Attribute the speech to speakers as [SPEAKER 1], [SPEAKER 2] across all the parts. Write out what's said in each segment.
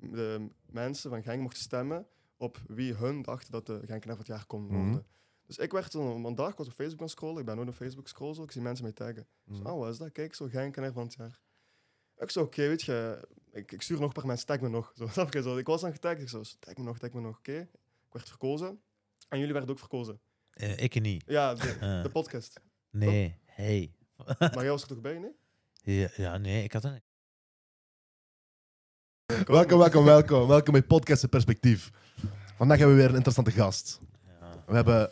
[SPEAKER 1] de mensen van Genk mochten stemmen op wie hun dachten dat de Genkenaar van het jaar kon worden.
[SPEAKER 2] Mhm.
[SPEAKER 1] Dus ik werd toen op een dag, ik was op Facebook aan het scrollen, ik ben ook op Facebook scrollen, ik zie mensen mij taggen. Dus,
[SPEAKER 2] Mhm.
[SPEAKER 1] oh, wat is dat? Kijk, zo Genkenaar van het jaar. Ik zo, oké, weet je, ik, ik stuur nog een paar mensen, tag me nog. Zo, snap je? Zo, ik was aan getagd, ik zo, tag me nog, tag me nog, oké. Ik werd verkozen. En jullie werden ook verkozen.
[SPEAKER 3] Eh, ik niet.
[SPEAKER 1] Ja, de,
[SPEAKER 3] Eh,
[SPEAKER 1] de podcast.
[SPEAKER 3] nee, hey.
[SPEAKER 1] Maar jij was er toch bij, nee?
[SPEAKER 3] ja, ja, nee, ik had dat niet.
[SPEAKER 2] Welkom, welkom, welkom. Welkom bij Podcast in Perspectief. Vandaag hebben we weer een interessante gast.
[SPEAKER 3] Ja.
[SPEAKER 2] We hebben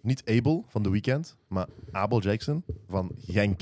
[SPEAKER 2] niet Abel van The Weeknd, maar Abel Jackson van Genk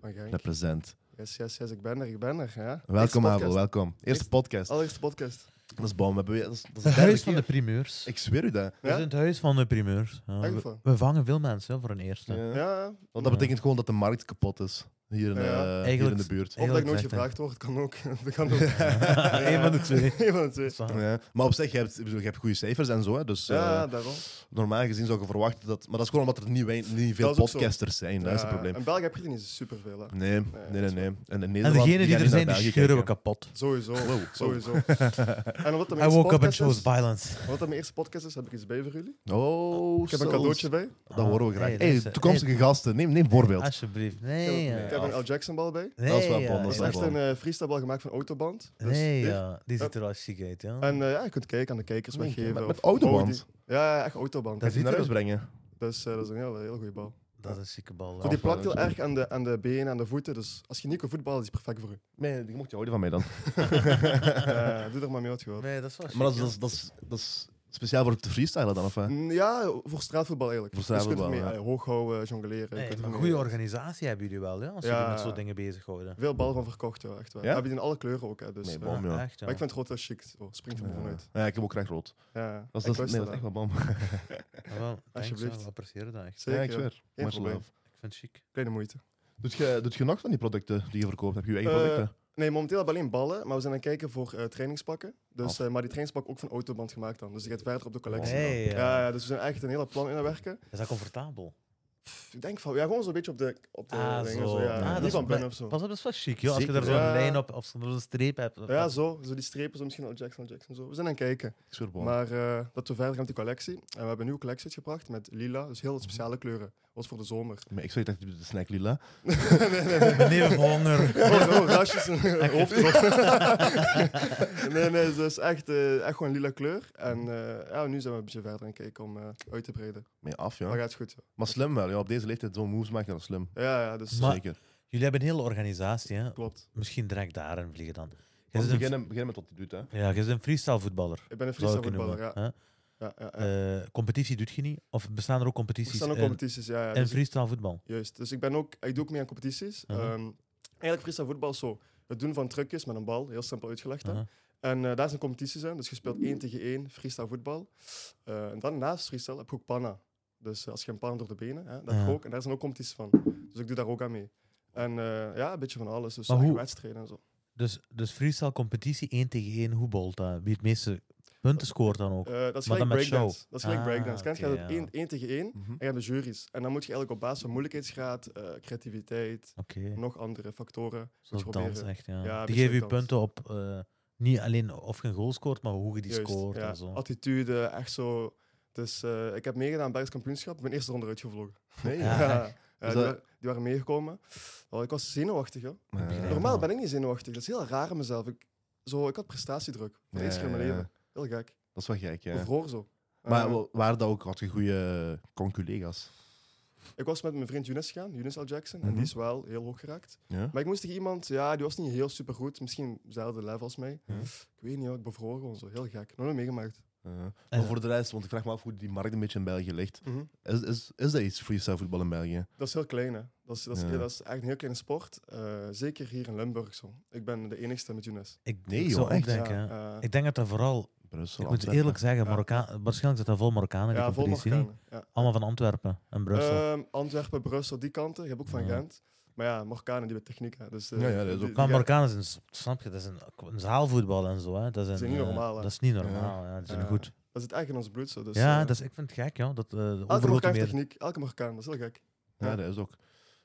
[SPEAKER 1] Maar Genk.
[SPEAKER 2] represent.
[SPEAKER 1] Yes, yes, yes, ik ben er, ik ben er. Ja. Eerste
[SPEAKER 2] Welkom
[SPEAKER 1] podcast.
[SPEAKER 2] Abel, welkom. Eerste
[SPEAKER 1] Eerste- Oh.
[SPEAKER 2] podcast.
[SPEAKER 1] Allereerste podcast.
[SPEAKER 2] Dat is bom. We hebben weer, dat is, dat is de
[SPEAKER 3] Het
[SPEAKER 2] derde
[SPEAKER 3] huis van de
[SPEAKER 2] keer.
[SPEAKER 3] primeurs.
[SPEAKER 2] Ik zweer u dat.
[SPEAKER 3] We zijn het huis van de primeurs. Ja,
[SPEAKER 1] Echt
[SPEAKER 3] we,
[SPEAKER 1] waar?
[SPEAKER 3] we vangen veel mensen hè, voor een eerste.
[SPEAKER 2] Ja.
[SPEAKER 1] Ja,
[SPEAKER 2] Want dat betekent gewoon dat de markt kapot is. Hier
[SPEAKER 1] Ja.
[SPEAKER 2] in, eh, hier in
[SPEAKER 3] Eigenlijk-
[SPEAKER 2] de buurt.
[SPEAKER 1] of dat ik nooit
[SPEAKER 3] gezegd, hè.
[SPEAKER 1] gevraagd word, kan ook. Dat kan ook.
[SPEAKER 3] Eén van de twee.
[SPEAKER 1] Eén van de twee.
[SPEAKER 3] Samen.
[SPEAKER 2] Ja. Maar op zich, je hebt, ik bedoel, je hebt goede cijfers en zo. Hè, dus eh,
[SPEAKER 1] Ja, daarom.
[SPEAKER 2] normaal gezien zou je verwachten dat... Maar dat is gewoon omdat er niet, wei- niet veel
[SPEAKER 1] Dat is ook zo.
[SPEAKER 2] podcasters zijn. Dat is het
[SPEAKER 1] Ja,
[SPEAKER 2] probleem.
[SPEAKER 1] In België heb je er niet superveel, hè.
[SPEAKER 2] Nee,
[SPEAKER 1] dat
[SPEAKER 2] nee, nee.
[SPEAKER 1] is
[SPEAKER 2] nee. En, in
[SPEAKER 3] En
[SPEAKER 2] Nederland,
[SPEAKER 3] degenen die
[SPEAKER 2] gaan
[SPEAKER 3] er zijn,
[SPEAKER 2] niet
[SPEAKER 3] die
[SPEAKER 2] naar België
[SPEAKER 3] scheuren we
[SPEAKER 2] kijken.
[SPEAKER 3] kapot.
[SPEAKER 1] Sowieso. Sowieso. En omdat dat
[SPEAKER 3] I
[SPEAKER 1] mijn eerste
[SPEAKER 3] woke up and
[SPEAKER 1] podcast
[SPEAKER 3] chose
[SPEAKER 1] is,
[SPEAKER 3] violence.
[SPEAKER 1] omdat dat mijn eerste podcast is, heb ik iets bij voor jullie.
[SPEAKER 2] Oh,
[SPEAKER 1] Ik heb een
[SPEAKER 2] zelfs.
[SPEAKER 1] cadeautje bij.
[SPEAKER 2] Dat horen we graag.
[SPEAKER 3] Hey,
[SPEAKER 2] Hey,
[SPEAKER 3] Ah, dat is- Ah,
[SPEAKER 2] toekomstige gasten, neem, neem voorbeeld.
[SPEAKER 3] Alsjeblieft.
[SPEAKER 1] Ik
[SPEAKER 3] Nee,
[SPEAKER 1] heb,
[SPEAKER 3] ja.
[SPEAKER 1] ik heb een Al Jackson bal bij.
[SPEAKER 3] Nee,
[SPEAKER 2] Dat is wel
[SPEAKER 3] ja,
[SPEAKER 2] bom,
[SPEAKER 1] Dat is
[SPEAKER 3] ja.
[SPEAKER 2] wel
[SPEAKER 1] echt
[SPEAKER 2] bom.
[SPEAKER 1] een eh freestyle bal gemaakt van Autoband. Dus
[SPEAKER 3] Nee,
[SPEAKER 1] dit.
[SPEAKER 3] ja. Die ziet er al chic uit, ja.
[SPEAKER 1] En eh, ja, je kunt kijken aan de kijkers
[SPEAKER 2] Met-
[SPEAKER 1] weggeven.
[SPEAKER 2] met-
[SPEAKER 1] of-
[SPEAKER 2] met Autoband?
[SPEAKER 1] of die- Ja, ja, echt Autoband.
[SPEAKER 3] Dat
[SPEAKER 2] Dat
[SPEAKER 3] ziet
[SPEAKER 2] naar
[SPEAKER 3] er-
[SPEAKER 2] huis brengen.
[SPEAKER 1] Dus eh, dat is een heel, heel goede bal.
[SPEAKER 3] Dat is een chique bal.
[SPEAKER 1] Goed,
[SPEAKER 3] ja.
[SPEAKER 1] die plakt heel
[SPEAKER 2] dat is
[SPEAKER 1] erg aan de, aan de benen, aan de voeten. Dus als je niet kan voetballen, is die perfect voor u.
[SPEAKER 2] Nee, die mocht je houden van mij dan.
[SPEAKER 1] Eh, doe er maar mee wat je wilt.
[SPEAKER 3] Nee, dat is wel
[SPEAKER 2] Maar dat is,
[SPEAKER 3] chic,
[SPEAKER 2] dat,
[SPEAKER 3] ja.
[SPEAKER 2] is, dat, is, dat is speciaal voor te freestylen dan, of hè?
[SPEAKER 1] Mm, Ja, voor straatvoetbal eigenlijk.
[SPEAKER 2] Voor
[SPEAKER 1] Dus je kunt
[SPEAKER 2] straatvoetbal,
[SPEAKER 1] ermee
[SPEAKER 2] ja.
[SPEAKER 1] eh, hoog houden, jongleren. je
[SPEAKER 3] Nee,
[SPEAKER 1] kunt
[SPEAKER 3] maar
[SPEAKER 1] ermee-
[SPEAKER 3] goede organisatie hebben jullie wel, ja. Als
[SPEAKER 1] Ja.
[SPEAKER 3] jullie met zo'n dingen bezighouden.
[SPEAKER 1] Veel bal van verkocht, ja, echt wel.
[SPEAKER 2] Ja?
[SPEAKER 1] Heb je in alle kleuren ook, hè, dus...
[SPEAKER 2] Nee,
[SPEAKER 1] eh,
[SPEAKER 2] bom, ja.
[SPEAKER 3] Echt, ja.
[SPEAKER 1] Maar ik vind het rood wel chic. Zo, springt er me vanuit.
[SPEAKER 2] Ja, ik heb ook graag rood.
[SPEAKER 1] Ja,
[SPEAKER 2] Dat
[SPEAKER 1] ik
[SPEAKER 2] is, dat is, nee,
[SPEAKER 1] luister
[SPEAKER 2] dat is echt
[SPEAKER 1] daar.
[SPEAKER 2] wel bom.
[SPEAKER 3] Ja, Ah, wel, thanks,
[SPEAKER 1] Alsjeblieft.
[SPEAKER 3] ja, we appreciëren dat echt.
[SPEAKER 2] Ja, ik
[SPEAKER 1] Zeker.
[SPEAKER 2] zweer.
[SPEAKER 1] Geen
[SPEAKER 2] Much
[SPEAKER 1] probleem.
[SPEAKER 2] love.
[SPEAKER 3] Ik vind het chic.
[SPEAKER 1] Kleine moeite.
[SPEAKER 2] Doet je, doet je nog van die producten die je verkoopt? Heb je je eigen
[SPEAKER 1] Eh,
[SPEAKER 2] producten?
[SPEAKER 1] Nee, momenteel hebben we alleen ballen, maar we zijn aan het kijken voor eh, trainingspakken. Dus,
[SPEAKER 2] Af.
[SPEAKER 1] eh, maar die trainingspak ook van autoband gemaakt dan. Dus die gaat verder op de collectie.
[SPEAKER 3] Hey,
[SPEAKER 1] ja.
[SPEAKER 3] ja.
[SPEAKER 1] Ja, dus we zijn echt een hele plan in aan het werken.
[SPEAKER 3] Is dat comfortabel?
[SPEAKER 1] Pff, ik denk van, ja, gewoon zo'n beetje op de, op de
[SPEAKER 3] Ah,
[SPEAKER 1] dingen.
[SPEAKER 3] zo.
[SPEAKER 1] ja.
[SPEAKER 3] Ah, dat
[SPEAKER 1] Niet
[SPEAKER 3] is
[SPEAKER 1] van
[SPEAKER 3] blij-
[SPEAKER 1] binnen of zo.
[SPEAKER 3] Pas op, dat is wel chic, joh. Als je
[SPEAKER 2] Zeker.
[SPEAKER 3] daar zo'n
[SPEAKER 1] Ja.
[SPEAKER 3] lijn op of zo'n streep hebt.
[SPEAKER 1] Ja, zo. Zo die strepen, zo misschien al Jackson, Al Jackson, zo. We zijn aan het kijken.
[SPEAKER 2] Ik zweer bom.
[SPEAKER 1] Maar eh, dat we verder gaan met die collectie. En we hebben een nieuwe collectie uitgebracht met lila, dus heel speciale kleuren. Wat voor de zomer.
[SPEAKER 2] Maar ik zweer dat je de snack lila.
[SPEAKER 3] Mijn neef honger.
[SPEAKER 1] Oh, zo, rasjes in het hoofd. erop. nee, nee, dus echt, eh, echt gewoon lila kleur. En eh, ja, nu zijn we een beetje verder aan het kijken om eh, uit te breiden.
[SPEAKER 2] Mee af,
[SPEAKER 1] Maar
[SPEAKER 2] ja.
[SPEAKER 1] gaat goed.
[SPEAKER 2] Maar slim wel, ja. Op deze leeftijd zo'n moves maken, dat is slim.
[SPEAKER 1] Ja, ja, dus
[SPEAKER 3] Maar-
[SPEAKER 2] Zeker.
[SPEAKER 3] Jullie hebben een hele organisatie, hè.
[SPEAKER 1] klopt.
[SPEAKER 3] Misschien direct daarin vliegen dan. Jij
[SPEAKER 2] Want
[SPEAKER 3] zit
[SPEAKER 2] we
[SPEAKER 3] een-
[SPEAKER 2] beginnen, beginnen met wat hij doet, hè.
[SPEAKER 3] Ja, je bent een freestyle voetballer.
[SPEAKER 1] Ik ben een
[SPEAKER 3] zou
[SPEAKER 1] freestyle
[SPEAKER 3] ik je
[SPEAKER 1] voetballer, ja.
[SPEAKER 3] noemen, hè.
[SPEAKER 1] ja, ja, ja.
[SPEAKER 3] Eh, competitie doet je niet? Of bestaan er ook
[SPEAKER 1] er
[SPEAKER 3] competities
[SPEAKER 1] staan ook
[SPEAKER 3] in,
[SPEAKER 1] competities, ja. ja
[SPEAKER 3] in
[SPEAKER 1] dus,
[SPEAKER 3] freestyle voetbal?
[SPEAKER 1] juist. Dus ik ben ook, ik doe ook mee aan competities.
[SPEAKER 3] Mhm.
[SPEAKER 1] Ehm, eigenlijk freestyle voetbal is zo. Het doen van trucjes met een bal, heel simpel uitgelegd. hè.
[SPEAKER 3] Uh-huh.
[SPEAKER 1] En eh, daar zijn competities in, dus je speelt 1 tegen 1 freestyle voetbal. Eh, en dan naast freestyle heb je ook panna. Dus eh, als je een panna door de benen, hè, dat heb je
[SPEAKER 3] Ja.
[SPEAKER 1] ook. En daar zijn ook competities van. Dus ik doe daar ook aan mee. En eh, ja, een beetje van alles. Dus
[SPEAKER 3] Maar
[SPEAKER 1] eigen
[SPEAKER 3] hoe-
[SPEAKER 1] wedstrijden en zo. Eh,
[SPEAKER 3] Dus, dus freestyle competitie 1 tegen 1, hoe bolt dat? Wie het meeste punten scoort dan ook?
[SPEAKER 1] Eh, dat is
[SPEAKER 3] Maar
[SPEAKER 1] gelijk
[SPEAKER 3] dan met show.
[SPEAKER 1] breakdance. Dat is gelijk
[SPEAKER 3] Ah,
[SPEAKER 1] breakdance. Kent je
[SPEAKER 3] oké,
[SPEAKER 1] gaat
[SPEAKER 3] ja.
[SPEAKER 1] het 1 tegen 1
[SPEAKER 2] Mhm.
[SPEAKER 1] En je hebt de juries. En dan moet je eigenlijk op basis van moeilijkheidsgraad, eh, creativiteit,
[SPEAKER 3] Oké,
[SPEAKER 1] nog andere factoren.
[SPEAKER 3] zoals
[SPEAKER 1] je
[SPEAKER 3] dans
[SPEAKER 1] proberen.
[SPEAKER 3] echt, ja.
[SPEAKER 1] Ja, dus een
[SPEAKER 3] die
[SPEAKER 1] beetje
[SPEAKER 3] geven je
[SPEAKER 1] dans.
[SPEAKER 3] punten op eh, niet alleen of je een goal scoort, maar hoe je die
[SPEAKER 1] Juist,
[SPEAKER 3] scoort
[SPEAKER 1] ja.
[SPEAKER 3] en zo.
[SPEAKER 1] Attitude, eh, echt zo. Dus eh, ik heb meegedaan aan Belgisch kampioenschap. Ik ben eerst eronder uitgevlogen.
[SPEAKER 2] Nee,
[SPEAKER 3] Ja.
[SPEAKER 2] ja.
[SPEAKER 1] die,
[SPEAKER 2] Dus
[SPEAKER 1] wa-
[SPEAKER 2] dat-
[SPEAKER 1] die waren meegekomen. Oh, ik was zenuwachtig, joh.
[SPEAKER 3] Ja,
[SPEAKER 1] Normaal
[SPEAKER 3] man.
[SPEAKER 1] ben ik niet zenuwachtig. Dat is heel raar aan mezelf. Ik, zo, ik had prestatiedruk. Voor de
[SPEAKER 2] Ja,
[SPEAKER 1] eerste keer in mijn
[SPEAKER 2] ja,
[SPEAKER 1] leven. Heel gek.
[SPEAKER 2] Dat is wel gek,
[SPEAKER 1] Ik
[SPEAKER 2] ja.
[SPEAKER 1] bevroor zo.
[SPEAKER 2] Maar
[SPEAKER 1] Eh,
[SPEAKER 2] wa- waren dat ook wat goede eh, conculega's?
[SPEAKER 1] ik was met mijn vriend Younes gaan, Younes Al Jackson. En
[SPEAKER 2] Mhm.
[SPEAKER 1] die is wel heel hoog geraakt.
[SPEAKER 2] Ja?
[SPEAKER 1] Maar ik moest tegen iemand, ja, die was niet heel super goed. Misschien dezelfde level als mij.
[SPEAKER 2] Ja.
[SPEAKER 1] Ik weet niet, hoor, ik bevroor gewoon zo. Heel gek. Nog nooit meegemaakt.
[SPEAKER 2] Ja.
[SPEAKER 3] En-
[SPEAKER 2] Eh, Maar voor de rest, want ik vraag me af hoe die markt een beetje in België ligt.
[SPEAKER 1] Mhm.
[SPEAKER 2] Is, is, is dat iets freestyle voetbal in België?
[SPEAKER 1] Dat is heel klein, hè. Dat is, dat is,
[SPEAKER 2] Ja.
[SPEAKER 1] dat is echt een heel kleine sport. Eh, zeker hier in Limburg zo. Ik ben de enigste met Younes.
[SPEAKER 3] Ik,
[SPEAKER 2] Nee,
[SPEAKER 3] ik
[SPEAKER 2] joh,
[SPEAKER 3] zou ook
[SPEAKER 2] echt?
[SPEAKER 3] denken, hè.
[SPEAKER 1] ja, eh,
[SPEAKER 3] Ik denk dat dat vooral,
[SPEAKER 2] Brussel,
[SPEAKER 3] ik moet
[SPEAKER 2] Antwerpen.
[SPEAKER 3] eerlijk zeggen,
[SPEAKER 1] Ja.
[SPEAKER 3] Marokkaan, waarschijnlijk zit dat vol Marokkanen in
[SPEAKER 1] ja,
[SPEAKER 3] die
[SPEAKER 1] vol
[SPEAKER 3] competitie. niet?
[SPEAKER 1] Marokkanen. Ja.
[SPEAKER 3] Allemaal van Antwerpen en Brussel.
[SPEAKER 1] Ehm, Antwerpen, Brussel, die kanten. Je hebt ook van
[SPEAKER 3] Ja.
[SPEAKER 1] Gent. Maar ja, Marokkanen die hebben techniek, hè. Dus, eh,
[SPEAKER 2] Ja, ja, dat is
[SPEAKER 1] die-
[SPEAKER 2] ook-
[SPEAKER 3] Maar
[SPEAKER 1] die-
[SPEAKER 3] Marokkanen zijn, s- snap je, dat is een, een zaalvoetbal en zo. Hè. Dat, is
[SPEAKER 1] is
[SPEAKER 3] een,
[SPEAKER 1] niet
[SPEAKER 3] eh,
[SPEAKER 1] normaal, hè.
[SPEAKER 3] Dat is niet normaal, ja. die zijn
[SPEAKER 1] Ja.
[SPEAKER 3] goed.
[SPEAKER 1] Dat zit echt in ons bloed, zo. Dus,
[SPEAKER 3] ja,
[SPEAKER 1] eh, Ah,
[SPEAKER 3] dat is, ik vind het gek, joh. Dat, eh de
[SPEAKER 1] Elke
[SPEAKER 3] overgrote
[SPEAKER 1] Marokkaan heeft
[SPEAKER 3] meer...
[SPEAKER 1] techniek. Elke Marokkaan, dat is heel gek.
[SPEAKER 2] Ja, dat is ook.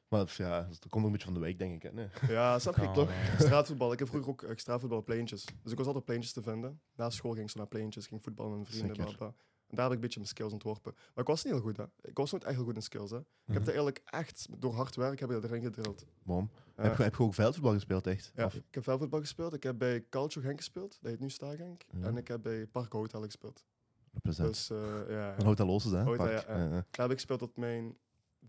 [SPEAKER 2] Maar pff, ja, dat komt ook een beetje van de week, denk ik. Hè? Nee.
[SPEAKER 1] Ja, snap je?
[SPEAKER 3] Kan
[SPEAKER 1] Klopt.
[SPEAKER 3] wel.
[SPEAKER 1] Straatvoetbal. Ik heb vroeger ook eh, straatvoetbal pleintjes. Dus ik was altijd pleintjes te vinden. Na school ging ik zo naar pleintjes, ging voetballen met mijn vrienden.
[SPEAKER 2] Zeker.
[SPEAKER 1] bla, bla. En daar heb ik een beetje mijn skills ontworpen. Maar ik was niet heel goed, hè. Ik was nooit echt heel goed in skills, hè. Ik heb
[SPEAKER 3] Mhm.
[SPEAKER 1] dat eigenlijk echt, door hard werken, heb ik dat erin gedrild.
[SPEAKER 2] Bom.
[SPEAKER 1] Ja.
[SPEAKER 2] Heb, je, heb je ook veldvoetbal gespeeld, echt?
[SPEAKER 1] Ja,
[SPEAKER 2] Of-
[SPEAKER 1] ik heb veldvoetbal gespeeld. Ik heb bij Calcio Genk gespeeld. Dat heet nu Sta Genk.
[SPEAKER 2] Ja.
[SPEAKER 1] En ik heb bij Parco Hotel gespeeld.
[SPEAKER 2] Represent.
[SPEAKER 1] Dus eh, ja,
[SPEAKER 2] Van Hotel Oosters, hè?
[SPEAKER 1] Hotel,
[SPEAKER 2] Park.
[SPEAKER 1] ja, ja. daar heb ik gespeeld tot mijn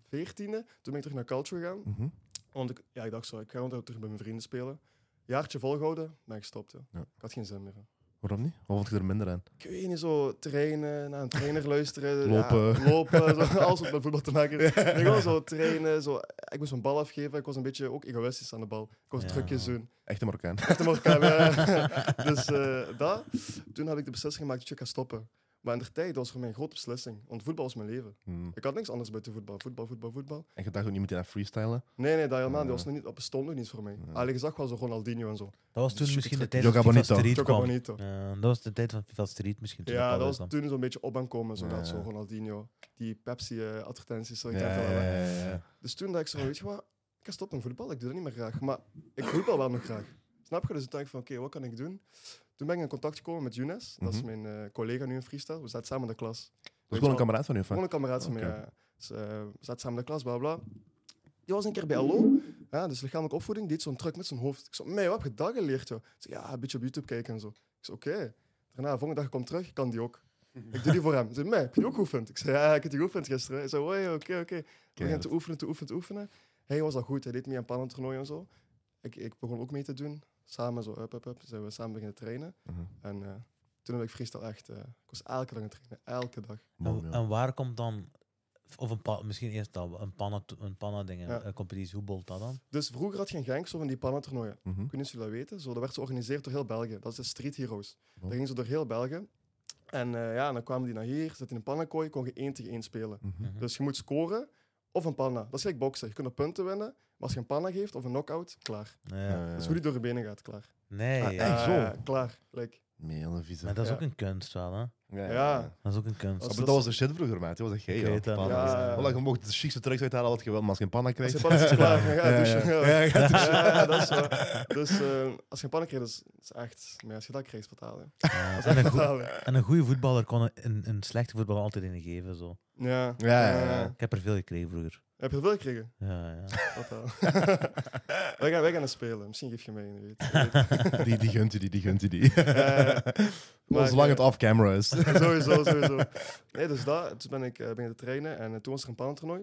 [SPEAKER 1] veertiende. Toen ben ik terug naar Calcio gegaan.
[SPEAKER 2] Mhm.
[SPEAKER 1] Want ik, ja, ik dacht zo, ik ga gewoon terug bij mijn vrienden spelen. Jaartje volgehouden, ben ik gestopt. ja.
[SPEAKER 2] Ja.
[SPEAKER 1] Ik had geen zin meer. hè.
[SPEAKER 2] Waarom niet? Of vond je er minder aan?
[SPEAKER 1] Ik weet niet, zo trainen, naar een trainer luisteren.
[SPEAKER 2] Lopen.
[SPEAKER 1] Ja, lopen, zo, alles wat met voetbal te maken heeft. Ik gewoon zo trainen, zo, ik moest mijn bal afgeven. Ik was een beetje ook egoïstisch aan de bal. Ik was
[SPEAKER 3] Ja.
[SPEAKER 1] trucjes doen.
[SPEAKER 2] Echte Marokkaan.
[SPEAKER 1] Echt een Marokkaan, ja. Dus eh, dat, toen heb ik de beslissing gemaakt dat ik ga stoppen. Maar in de tijd was voor mij een grote beslissing, want voetbal was mijn leven.
[SPEAKER 2] Mhm.
[SPEAKER 1] Ik had niks anders buiten voetbal. Voetbal, voetbal, voetbal.
[SPEAKER 2] En je dacht ook niet meteen aan freestylen?
[SPEAKER 1] Nee, nee, dat helemaal niet. Dat,
[SPEAKER 2] Ja.
[SPEAKER 1] was nog niet, dat bestond nog niet voor mij.
[SPEAKER 2] Ja.
[SPEAKER 1] Alleen je zag wel zo Ronaldinho en zo.
[SPEAKER 3] Dat was toen
[SPEAKER 1] Chique
[SPEAKER 3] misschien de
[SPEAKER 1] truc.
[SPEAKER 3] tijd van
[SPEAKER 2] Jogga
[SPEAKER 3] FIFA
[SPEAKER 2] Bonito.
[SPEAKER 3] Street
[SPEAKER 1] Jogga
[SPEAKER 3] kwam.
[SPEAKER 1] Bonito.
[SPEAKER 3] Ja, dat was de tijd van FIFA Street misschien. Toen
[SPEAKER 1] Ja,
[SPEAKER 3] dat
[SPEAKER 1] dat
[SPEAKER 3] was
[SPEAKER 1] was
[SPEAKER 3] dan.
[SPEAKER 1] toen zo'n beetje op aankomen, zo,
[SPEAKER 2] Ja,
[SPEAKER 1] dat zo
[SPEAKER 2] ja.
[SPEAKER 1] Ronaldinho, die Pepsi-advertenties, zo. ik
[SPEAKER 2] ja,
[SPEAKER 1] dacht wel,
[SPEAKER 2] ja,
[SPEAKER 1] hè.
[SPEAKER 2] ja, ja, ja.
[SPEAKER 1] Dus toen dacht ik zo, weet je wat, ik ga stoppen met voetbal, ik doe dat niet meer graag. Maar ik voetbal wel nog graag. Snap je? Dus ik dacht ik van, oké, wat kan ik doen? Toen ben ik in contact gekomen met Younes, dat is
[SPEAKER 2] Mhm.
[SPEAKER 1] mijn eh, collega nu in freestyle. We zaten samen in de klas.
[SPEAKER 2] Dat is gewoon een kameraad van je,
[SPEAKER 1] Gewoon
[SPEAKER 2] van.
[SPEAKER 1] een kameraad van mij.
[SPEAKER 2] Oké.
[SPEAKER 1] ja. Dus, eh, we zaten samen in de klas, bla bla. Die was een keer bij Allo, ja, dus lichamelijke opvoeding, die deed zo'n truc met zijn hoofd. Ik zei, mee, wat heb je dat geleerd? Joh? Ik zei, ja, een beetje op YouTube kijken en zo. Ik zei, oké. Daarna, de volgende dag kom terug, ik kan die ook. Ik doe die voor hem. Hij zei, mee, heb je die ook geoefend? Ik zei, ja, ik heb die geoefend gisteren. Hij zei, oei, oké, oké. We beginnen te oefenen, te oefenen, te oefenen. Hij was al goed, hij deed mee aan pannentoernooien en zo. Ik, ik begon ook mee te doen. Samen zo, up, up, up. Zijn we samen beginnen trainen.
[SPEAKER 2] Mhm.
[SPEAKER 1] En eh, toen heb ik freestyle echt... eh, ik was elke dag aan het trainen, elke dag.
[SPEAKER 2] Bom,
[SPEAKER 3] en,
[SPEAKER 2] ja.
[SPEAKER 3] en waar komt dan, of een pa- misschien eerst al, een panna, een panna dingen,
[SPEAKER 1] Ja.
[SPEAKER 3] een competitie, hoe bolt dat dan?
[SPEAKER 1] Dus vroeger had je in Genk zo van die pannentoernooien.
[SPEAKER 3] oh.
[SPEAKER 2] Mhm.
[SPEAKER 1] Ik weet niet of jullie dat weten. Zo, dat werd zo georganiseerd door heel België. Dat is de Street Heroes.
[SPEAKER 2] Oh.
[SPEAKER 1] Dat ging ze door heel België. En eh, ja, dan kwamen die naar hier, zitten in een pannenkooi, kon je één tegen één spelen.
[SPEAKER 2] Mhm.
[SPEAKER 3] Mhm.
[SPEAKER 1] Dus je moet scoren of een panna. Dat is gelijk boksen. Je kunt op punten winnen, maar als je een panna geeft of een knockout, klaar.
[SPEAKER 3] Ja.
[SPEAKER 1] Dat
[SPEAKER 2] Eh,
[SPEAKER 1] is hoe die door je benen gaat, klaar.
[SPEAKER 3] Nee,
[SPEAKER 2] Ah,
[SPEAKER 3] ja.
[SPEAKER 2] echt?
[SPEAKER 1] Ja,
[SPEAKER 2] zo?
[SPEAKER 1] ja, klaar. Like,
[SPEAKER 2] Meel en vieze.
[SPEAKER 3] maar dat is
[SPEAKER 1] Ja.
[SPEAKER 3] ook een kunst wel, hè?
[SPEAKER 2] Ja.
[SPEAKER 1] Ja.
[SPEAKER 3] Dat is ook een kunst.
[SPEAKER 1] Als-
[SPEAKER 2] Maar dat was de shit vroeger, maat. Dat was echt gay,
[SPEAKER 3] Ik
[SPEAKER 2] joh.
[SPEAKER 3] weet dat
[SPEAKER 2] Panna.
[SPEAKER 1] niet. Ja, ja, ja.
[SPEAKER 2] Wallah, je mocht de chicste trucks uithalen wat je wil, maar als je een panna
[SPEAKER 1] als
[SPEAKER 2] krijgt...
[SPEAKER 1] je panna is het klaar, dus- dan ga je
[SPEAKER 2] Ja, ja.
[SPEAKER 1] douchen. Ja,
[SPEAKER 2] Ja, je gaat douchen.
[SPEAKER 1] Ja, dat is zo. Dus eh, als je een panna krijgt, dat is, dat is echt... Maar als je dat krijgt, fataal. hè.
[SPEAKER 3] Ja.
[SPEAKER 1] Dat is
[SPEAKER 3] en,
[SPEAKER 1] echt
[SPEAKER 3] een goe-
[SPEAKER 1] fataal. hè.
[SPEAKER 3] en een goede voetballer kon een, een, een slechte voetballer altijd in geven. Zo.
[SPEAKER 1] Ja. Eh,
[SPEAKER 2] Ja, ja, ja.
[SPEAKER 3] Ik heb er veel gekregen vroeger.
[SPEAKER 1] Heb je veel gekregen?
[SPEAKER 3] Ja, ja.
[SPEAKER 1] Wat dan? wij, gaan, wij gaan het spelen. Misschien geef je mee. wie Weet. Wie
[SPEAKER 2] Die, die gunt je die, die gunt je die.
[SPEAKER 1] weet. Eh,
[SPEAKER 2] Maar
[SPEAKER 1] maar,
[SPEAKER 2] zolang
[SPEAKER 1] eh,
[SPEAKER 2] het off-camera is.
[SPEAKER 1] sowieso, sowieso. Nee, dus dat. Toen ben ik eh, beginnen te trainen en eh, toen was er een pannentoernooi.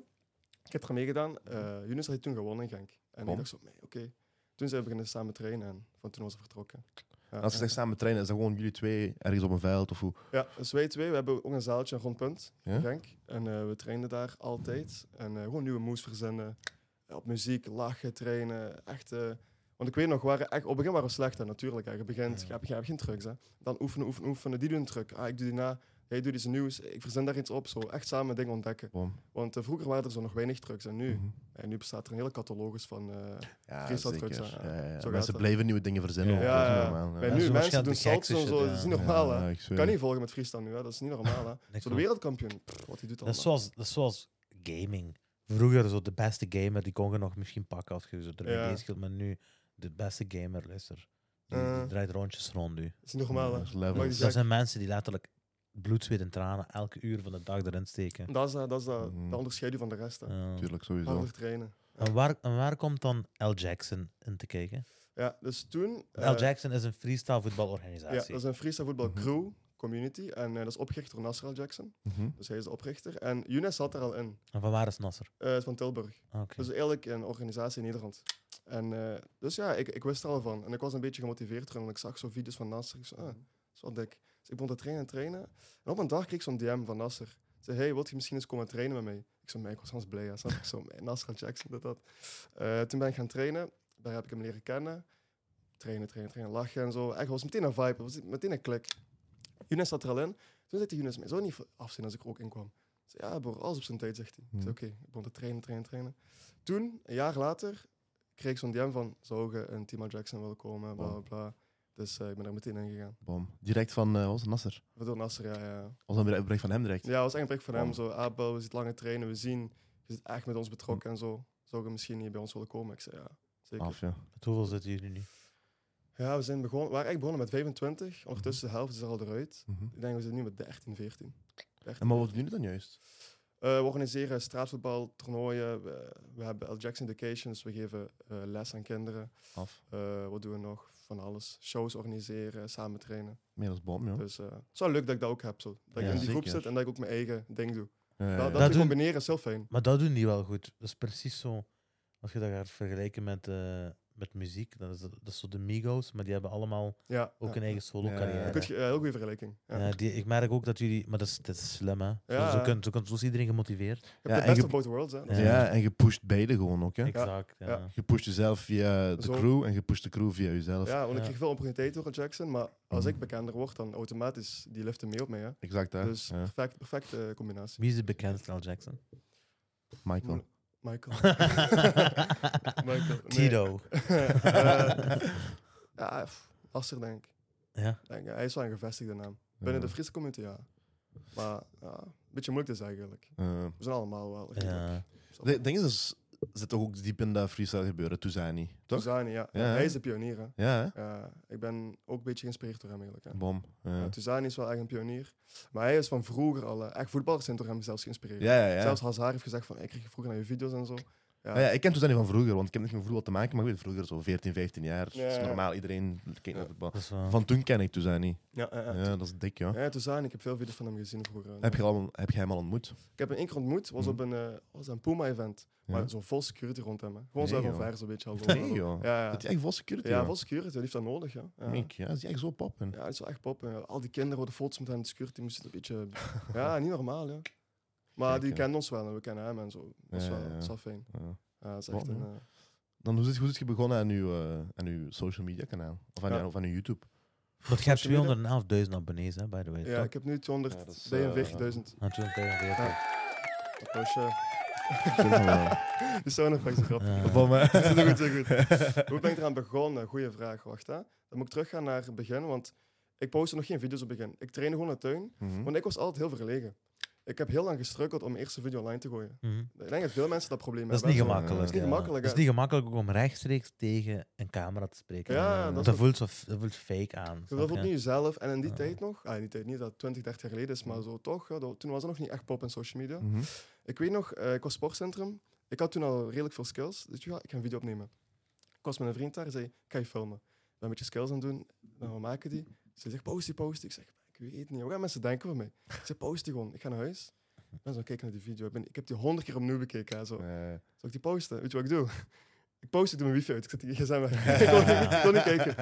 [SPEAKER 1] Ik heb er meegedaan. Eh Yunus had toen gewonnen in Genk. En
[SPEAKER 2] Bom.
[SPEAKER 1] ik dacht zo, nee, oké. Toen zijn we beginnen samen trainen en van toen was het vertrokken. Ja,
[SPEAKER 2] Als ze
[SPEAKER 1] ja.
[SPEAKER 2] zegt samen trainen, is dat gewoon jullie twee ergens op een veld of hoe?
[SPEAKER 1] Ja, dus wij twee, we hebben ook een zaaltje, een rondpunt
[SPEAKER 2] Ja?
[SPEAKER 1] in Genk. En eh, we trainen daar altijd. En eh, gewoon nieuwe moves verzinnen. Eh, Op muziek, lachen, trainen. Echt, eh, want ik weet nog, we waren echt, op het begin waren we slecht, hè, natuurlijk. Hè. Je begint,
[SPEAKER 3] Ja.
[SPEAKER 1] je, hebt, je hebt geen trucs. Hè. Dan oefenen, oefenen, oefenen. Die doen een truc. Ah, ik doe die na. Jij doet iets nieuws. Ik verzin daar iets op. Zo. Echt samen dingen ontdekken.
[SPEAKER 2] Bom.
[SPEAKER 1] Want eh, vroeger waren er zo nog weinig trucs. En nu,
[SPEAKER 2] Mhm.
[SPEAKER 1] en nu bestaat er een hele catalogus van... eh,
[SPEAKER 2] Ja,
[SPEAKER 1] Freestyle
[SPEAKER 2] zeker.
[SPEAKER 1] trucks, ja.
[SPEAKER 2] Ja, ja, ja.
[SPEAKER 1] eh, Zo gaat
[SPEAKER 2] Mensen
[SPEAKER 1] dat.
[SPEAKER 2] blijven nieuwe dingen verzinnen.
[SPEAKER 3] Ja,
[SPEAKER 2] ook,
[SPEAKER 1] ja,
[SPEAKER 2] dat is
[SPEAKER 1] ja.
[SPEAKER 2] normaal,
[SPEAKER 1] bij
[SPEAKER 3] Ja,
[SPEAKER 1] nu,
[SPEAKER 3] zo
[SPEAKER 1] mensen
[SPEAKER 3] gaat de
[SPEAKER 1] doen
[SPEAKER 3] gekste
[SPEAKER 1] salto's en zo.
[SPEAKER 3] shit,
[SPEAKER 1] Dat is
[SPEAKER 3] ja.
[SPEAKER 1] niet normaal,
[SPEAKER 2] Ja,
[SPEAKER 1] hè.
[SPEAKER 2] ik zweer.
[SPEAKER 1] kan niet volgen met freestyle nu, hè. Dat is niet normaal, hè.
[SPEAKER 3] Nee,
[SPEAKER 1] Zo de
[SPEAKER 3] klopt.
[SPEAKER 1] wereldkampioen, pff, wat hij doet
[SPEAKER 3] Dat is,
[SPEAKER 1] allemaal.
[SPEAKER 3] zoals, dat is zoals gaming. Vroeger, zo de beste gamer, die kon je nog misschien pakken als je zo ermee
[SPEAKER 1] Ja.
[SPEAKER 3] bezig hield. Maar nu, de beste gamer, luister, die, die
[SPEAKER 1] Eh.
[SPEAKER 3] draait rondjes rond nu.
[SPEAKER 1] Dat is niet normaal, hè.
[SPEAKER 2] Dat is level.
[SPEAKER 1] Maar
[SPEAKER 3] Dus
[SPEAKER 1] die
[SPEAKER 3] dat
[SPEAKER 1] zak-
[SPEAKER 3] zijn mensen die letterlijk bloed, zweet en tranen elke uur van de dag erin steken.
[SPEAKER 1] Dat is dat, dat, is dat,
[SPEAKER 2] Mhm.
[SPEAKER 1] dat onderscheidt je van de rest. Hè.
[SPEAKER 3] Ja.
[SPEAKER 2] Tuurlijk, sowieso.
[SPEAKER 1] Harder trainen.
[SPEAKER 3] En, waar, en waar komt dan L. Jackson in te kijken?
[SPEAKER 1] Ja, dus toen... eh,
[SPEAKER 3] L. Jackson is een freestyle
[SPEAKER 1] Ja, dat
[SPEAKER 3] voetbalorganisatie.
[SPEAKER 1] is een freestyle voetbal crew, community. En eh, dat is opgericht door Nasser Al Jackson.
[SPEAKER 2] Mhm.
[SPEAKER 1] Dus hij is de oprichter. En Younes zat er al in.
[SPEAKER 3] En van waar is Nasser?
[SPEAKER 1] eh, van Tilburg.
[SPEAKER 3] Ah, Oké.
[SPEAKER 1] Dus eigenlijk een organisatie in Nederland. En eh, dus ja, ik, ik wist er al van. En ik was een beetje gemotiveerd erin. Want ik zag zo video's van Nasser. Ik zo, ah, dat is wel dik. Dus ik begon te trainen en trainen. En op een dag kreeg ik zo'n DM van Nasser. Ik zei, hey, wilt je misschien eens komen trainen met mij? Ik zei, "Mei, ik was anders blij. hè." Snap je? Zo, "Mei, Nasser Al Jackson, dit, dat. Eh, toen ben ik gaan trainen. Daar heb ik hem leren kennen. Trainen, trainen, trainen, lachen en zo. Eigenlijk was het meteen een vibe, het was meteen een klik. Younes zat er al in. Toen zei hij, Younes, mij zou niet afzien als ik er ook in kwam. Ik zei, ja, broer, alles op zijn tijd, zegt hij. Ik
[SPEAKER 2] Hmm.
[SPEAKER 1] zei, oké, ik begon te trainen, trainen, trainen. Toen, een jaar later, kreeg ik zo'n DM van, zou je in Timo Jackson willen komen, bla, bla,
[SPEAKER 2] Wow.
[SPEAKER 1] bla. Dus eh, ik ben er meteen in gegaan.
[SPEAKER 2] Bom. Direct van, eh, wat was het, Nasser?
[SPEAKER 1] Waardoor Nasser, ja, ja.
[SPEAKER 2] Was dat een bericht van hem direct?
[SPEAKER 1] Ja, het was echt een bericht van hem. Ah,
[SPEAKER 2] Wow.
[SPEAKER 1] Zo, Abel, we zitten lange trainen, we zien, je zit echt met ons betrokken en zo. Zou je misschien niet bij ons willen komen? Ik zei ja, zeker.
[SPEAKER 2] Af, ja.
[SPEAKER 3] Met hoeveel zitten jullie nu?
[SPEAKER 1] Ja, we zijn begonnen, we waren echt begonnen met 25. Ondertussen de helft is er al eruit.
[SPEAKER 2] Mhm.
[SPEAKER 1] Ik denk we zitten nu met 13, 14. 13.
[SPEAKER 2] En maar wat doen jullie dan juist?
[SPEAKER 1] Eh, we organiseren straatvoetbal, toernooien. We, we hebben El Jackson Educations. We geven eh, les aan kinderen.
[SPEAKER 2] Af.
[SPEAKER 1] Eh, wat doen we nog? Van alles. Shows organiseren, samen trainen.
[SPEAKER 2] Meer als bom, joh.
[SPEAKER 1] Dus eh, het is wel leuk dat ik dat ook heb. Zo. Dat ik
[SPEAKER 2] Ja,
[SPEAKER 1] in die groep
[SPEAKER 2] zeker.
[SPEAKER 1] zit en dat ik ook mijn eigen ding doe.
[SPEAKER 2] Ja, ja, ja.
[SPEAKER 1] Dat, dat,
[SPEAKER 3] Dat
[SPEAKER 1] te
[SPEAKER 3] doen-
[SPEAKER 1] combineren is heel fijn.
[SPEAKER 3] Maar dat doen die wel goed. Dat is precies zo. Als je dat gaat vergelijken met, eh, met muziek, dat is, dat is zo de Migos, maar die hebben allemaal
[SPEAKER 1] Ja,
[SPEAKER 3] ook
[SPEAKER 1] ja.
[SPEAKER 3] een eigen
[SPEAKER 2] Ja,
[SPEAKER 3] solo-carrière.
[SPEAKER 1] Goed ge- ja, heel goede vergelijking. Ja.
[SPEAKER 3] Ja, die, ik merk ook dat jullie, maar dat is, dat is slim hè. Zo- Zo,
[SPEAKER 1] ja.
[SPEAKER 3] kunt, zo, kunt, zo is iedereen gemotiveerd.
[SPEAKER 1] Je
[SPEAKER 2] Ja,
[SPEAKER 1] hebt
[SPEAKER 2] en
[SPEAKER 1] de best
[SPEAKER 2] je-
[SPEAKER 1] of both worlds. Hè.
[SPEAKER 3] Ja.
[SPEAKER 2] Ja, en je pusht beide gewoon ook, hè.
[SPEAKER 3] Exact. Ja.
[SPEAKER 1] ja.
[SPEAKER 2] Je pusht jezelf via de
[SPEAKER 1] Zo.
[SPEAKER 2] crew en je pusht de crew via jezelf.
[SPEAKER 1] Ja, want ik
[SPEAKER 3] Ja.
[SPEAKER 1] kreeg veel opportuniteit door El Jackson. Maar als
[SPEAKER 2] Mhm.
[SPEAKER 1] ik bekender word, dan automatisch die liften mee op mij. Hè.
[SPEAKER 2] Exact, hè.
[SPEAKER 1] Dus
[SPEAKER 2] Ja.
[SPEAKER 1] perfect, perfecte combinatie.
[SPEAKER 3] Wie is de bekendste Al Jackson?
[SPEAKER 2] Michael.
[SPEAKER 1] Michael. Michael, nee.
[SPEAKER 3] Tito.
[SPEAKER 1] Eh, ja, pff, Asser denk ik.
[SPEAKER 3] Ja.
[SPEAKER 1] Denk, eh, hij is wel een gevestigde naam. Binnen
[SPEAKER 2] Ja.
[SPEAKER 1] de Friese community, ja. Maar ja, een beetje moeilijk is eigenlijk.
[SPEAKER 2] Eh,
[SPEAKER 1] We zijn allemaal wel.
[SPEAKER 3] Ja.
[SPEAKER 2] Het ding is, er zit toch ook diep in dat freestyle gebeuren. Toen zei hij niet, toch?
[SPEAKER 1] Tuzani, ja.
[SPEAKER 2] Ja, hè?
[SPEAKER 1] Hij is de pionier. Hè.
[SPEAKER 2] Ja, hè?
[SPEAKER 1] Ja, Eh, ik ben ook een beetje geïnspireerd door hem eigenlijk. Hè.
[SPEAKER 2] Bom.
[SPEAKER 1] Ja,
[SPEAKER 2] Ja,
[SPEAKER 1] Tuzani is wel echt een pionier. Maar hij is van vroeger al. eh, Echt voetballers zijn door hem zelfs geïnspireerd.
[SPEAKER 2] ja, ja. ja. Oh,
[SPEAKER 1] Zelfs Hazard heeft gezegd van, ik kreeg je vroeger naar je video's en zo. Ja.
[SPEAKER 2] Ja, ja, ik ken Toezani van vroeger, want ik heb niks met voetbal te maken, maar ik weet vroeger zo 14, 15 jaar. Dat is
[SPEAKER 1] Ja.
[SPEAKER 2] normaal, iedereen kijkt naar
[SPEAKER 1] Ja.
[SPEAKER 2] voetbal.
[SPEAKER 3] Dat is wel...
[SPEAKER 2] Van toen ken ik Toezani.
[SPEAKER 1] Ja, eh, eh.
[SPEAKER 2] Ja, dat is dik, ja.
[SPEAKER 1] ja. Tuzani, ik heb veel video's van hem gezien vroeger. eh.
[SPEAKER 2] Heb je, al, heb je hem al ontmoet?
[SPEAKER 1] Ik heb hem één keer ontmoet, was
[SPEAKER 2] Mhm.
[SPEAKER 1] op een, eh, was een Puma-event.
[SPEAKER 2] Ja.
[SPEAKER 1] Maar zo'n vol security rond hem. Hè. Gewoon
[SPEAKER 2] Nee,
[SPEAKER 1] zo van
[SPEAKER 2] joh.
[SPEAKER 1] ver, zo'n beetje. Al
[SPEAKER 2] Nee,
[SPEAKER 1] door.
[SPEAKER 2] joh.
[SPEAKER 1] Ja,
[SPEAKER 2] Dat
[SPEAKER 1] ja.
[SPEAKER 2] hij echt vol security
[SPEAKER 1] ja
[SPEAKER 2] joe.
[SPEAKER 1] vol security, die heeft dat nodig. Ja, ja.
[SPEAKER 2] Mink, ja, dat is echt zo pop.
[SPEAKER 1] ja dat is wel echt pop. ja. Al die kinderen worden foto's met hem in de security. Moest het een beetje... ja, niet normaal, ja. Maar
[SPEAKER 2] Kijk,
[SPEAKER 1] die
[SPEAKER 2] ja.
[SPEAKER 1] kent ons wel en we kennen hem en zo. Dat is
[SPEAKER 2] Ja,
[SPEAKER 1] wel,
[SPEAKER 2] ja, ja.
[SPEAKER 1] dat is wel fijn.
[SPEAKER 2] Ja.
[SPEAKER 1] Ja, dat is echt
[SPEAKER 2] Bon,
[SPEAKER 1] een...
[SPEAKER 2] ja.
[SPEAKER 1] eh,
[SPEAKER 2] Dan hoe is, hoe is je begonnen aan uw, eh, aan uw social media kanaal? Of aan,
[SPEAKER 1] Ja.
[SPEAKER 2] uw, of aan uw YouTube?
[SPEAKER 3] Want je hebt
[SPEAKER 1] Social media?
[SPEAKER 3] 211.000 abonnees, hè, by the way.
[SPEAKER 1] ja,
[SPEAKER 3] toch?
[SPEAKER 1] ik heb nu 242.000.
[SPEAKER 2] Ja, dat is, eh,
[SPEAKER 3] Ah, 245.
[SPEAKER 1] Applausje. Die sound effects is grappig.
[SPEAKER 3] Ah.
[SPEAKER 2] Van mij.
[SPEAKER 1] Dat is goed, dat is goed. Hoe ben ik eraan begonnen? Goeie vraag, wacht hè. Dan moet ik teruggaan naar het begin, want ik postte nog geen video's op het begin. Ik trainde gewoon in de tuin,
[SPEAKER 2] Mhm.
[SPEAKER 1] want ik was altijd heel verlegen. Ik heb heel lang gestrukkeld om mijn eerste video online te gooien.
[SPEAKER 3] Mhm.
[SPEAKER 1] Ik denk dat veel mensen dat probleem
[SPEAKER 3] Dat is
[SPEAKER 1] hebben.
[SPEAKER 3] niet
[SPEAKER 1] hè, zo.
[SPEAKER 3] gemakkelijk.
[SPEAKER 2] Dat is
[SPEAKER 1] eh, niet
[SPEAKER 3] ja.
[SPEAKER 1] gemakkelijk,
[SPEAKER 3] Dat
[SPEAKER 1] hè.
[SPEAKER 3] is niet gemakkelijk ook om rechtstreeks tegen een camera te spreken. Eh,
[SPEAKER 1] Ja,
[SPEAKER 3] Want
[SPEAKER 1] dat is
[SPEAKER 3] dat,
[SPEAKER 1] wat-
[SPEAKER 3] voelt zo, f- dat voelt fake aan.
[SPEAKER 1] Je dat
[SPEAKER 3] snap je?
[SPEAKER 1] voelt nu jezelf. En in die
[SPEAKER 3] Ja.
[SPEAKER 1] tijd nog, ah, in die tijd niet dat het 20, 30 jaar geleden is, maar zo toch. ja, dat- toen was er nog niet echt pop en social media.
[SPEAKER 2] Mhm.
[SPEAKER 1] Ik weet nog, eh, ik was sportcentrum. Ik had toen al redelijk veel skills. Dus ja, ik ga een video opnemen. Ik was met een vriend daar en zei, ik ga je filmen. Ik ben een beetje skills aan het doen. Dan we maken die. Ze zegt, post die, post die. Ik zeg, ik weet het niet. Wat gaan mensen denken van mij? Ze zegt, post die gewoon. Ik ga naar huis. Dan zo kijken naar die video. Ik, ben, ik heb die honderd keer opnieuw bekeken. hè, zo.
[SPEAKER 2] Eh,
[SPEAKER 1] Zal ik die posten? Weet je wat ik doe? Ik post het door mijn wifi uit. Ik zet die gsm weg. ik, kon, niet- ik kon niet kijken.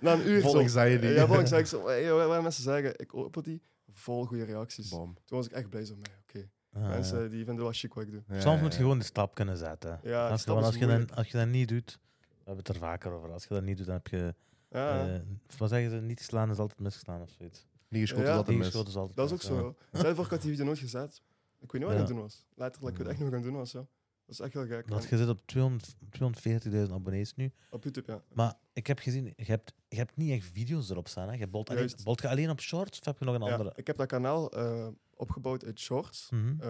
[SPEAKER 1] Na een uur
[SPEAKER 2] Vol
[SPEAKER 1] zo.
[SPEAKER 2] anxiety.
[SPEAKER 1] Ja, vol anxiety. Zo, hey, joh, Waar mensen zeggen, ik open die. Vol goede reacties.
[SPEAKER 2] Bom.
[SPEAKER 1] Toen was ik echt blij zo. nee, Oké,
[SPEAKER 3] Ah, ja.
[SPEAKER 1] mensen die vinden wel chic wat ik doe.
[SPEAKER 2] Ja,
[SPEAKER 3] Soms moet je
[SPEAKER 2] ja,
[SPEAKER 3] gewoon de stap kunnen zetten.
[SPEAKER 1] Ja, die
[SPEAKER 3] als, je,
[SPEAKER 1] stap
[SPEAKER 3] want
[SPEAKER 1] is
[SPEAKER 3] als, je dat,
[SPEAKER 1] moeilijk.
[SPEAKER 3] als je dat niet doet, we hebben het er vaker over. Als je dat niet doet, dan heb je.
[SPEAKER 1] Ja,
[SPEAKER 3] eh, wat zeggen ze? Niet slaan is altijd misgeslaan of zoiets.
[SPEAKER 2] Niet geschoten
[SPEAKER 1] Ja.
[SPEAKER 2] is altijd
[SPEAKER 3] Die
[SPEAKER 2] mis.
[SPEAKER 3] schot is altijd
[SPEAKER 1] dat is ook
[SPEAKER 3] mis,
[SPEAKER 1] zo.
[SPEAKER 3] ja.
[SPEAKER 1] joh. Stel je voor, ik had die video nooit gezet. Ik weet niet wat ik aan
[SPEAKER 3] eh, Ja.
[SPEAKER 1] het doen was. Letterlijk, ik weet echt niet wat ik aan het doen was. joh. Dat is echt heel gek.
[SPEAKER 3] Want
[SPEAKER 1] En
[SPEAKER 3] je zit op 200 240.000 abonnees nu.
[SPEAKER 1] Op YouTube, ja.
[SPEAKER 3] Maar ik heb gezien, je hebt, je hebt niet echt video's erop staan. Hè? Je bolt alleen,
[SPEAKER 1] Juist.
[SPEAKER 3] bolt je alleen op shorts of heb je nog een
[SPEAKER 1] Ja,
[SPEAKER 3] andere?
[SPEAKER 1] ik heb dat kanaal eh, opgebouwd uit shorts.
[SPEAKER 3] Mhm.
[SPEAKER 1] Ehm,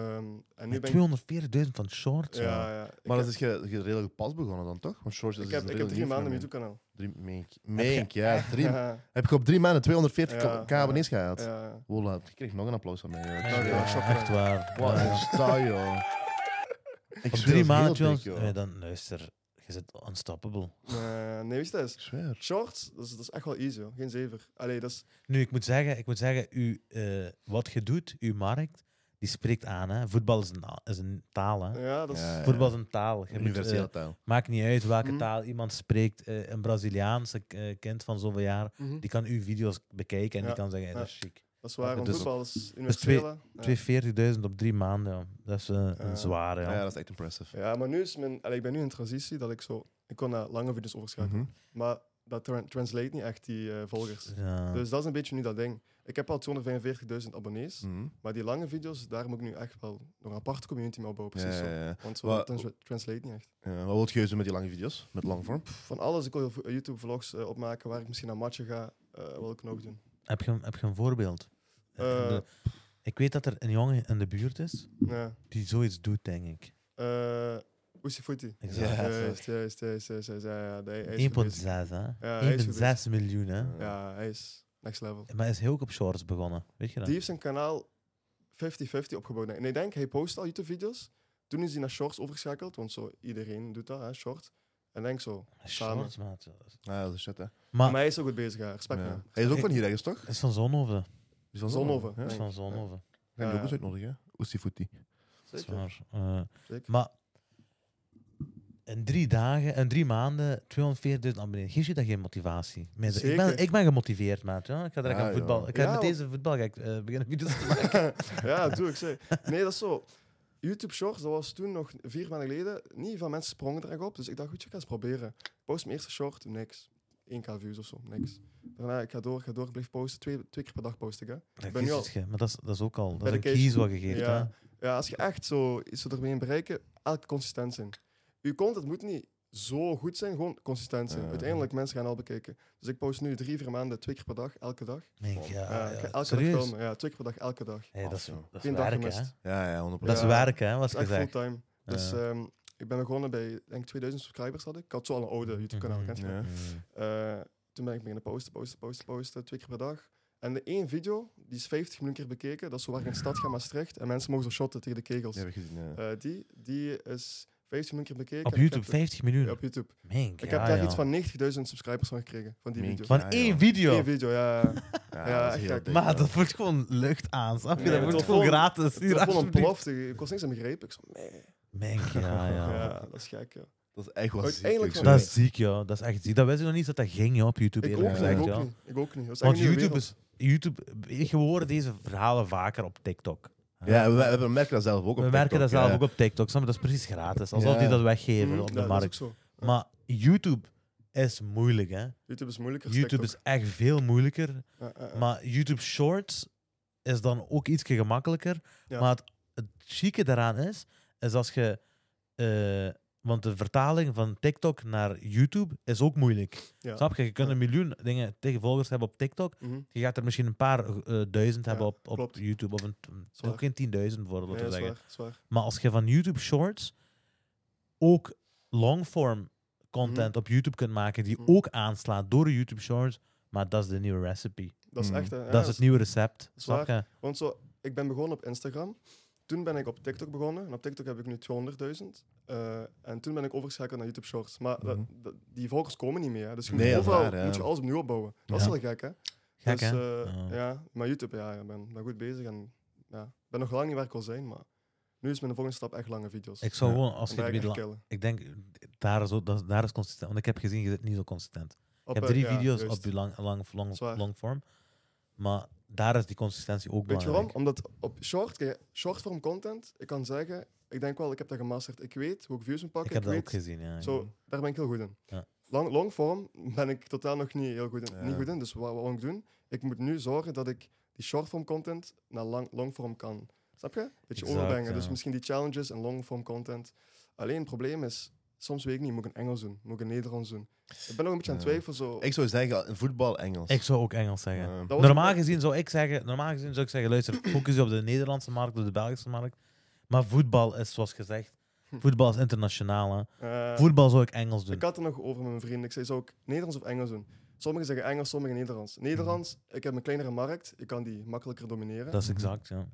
[SPEAKER 1] en nu
[SPEAKER 3] Met
[SPEAKER 1] ben ik...
[SPEAKER 3] 240.000 van shorts.
[SPEAKER 1] Ja,
[SPEAKER 3] Ja.
[SPEAKER 1] ja. Ik
[SPEAKER 2] Maar
[SPEAKER 1] heb-
[SPEAKER 2] dat is je, je redelijk pas begonnen dan, toch? Want Shorts is
[SPEAKER 1] ik
[SPEAKER 2] dus
[SPEAKER 1] heb, ik heb
[SPEAKER 2] redelijk
[SPEAKER 1] drie
[SPEAKER 2] nieuw
[SPEAKER 1] maanden een
[SPEAKER 2] fenomeen.
[SPEAKER 1] YouTube-kanaal.
[SPEAKER 2] Drie, mink, mink, ja. Drie,
[SPEAKER 1] Ja,
[SPEAKER 2] heb je op drie maanden 240
[SPEAKER 1] Ja,
[SPEAKER 2] k
[SPEAKER 1] ja,
[SPEAKER 2] abonnees gehad?
[SPEAKER 1] ja.
[SPEAKER 2] Wola, je kreeg nog een applaus van mij. joh.
[SPEAKER 3] Ja,
[SPEAKER 1] Ja,
[SPEAKER 3] ja,
[SPEAKER 1] shocking.
[SPEAKER 3] echt waar.
[SPEAKER 2] Wat
[SPEAKER 3] Ja.
[SPEAKER 2] een staai, joh. Ik
[SPEAKER 3] Op drie
[SPEAKER 2] zweer, dat is
[SPEAKER 3] maanden
[SPEAKER 2] heel
[SPEAKER 3] 200
[SPEAKER 2] dik, joh.
[SPEAKER 3] Nee, dan luister, je zit unstoppable.
[SPEAKER 1] Eh, nee, weet je wat het
[SPEAKER 2] Ik
[SPEAKER 1] is?
[SPEAKER 2] zweer.
[SPEAKER 1] Shorts, dat is, dat is echt wel easy, hoor. geen zever. Allee, dat is...
[SPEAKER 3] Nu, ik moet zeggen, ik moet zeggen u, eh, wat je doet, uw markt, die spreekt aan. Hè. Voetbal is een, a- is een taal. Hè.
[SPEAKER 1] Ja, dat is...
[SPEAKER 2] Ja, ja.
[SPEAKER 3] Voetbal is een taal. Je moet,
[SPEAKER 2] Universele
[SPEAKER 3] eh,
[SPEAKER 2] taal.
[SPEAKER 3] maakt niet uit welke
[SPEAKER 1] Mhm.
[SPEAKER 3] taal iemand spreekt. Eh, een Braziliaanse eh, kind van zoveel jaar,
[SPEAKER 1] Mhm.
[SPEAKER 3] die kan uw video's bekijken en
[SPEAKER 1] Ja,
[SPEAKER 3] die kan zeggen, hey, dat
[SPEAKER 1] ja.
[SPEAKER 3] is chic.
[SPEAKER 1] Dat is waar, want
[SPEAKER 2] Dus-
[SPEAKER 1] voetbal is
[SPEAKER 3] twee-
[SPEAKER 1] universele. Ja.
[SPEAKER 3] 240.000 op drie maanden, ja. dat is eh,
[SPEAKER 1] Ja.
[SPEAKER 3] een zware.
[SPEAKER 2] Ja.
[SPEAKER 3] Ja.
[SPEAKER 2] dat is echt impressive.
[SPEAKER 1] Ja, maar nu is mijn... Allee, ik ben nu in transitie dat ik zo... Ik kon naar lange video's dus overschakelen.
[SPEAKER 2] Mhm.
[SPEAKER 1] Maar dat tra- translate niet echt die eh, volgers.
[SPEAKER 3] Ja.
[SPEAKER 1] Dus dat is een beetje nu dat ding. Ik heb al 245.000 abonnees,
[SPEAKER 2] Mhm.
[SPEAKER 1] maar die lange video's, daar moet ik nu echt wel nog een aparte community mee opbouwen.
[SPEAKER 2] Ja,
[SPEAKER 1] Precies
[SPEAKER 2] ja,
[SPEAKER 1] zo.
[SPEAKER 2] ja.
[SPEAKER 1] Want zo
[SPEAKER 2] Wa-
[SPEAKER 1] dat trans- translate niet echt.
[SPEAKER 2] Ja, Wat wil je doen met die lange video's? Met langvorm?
[SPEAKER 1] Pff, Van alles, ik wil vo- YouTube-vlogs eh, opmaken waar ik misschien naar matchen ga, eh, wil ik nog doen.
[SPEAKER 3] heb, je, heb je een voorbeeld? Eh,
[SPEAKER 1] Eh.
[SPEAKER 3] de- ik weet dat er een jongen in de buurt is
[SPEAKER 1] Ja.
[SPEAKER 3] die zoiets doet, denk ik.
[SPEAKER 1] Eh, Oesie Footy.
[SPEAKER 3] Exact.
[SPEAKER 1] Ja, Juist, juist, juist, juist, juist. Ja, ja, nee, hij is geweest.
[SPEAKER 3] 1,6 hè?
[SPEAKER 1] hij is
[SPEAKER 3] 1,6 miljoen hè?
[SPEAKER 2] Eh,
[SPEAKER 1] Ja, hij is next level.
[SPEAKER 3] Maar hij is heel ook op shorts begonnen, weet je dat?
[SPEAKER 1] Die heeft zijn kanaal 50-50 opgebouwd. En ik denk, hij post al YouTube-video's. Toen is hij naar shorts overgeschakeld, want zo iedereen doet dat, hè, short. En denk zo. samen.
[SPEAKER 3] shorts, maat.
[SPEAKER 2] Ja, ah, dat is shit, hè.
[SPEAKER 1] Maar
[SPEAKER 3] Maar
[SPEAKER 1] hij is ook goed bezig, hè. respect
[SPEAKER 2] Ja.
[SPEAKER 1] man.
[SPEAKER 2] Hij is ook van hier ergens, toch?
[SPEAKER 3] het is van Zonhoven.
[SPEAKER 2] Is van
[SPEAKER 1] Zonhoven,
[SPEAKER 2] hè?
[SPEAKER 3] Het is
[SPEAKER 1] Ja.
[SPEAKER 3] van Zonhoven.
[SPEAKER 2] Gaan die ook
[SPEAKER 1] Ja.
[SPEAKER 2] eens uitnodigen, hè? Oestifuti.
[SPEAKER 3] Dat is
[SPEAKER 1] Zeker,
[SPEAKER 3] waar. Eh,
[SPEAKER 1] zeker.
[SPEAKER 3] maar in drie dagen, in drie maanden, 240.000 abonnees. Geef je dat geen motivatie? Mensen, Ik, ben,
[SPEAKER 1] Zeker. Ah,
[SPEAKER 3] ik ben gemotiveerd, maat. Ja? Ik ga direct
[SPEAKER 2] Ja,
[SPEAKER 3] aan voetbal.
[SPEAKER 2] ja.
[SPEAKER 3] Ik ga
[SPEAKER 1] Ja,
[SPEAKER 3] met
[SPEAKER 1] want-
[SPEAKER 3] deze voetbal ga ik, eh, beginnen video's te maken.
[SPEAKER 1] ja, doe ik zeg. Nee, dat is zo. YouTube Shorts, dat was toen nog vier maanden geleden. Niet van mensen sprongen er echt op. Dus ik dacht, goed, ik ga eens proberen. Ik post mijn eerste short, niks. 1k views of zo, niks. Daarna, ik ga door, ik ga door, ik blijf posten. Twee, twee keer per dag post ik, hè.
[SPEAKER 3] Dat
[SPEAKER 1] ben nu
[SPEAKER 3] is
[SPEAKER 1] al-
[SPEAKER 3] het ge- maar dat is, dat is ook al. Dat
[SPEAKER 1] Bij
[SPEAKER 3] is
[SPEAKER 1] de
[SPEAKER 3] een
[SPEAKER 1] Kees
[SPEAKER 3] kies wat
[SPEAKER 1] Groep.
[SPEAKER 3] gegeven.
[SPEAKER 1] Ja. Ja, als je echt zo iets ermee in bereiken, elke consistent zijn. Uw content moet niet zo goed zijn, gewoon consistent zijn.
[SPEAKER 2] Ja.
[SPEAKER 1] Uiteindelijk mensen gaan al bekijken. Dus ik post nu drie, vier maanden, twee keer per dag, elke dag.
[SPEAKER 3] Denk, ja,
[SPEAKER 1] Ja, ik
[SPEAKER 3] Ah, ja,
[SPEAKER 1] ga elke
[SPEAKER 3] serieus?
[SPEAKER 1] dag filmen, ja, twee keer per dag, elke dag.
[SPEAKER 3] Hey, dat is,
[SPEAKER 2] Awesome.
[SPEAKER 3] dat is
[SPEAKER 1] Geen dag
[SPEAKER 3] werken, hè?
[SPEAKER 1] gemist.
[SPEAKER 2] Ja, ja, 100%.
[SPEAKER 3] Dat is
[SPEAKER 1] Ja.
[SPEAKER 3] werken, hè, was
[SPEAKER 1] Dat is echt
[SPEAKER 3] gezegd.
[SPEAKER 1] fulltime. Dus
[SPEAKER 3] Ja.
[SPEAKER 1] ehm, ik ben begonnen bij, denk ik, 2000 subscribers had ik. Ik had zo al een oude YouTube-kanaal,
[SPEAKER 3] Mhm.
[SPEAKER 1] kent je wel.
[SPEAKER 2] Ja.
[SPEAKER 3] Mm.
[SPEAKER 1] Eh, toen ben ik beginnen posten, posten, posten, posten, twee keer per dag. En de één video, die is 50 miljoen keer bekeken, dat is zo waar ik in de stad ga, Maastricht. En mensen mogen zo shotten tegen de kegels.
[SPEAKER 2] Die heb ik gezien, ja.
[SPEAKER 1] Eh, die, die is 15 miljoen keer bekeken.
[SPEAKER 3] Op
[SPEAKER 1] En ik
[SPEAKER 3] YouTube,
[SPEAKER 1] heb-
[SPEAKER 3] 50 miljoen.
[SPEAKER 1] Ja, op YouTube.
[SPEAKER 3] Mink,
[SPEAKER 1] Ik
[SPEAKER 3] ja,
[SPEAKER 1] heb daar
[SPEAKER 3] ja.
[SPEAKER 1] iets van 90.000 subscribers van gekregen, van die
[SPEAKER 2] Mink.
[SPEAKER 1] video.
[SPEAKER 3] Van
[SPEAKER 2] Ja,
[SPEAKER 3] één
[SPEAKER 2] joh.
[SPEAKER 3] video.
[SPEAKER 1] Die video, ja. ja. Ja,
[SPEAKER 2] dat is
[SPEAKER 1] echt
[SPEAKER 2] heel
[SPEAKER 1] gek.
[SPEAKER 2] dik,
[SPEAKER 3] Maar
[SPEAKER 2] ja.
[SPEAKER 3] dat voelt gewoon lucht aan, snap je?
[SPEAKER 1] Nee,
[SPEAKER 3] dat
[SPEAKER 1] het
[SPEAKER 3] wordt
[SPEAKER 1] was
[SPEAKER 3] gewoon
[SPEAKER 1] gewoon-
[SPEAKER 3] gratis.
[SPEAKER 1] Het
[SPEAKER 3] Hier,
[SPEAKER 1] was gewoon
[SPEAKER 3] alsjeblieft.
[SPEAKER 1] ontploft. Ik ik was niks aan begrepen. Ik zo, nee.
[SPEAKER 3] Mink, ja,
[SPEAKER 1] Ja,
[SPEAKER 3] ja.
[SPEAKER 1] dat is gek, ja.
[SPEAKER 2] Dat is echt wel ziek,
[SPEAKER 1] Uiteindelijk
[SPEAKER 2] ik
[SPEAKER 1] wel.
[SPEAKER 3] Dat
[SPEAKER 2] zweer.
[SPEAKER 3] is ziek, joh. Dat is echt ziek. Dat wist ik nog niet dat dat ging, joh, op YouTube,
[SPEAKER 1] Ik ook,
[SPEAKER 3] eerlijk
[SPEAKER 1] niet,
[SPEAKER 3] gezegd,
[SPEAKER 1] ik
[SPEAKER 3] ja.
[SPEAKER 1] ook niet. Ik ook niet. Dat is
[SPEAKER 3] Want
[SPEAKER 1] echt een nieuwe
[SPEAKER 3] YouTube
[SPEAKER 1] wereld.
[SPEAKER 3] is... YouTube, ik hoor deze verhalen vaker op TikTok.
[SPEAKER 2] Ja, we, we- we merken dat zelf ook op
[SPEAKER 3] We merken dat
[SPEAKER 2] TikTok,
[SPEAKER 3] zelf
[SPEAKER 2] ja.
[SPEAKER 3] ook op TikTok, snap je? Dat is precies gratis. Alsof
[SPEAKER 2] Ja.
[SPEAKER 3] die dat
[SPEAKER 1] Mm,
[SPEAKER 3] weggeven op
[SPEAKER 1] ja,
[SPEAKER 3] de
[SPEAKER 1] dat is ook
[SPEAKER 3] markt.
[SPEAKER 1] zo. ja.
[SPEAKER 3] Maar YouTube is moeilijk, hè.
[SPEAKER 1] YouTube is moeilijker. als
[SPEAKER 3] YouTube is
[SPEAKER 1] TikTok.
[SPEAKER 3] echt veel moeilijker.
[SPEAKER 1] Ja, ja, ja.
[SPEAKER 3] Maar YouTube Shorts is dan ook iets gemakkelijker.
[SPEAKER 1] Ja.
[SPEAKER 3] Maar het, het chique daaraan is, is als je... eh, want de vertaling van TikTok naar YouTube is ook moeilijk.
[SPEAKER 1] Ja.
[SPEAKER 3] Snap je? Je kunt
[SPEAKER 1] Ja.
[SPEAKER 3] een miljoen dingen tegen volgers hebben op TikTok.
[SPEAKER 1] Mhm.
[SPEAKER 3] Je gaat er misschien een paar eh, duizend hebben op, op
[SPEAKER 1] klopt.
[SPEAKER 3] YouTube. Of een,
[SPEAKER 1] waar.
[SPEAKER 3] ook geen 10.000 bijvoorbeeld.
[SPEAKER 1] Nee,
[SPEAKER 3] te
[SPEAKER 1] dat is
[SPEAKER 3] zeggen.
[SPEAKER 1] waar, dat is waar.
[SPEAKER 3] Maar als je van YouTube Shorts ook longform content op YouTube kunt maken die
[SPEAKER 1] Mhm.
[SPEAKER 3] ook aanslaat door de YouTube Shorts, maar dat is de nieuwe recipe.
[SPEAKER 1] Dat is
[SPEAKER 2] Mm.
[SPEAKER 1] echt... hè, ja,
[SPEAKER 3] Mhm. dat is het nieuwe recept.
[SPEAKER 1] is
[SPEAKER 3] Snap je?
[SPEAKER 1] Want zo, ik ben begonnen op Instagram. Toen ben ik op TikTok begonnen. En op TikTok heb ik nu 200.000. eh, en toen ben ik overgeschakeld naar YouTube Shorts. Maar dat-
[SPEAKER 2] Mhm.
[SPEAKER 1] dat- die volgers komen niet meer. hè. Dus je
[SPEAKER 2] Nee,
[SPEAKER 1] moet,
[SPEAKER 2] dat is
[SPEAKER 1] overal,
[SPEAKER 2] waar, ja.
[SPEAKER 1] moet je alles opnieuw opbouwen. Dat
[SPEAKER 3] Ja.
[SPEAKER 1] is wel gek, hè?
[SPEAKER 3] Gek,
[SPEAKER 1] dus,
[SPEAKER 3] hè?
[SPEAKER 1] eh,
[SPEAKER 3] Ja.
[SPEAKER 1] ja. maar YouTube, ja, ik ben, ben goed bezig. En ja, ik ben nog lang niet waar ik wil zijn, maar nu is mijn volgende stap echt lange video's.
[SPEAKER 3] Ik zou
[SPEAKER 2] Ja.
[SPEAKER 3] gewoon, als
[SPEAKER 1] En
[SPEAKER 3] je
[SPEAKER 1] daar
[SPEAKER 3] het
[SPEAKER 1] ga ik
[SPEAKER 3] middel-
[SPEAKER 1] echt killen.
[SPEAKER 3] Ik denk, daar is, ook- dat, daar is consistent. Want ik heb gezien, je zit niet zo consistent.
[SPEAKER 1] Op,
[SPEAKER 3] je
[SPEAKER 1] eh,
[SPEAKER 3] hebt drie
[SPEAKER 1] ja,
[SPEAKER 3] video's
[SPEAKER 1] juist.
[SPEAKER 3] op je lang, lang,
[SPEAKER 1] Dat is
[SPEAKER 3] long,
[SPEAKER 1] waar.
[SPEAKER 3] longform. Maar daar is die consistentie ook
[SPEAKER 1] Weet je waarom?
[SPEAKER 3] belangrijk.
[SPEAKER 1] Omdat op short, kijk, shortform content, ik kan zeggen, ik denk wel, ik heb dat gemasterd. Ik weet hoe ik views moet
[SPEAKER 3] Ik
[SPEAKER 1] pakken.
[SPEAKER 3] heb dat
[SPEAKER 1] weet
[SPEAKER 3] ook gezien, ja.
[SPEAKER 1] Zo, daar ben ik heel goed in.
[SPEAKER 3] Ja.
[SPEAKER 1] Long, longform ben ik totaal nog niet heel goed in.
[SPEAKER 2] Ja.
[SPEAKER 1] Niet goed in dus wat, wat moet ik doen? Ik moet nu zorgen dat ik die shortform content naar lang, longform kan. Snap je? Beetje
[SPEAKER 3] Exact,
[SPEAKER 1] overbrengen. Dus
[SPEAKER 3] ja.
[SPEAKER 1] misschien die challenges en longform content. Alleen het probleem is, soms weet ik niet, moet ik een Engels doen? Moet ik een Nederlands doen? Ik ben nog een beetje aan het
[SPEAKER 2] Ja.
[SPEAKER 1] twijfelen. Zo.
[SPEAKER 2] Ik zou zeggen, in voetbal Engels.
[SPEAKER 3] Ik zou ook Engels zeggen.
[SPEAKER 2] Ja.
[SPEAKER 1] Dat was
[SPEAKER 3] Normaal
[SPEAKER 1] ook-
[SPEAKER 3] gezien, zou ik zeggen, normaal gezien zou ik zeggen, luister, focus je op de Nederlandse markt, op de Belgische markt. Maar voetbal is, zoals gezegd, voetbal is internationaal. Hè.
[SPEAKER 1] Eh,
[SPEAKER 3] Voetbal zou ik Engels doen.
[SPEAKER 1] Hm. ik had het nog over met mijn vrienden. Ik zei, zou ik Nederlands of Engels doen? Sommigen zeggen Engels, sommigen Nederlands. Nederlands, ik heb een kleinere markt. Ik kan die makkelijker domineren.
[SPEAKER 3] Dat is exact, ja.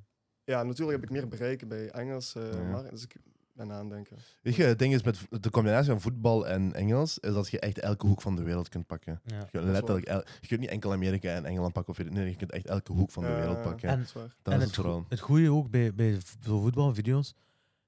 [SPEAKER 1] Ja, natuurlijk heb ik meer bereiken bij Engels. eh,
[SPEAKER 2] Ja.
[SPEAKER 1] markt, dus ik ben aan het denken.
[SPEAKER 2] Weet je, het ding is met v- de combinatie van voetbal en Engels, is dat je echt elke hoek van de wereld kunt pakken.
[SPEAKER 3] ja.
[SPEAKER 2] Je kunt, letterlijk el- je kunt niet enkel Amerika en Engeland pakken. Of, weet ik- nee, je kunt echt elke hoek van de
[SPEAKER 1] Ja.
[SPEAKER 2] wereld pakken.
[SPEAKER 3] En-
[SPEAKER 1] Eh, Dat is waar.
[SPEAKER 2] dat
[SPEAKER 3] en
[SPEAKER 2] is het
[SPEAKER 3] go-
[SPEAKER 2] vooral.
[SPEAKER 3] Het goede ook bij, bij v- zo voetbalvideo's,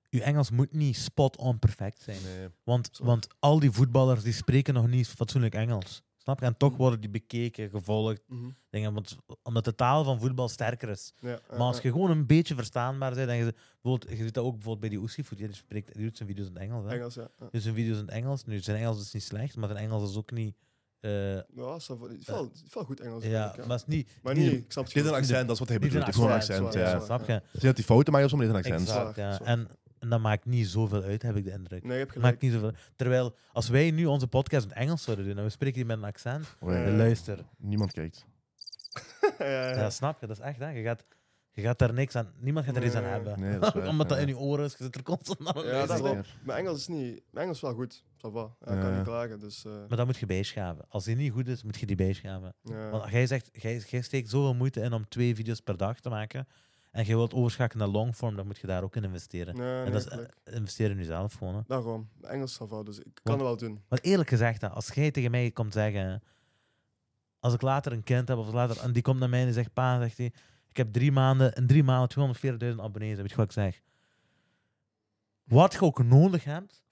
[SPEAKER 3] je Engels moet niet spot-on perfect zijn.
[SPEAKER 2] Nee.
[SPEAKER 3] Want,
[SPEAKER 1] Zo.
[SPEAKER 3] want al die voetballers die spreken nog niet fatsoenlijk Engels. Snap je? En toch worden die bekeken, gevolgd.
[SPEAKER 1] Mhm.
[SPEAKER 3] Dingen, want, omdat de taal van voetbal sterker is.
[SPEAKER 1] Ja, eh,
[SPEAKER 3] Maar als
[SPEAKER 1] eh,
[SPEAKER 3] je gewoon een beetje verstaanbaar bent, en je, bijvoorbeeld, je ziet dat ook bijvoorbeeld bij die Oesifoet, die, spreekt- die doet zijn video's in het Engels. Hè?
[SPEAKER 1] eh, Engels, ja. ja.
[SPEAKER 3] Dus zijn video's in het Engels. Nu, zijn Engels is niet slecht, maar zijn Engels is ook niet. eh,
[SPEAKER 1] Ja, ça va. Het valt- het valt goed Engels.
[SPEAKER 3] ja,
[SPEAKER 1] denk ik, ja.
[SPEAKER 3] maar het is niet.
[SPEAKER 1] Maar
[SPEAKER 3] niet-
[SPEAKER 1] niet, ik snap het
[SPEAKER 2] Dit is een
[SPEAKER 1] goed.
[SPEAKER 2] accent, dat is wat hij
[SPEAKER 3] niet
[SPEAKER 2] bedoelt.
[SPEAKER 3] een
[SPEAKER 2] Het is gewoon een
[SPEAKER 3] accent,
[SPEAKER 2] accent,
[SPEAKER 1] zwaar,
[SPEAKER 2] ja.
[SPEAKER 1] zwaar.
[SPEAKER 3] Snap je?
[SPEAKER 2] Zie dat die fouten maakt, of soms niet een accent.
[SPEAKER 3] Exact, ja.
[SPEAKER 1] Zwaar.
[SPEAKER 3] En, en dat maakt niet zoveel uit, heb ik de indruk.
[SPEAKER 1] Nee, je hebt
[SPEAKER 3] Maakt
[SPEAKER 1] gelijk.
[SPEAKER 3] niet zoveel. Terwijl als wij nu onze podcast in het Engels zouden doen en we spreken die met een accent,
[SPEAKER 2] Allee,
[SPEAKER 1] Eh.
[SPEAKER 3] luister.
[SPEAKER 2] Niemand kijkt.
[SPEAKER 1] Ja, ja, ja.
[SPEAKER 3] Ja, snap je? Dat is echt, hè? Je gaat, je Je gaat daar niks aan, niemand gaat er iets aan
[SPEAKER 1] Nee.
[SPEAKER 3] hebben.
[SPEAKER 2] Nee, dat is waar,
[SPEAKER 3] Omdat dat
[SPEAKER 2] ja.
[SPEAKER 3] in je oren is, je zit er constant naar.
[SPEAKER 1] Ja, dat is wel.
[SPEAKER 2] waar.
[SPEAKER 1] Mijn Engels is niet... Mijn Engels is wel goed. Ça va. Ja, ik
[SPEAKER 2] Ja,
[SPEAKER 1] kan
[SPEAKER 2] ja.
[SPEAKER 1] niet klagen, dus... eh,
[SPEAKER 3] Maar dat moet je bijschaven. Als die niet goed is, moet je die bijschaven.
[SPEAKER 1] ja.
[SPEAKER 3] Want jij zegt, jij, jij steekt zoveel moeite in om twee video's per dag te maken. En je wilt overschakelen naar longform, dan moet je daar ook in investeren.
[SPEAKER 1] Nee, nee,
[SPEAKER 3] en dat is
[SPEAKER 1] gelijk.
[SPEAKER 3] eh, investeren in jezelf gewoon. Hè.
[SPEAKER 1] Daarom. Mijn Engels is ça va, dus ik kan
[SPEAKER 3] Want-
[SPEAKER 1] het wel doen.
[SPEAKER 3] Maar eerlijk gezegd, hè, als jij tegen mij komt zeggen. Als ik later een kind heb of later. En die komt naar mij en die zegt: Pa, zegt hij. Ik heb drie maanden, in drie maanden 240.000 abonnees. Weet je wat ik zeg? Wat je ook nodig hebt,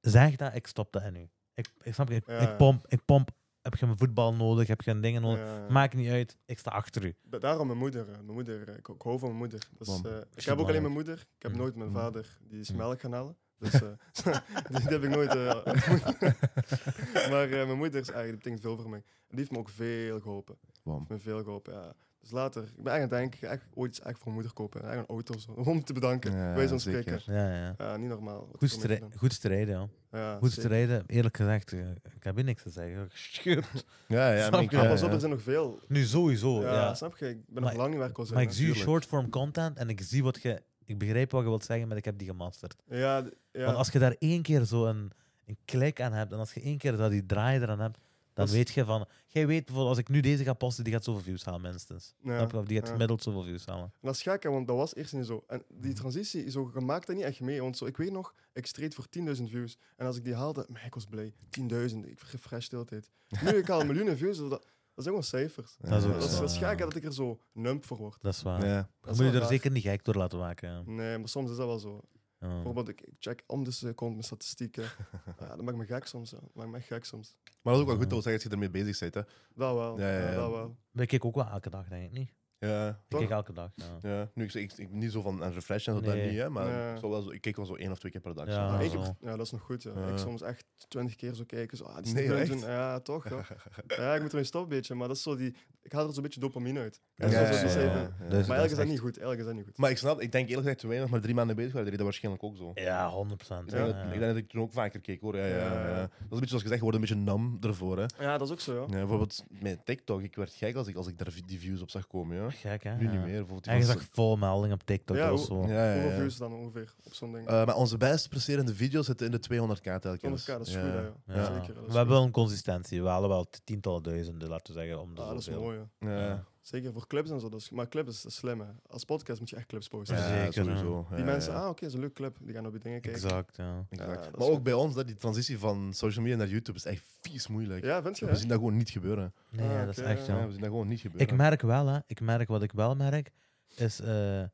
[SPEAKER 3] zeg dat. Ik stop dat in u. Ik, ik snap je, ik,
[SPEAKER 1] Ja,
[SPEAKER 3] ik
[SPEAKER 1] ja.
[SPEAKER 3] pomp, ik pomp. Heb je een voetbal nodig? Heb je een dingen nodig?
[SPEAKER 1] Ja, ja.
[SPEAKER 3] Maakt niet uit, ik sta achter u.
[SPEAKER 1] Da- daarom mijn moeder. eh, Mijn moeder eh, ik, ik hou van mijn moeder. Dat is,
[SPEAKER 2] Bom.
[SPEAKER 1] eh, ik
[SPEAKER 3] Is
[SPEAKER 1] heb ook alleen
[SPEAKER 3] belangrijk.
[SPEAKER 1] mijn moeder. Ik heb
[SPEAKER 3] Mm.
[SPEAKER 1] nooit mijn
[SPEAKER 2] Mm.
[SPEAKER 1] vader. Die is
[SPEAKER 2] Mm.
[SPEAKER 1] melk gaan halen. Dus eh, die, die heb ik nooit eh, ontmoet. maar eh, mijn moeder is eigenlijk, die betekent veel voor mij. En die heeft me ook veel geholpen.
[SPEAKER 2] Bam.
[SPEAKER 1] Heeft me veel geholpen, ja. Dus later, ik ben eigenlijk aan het denken, ik ga echt ooit iets echt voor mijn moeder kopen. Eigenlijk een auto of zo. Om te bedanken.
[SPEAKER 2] Ja,
[SPEAKER 1] Wij zijn
[SPEAKER 2] zeker.
[SPEAKER 1] spreken.
[SPEAKER 3] Ja, ja.
[SPEAKER 1] Ja, niet normaal. wat
[SPEAKER 3] Goed,
[SPEAKER 1] ik ermee
[SPEAKER 3] strij-
[SPEAKER 1] gedaan.
[SPEAKER 3] goed strijden, joh.
[SPEAKER 1] Ja,
[SPEAKER 3] Goed
[SPEAKER 1] zeker.
[SPEAKER 3] strijden, eerlijk gezegd. eh, Ik heb hier niks te zeggen. Gescheurd.
[SPEAKER 2] Ja, ja.
[SPEAKER 3] Snap
[SPEAKER 2] maar ik-
[SPEAKER 3] je?
[SPEAKER 1] Ja,
[SPEAKER 2] ja,
[SPEAKER 1] pas op,
[SPEAKER 2] ja.
[SPEAKER 1] er zijn nog veel.
[SPEAKER 3] Nu sowieso.
[SPEAKER 1] ja,
[SPEAKER 3] ja.
[SPEAKER 1] snap je? Ik ben
[SPEAKER 3] Maar-
[SPEAKER 1] nog lang niet waar ik wil zijn.
[SPEAKER 3] Maar ik
[SPEAKER 1] hè.
[SPEAKER 3] zie je
[SPEAKER 2] natuurlijk.
[SPEAKER 3] short form content en ik zie wat je. Ik begrijp wat je wilt zeggen, maar ik heb die gemasterd.
[SPEAKER 1] Ja, d- ja.
[SPEAKER 3] Want als je daar één keer zo een, een klik aan hebt en als je één keer dat die draai eraan hebt, dan
[SPEAKER 1] Als-
[SPEAKER 3] weet je van. Jij weet bijvoorbeeld, als ik nu deze ga posten, die gaat zoveel views halen, minstens.
[SPEAKER 1] ja,
[SPEAKER 3] Snap je? Of die gaat
[SPEAKER 1] ja.
[SPEAKER 3] gemiddeld zoveel views halen.
[SPEAKER 1] En dat is gek, hè, want dat was eerst niet zo. En die transitie, zo, je maakt dat niet echt mee. Want zo, ik weet nog, ik streed voor 10.000 views. En als ik die haalde, maar ik was blij. 10.000, ik refresh de hele tijd. Nu, ik haal miljoenen views. Dat, dat zijn gewoon cijfers.
[SPEAKER 2] Ja,
[SPEAKER 3] Dat is ook
[SPEAKER 1] Dat is, dat is
[SPEAKER 3] Ja.
[SPEAKER 1] gek hè, dat ik er zo nump voor word.
[SPEAKER 3] Dat is waar.
[SPEAKER 2] Ja.
[SPEAKER 1] Dat
[SPEAKER 3] Dan
[SPEAKER 1] is
[SPEAKER 3] moet je
[SPEAKER 1] wel
[SPEAKER 3] er
[SPEAKER 1] raar.
[SPEAKER 3] zeker niet gek door laten maken. ja.
[SPEAKER 1] Nee, maar soms is dat wel zo.
[SPEAKER 3] Ja.
[SPEAKER 1] Bijvoorbeeld, ik, ik check om de seconde mijn statistieken. Ja, dat maakt me gek soms. hè. Dat maakt me echt gek soms.
[SPEAKER 2] Maar dat is ook wel goed dat we zeggen dat je ermee bezig bent. Hè.
[SPEAKER 1] Dat wel.
[SPEAKER 2] Ja, ja,
[SPEAKER 1] ja,
[SPEAKER 2] ja.
[SPEAKER 1] dat wel.
[SPEAKER 3] Maar ik kijk ook wel elke dag, denk ik niet.
[SPEAKER 2] Ja.
[SPEAKER 3] Ik
[SPEAKER 1] Toch?
[SPEAKER 3] kijk elke dag. Ja.
[SPEAKER 2] Ja, nu ik, ik, ik niet zo van een refresh en zo dat
[SPEAKER 3] Nee.
[SPEAKER 2] niet, hè, maar
[SPEAKER 1] Nee.
[SPEAKER 2] ik, zou wel zo, ik kijk wel zo één of twee keer per dag.
[SPEAKER 3] Ja,
[SPEAKER 2] zo.
[SPEAKER 1] Maar
[SPEAKER 3] Ah,
[SPEAKER 1] ik-
[SPEAKER 3] zo.
[SPEAKER 1] ja, dat is nog goed. Ja.
[SPEAKER 2] Ja.
[SPEAKER 1] Ik soms echt twintig keer zo kijken. Zo, ah, die is
[SPEAKER 2] Nee,
[SPEAKER 1] niet aan het
[SPEAKER 2] echt?
[SPEAKER 1] doen. Ja, toch. Ja. ja, ik moet ermee stoppen een beetje. Maar dat is zo die... Ik haal er zo'n beetje dopamine uit.
[SPEAKER 2] Ja,
[SPEAKER 1] Dat is
[SPEAKER 2] ja,
[SPEAKER 1] zo
[SPEAKER 2] ja,
[SPEAKER 1] die
[SPEAKER 2] ja,
[SPEAKER 1] zeven-
[SPEAKER 2] ja.
[SPEAKER 3] Dus
[SPEAKER 1] Maar eigenlijk is
[SPEAKER 3] is
[SPEAKER 1] dat
[SPEAKER 3] echt-
[SPEAKER 1] niet goed. Eigenlijk is dat niet goed.
[SPEAKER 2] Maar ik snap, ik denk eerlijk gezegd, toen wij nog maar drie maanden bezig waren, deed dat waarschijnlijk ook zo.
[SPEAKER 3] Ja, 100 procent.
[SPEAKER 2] Ik, denk dat,
[SPEAKER 3] Ja,
[SPEAKER 2] ik denk dat ik toen ook vaker keek hoor. Ja, ja,
[SPEAKER 1] Ja.
[SPEAKER 2] ja. Dat is een beetje zoals gezegd, je wordt een beetje nam ervoor. Hè.
[SPEAKER 1] Ja, dat is ook zo, ja.
[SPEAKER 2] Ja, bijvoorbeeld met TikTok, ik werd gek als ik, als ik daar vi- die views op zag komen. Ja.
[SPEAKER 3] Gek, hè?
[SPEAKER 2] Nu
[SPEAKER 3] Ja.
[SPEAKER 2] niet meer. Bijvoorbeeld die
[SPEAKER 3] En je
[SPEAKER 2] van-
[SPEAKER 3] zag vol melding op TikTok.
[SPEAKER 1] Ja,
[SPEAKER 3] dat was
[SPEAKER 1] hoe-
[SPEAKER 3] zo.
[SPEAKER 2] ja, ja,
[SPEAKER 1] Hoeveel
[SPEAKER 2] ja.
[SPEAKER 1] views dan ongeveer op zo'n ding?
[SPEAKER 2] Eh, maar onze best presterende video's zitten in de 200k telkens.
[SPEAKER 1] 100k, dat is goed, hè, ja.
[SPEAKER 3] Ja.
[SPEAKER 1] Zeker. dat is
[SPEAKER 3] we hebben
[SPEAKER 1] goed.
[SPEAKER 3] wel een consistentie. We halen wel tientallen duizenden, laten we zeggen. Om de
[SPEAKER 1] Ah, dat is
[SPEAKER 3] zoveel.
[SPEAKER 1] mooi, ja.
[SPEAKER 2] Ja.
[SPEAKER 3] Ja.
[SPEAKER 1] Zeker voor clips en zo. Dat is, maar clips is, dat is slim, hè. Als podcast moet je echt clips posten. Dus
[SPEAKER 2] Ja,
[SPEAKER 3] Zeker,
[SPEAKER 2] sowieso.
[SPEAKER 1] Die
[SPEAKER 2] Ja,
[SPEAKER 1] mensen,
[SPEAKER 2] ja.
[SPEAKER 1] ah, oké, dat is een leuk clip. Die gaan op die dingen kijken.
[SPEAKER 3] Exact, ja.
[SPEAKER 1] Ja,
[SPEAKER 2] Exact.
[SPEAKER 1] dat is
[SPEAKER 2] maar ook
[SPEAKER 1] goed.
[SPEAKER 2] bij ons, dat die transitie van social media naar YouTube is echt vies moeilijk.
[SPEAKER 1] Ja, vind je,
[SPEAKER 2] We
[SPEAKER 1] hè?
[SPEAKER 2] zien dat gewoon niet gebeuren.
[SPEAKER 3] Nee,
[SPEAKER 1] Ah,
[SPEAKER 3] ja, dat is
[SPEAKER 1] oké,
[SPEAKER 3] echt
[SPEAKER 1] ja.
[SPEAKER 2] Ja,
[SPEAKER 3] zo.
[SPEAKER 2] we zien dat gewoon niet gebeuren.
[SPEAKER 3] Ik merk wel, hè. Ik merk wat ik wel merk, is... eh, de-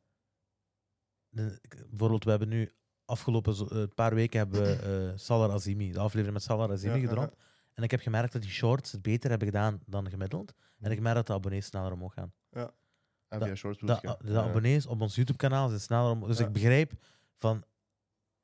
[SPEAKER 3] ik- bijvoorbeeld, we hebben nu... Afgelopen zo- eh, paar weken hebben we eh, Salar Azimi, de aflevering met Salar Azimi
[SPEAKER 1] Ja, ja,
[SPEAKER 3] gedropt. En ik heb gemerkt dat die shorts het beter hebben gedaan dan gemiddeld. En ik merk dat de abonnees sneller omhoog gaan.
[SPEAKER 2] En
[SPEAKER 3] dat-
[SPEAKER 2] via shorts
[SPEAKER 3] De,
[SPEAKER 2] bedoel je?
[SPEAKER 3] de
[SPEAKER 2] Ja.
[SPEAKER 3] abonnees op ons YouTube-kanaal zijn sneller omhoog. Dus
[SPEAKER 1] Ja.
[SPEAKER 3] ik begrijp van...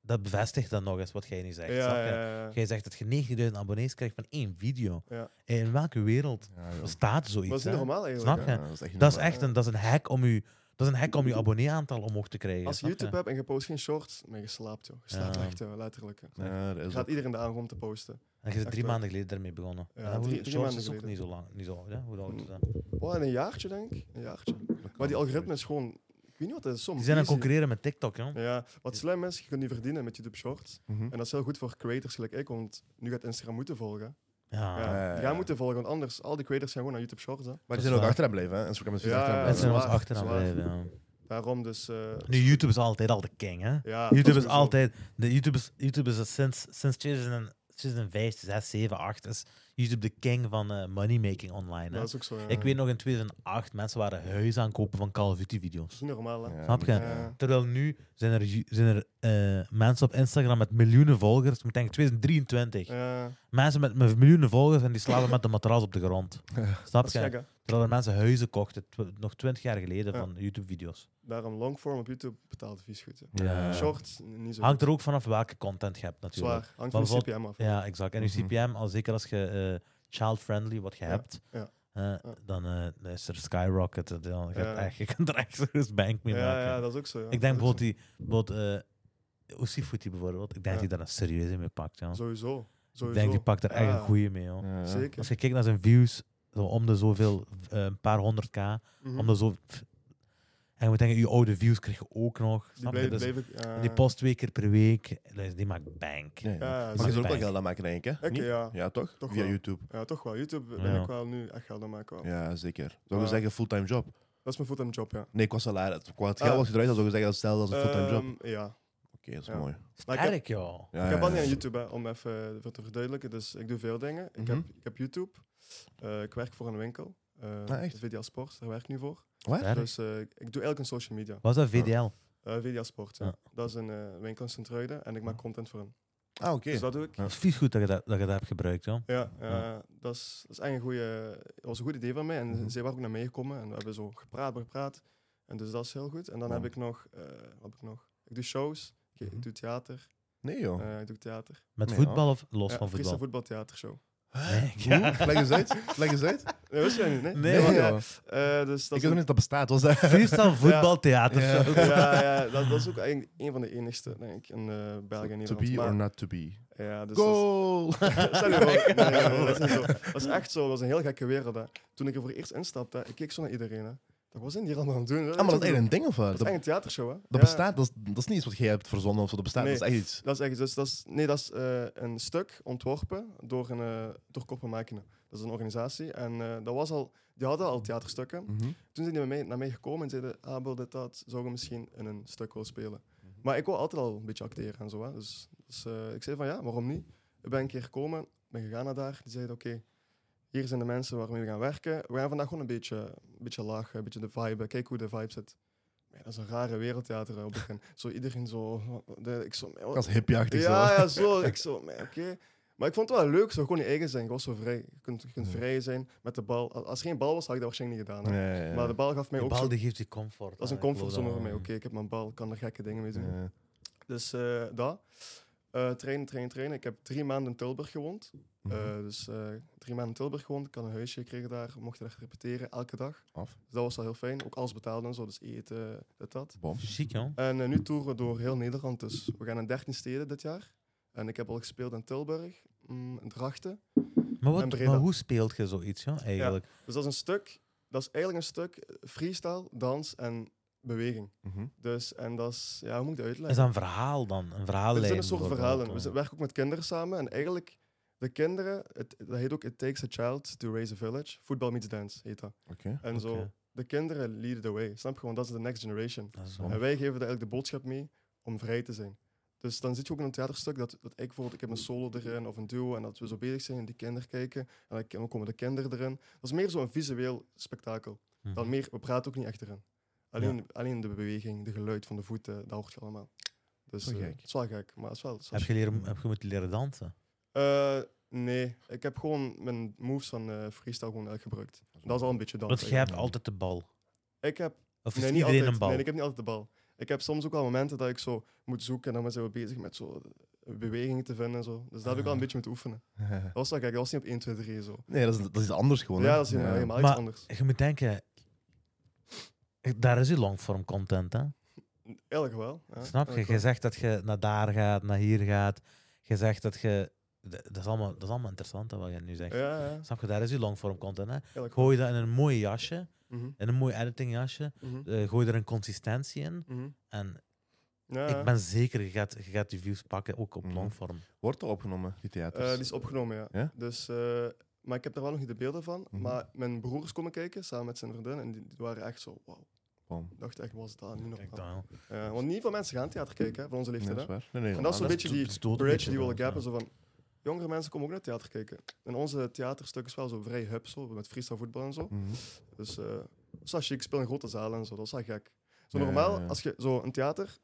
[SPEAKER 3] Dat bevestigt dan nog eens wat jij nu zegt. snap
[SPEAKER 1] Ja,
[SPEAKER 3] je?
[SPEAKER 1] ja, ja.
[SPEAKER 3] Jij zegt dat je 90.000 abonnees krijgt van één video.
[SPEAKER 1] Ja.
[SPEAKER 3] En In welke wereld
[SPEAKER 2] Ja, joh.
[SPEAKER 3] bestaat zoiets?
[SPEAKER 1] Maar dat is niet
[SPEAKER 3] hè?
[SPEAKER 1] normaal, eigenlijk.
[SPEAKER 3] Snap
[SPEAKER 1] hè.
[SPEAKER 3] je?
[SPEAKER 2] Ja, dat is echt, niet
[SPEAKER 3] dat is
[SPEAKER 2] normaal.
[SPEAKER 3] echt een, dat is een hack om je, dat is een hack om je abonnee-aantal omhoog te krijgen.
[SPEAKER 1] Als je
[SPEAKER 3] snap
[SPEAKER 1] YouTube hebt en je post geen shorts, ben je geslaapt, joh. Je slaapt
[SPEAKER 3] Ja.
[SPEAKER 1] echt, joh, letterlijk. hè.
[SPEAKER 2] Ja, dat
[SPEAKER 1] Je
[SPEAKER 2] is
[SPEAKER 1] gaat
[SPEAKER 2] ook-
[SPEAKER 1] iedereen de aan om te posten.
[SPEAKER 3] En je bent
[SPEAKER 1] Echt
[SPEAKER 3] drie
[SPEAKER 1] waar.
[SPEAKER 3] maanden geleden daarmee begonnen.
[SPEAKER 1] Ja,
[SPEAKER 3] En hoe-
[SPEAKER 1] drie- drie
[SPEAKER 3] Shorts
[SPEAKER 1] maanden
[SPEAKER 3] is ook
[SPEAKER 1] geleden.
[SPEAKER 3] niet zo lang. Niet zo, oud, hè? Hoe oud is dat?
[SPEAKER 1] Oh, in een jaartje, denk ik. Een jaartje. Maar die algoritme is gewoon... Ik weet niet wat dat is. Soms
[SPEAKER 3] Die zijn aan het
[SPEAKER 1] concreet.
[SPEAKER 3] concurreren met TikTok, joh.
[SPEAKER 1] Ja, wat slim is, je kunt nu verdienen met YouTube Shorts.
[SPEAKER 2] Mhm.
[SPEAKER 1] En dat is heel goed voor creators gelijk ik, want nu gaat Instagram moeten volgen.
[SPEAKER 3] Ah, Ja.
[SPEAKER 1] ja,
[SPEAKER 2] ja,
[SPEAKER 1] die
[SPEAKER 2] ja.
[SPEAKER 1] gaan moeten volgen, want anders, al die creators gaan gewoon naar YouTube Shorts. Hè.
[SPEAKER 2] Maar
[SPEAKER 3] Dat
[SPEAKER 2] die
[SPEAKER 3] is
[SPEAKER 2] zijn ook
[SPEAKER 3] waar.
[SPEAKER 2] achteraan blijven, hè? Instagram is
[SPEAKER 1] Ja,
[SPEAKER 2] ja, achteraan
[SPEAKER 1] ja,
[SPEAKER 3] En
[SPEAKER 2] blijven.
[SPEAKER 3] ze zijn ons
[SPEAKER 1] zwaar,
[SPEAKER 3] achteraan
[SPEAKER 1] zwaar.
[SPEAKER 3] blijven, ja.
[SPEAKER 1] Daarom dus... eh,
[SPEAKER 3] Nu, YouTube is altijd al de king, hè?
[SPEAKER 1] ja, dat
[SPEAKER 3] YouTube is
[SPEAKER 1] sowieso.
[SPEAKER 3] altijd... De YouTube is, YouTube is sinds, sinds 2000 2005, 2006, 2007, 2008 is YouTube de king van eh, money moneymaking online. hè.
[SPEAKER 1] Dat is ook zo, ja.
[SPEAKER 3] Ik weet nog in 2008, mensen waren huis aankopen van Call of Duty video's.
[SPEAKER 1] Dat is niet normaal, hè.
[SPEAKER 3] Snap je?
[SPEAKER 2] Ja.
[SPEAKER 1] Ja.
[SPEAKER 3] Terwijl nu zijn er, ju- zijn er eh, mensen op Instagram met miljoenen volgers. Ik moet denken 2023.
[SPEAKER 1] Ja,
[SPEAKER 3] Mensen met, met miljoenen volgers en die slapen met een matras op de grond. Snap
[SPEAKER 1] dat is
[SPEAKER 3] je?
[SPEAKER 1] gek, hè.
[SPEAKER 3] Terwijl er mensen huizen kochten, tw- nog 20 jaar geleden,
[SPEAKER 1] Ja.
[SPEAKER 3] van YouTube-video's.
[SPEAKER 1] Daarom longform op YouTube betaalt vies goed. hè.
[SPEAKER 2] Ja.
[SPEAKER 1] Shorts, n- niet zo
[SPEAKER 3] Hangt
[SPEAKER 1] goed.
[SPEAKER 3] er ook vanaf welke content je hebt, natuurlijk.
[SPEAKER 1] Zwaar, hangt van de
[SPEAKER 3] bijvoorbeeld-
[SPEAKER 1] CPM af.
[SPEAKER 3] Ja, exact. En je
[SPEAKER 2] Mhm.
[SPEAKER 3] CPM, al zeker als je eh, child-friendly wat je
[SPEAKER 1] Ja,
[SPEAKER 3] hebt,
[SPEAKER 1] ja,
[SPEAKER 3] eh, dan eh, is er skyrocket. eh, Dan, je, hebt
[SPEAKER 1] Ja.
[SPEAKER 3] echt, je kan er echt serieus bank mee
[SPEAKER 1] Ja,
[SPEAKER 3] maken.
[SPEAKER 1] ja, dat is ook zo, ja.
[SPEAKER 3] ik denk
[SPEAKER 1] Dat is ook
[SPEAKER 3] bijvoorbeeld die... Bijvoorbeeld, eh Ossifuti bijvoorbeeld. Ik denk
[SPEAKER 1] Ja.
[SPEAKER 3] dat hij daar een serieuze mee pakt. Ja.
[SPEAKER 1] zo. Sowieso.
[SPEAKER 3] Ik
[SPEAKER 1] Sowieso. Ah.
[SPEAKER 3] denk, die pakt er echt
[SPEAKER 1] Ja,
[SPEAKER 3] een goeie mee, joh.
[SPEAKER 2] Ja, ja.
[SPEAKER 1] Zeker.
[SPEAKER 3] Als je kijkt naar zijn views, zo om de zoveel, eh, een paar honderd k,
[SPEAKER 1] Mhm.
[SPEAKER 3] om de zo... pff, En je moet denken, je oude views krijg je ook nog.
[SPEAKER 1] Die
[SPEAKER 3] Snap je?
[SPEAKER 1] bleef,
[SPEAKER 3] Dus
[SPEAKER 1] bleef ik... eh,
[SPEAKER 3] die post twee keer per week, dus die maakt bank.
[SPEAKER 2] Ja, ja.
[SPEAKER 1] Ja,
[SPEAKER 2] maar je
[SPEAKER 3] zeker.
[SPEAKER 2] zult ook wel geld aan maken, denk ik. Hè?
[SPEAKER 1] Oké,
[SPEAKER 2] Niet?
[SPEAKER 1] ja.
[SPEAKER 2] ja, toch?
[SPEAKER 1] Toch
[SPEAKER 2] Via
[SPEAKER 1] wel.
[SPEAKER 2] YouTube.
[SPEAKER 1] Ja, toch wel. YouTube ben
[SPEAKER 3] Ja.
[SPEAKER 1] ik wel nu echt geld aan maken. wel.
[SPEAKER 2] Ja, zeker. Zou je
[SPEAKER 1] Ja.
[SPEAKER 2] zeggen fulltime job?
[SPEAKER 1] Dat is mijn fulltime job, ja.
[SPEAKER 2] Nee, qua salaris. Qua het
[SPEAKER 1] Ah.
[SPEAKER 2] geld wat je eruit haalt, zou je zeggen, stel dat is een fulltime job. Oké,
[SPEAKER 1] Ehm, ja.
[SPEAKER 2] dat is
[SPEAKER 1] ja.
[SPEAKER 2] mooi.
[SPEAKER 1] Maar ik heb,
[SPEAKER 3] Sterk, joh.
[SPEAKER 2] Ja,
[SPEAKER 1] ik heb
[SPEAKER 2] ja,
[SPEAKER 1] al niet
[SPEAKER 2] ja.
[SPEAKER 1] aan YouTube, hè, om even voor te verduidelijken. Dus ik doe veel dingen. Ik, heb,
[SPEAKER 3] Mhm.
[SPEAKER 1] ik heb YouTube. Eh, ik werk voor een winkel. Eh
[SPEAKER 2] Ah, echt?
[SPEAKER 1] VDA Sport, daar werk ik nu voor.
[SPEAKER 2] Wat?
[SPEAKER 3] Sterk.
[SPEAKER 1] Dus eh, ik doe eigenlijk een social media.
[SPEAKER 3] Wat is dat, VDL?
[SPEAKER 1] Eh VDA Sport, ja.
[SPEAKER 3] Ja.
[SPEAKER 1] Dat is een eh, winkel in Sint-Truiden en ik maak content voor hen.
[SPEAKER 2] Ah, oké.
[SPEAKER 1] Dus dat doe ik.
[SPEAKER 2] Ja.
[SPEAKER 3] Het is vies goed dat je dat, dat je dat hebt gebruikt, joh.
[SPEAKER 1] Ja, eh,
[SPEAKER 3] Ja.
[SPEAKER 1] dat is, dat is echt een goede, dat was een goed idee van mij. En
[SPEAKER 2] Mhm.
[SPEAKER 1] zij waren ook naar mij gekomen en we hebben zo gepraat, maar gepraat. En dus dat is heel goed. En dan
[SPEAKER 2] Ja.
[SPEAKER 1] heb ik nog, eh, wat heb ik nog? Ik doe shows, ik, ik
[SPEAKER 2] Mhm. Oh.
[SPEAKER 1] doe theater,
[SPEAKER 2] Nee, joh.
[SPEAKER 1] eh, ik doe theater.
[SPEAKER 3] Met
[SPEAKER 2] Ja.
[SPEAKER 3] voetbal of los
[SPEAKER 1] Ja,
[SPEAKER 3] van
[SPEAKER 1] Friese
[SPEAKER 3] voetbal?
[SPEAKER 1] voetbaltheatershow.
[SPEAKER 3] Nee,
[SPEAKER 2] Hoe?
[SPEAKER 3] ja.
[SPEAKER 2] Leg eens uit. Leg eens uit.
[SPEAKER 1] Nee, wist jij niet, nee?
[SPEAKER 3] Nee,
[SPEAKER 1] ja.
[SPEAKER 2] joh.
[SPEAKER 1] Eh, dus
[SPEAKER 2] Ik
[SPEAKER 1] dat
[SPEAKER 2] weet nog
[SPEAKER 1] is
[SPEAKER 2] niet dat dat bestaat. Was dat?
[SPEAKER 3] Freestyle voetbal, theater.
[SPEAKER 2] Ja.
[SPEAKER 3] show.
[SPEAKER 1] ook- ja, ja, dat, dat is ook eigenlijk een van de enigste, denk ik, in eh België en
[SPEAKER 2] To
[SPEAKER 1] Nederland.
[SPEAKER 2] be or
[SPEAKER 1] Maar-
[SPEAKER 2] not to be.
[SPEAKER 1] ja, dus dat is-
[SPEAKER 2] Goal!
[SPEAKER 1] Stel je voor. Nee, nee, nee, dat is niet zo. Dat is echt zo. Dat was een heel gekke wereld. Hè. Toen ik er voor eerst instapte, ik keek zo naar iedereen. Hè. Dat was in die allemaal aan het doen.
[SPEAKER 2] Ah, maar dat is echt een ding of wat?
[SPEAKER 1] Dat is echt
[SPEAKER 2] Dat,
[SPEAKER 1] een theatershow. Hè.
[SPEAKER 2] dat
[SPEAKER 1] Ja.
[SPEAKER 2] bestaat, dat is, dat is niet iets wat jij hebt verzonnen of zo. Dat bestaat, dat is echt iets.
[SPEAKER 1] Dat is echt, dus, dat is, nee, dat is eh, een stuk ontworpen door, een, eh door Koppen Makina. Dat is een organisatie. En eh, dat was al, die hadden al theaterstukken.
[SPEAKER 2] Mhm.
[SPEAKER 1] Toen zijn die met mij, naar mij gekomen en zeiden: Abel, dit, dat, zou je misschien in een stuk willen spelen? Maar ik wou altijd al een beetje acteren en zo. Hè. Dus, dus, eh, ik zei: van ja, waarom niet? Ik ben een keer gekomen, ben gegaan naar daar. Die zeiden: oké, hier zijn de mensen waarmee we gaan werken. We gaan vandaag gewoon een beetje, een beetje lachen, een beetje de vibe. Kijk hoe de vibe zit. Maar ja, dat is een rare wereldtheater hè, op het begin. zo iedereen zo. De, ik zo
[SPEAKER 2] Dat is hippieachtig zo.
[SPEAKER 1] ja, ja, zo. Ik zo, maar oké. Maar ik vond het wel leuk, zo gewoon je eigen zijn. Ik was zo vrij. Je kunt, je kunt
[SPEAKER 2] Ja.
[SPEAKER 1] vrij zijn met de bal. Als als er geen bal was, had ik dat waarschijnlijk niet gedaan. hè.
[SPEAKER 2] Ja, ja, ja.
[SPEAKER 1] Maar de bal gaf mij
[SPEAKER 3] Die
[SPEAKER 1] ook zo-
[SPEAKER 3] bal die geeft je comfort.
[SPEAKER 1] dat is een
[SPEAKER 3] hè, ik geloof
[SPEAKER 1] comfortzone
[SPEAKER 3] dat
[SPEAKER 1] voor mij.
[SPEAKER 3] wel.
[SPEAKER 1] Oké, ik heb mijn bal, ik kan er gekke dingen mee doen.
[SPEAKER 2] Ja.
[SPEAKER 1] Dus eh dat. Eh, trainen, trainen, trainen. Ik heb drie maanden in Tilburg gewoond. Eh,
[SPEAKER 2] Mhm.
[SPEAKER 1] dus eh, drie maanden in Tilburg gewoond. Ik had een huisje gekregen daar. Mocht daar repeteren, elke dag.
[SPEAKER 2] Af.
[SPEAKER 1] Dus dat was wel heel fijn. Ook alles betaald en zo. Dus eten, dit, dat.
[SPEAKER 2] Bom.
[SPEAKER 3] Chic, joh.
[SPEAKER 1] En eh, nu toeren we door heel Nederland. Dus we gaan in 13 steden dit jaar. En ik heb al gespeeld in Tilburg, mm, in Drachten.
[SPEAKER 3] Maar,
[SPEAKER 1] En
[SPEAKER 3] wat,
[SPEAKER 1] Breda.
[SPEAKER 3] maar hoe speelt je zoiets, joh, eigenlijk?
[SPEAKER 1] Dus dat is een stuk, dat is eigenlijk een stuk eh, freestyle, dans en beweging.
[SPEAKER 2] Mhm.
[SPEAKER 1] Dus, en dat is, ja, hoe moet ik dat uitleggen?
[SPEAKER 3] Is dat een verhaal dan? Een verhaallijn?
[SPEAKER 1] Er zijn een soort
[SPEAKER 3] bijvoorbeeld,
[SPEAKER 1] verhalen. We
[SPEAKER 3] eh.
[SPEAKER 1] z- werken ook met kinderen samen. En eigenlijk, de kinderen, het, dat heet ook It Takes a Child to Raise a Village. Football meets dance heet dat.
[SPEAKER 2] Oké.
[SPEAKER 1] En zo,
[SPEAKER 3] Oké.
[SPEAKER 1] de kinderen lead the way. Snap je gewoon, dat is de next generation.
[SPEAKER 3] eh? Dat is wel-
[SPEAKER 1] En wij geven daar eigenlijk de boodschap mee om vrij te zijn. Dus dan zit je ook in een theaterstuk dat, dat ik bijvoorbeeld, ik heb een solo erin of een duo en dat we zo bezig zijn en die kinderen kijken en dan k- dan komen de kinderen erin. Dat is meer zo'n visueel spektakel.
[SPEAKER 3] Mhm.
[SPEAKER 1] Dan meer, we praten ook niet echt erin. Alleen, alleen de beweging, de geluid van de voeten, dat hoort je allemaal. Dus
[SPEAKER 2] Wel
[SPEAKER 1] eh,
[SPEAKER 2] gek.
[SPEAKER 1] het is wel gek, maar het is wel... het is wel
[SPEAKER 3] Heb je, leren, heb je moeten leren dansen?
[SPEAKER 1] eh, nee, ik heb gewoon mijn moves van eh, freestyle gewoon eigenlijk gebruikt. Dat is al een beetje dan.
[SPEAKER 3] Want jij hebt altijd de bal.
[SPEAKER 1] Ik heb
[SPEAKER 3] Of is
[SPEAKER 1] nee, niet
[SPEAKER 3] iedereen
[SPEAKER 1] altijd,
[SPEAKER 3] een bal?
[SPEAKER 1] Nee, ik heb niet altijd de bal. Ik heb soms ook wel momenten dat ik zo moet zoeken en dan zijn we bezig met zo bewegingen te vinden en zo. Dus daar heb ik wel een
[SPEAKER 3] Ah.
[SPEAKER 1] beetje moeten oefenen. Dat was, wel gek, dat was niet op 1, 2, 3 zo.
[SPEAKER 2] Nee, dat is, dat is iets anders gewoon. hè?
[SPEAKER 1] Ja, dat is helemaal, helemaal iets
[SPEAKER 3] Maar-
[SPEAKER 1] anders.
[SPEAKER 3] Je moet denken, daar is je longform content, hè?
[SPEAKER 1] Eerlijk wel. Ja,
[SPEAKER 3] Snap je?
[SPEAKER 1] eerlijk
[SPEAKER 3] Je
[SPEAKER 1] wel.
[SPEAKER 3] zegt dat je naar daar gaat, naar hier gaat. Je zegt dat je... d- Dat is allemaal, dat is allemaal interessant, hè, wat je nu zegt.
[SPEAKER 1] Ja, ja,
[SPEAKER 3] Snap je? Daar is je longform content, hè?
[SPEAKER 1] eerlijk wel.
[SPEAKER 3] Gooi dat in een mooi jasje,
[SPEAKER 1] Mhm,
[SPEAKER 3] in een mooi editingjasje.
[SPEAKER 1] mhm,
[SPEAKER 3] eh gooi er een consistentie in.
[SPEAKER 1] mhm.
[SPEAKER 3] En
[SPEAKER 1] Ja, ja.
[SPEAKER 3] ik ben zeker, je gaat, je gaat die views pakken, ook op
[SPEAKER 2] Mhm.
[SPEAKER 3] longform.
[SPEAKER 2] Wordt er opgenomen, die theaters?
[SPEAKER 1] Eh, die is opgenomen, ja.
[SPEAKER 2] Ja?
[SPEAKER 1] Dus, eh, maar ik heb daar wel nog niet de beelden van.
[SPEAKER 2] Mhm.
[SPEAKER 1] Maar mijn broers komen kijken, samen met zijn vriendin, en die, die waren echt zo, wauw.
[SPEAKER 2] Bom.
[SPEAKER 1] Ik dacht echt, was dat nu nog
[SPEAKER 3] Kijk dan. wel.
[SPEAKER 1] Eh, want niet veel mensen gaan theater kijken, hè, van onze
[SPEAKER 2] Nee,
[SPEAKER 1] leeftijd.
[SPEAKER 2] dat is
[SPEAKER 1] hè.
[SPEAKER 2] waar. Nee, nee,
[SPEAKER 1] en dat is
[SPEAKER 2] helemaal
[SPEAKER 1] een beetje die
[SPEAKER 3] doet- dat doet een
[SPEAKER 1] bridge
[SPEAKER 3] beetje
[SPEAKER 1] die we willen
[SPEAKER 3] wel,
[SPEAKER 1] gappen. Zo van, jongere mensen komen ook naar theater kijken. En onze theaterstukken is wel zo vrij hub, zo, met freestyle voetbal en zo.
[SPEAKER 2] niet. Mhm.
[SPEAKER 1] Dus eh zo chic, ik speel in grote zalen en zo, dat is wel gek. Zo
[SPEAKER 2] Ja,
[SPEAKER 1] normaal,
[SPEAKER 2] ja, ja.
[SPEAKER 1] als je zo een theater...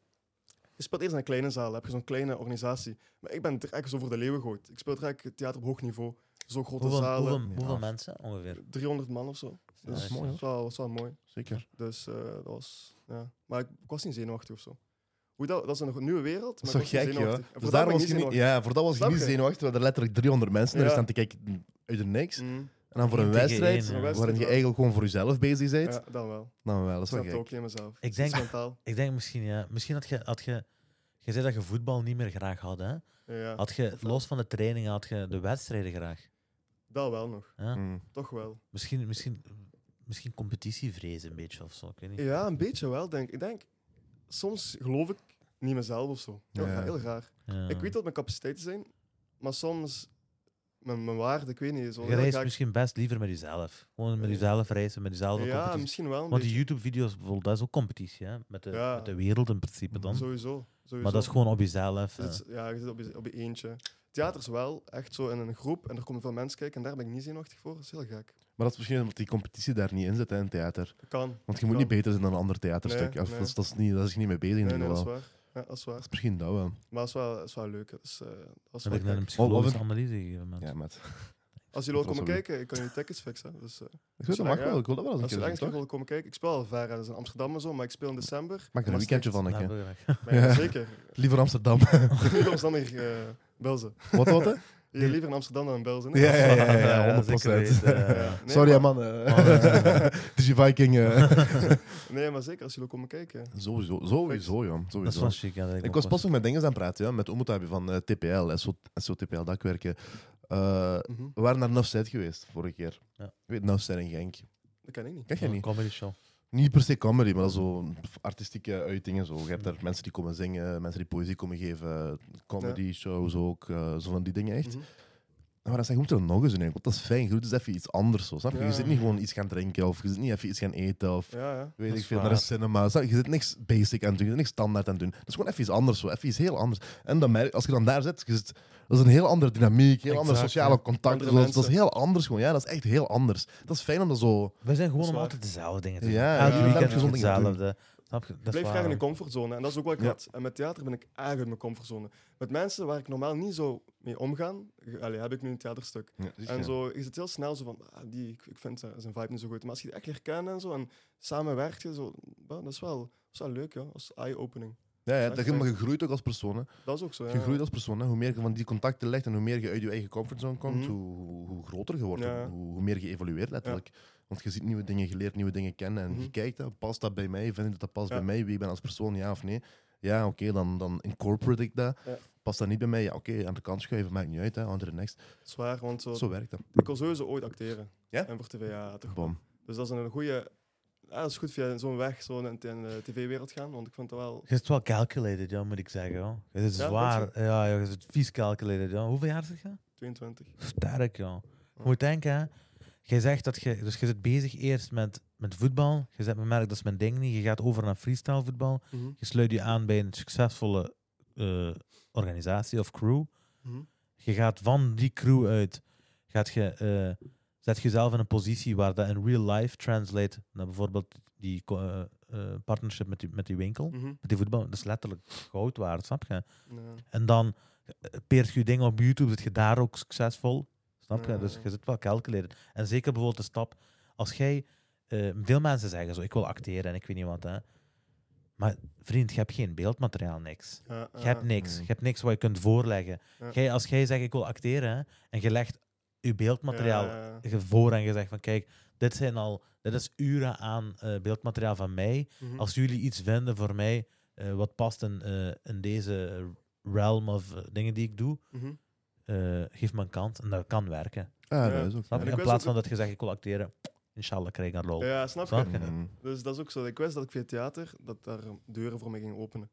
[SPEAKER 1] Je speelt eerst in een kleine zaal, heb je zo'n kleine organisatie. Maar ik ben direct zo voor de leeuwen gegooid. Ik speel direct theater op hoog niveau. Zo grote
[SPEAKER 3] Hoeveel,
[SPEAKER 1] zalen,
[SPEAKER 3] hoeveel, hoeveel
[SPEAKER 2] Ja.
[SPEAKER 3] mensen ongeveer?
[SPEAKER 1] 300 man of zo.
[SPEAKER 3] Ja,
[SPEAKER 1] Dus
[SPEAKER 2] dat is mooi,
[SPEAKER 1] dat is wel, dat is wel mooi.
[SPEAKER 2] Zeker.
[SPEAKER 1] Dus eh, dat was. Ja. Maar ik, ik was niet zenuwachtig of zo. Hoe dat, dat is een nieuwe wereld.
[SPEAKER 2] Dat
[SPEAKER 1] Maar
[SPEAKER 2] is
[SPEAKER 1] ik was
[SPEAKER 2] toch gek,
[SPEAKER 1] niet
[SPEAKER 2] joh.
[SPEAKER 1] zenuwachtig. En
[SPEAKER 2] Dus
[SPEAKER 1] vandaar
[SPEAKER 2] daarom
[SPEAKER 1] ben ik
[SPEAKER 2] was
[SPEAKER 1] niet
[SPEAKER 2] je niet,
[SPEAKER 1] zenuwachtig.
[SPEAKER 2] ja, voor dat was je
[SPEAKER 1] Snap
[SPEAKER 2] niet
[SPEAKER 1] je?
[SPEAKER 2] zenuwachtig, terwijl er letterlijk 300 mensen naar
[SPEAKER 1] Ja.
[SPEAKER 2] je staan te kijken uit de niks.
[SPEAKER 1] Mm,
[SPEAKER 2] En dan voor
[SPEAKER 3] Eén
[SPEAKER 2] een
[SPEAKER 3] tegen
[SPEAKER 2] wedstrijd,
[SPEAKER 3] één, ja.
[SPEAKER 2] waarin je
[SPEAKER 1] Wedstrijd,
[SPEAKER 2] eigenlijk gewoon voor jezelf bezig bent.
[SPEAKER 1] ja, dan wel.
[SPEAKER 2] Nou wel, dat
[SPEAKER 1] Ik
[SPEAKER 2] is wel
[SPEAKER 1] snap het
[SPEAKER 2] gek.
[SPEAKER 1] ook in mezelf.
[SPEAKER 3] Ik
[SPEAKER 1] Het is
[SPEAKER 3] denk,
[SPEAKER 1] mentaal.
[SPEAKER 3] ik denk misschien, ja, misschien had je, had je... Je zei dat je voetbal niet meer graag had, hè?
[SPEAKER 1] Ja,
[SPEAKER 3] Had je,
[SPEAKER 1] Of wel.
[SPEAKER 3] los van de training, had je de wedstrijden graag?
[SPEAKER 1] dat wel nog.
[SPEAKER 3] Ja.
[SPEAKER 2] Mm.
[SPEAKER 1] Toch wel.
[SPEAKER 3] Misschien, misschien misschien competitievrees een beetje of zo. Ik weet niet.
[SPEAKER 1] Ja, een beetje wel, denk ik. Ik denk, soms geloof ik niet mezelf of zo. Heel,
[SPEAKER 2] Ja.
[SPEAKER 1] raar, heel raar.
[SPEAKER 3] Ja.
[SPEAKER 1] Ik weet dat mijn capaciteiten zijn, maar soms mijn, mijn waarde, ik weet niet. Zo,
[SPEAKER 3] Je
[SPEAKER 1] dan
[SPEAKER 3] reist
[SPEAKER 1] ga ik-
[SPEAKER 3] misschien best liever met jezelf. Gewoon met
[SPEAKER 1] Ja.
[SPEAKER 3] jezelf reizen, met jezelf. een
[SPEAKER 1] ja,
[SPEAKER 3] competitie.
[SPEAKER 1] misschien wel een
[SPEAKER 3] Want die
[SPEAKER 1] beetje.
[SPEAKER 3] YouTube-video's bijvoorbeeld, dat is ook competitie. Hè? Met, de,
[SPEAKER 1] Ja.
[SPEAKER 3] met de wereld in principe dan.
[SPEAKER 1] Sowieso, sowieso.
[SPEAKER 3] Maar dat is gewoon op jezelf. eh,
[SPEAKER 1] Je
[SPEAKER 3] hè.
[SPEAKER 1] zit- ja, je zit op je, op je eentje. Theater is wel echt zo in een groep en er komen veel mensen kijken en daar ben ik niet zenuwachtig voor. Dat is heel gek.
[SPEAKER 2] Maar dat is misschien omdat die competitie daar niet in zit, hè, in het theater.
[SPEAKER 1] Dat kan.
[SPEAKER 2] Want je moet niet
[SPEAKER 1] Kan.
[SPEAKER 2] beter zijn dan een ander theaterstuk.
[SPEAKER 1] Nee,
[SPEAKER 2] of,
[SPEAKER 1] nee.
[SPEAKER 2] Dat, is, dat, is niet, dat is je niet mee bezig. in
[SPEAKER 1] Nee,
[SPEAKER 2] ieder
[SPEAKER 1] nee, dat is
[SPEAKER 2] geval.
[SPEAKER 1] waar. Ja, dat is
[SPEAKER 2] dat
[SPEAKER 1] waar.
[SPEAKER 2] is misschien dat wel.
[SPEAKER 1] Maar dat is wel, dat is wel leuk. Dat is, eh, dat is
[SPEAKER 3] heb
[SPEAKER 1] wel
[SPEAKER 3] ik net
[SPEAKER 1] gek. Oh,
[SPEAKER 3] een psychologische
[SPEAKER 2] een-
[SPEAKER 3] analyse gegeven. man.
[SPEAKER 2] Ja, met.
[SPEAKER 1] Als jullie
[SPEAKER 2] Dat
[SPEAKER 1] wel komen
[SPEAKER 2] was wel leuk.
[SPEAKER 1] kijken, ik kan je tickets fixen. Dus, eh,
[SPEAKER 2] Ik wil dat
[SPEAKER 1] Zolang,
[SPEAKER 2] mag wel. Ik wil dat wel
[SPEAKER 1] als
[SPEAKER 2] eens
[SPEAKER 1] je
[SPEAKER 2] een keer
[SPEAKER 1] ergens
[SPEAKER 2] doen,
[SPEAKER 1] nog
[SPEAKER 2] toch?
[SPEAKER 1] wil komen kijken, ik speel al ver. hè. Dat is in Amsterdam en zo, maar ik speel in december.
[SPEAKER 2] Maak er een
[SPEAKER 1] Maar
[SPEAKER 2] weekendje van,
[SPEAKER 3] Ja,
[SPEAKER 2] ik.
[SPEAKER 3] wil je weg.
[SPEAKER 1] Nee,
[SPEAKER 2] Ja.
[SPEAKER 1] Zeker.
[SPEAKER 2] Liever Amsterdam.
[SPEAKER 1] Liever Amsterdam dan hier eh, Belzen.
[SPEAKER 2] Wat, wat, hè?
[SPEAKER 1] Ja, liever in Amsterdam dan in Belzen. hè?
[SPEAKER 2] Ja, ja, ja, ja,
[SPEAKER 3] Ja,
[SPEAKER 2] 100%.
[SPEAKER 3] zeker weten, ja.
[SPEAKER 1] Ja. Nee,
[SPEAKER 2] Sorry, hè,
[SPEAKER 1] maar-
[SPEAKER 2] man. eh.
[SPEAKER 3] Maar,
[SPEAKER 2] Digiviking. eh.
[SPEAKER 1] Nee, maar zeker als jullie komen kijken.
[SPEAKER 2] sowieso, sowieso, joh.
[SPEAKER 3] Dat is
[SPEAKER 2] Sowieso.
[SPEAKER 3] wel chic. ja, dat
[SPEAKER 2] Ik
[SPEAKER 3] ook
[SPEAKER 2] was pas nog met dingen aan het praten, ja, met Omutabi van eh, TPL, SO, TPL, dat ik werken. Eh,
[SPEAKER 1] Mhm.
[SPEAKER 2] we waren naar Nafset geweest vorige keer.
[SPEAKER 3] Ja.
[SPEAKER 2] Ik weet Nafset en Genk.
[SPEAKER 1] Dat kan ik niet.
[SPEAKER 3] wel
[SPEAKER 2] Ken je
[SPEAKER 3] Een
[SPEAKER 2] niet?
[SPEAKER 3] Oh, comedy show.
[SPEAKER 2] Niet per se comedy, maar dat is zo artistieke uitingen. Zo. Je hebt daar mensen die komen zingen, mensen die poëzie komen geven, comedy shows ook, eh, zo van die dingen echt.
[SPEAKER 1] Mhm.
[SPEAKER 2] Maar dan zeg je, moet er nog eens in, want dat is fijn. Je doet dus even iets anders. Zo, snap je?
[SPEAKER 1] Ja.
[SPEAKER 2] je zit niet gewoon iets gaan drinken of je zit niet even iets gaan eten of
[SPEAKER 1] Ja, ja.
[SPEAKER 2] weet
[SPEAKER 3] Dat
[SPEAKER 2] ik
[SPEAKER 3] is
[SPEAKER 2] veel,
[SPEAKER 3] waar.
[SPEAKER 2] naar een cinema. Snap je? Je zit niks basic aan het doen, je zit niks standaard aan het doen. Dat is gewoon even iets anders, zo. even iets heel anders. En dan merk, als je dan daar zit, je zit- dat is een heel andere dynamiek, heel andere
[SPEAKER 3] Exact,
[SPEAKER 2] sociale
[SPEAKER 3] ja.
[SPEAKER 2] contacten.
[SPEAKER 1] Andere
[SPEAKER 2] zo. Dat, is- dat is
[SPEAKER 1] mensen.
[SPEAKER 2] heel anders gewoon, ja, dat is echt heel anders. Dat is fijn om dat zo...
[SPEAKER 3] Wij
[SPEAKER 1] Dat
[SPEAKER 3] zijn gewoon
[SPEAKER 1] is
[SPEAKER 3] om
[SPEAKER 1] waar.
[SPEAKER 3] altijd dezelfde dingen te doen.
[SPEAKER 2] Ja,
[SPEAKER 3] Elk
[SPEAKER 1] ja.
[SPEAKER 3] weekend
[SPEAKER 1] Blijf
[SPEAKER 3] is
[SPEAKER 2] gewoon dingen doen.
[SPEAKER 3] hetzelfde. Snap je? Dat is
[SPEAKER 1] Blijf
[SPEAKER 3] waar,
[SPEAKER 1] graag in je
[SPEAKER 3] hoor.
[SPEAKER 1] comfortzone. En dat is ook wat ik
[SPEAKER 2] Ja.
[SPEAKER 1] had. En met theater ben ik erg uit mijn comfortzone. Met mensen waar ik normaal niet zo mee omgaan, ge- allee, heb ik nu een theaterstuk. En zo, je zit heel snel zo van, ah, die, ik, ik vind zijn zijn vibe niet zo goed. Maar als je die echt leert kennen en zo, en samen werkt je, zo, bah, dat, is wel, dat is wel leuk, ja. als eye-opening.
[SPEAKER 2] Ja, ja,
[SPEAKER 1] Echt
[SPEAKER 2] dat je, maar
[SPEAKER 1] leuk.
[SPEAKER 2] je groeit ook als persoon. hè.
[SPEAKER 1] Dat is ook zo, ja.
[SPEAKER 2] Je groeit als persoon. Hè. Hoe meer je van die contacten legt en hoe meer je uit je eigen comfortzone komt,
[SPEAKER 1] Mhm.
[SPEAKER 2] hoe, hoe, hoe groter je wordt,
[SPEAKER 1] Ja.
[SPEAKER 2] hoe, hoe meer je evolueert letterlijk. Want je ziet nieuwe dingen, je leert nieuwe dingen kennen en je
[SPEAKER 1] Mhm.
[SPEAKER 2] kijkt, hè, past dat bij mij? Vind ik dat past
[SPEAKER 1] Ja.
[SPEAKER 2] bij mij? Wie ik ben als persoon, ja of nee? Ja, oké, dan, dan incorporate ik dat.
[SPEAKER 1] Ja.
[SPEAKER 2] Past dat niet bij mij? Ja, oké, aan de kant schuiven, maakt niet uit, hè, on to the next.
[SPEAKER 1] Zwaar, want zo,
[SPEAKER 2] Zo werkt dat.
[SPEAKER 1] ik wil sowieso ooit acteren.
[SPEAKER 2] Ja?
[SPEAKER 1] En voor tv, ja, toch.
[SPEAKER 2] Bom.
[SPEAKER 1] Dus dat is een goede... Ja, dat is goed via zo'n weg, zo in in de tv-wereld gaan, want ik vind dat wel...
[SPEAKER 3] Je is wel calculated, ja, moet ik zeggen. Hoor. Je is
[SPEAKER 1] Ja,
[SPEAKER 3] zwaar.
[SPEAKER 1] dat
[SPEAKER 3] Ja, joh, je is vies calculated. Ja. Hoeveel jaar zit je?
[SPEAKER 1] 22.
[SPEAKER 3] Sterk, joh. Je moet denken, hè. Jij zegt dat je... Dus je zit bezig eerst met, met voetbal. Je zegt, merk dat is mijn ding niet. Je gaat over naar freestyle voetbal.
[SPEAKER 1] Mhm.
[SPEAKER 3] Je sluit je aan bij een succesvolle eh, organisatie of crew.
[SPEAKER 1] Mhm.
[SPEAKER 3] Je gaat van die crew uit, gaat je, eh, zet jezelf in een positie waar dat in real life translate naar bijvoorbeeld die co- eh, eh, partnership met die, met die winkel,
[SPEAKER 1] Mhm.
[SPEAKER 3] met die voetbal. Dat is letterlijk goud waard, snap je?
[SPEAKER 1] Ja.
[SPEAKER 3] En dan eh, peert je je dingen op YouTube, zit je daar ook succesvol, snap je? Dus
[SPEAKER 1] Ja.
[SPEAKER 3] je zit wel calculated. En zeker bijvoorbeeld de stap, als jij, eh, veel mensen zeggen zo, ik wil acteren en ik weet niet wat, hè. Maar vriend, je hebt geen beeldmateriaal, niks.
[SPEAKER 1] Ja,
[SPEAKER 3] Je hebt
[SPEAKER 1] ja.
[SPEAKER 3] niks.
[SPEAKER 2] Mm.
[SPEAKER 3] Je hebt niks wat je kunt voorleggen.
[SPEAKER 1] Ah, Ja.
[SPEAKER 3] Jij, als jij zegt, ik wil acteren, hè, en je legt je beeldmateriaal
[SPEAKER 1] Ja, ja, ja.
[SPEAKER 3] je voor en je zegt van, kijk, dit, zijn al, dit is uren aan eh, beeldmateriaal van mij.
[SPEAKER 1] Mhm.
[SPEAKER 3] Als jullie iets vinden voor mij eh, wat past in, eh, in deze realm of eh, dingen die ik doe,
[SPEAKER 1] Mhm.
[SPEAKER 3] eh, geef me een kans. En dat kan werken.
[SPEAKER 2] Ja,
[SPEAKER 1] Ja.
[SPEAKER 2] Ah, dat is ook.
[SPEAKER 3] Snap
[SPEAKER 1] En
[SPEAKER 3] je?
[SPEAKER 1] ik
[SPEAKER 3] In
[SPEAKER 1] wist
[SPEAKER 3] plaats
[SPEAKER 1] ook-
[SPEAKER 3] van dat je zegt, ik wil acteren, inshallah krijg ik een rol.
[SPEAKER 1] Ja, snap
[SPEAKER 3] Snap
[SPEAKER 1] je?
[SPEAKER 3] je?
[SPEAKER 2] Mhm.
[SPEAKER 1] Dus dat is ook zo. Ik wist dat ik via theater, dat daar deuren voor me gingen openen.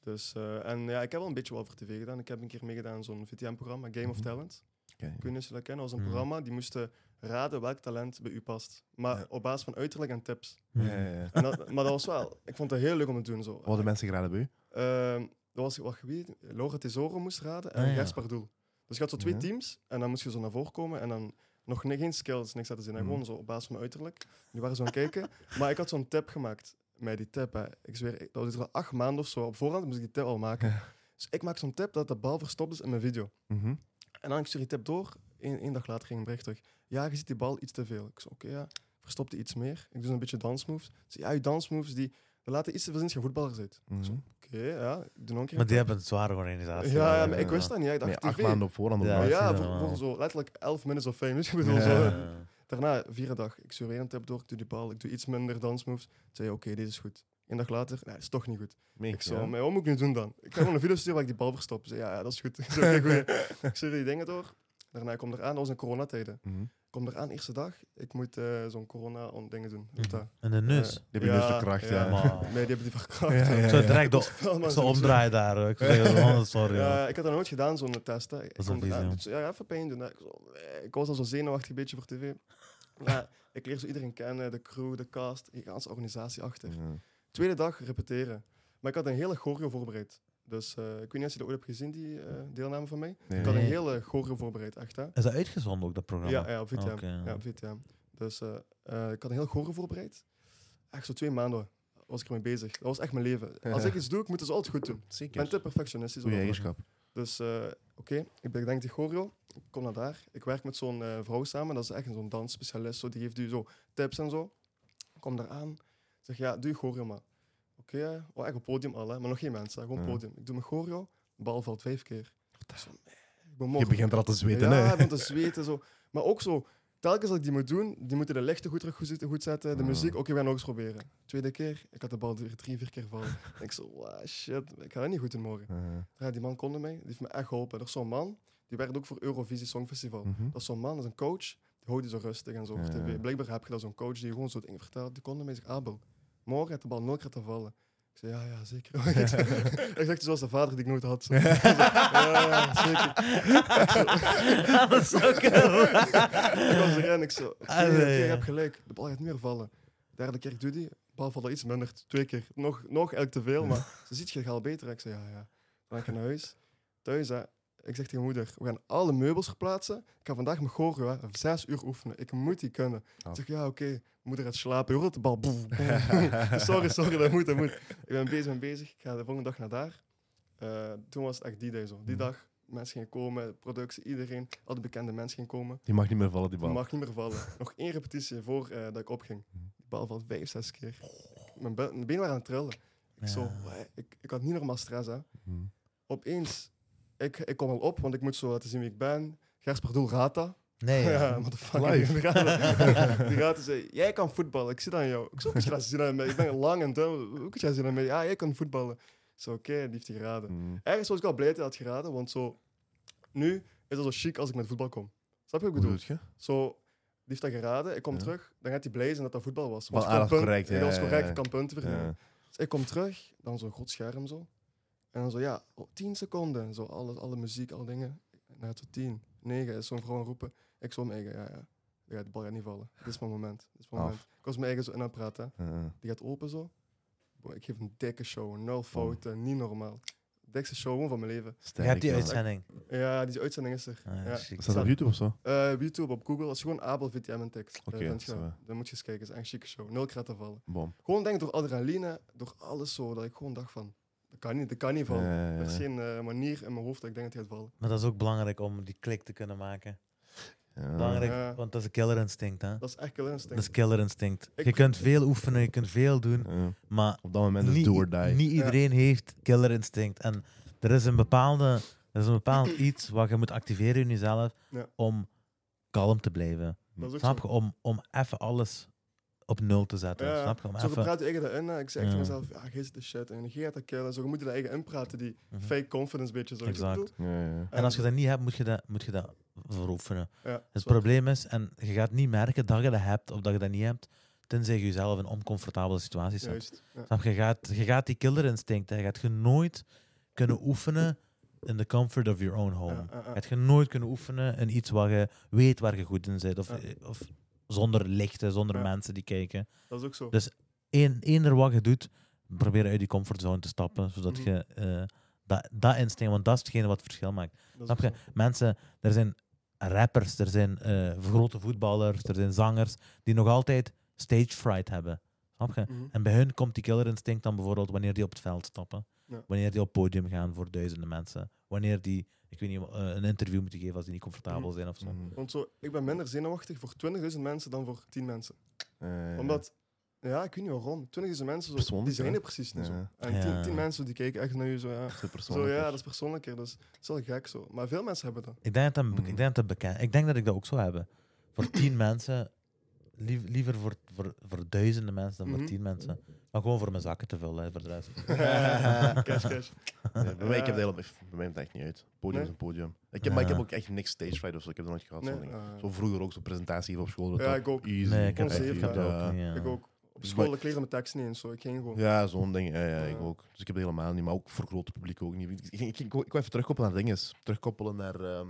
[SPEAKER 1] Dus, eh, en ja, ik heb wel een beetje wel voor tv gedaan. Ik heb een keer meegedaan aan zo'n VTM-programma, Game of
[SPEAKER 2] Mhm.
[SPEAKER 1] Talent.
[SPEAKER 2] Oké.
[SPEAKER 1] Ik weet niet of je dat kennen. Dat was
[SPEAKER 3] Mhm.
[SPEAKER 1] een programma die moesten raden welk talent bij u past. Maar
[SPEAKER 2] Ja.
[SPEAKER 1] op basis van uiterlijk en tips.
[SPEAKER 3] Hm.
[SPEAKER 2] Ja, ja, ja.
[SPEAKER 1] En dat, maar dat was wel... Ik vond het heel leuk om te doen. Zo.
[SPEAKER 2] Wat hadden mensen geraden bij u?
[SPEAKER 1] Ehm, dat was wat wie? Laura Tesoro moest raden en
[SPEAKER 3] Ah, ja.
[SPEAKER 1] Gaspar Doel. Dus je had zo twee
[SPEAKER 2] Ja.
[SPEAKER 1] teams en dan moest je zo naar voren komen en dan nog ni- geen skills, niks hadden ze in.
[SPEAKER 2] Mhm.
[SPEAKER 1] Gewoon zo op basis van mijn uiterlijk. Die waren zo aan het kijken. Maar ik had zo'n tip gemaakt. Met die tip, hè. ik zweer, ik- dat was al acht maanden of zo. Op voorhand moest ik die tip al maken. Dus ik maak zo'n tip dat de bal verstopt is in mijn video.
[SPEAKER 2] Mhm.
[SPEAKER 1] En dan ik stuur die tip door. Eén één dag later ging een bericht terug. Ja, je ziet die bal iets te veel. Ik zei, oké, ja. Verstopte iets meer. Ik doe zo'n beetje dansmoves. Ze zei, ja, je dansmoves die, die laten iets te veel zien als je voetballer bent.
[SPEAKER 2] Mhm.
[SPEAKER 1] Zo. Oké, ja. Ik doe nog een keer
[SPEAKER 3] Maar
[SPEAKER 1] een
[SPEAKER 3] die hebben een zware organisatie.
[SPEAKER 1] ja, ja,
[SPEAKER 2] ja,
[SPEAKER 1] maar ik
[SPEAKER 2] ja.
[SPEAKER 1] wist dat niet. Ik dacht,
[SPEAKER 2] Nee, acht
[SPEAKER 1] TV.
[SPEAKER 2] maanden op voorhand.
[SPEAKER 3] Ja.
[SPEAKER 1] Ja,
[SPEAKER 3] dat
[SPEAKER 2] opgemaakt.
[SPEAKER 3] is
[SPEAKER 1] voor, voor
[SPEAKER 3] niet
[SPEAKER 1] zo letterlijk elf minutes of fame. weet je, ik bedoel,
[SPEAKER 2] Ja.
[SPEAKER 1] zo. eh,
[SPEAKER 3] Ja.
[SPEAKER 1] Daarna, vierde dag, ik stuur weer een tip door, ik doe die bal, ik doe iets minder dansmoves. Ik zei, oké, dit is goed. Een dag later, nee, is toch niet goed.
[SPEAKER 2] Meen
[SPEAKER 1] Ik
[SPEAKER 2] je,
[SPEAKER 1] zo,
[SPEAKER 2] ja?
[SPEAKER 1] maar wat moet ik nu doen dan? Ik ga gewoon een video sturen waar ik die bal verstop. Ik zei, ja, ja, dat is goed. Ik zei, oké, goeie. ik stuur die dingen door. Daarna, ik kom eraan, dat was in coronatijden.
[SPEAKER 2] Mhm.
[SPEAKER 1] kom eraan, eerste dag. Ik moet eh, zo'n corona-dingen doen. Hoe heet dat?
[SPEAKER 3] En de nus.
[SPEAKER 1] Eh,
[SPEAKER 2] Mm. Die hebben dus verkracht, ja.
[SPEAKER 3] Maar-
[SPEAKER 1] Nee, die hebben die verkracht.
[SPEAKER 2] Ja, ja,
[SPEAKER 3] ik
[SPEAKER 2] ja.
[SPEAKER 3] zou direct
[SPEAKER 1] Dat
[SPEAKER 3] de,
[SPEAKER 1] is wel maar
[SPEAKER 3] ik zou
[SPEAKER 1] zo-
[SPEAKER 3] omdraaien daar. hoor. Ik zou zeggen, oh, sorry. hoor.
[SPEAKER 1] Ja, ik had dat nooit gedaan, zo'n test. Hè. Ik
[SPEAKER 3] is
[SPEAKER 1] kom
[SPEAKER 3] wel vies,
[SPEAKER 1] eraan,
[SPEAKER 3] ja.
[SPEAKER 1] dus, ja, even pijn doen. hè. Ik, zo, eh, ik was al zo zenuwachtig een beetje voor tv. Ja, ik leer zo iedereen kennen, de crew, de cast, de hele organisatie achter.
[SPEAKER 2] Ja.
[SPEAKER 1] Tweede dag repeteren. Maar ik had een hele choreo voorbereid. Dus eh, ik weet niet of je dat ooit hebt gezien, die eh, deelname van mij.
[SPEAKER 2] Nee.
[SPEAKER 1] Ik had een
[SPEAKER 3] Nee.
[SPEAKER 1] hele choreo voorbereid, echt hè.
[SPEAKER 3] Is dat uitgezonden ook, dat programma?
[SPEAKER 1] Ja, ja, op VTM.
[SPEAKER 3] Oké.
[SPEAKER 1] Ja, op VTM. Dus eh, eh, ik had een heel gore voorbereid. Echt zo twee maanden was ik ermee bezig. Dat was echt mijn leven. Als ik iets doe, ik moet het altijd goed doen. Ik ben
[SPEAKER 2] Zeker.
[SPEAKER 1] te perfectionistisch.
[SPEAKER 2] Goede
[SPEAKER 1] over.
[SPEAKER 2] eigenschap.
[SPEAKER 1] Dus eh, oké, ik bedenk die choreo. Ik kom naar daar. Ik werk met zo'n eh, vrouw samen. Dat is echt zo'n dansspecialist. Zo, die geeft u zo tips en zo. Ik kom daar aan. Ik zeg, ja, doe je choreo maar. Oké, eh, oh, echt op podium al, hè. maar nog geen mensen. hè. Gewoon
[SPEAKER 2] Ja.
[SPEAKER 1] podium. Ik doe mijn choreo. Bal valt vijf keer. Zo, eh, ik ben
[SPEAKER 2] Je
[SPEAKER 1] morgen
[SPEAKER 2] begint er al te zweten,
[SPEAKER 1] ja,
[SPEAKER 2] hè?
[SPEAKER 1] ik begon te zweten. Zo. Maar ook zo, telkens als ik die moet doen, die moeten de lichten goed terug goed zitten- goed zetten, de
[SPEAKER 2] Mm.
[SPEAKER 1] muziek. Oké, we gaan nog eens proberen. Tweede keer, ik had de bal drie, drie, vier keer vallen. En ik zo, wow, shit, ik ga dat niet goed doen morgen.
[SPEAKER 2] Ja.
[SPEAKER 1] Ja, die man konde mij, die heeft me echt geholpen. Er is zo'n man, die werkt ook voor Eurovisie Songfestival.
[SPEAKER 2] Mhm.
[SPEAKER 1] Dat is zo'n man, dat is een coach, die houdt je zo rustig en zo op
[SPEAKER 2] Ja.
[SPEAKER 1] tv. Blijkbaar heb je dat zo'n coach die gewoon zo dingen vertelt. Die konde mij, zegt, Abel, morgen gaat de bal nooit te vallen. Ik zei, ja, ja, zeker. ik zeg, zoals de vader die ik nooit had. Zo. ja, zeker.
[SPEAKER 3] dat is zo cool.
[SPEAKER 1] Ik was erin, ik zo. Oké,
[SPEAKER 3] Ah, nee,
[SPEAKER 1] oké,
[SPEAKER 3] ja.
[SPEAKER 1] je hebt gelijk. De bal gaat niet meer vallen. Derde keer ik doe die, de bal valt al iets minder. Twee keer. Nog, nog elk te veel, maar ze ziet je gaat al beter. Ik zei, ja, ja. Dan ga ik naar huis. Thuis, hè. Ik zeg tegen moeder, we gaan alle meubels verplaatsen. Ik ga vandaag mijn choreo, hè, zes uur oefenen. Ik moet die kunnen.
[SPEAKER 3] Oh.
[SPEAKER 2] Ja.
[SPEAKER 1] Ik zeg, ja, oké. Moeder gaat slapen. Je hoort de bal. boem, boem. sorry, sorry, dat moet, dat moet. Ik ben bezig, ben bezig. Ik ga de volgende dag naar daar. Eh, toen was het echt die dag zo. Die dag, mensen gingen komen, productie, iedereen. Al de bekende mensen gingen komen.
[SPEAKER 2] Die mag niet meer vallen, die
[SPEAKER 1] Die
[SPEAKER 2] bal.
[SPEAKER 1] mag niet meer vallen. Nog één repetitie voor eh, dat ik opging. Die bal valt vijf, zes keer. Ik- Mijn, be- mijn benen waren aan het trillen. Ik, zo,
[SPEAKER 3] Ja.
[SPEAKER 1] "Wai." ik, ik had niet normaal stress. Hè.
[SPEAKER 2] Mhm.
[SPEAKER 1] Opeens, ik, ik kom al op, want ik moet zo laten zien wie ik ben. Gers Pardoel raadt dat.
[SPEAKER 3] Nee, ja.
[SPEAKER 1] Ja, motherfucker.
[SPEAKER 2] Live.
[SPEAKER 1] Die raad- Die raad zei, jij kan voetballen. Ik zit aan jou. Ik zo, "Hoe kun je dat zien aan mij? Ik ben lang en dun. Hoe kun je dat zien aan mij? Ja, jij kan voetballen. Ik zei, oké, die heeft hij geraden.
[SPEAKER 2] Mhm.
[SPEAKER 1] Ergens was ik al blij dat hij had geraden, want zo... Nu is het zo chic als ik met voetbal kom. Snap je wat ik bedoel?
[SPEAKER 2] Hoe doet je?
[SPEAKER 1] Zo, die heeft dat geraden, ik kom
[SPEAKER 2] Ja.
[SPEAKER 1] terug, dan gaat hij blij zijn dat dat voetbal was.
[SPEAKER 2] Wel
[SPEAKER 1] ik kan
[SPEAKER 2] aardig
[SPEAKER 1] punt-
[SPEAKER 2] correct, ja,
[SPEAKER 1] Dat is
[SPEAKER 2] ja,
[SPEAKER 1] correct,
[SPEAKER 2] ja.
[SPEAKER 1] ik kan punten verdienen.
[SPEAKER 2] Ja.
[SPEAKER 1] Dus ik kom terug, dan zo'n groot scherm zo. En dan zo, ja, oh, 10 seconden, zo alles, alle muziek, alle dingen. Na tot 10, 9 is zo'n vrouw aan het roepen. Ik zo mijn eigen, ja, ja. Die gaat- De bal gaat niet vallen. Dit is mijn moment. Dit is mijn
[SPEAKER 2] Af.
[SPEAKER 1] moment. Ik was mijn eigen zo in aan het praten. hè.
[SPEAKER 2] Ja.
[SPEAKER 1] Die gaat open zo. Boy, ik geef een dikke show,
[SPEAKER 2] Oh.
[SPEAKER 1] nul fouten, niet normaal. Dikste show gewoon van mijn leven.
[SPEAKER 3] Je
[SPEAKER 2] Sterk,
[SPEAKER 3] hebt die
[SPEAKER 2] man.
[SPEAKER 3] uitzending.
[SPEAKER 1] Ja, die uitzending is er.
[SPEAKER 3] Ah,
[SPEAKER 1] Ja.
[SPEAKER 3] chic.
[SPEAKER 2] Is dat op YouTube of zo?
[SPEAKER 1] Eh, op YouTube, op Google, als je gewoon Abel VTM en tekst.
[SPEAKER 2] Oké,
[SPEAKER 1] dan,
[SPEAKER 2] dat is wel-
[SPEAKER 1] dan moet je eens kijken, het is echt een chique show. Nul kratten vallen.
[SPEAKER 2] Bom.
[SPEAKER 1] Gewoon denk ik door adrenaline, door alles zo, dat ik gewoon dacht van, dat kan niet, dat kan niet vallen.
[SPEAKER 2] Ja, ja, ja.
[SPEAKER 1] Er is geen eh, manier in mijn hoofd dat ik denk dat hij gaat vallen.
[SPEAKER 3] Maar dat is ook belangrijk om die klik te kunnen maken.
[SPEAKER 2] Ja.
[SPEAKER 3] Belangrijk,
[SPEAKER 1] Ja.
[SPEAKER 3] want dat is een killer instinct. Hè?
[SPEAKER 1] Dat is echt killer
[SPEAKER 3] Dat
[SPEAKER 1] instinct.
[SPEAKER 3] is killer instinct.
[SPEAKER 1] Ik-
[SPEAKER 3] Je kunt veel oefenen, je kunt veel doen,
[SPEAKER 2] Ja.
[SPEAKER 3] maar
[SPEAKER 2] Op dat moment is
[SPEAKER 3] niet,
[SPEAKER 2] do or die.
[SPEAKER 3] niet iedereen heeft killer instinct. En er is een, bepaalde, er is een bepaald iets wat je moet activeren in jezelf
[SPEAKER 1] Ja.
[SPEAKER 3] om kalm te blijven.
[SPEAKER 1] Dat is ook
[SPEAKER 3] Snap
[SPEAKER 1] zo.
[SPEAKER 3] je? Om, om even alles op nul te zetten.
[SPEAKER 1] Ja,
[SPEAKER 3] Snap je? Om
[SPEAKER 1] Zo
[SPEAKER 3] even...
[SPEAKER 1] praat je eigen dat in. eh, Ik zeg
[SPEAKER 3] Ja.
[SPEAKER 1] tegen mezelf, ja, geest de shit. En je gaat dat killen. Zo, je moet je dat eigen inpraten, die
[SPEAKER 3] Mhm.
[SPEAKER 1] fake confidence beetje. Zo, weet je wat ik
[SPEAKER 3] Exact.
[SPEAKER 2] Ja, ja, ja.
[SPEAKER 1] bedoel?
[SPEAKER 3] En als je dat niet hebt, moet je dat, moet je dat voor oefenen.
[SPEAKER 1] ja,
[SPEAKER 3] Het
[SPEAKER 1] zo.
[SPEAKER 3] probleem is, en je gaat niet merken dat je dat hebt of dat je dat niet hebt, tenzij je jezelf in oncomfortabele situaties zet.
[SPEAKER 1] Juist. Ja.
[SPEAKER 3] Snap je? Je gaat, je gaat die killerinstinct, hè, je gaat je nooit kunnen oefenen in the comfort of your own home.
[SPEAKER 1] Ja, ja, ja.
[SPEAKER 3] Je gaat je nooit kunnen oefenen in iets waar je weet waar je goed in zit. Of,
[SPEAKER 1] Ja.
[SPEAKER 3] of zonder lichten, zonder
[SPEAKER 1] Ja.
[SPEAKER 3] mensen die kijken.
[SPEAKER 1] Dat is ook zo.
[SPEAKER 3] Dus- Eén, eender wat je doet, probeer uit die comfortzone te stappen, zodat
[SPEAKER 1] Mhm.
[SPEAKER 3] je eh, dat, dat instinct, want dat is hetgene wat het verschil maakt.
[SPEAKER 1] Dat is
[SPEAKER 3] Snap
[SPEAKER 1] ook
[SPEAKER 3] je?
[SPEAKER 1] zo.
[SPEAKER 3] Mensen, er zijn rappers, er zijn eh, grote voetballers, er zijn zangers die nog altijd stage fright hebben. Snap je?
[SPEAKER 1] Mhm.
[SPEAKER 3] En bij hun komt die killer instinct dan bijvoorbeeld wanneer die op het veld stappen.
[SPEAKER 1] Ja.
[SPEAKER 3] Wanneer die op het podium gaan voor duizenden mensen. Wanneer die, ik weet niet, eh, een interview moeten geven als die niet comfortabel
[SPEAKER 1] Mhm.
[SPEAKER 3] zijn of zo.
[SPEAKER 2] Mhm.
[SPEAKER 1] Want zo, ik ben minder zenuwachtig voor 20.000 mensen dan voor 10 mensen.
[SPEAKER 2] Ja, ja.
[SPEAKER 1] Omdat, ja, ik weet niet waarom. 20.000 mensen, zo,
[SPEAKER 2] Persoonlijk,
[SPEAKER 1] die zijn
[SPEAKER 2] hè?
[SPEAKER 1] er precies niet
[SPEAKER 2] Ja.
[SPEAKER 1] zo. En 10
[SPEAKER 3] Ja.
[SPEAKER 1] tien mensen die kijken echt naar je zo, ja.
[SPEAKER 2] Dat is de persoon.
[SPEAKER 1] Zo, ja, dat is persoonlijker, dus dat is wel gek zo. Maar veel mensen hebben dat.
[SPEAKER 3] Ik, denk dat dat,
[SPEAKER 2] Mhm.
[SPEAKER 3] ik denk dat dat bekend Ik denk dat ik dat ook zou hebben. Voor tien mensen lief- liever voor, voor, voor duizenden mensen dan
[SPEAKER 1] Mhm.
[SPEAKER 3] voor tien mensen. Maar gewoon voor mijn zakken te vullen, hè, voor de rest.
[SPEAKER 1] cash, cash.
[SPEAKER 2] Nee, bij, mij, ik heb dat helemaal, bij mij komt het echt niet uit. Podium
[SPEAKER 1] Nee?
[SPEAKER 2] is een podium. Ik heb, Maar ik heb
[SPEAKER 3] Ja.
[SPEAKER 2] ook echt niks stage fright of zo. Ik heb dat nooit gehad.
[SPEAKER 1] Nee,
[SPEAKER 2] zo'n dingen.
[SPEAKER 1] eh,
[SPEAKER 2] Zo vroeger ook zo'n presentatie op school. dat
[SPEAKER 1] Ja,
[SPEAKER 2] dat
[SPEAKER 1] ik ook.
[SPEAKER 2] Easy.
[SPEAKER 3] Nee, ik heb, echt-
[SPEAKER 1] Onzeker,
[SPEAKER 3] ik heb dat
[SPEAKER 2] ja.
[SPEAKER 3] ook niet. ja.
[SPEAKER 1] Ik ook. Op
[SPEAKER 2] Dus
[SPEAKER 1] school,
[SPEAKER 2] maar-
[SPEAKER 1] ik leerde mijn tekst niet eens. Zo. Ik ging gewoon.
[SPEAKER 2] Ja, zo'n ding. Ja, ja, ik
[SPEAKER 1] Ja.
[SPEAKER 2] ook. Dus ik heb het helemaal niet, maar ook voor grote publiek ook niet. Ik, ik, ik, ik wou even terugkoppelen naar dingen. Terugkoppelen naar... ehm,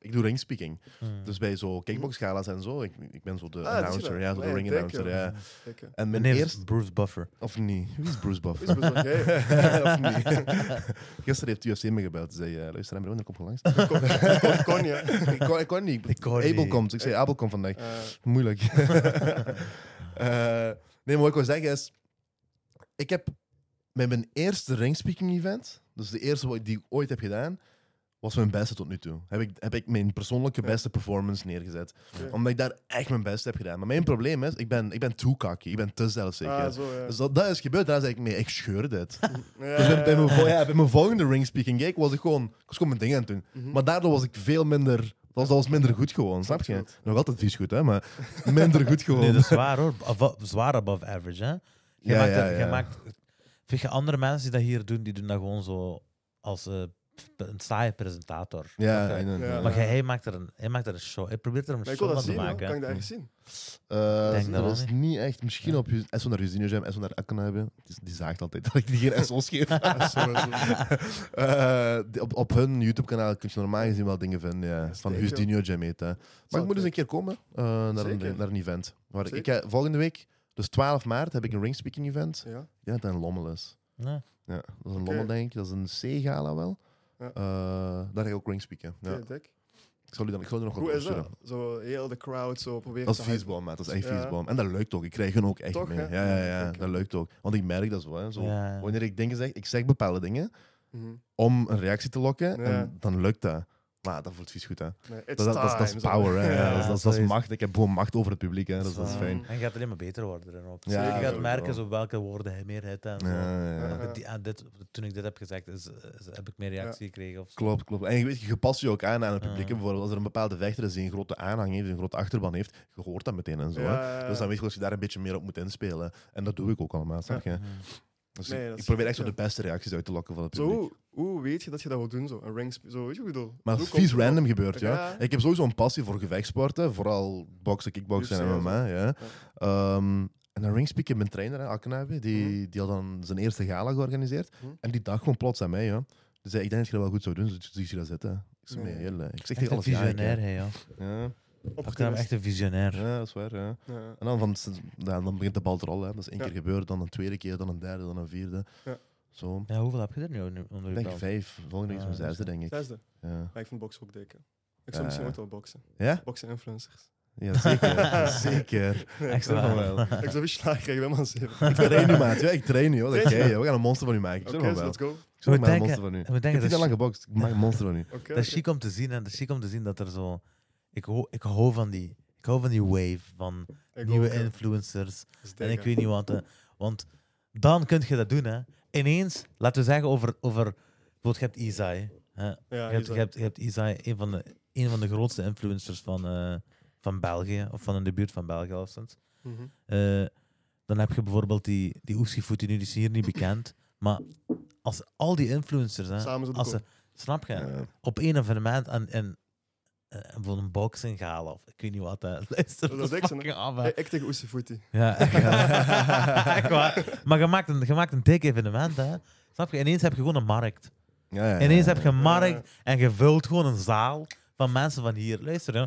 [SPEAKER 2] ik doe ringspeaking.
[SPEAKER 3] Hmm.
[SPEAKER 2] Dus bij zo kickboxgala's en zo. Ik, ik ben zo de
[SPEAKER 1] Ah, dat is
[SPEAKER 2] announcer.
[SPEAKER 1] wel-
[SPEAKER 2] Ja, zo de
[SPEAKER 1] nee,
[SPEAKER 2] ring
[SPEAKER 1] kijk,
[SPEAKER 2] announcer.
[SPEAKER 1] joh.
[SPEAKER 2] Ja.
[SPEAKER 1] Kijk, eh.
[SPEAKER 2] En mijn
[SPEAKER 3] Meneer
[SPEAKER 2] eerste...
[SPEAKER 3] Bruce Buffer.
[SPEAKER 2] Of niet? Wie is Bruce Buff?
[SPEAKER 1] Wie is Bruce Buff?
[SPEAKER 2] of niet? Gisteren heeft UFC me gebeld. Ze zei, eh, luister Emre, wanneer kom je langs?
[SPEAKER 1] Ik kon- ik kon- ik kon niet, hè.
[SPEAKER 2] ik, kon, ik kon niet.
[SPEAKER 3] Ik kon
[SPEAKER 2] Abel
[SPEAKER 3] niet.
[SPEAKER 2] komt. Ik zei, Abel komt vandaag.
[SPEAKER 1] Eh,
[SPEAKER 2] Moeilijk. Eh, nee, maar wat ik wil zeggen is... Ik heb met mijn eerste ringspeaking event, dus de eerste wat- die ik ooit heb gedaan, was mijn beste tot nu toe. Heb ik, heb ik mijn persoonlijke
[SPEAKER 1] Ja.
[SPEAKER 2] beste performance neergezet.
[SPEAKER 1] Ja.
[SPEAKER 2] Omdat ik daar echt mijn best heb gedaan. Maar mijn probleem is, ik ben, ik ben too cocky. Ik ben te zelfzeker.
[SPEAKER 1] ah, zo, ja.
[SPEAKER 2] Dus dat, dat is gebeurd. Daar zei ik, nee, ik scheur dit.
[SPEAKER 1] Ja,
[SPEAKER 2] Dus bij, bij
[SPEAKER 1] ja,
[SPEAKER 2] mijn,
[SPEAKER 3] Eh.
[SPEAKER 2] vol- ja, bij mijn volgende ringspeaking gig was ik gewoon, ik was gewoon mijn ding aan het doen.
[SPEAKER 1] Mhm.
[SPEAKER 2] Maar daardoor was ik veel minder. Dat was, dat was minder goed gewoon, snap je?
[SPEAKER 1] Klopt.
[SPEAKER 2] Nog altijd vies goed, hè? Maar minder goed gewoon.
[SPEAKER 3] Nee, dat is zwaar hoor. Abo- zwaar above average, hè? Je
[SPEAKER 2] Ja,
[SPEAKER 3] maakt,
[SPEAKER 2] ja,
[SPEAKER 3] er-
[SPEAKER 2] ja.
[SPEAKER 3] Je maakt, vind je andere mensen die dat hier doen, die doen dat gewoon zo als eh, een saaie presentator.
[SPEAKER 2] Ja,
[SPEAKER 3] Oké.
[SPEAKER 2] I know,
[SPEAKER 1] Ja.
[SPEAKER 3] Maar
[SPEAKER 2] ja.
[SPEAKER 3] jij, hij, maakt er een, hij maakt er een show. Hij probeert er een
[SPEAKER 1] Maar ik wil
[SPEAKER 3] show
[SPEAKER 1] dat
[SPEAKER 3] van te
[SPEAKER 1] zien, hoor.
[SPEAKER 3] maken.
[SPEAKER 1] kan ik
[SPEAKER 3] hè.
[SPEAKER 1] dat ergens zien?
[SPEAKER 2] Eh,
[SPEAKER 3] Denk dat
[SPEAKER 2] dat
[SPEAKER 3] wel,
[SPEAKER 2] is
[SPEAKER 3] hè.
[SPEAKER 2] niet echt. Misschien op op SO naar Ruzino Jam, SO naar Akana hebben. Die, die zaagt altijd dat ik die geen SO's geef. Eh, die- op, op hun YouTube-kanaal kun je normaal gezien wel dingen vinden. Ja. Van
[SPEAKER 1] Zeker.
[SPEAKER 2] Husdinio Jam heet. hè. Maar
[SPEAKER 1] Zou
[SPEAKER 2] ik moet eens een
[SPEAKER 1] het-
[SPEAKER 2] keer komen eh, naar,
[SPEAKER 1] Zeker.
[SPEAKER 2] een, naar een event. Waar ik, ik
[SPEAKER 1] Zeker.
[SPEAKER 2] heb- volgende week, dus 12 maart, heb ik een ringspeaking event.
[SPEAKER 1] Ja.
[SPEAKER 2] Ik denk dat dat in Lommel is.
[SPEAKER 3] Ja.
[SPEAKER 2] Ja, dat is een
[SPEAKER 1] Oké.
[SPEAKER 2] lommel, denk ik. Dat is een C-gala wel.
[SPEAKER 1] Ja.
[SPEAKER 2] Eh, daar ga ik ook ringspeaken. Ja.
[SPEAKER 1] Oké, dik.
[SPEAKER 2] Ik zal u dan, ik zal u nog wat
[SPEAKER 1] Hoe is
[SPEAKER 2] opsturen.
[SPEAKER 1] dat? Zo heel de crowd zo proberen
[SPEAKER 2] Dat is
[SPEAKER 1] te hypen.
[SPEAKER 2] viesboom, man. Dat is echt
[SPEAKER 1] Ja.
[SPEAKER 2] viesboom. En dat lukt ook. Ik krijg hun ook echt
[SPEAKER 1] Toch,
[SPEAKER 2] mee.
[SPEAKER 1] hè?
[SPEAKER 2] Ja, ja, ja.
[SPEAKER 1] Ja, oké.
[SPEAKER 2] Dat lukt ook. Want ik merk dat zo. Hè. zo
[SPEAKER 3] Ja.
[SPEAKER 2] Wanneer ik dingen zeg, ik zeg bepaalde dingen
[SPEAKER 1] Mhm.
[SPEAKER 2] om een reactie te lokken.
[SPEAKER 1] Ja.
[SPEAKER 2] En dan lukt dat. Maar dat voelt vies goed, hè.
[SPEAKER 1] Nee,
[SPEAKER 2] Dat, dat, dat, dat is power, hè. Ja, dat, is- dat, is- dat is
[SPEAKER 3] sowieso.
[SPEAKER 2] macht. Ik heb gewoon macht over het publiek, hè. Dat, is- dat is
[SPEAKER 3] Zwaar.
[SPEAKER 2] fijn.
[SPEAKER 1] Mm.
[SPEAKER 3] En je gaat alleen maar beter worden. erin ook.
[SPEAKER 2] Ja,
[SPEAKER 3] je gaat
[SPEAKER 2] sowieso.
[SPEAKER 3] merken zo welke woorden hij meer hebt. En zo.
[SPEAKER 2] Ja, ja, ja.
[SPEAKER 1] Ja.
[SPEAKER 3] Die- ah, dit, toen ik dit heb gezegd, is, is- heb ik meer reactie gekregen. Of zo.
[SPEAKER 2] Klopt, klopt. En je, weet, je past je ook aan aan het publiek.
[SPEAKER 3] Ja.
[SPEAKER 2] hè. Bijvoorbeeld als er een bepaalde vechter is die een grote aanhang heeft, een grote achterban heeft, je hoort dat meteen en zo. hè. Dus dan weet je dat je daar een beetje meer op moet inspelen. En dat doe ik ook allemaal, snap je?
[SPEAKER 3] Mhm.
[SPEAKER 2] Dus
[SPEAKER 1] Nee,
[SPEAKER 2] ik-
[SPEAKER 1] dat
[SPEAKER 2] ik
[SPEAKER 1] is
[SPEAKER 2] probeer
[SPEAKER 1] goed,
[SPEAKER 2] echt zo
[SPEAKER 1] ja.
[SPEAKER 2] de beste reacties uit te lokken van het
[SPEAKER 1] Zo,
[SPEAKER 2] publiek.
[SPEAKER 1] hoe, hoe weet je dat je dat wil doen? Zo? Een ring, zo, weet je hoe ik bedoel?
[SPEAKER 2] Maar
[SPEAKER 1] Hoe
[SPEAKER 2] het is
[SPEAKER 1] komt
[SPEAKER 2] vies
[SPEAKER 1] het?
[SPEAKER 2] random gebeurt, ja.
[SPEAKER 1] Ja.
[SPEAKER 2] Ik heb sowieso een passie voor gevechtsporten, vooral boksen, kickboksen
[SPEAKER 1] UFC
[SPEAKER 2] en
[SPEAKER 1] en
[SPEAKER 2] MMA, ja. Ehm, en dan ringspeak ik mijn trainer, hè, Aknabi, die, die had dan zijn eerste gala georganiseerd.
[SPEAKER 1] Mhm.
[SPEAKER 2] En die dacht gewoon plots aan mij, ja. Die zei, ik denk dat je dat wel goed zou doen, dus zie je dat zitten. Ik zei,
[SPEAKER 1] Nee.
[SPEAKER 2] "Nee, heel, eh, ik zeg
[SPEAKER 3] Echt
[SPEAKER 2] tegen
[SPEAKER 3] een
[SPEAKER 2] alles ja. ik, hè."
[SPEAKER 3] visionair, hij, joh.
[SPEAKER 2] Ja,
[SPEAKER 3] Achteraan
[SPEAKER 1] Opportunist.
[SPEAKER 3] nou echt een visionair.
[SPEAKER 2] ja, dat is waar, ja.
[SPEAKER 1] Ja.
[SPEAKER 2] En dan, van, ja, dan begint de bal te rollen. Hè. Dat is één
[SPEAKER 1] Ja.
[SPEAKER 2] keer gebeurd, dan een tweede keer, dan een derde, dan een vierde.
[SPEAKER 1] Ja.
[SPEAKER 2] Zo.
[SPEAKER 3] Ja, Ah, dus- hoeveel heb je er nu onder- onder
[SPEAKER 2] Ik
[SPEAKER 3] je
[SPEAKER 2] denk
[SPEAKER 3] belt?
[SPEAKER 2] vijf. Volgende week is
[SPEAKER 3] Ja,
[SPEAKER 2] mijn zesde,
[SPEAKER 3] dat
[SPEAKER 2] denk ik.
[SPEAKER 1] Zesde.
[SPEAKER 2] Ja,
[SPEAKER 1] Maar ik vind boksen ook dik. hè. Ik zou
[SPEAKER 2] Ja.
[SPEAKER 1] misschien ooit wel boksen.
[SPEAKER 2] ja?
[SPEAKER 1] Boksen influencers.
[SPEAKER 2] ja zeker. zeker.
[SPEAKER 3] Extra.
[SPEAKER 2] Zeg maar wel.
[SPEAKER 1] Ik zou weer slaag krijgen, helemaal zeven.
[SPEAKER 2] Ik train nu, maat. Ja, ik train nu. Hoor. Dat
[SPEAKER 1] Train je?
[SPEAKER 2] jij, joh. We gaan een monster van u maken. Ik
[SPEAKER 1] Oké,
[SPEAKER 2] zeg maar
[SPEAKER 1] so
[SPEAKER 2] wel.
[SPEAKER 1] let's go.
[SPEAKER 2] Ik zeg
[SPEAKER 3] We
[SPEAKER 2] maar een
[SPEAKER 3] denken-
[SPEAKER 2] monster van u. Ik
[SPEAKER 3] En we denken
[SPEAKER 2] heb
[SPEAKER 3] dat is-
[SPEAKER 2] niet lang gebokst. Ik maak een monster van u.
[SPEAKER 1] Oké,
[SPEAKER 3] Dat is
[SPEAKER 1] oké.
[SPEAKER 3] chic om te zien, en dat is chic om te zien dat er zo. Ik, ho ik hou van die. Ik hou van die wave van
[SPEAKER 1] Ik
[SPEAKER 3] nieuwe
[SPEAKER 1] ook, ja.
[SPEAKER 3] influencers.
[SPEAKER 1] Dat is
[SPEAKER 3] En
[SPEAKER 1] dik,
[SPEAKER 3] ik
[SPEAKER 1] hè.
[SPEAKER 3] weet niet wat. eh, Want dan kun je dat doen, hè? Ineens, laten we zeggen over. over bijvoorbeeld, je hebt Isai. Hè?
[SPEAKER 1] Ja,
[SPEAKER 3] je, hebt,
[SPEAKER 1] Isa.
[SPEAKER 3] je, hebt, je hebt Isai, een van de, een van de grootste influencers van, eh, van België. Of van in de buurt van België, afstand.
[SPEAKER 1] Mhm.
[SPEAKER 3] Eh, dan heb je bijvoorbeeld die, die Oeschifoet, die nu die is hier niet bekend. Maar als al die influencers, hè,
[SPEAKER 1] Samen zo de
[SPEAKER 3] eh, als
[SPEAKER 1] kop.
[SPEAKER 3] ze, snap je,
[SPEAKER 2] Ja.
[SPEAKER 3] op één evenement en, en, eh, bijvoorbeeld een boxing gala of ik weet niet wat, hè. luister,
[SPEAKER 1] Dat is
[SPEAKER 3] dat is
[SPEAKER 1] niks, hè. Eh.
[SPEAKER 3] fucking af, hè.
[SPEAKER 1] Hey, Ik tegen Oesie Footy.
[SPEAKER 3] Ja, echt, waar. Echt waar. Maar je maakt een, je maakt een dik evenement, hè. Snap je? Ineens heb je gewoon een markt.
[SPEAKER 2] Ja, ja,
[SPEAKER 3] Ineens
[SPEAKER 2] ja.
[SPEAKER 3] heb je
[SPEAKER 1] Eh.
[SPEAKER 3] een markt en je vult gewoon een zaal van mensen van hier. Luister, hè.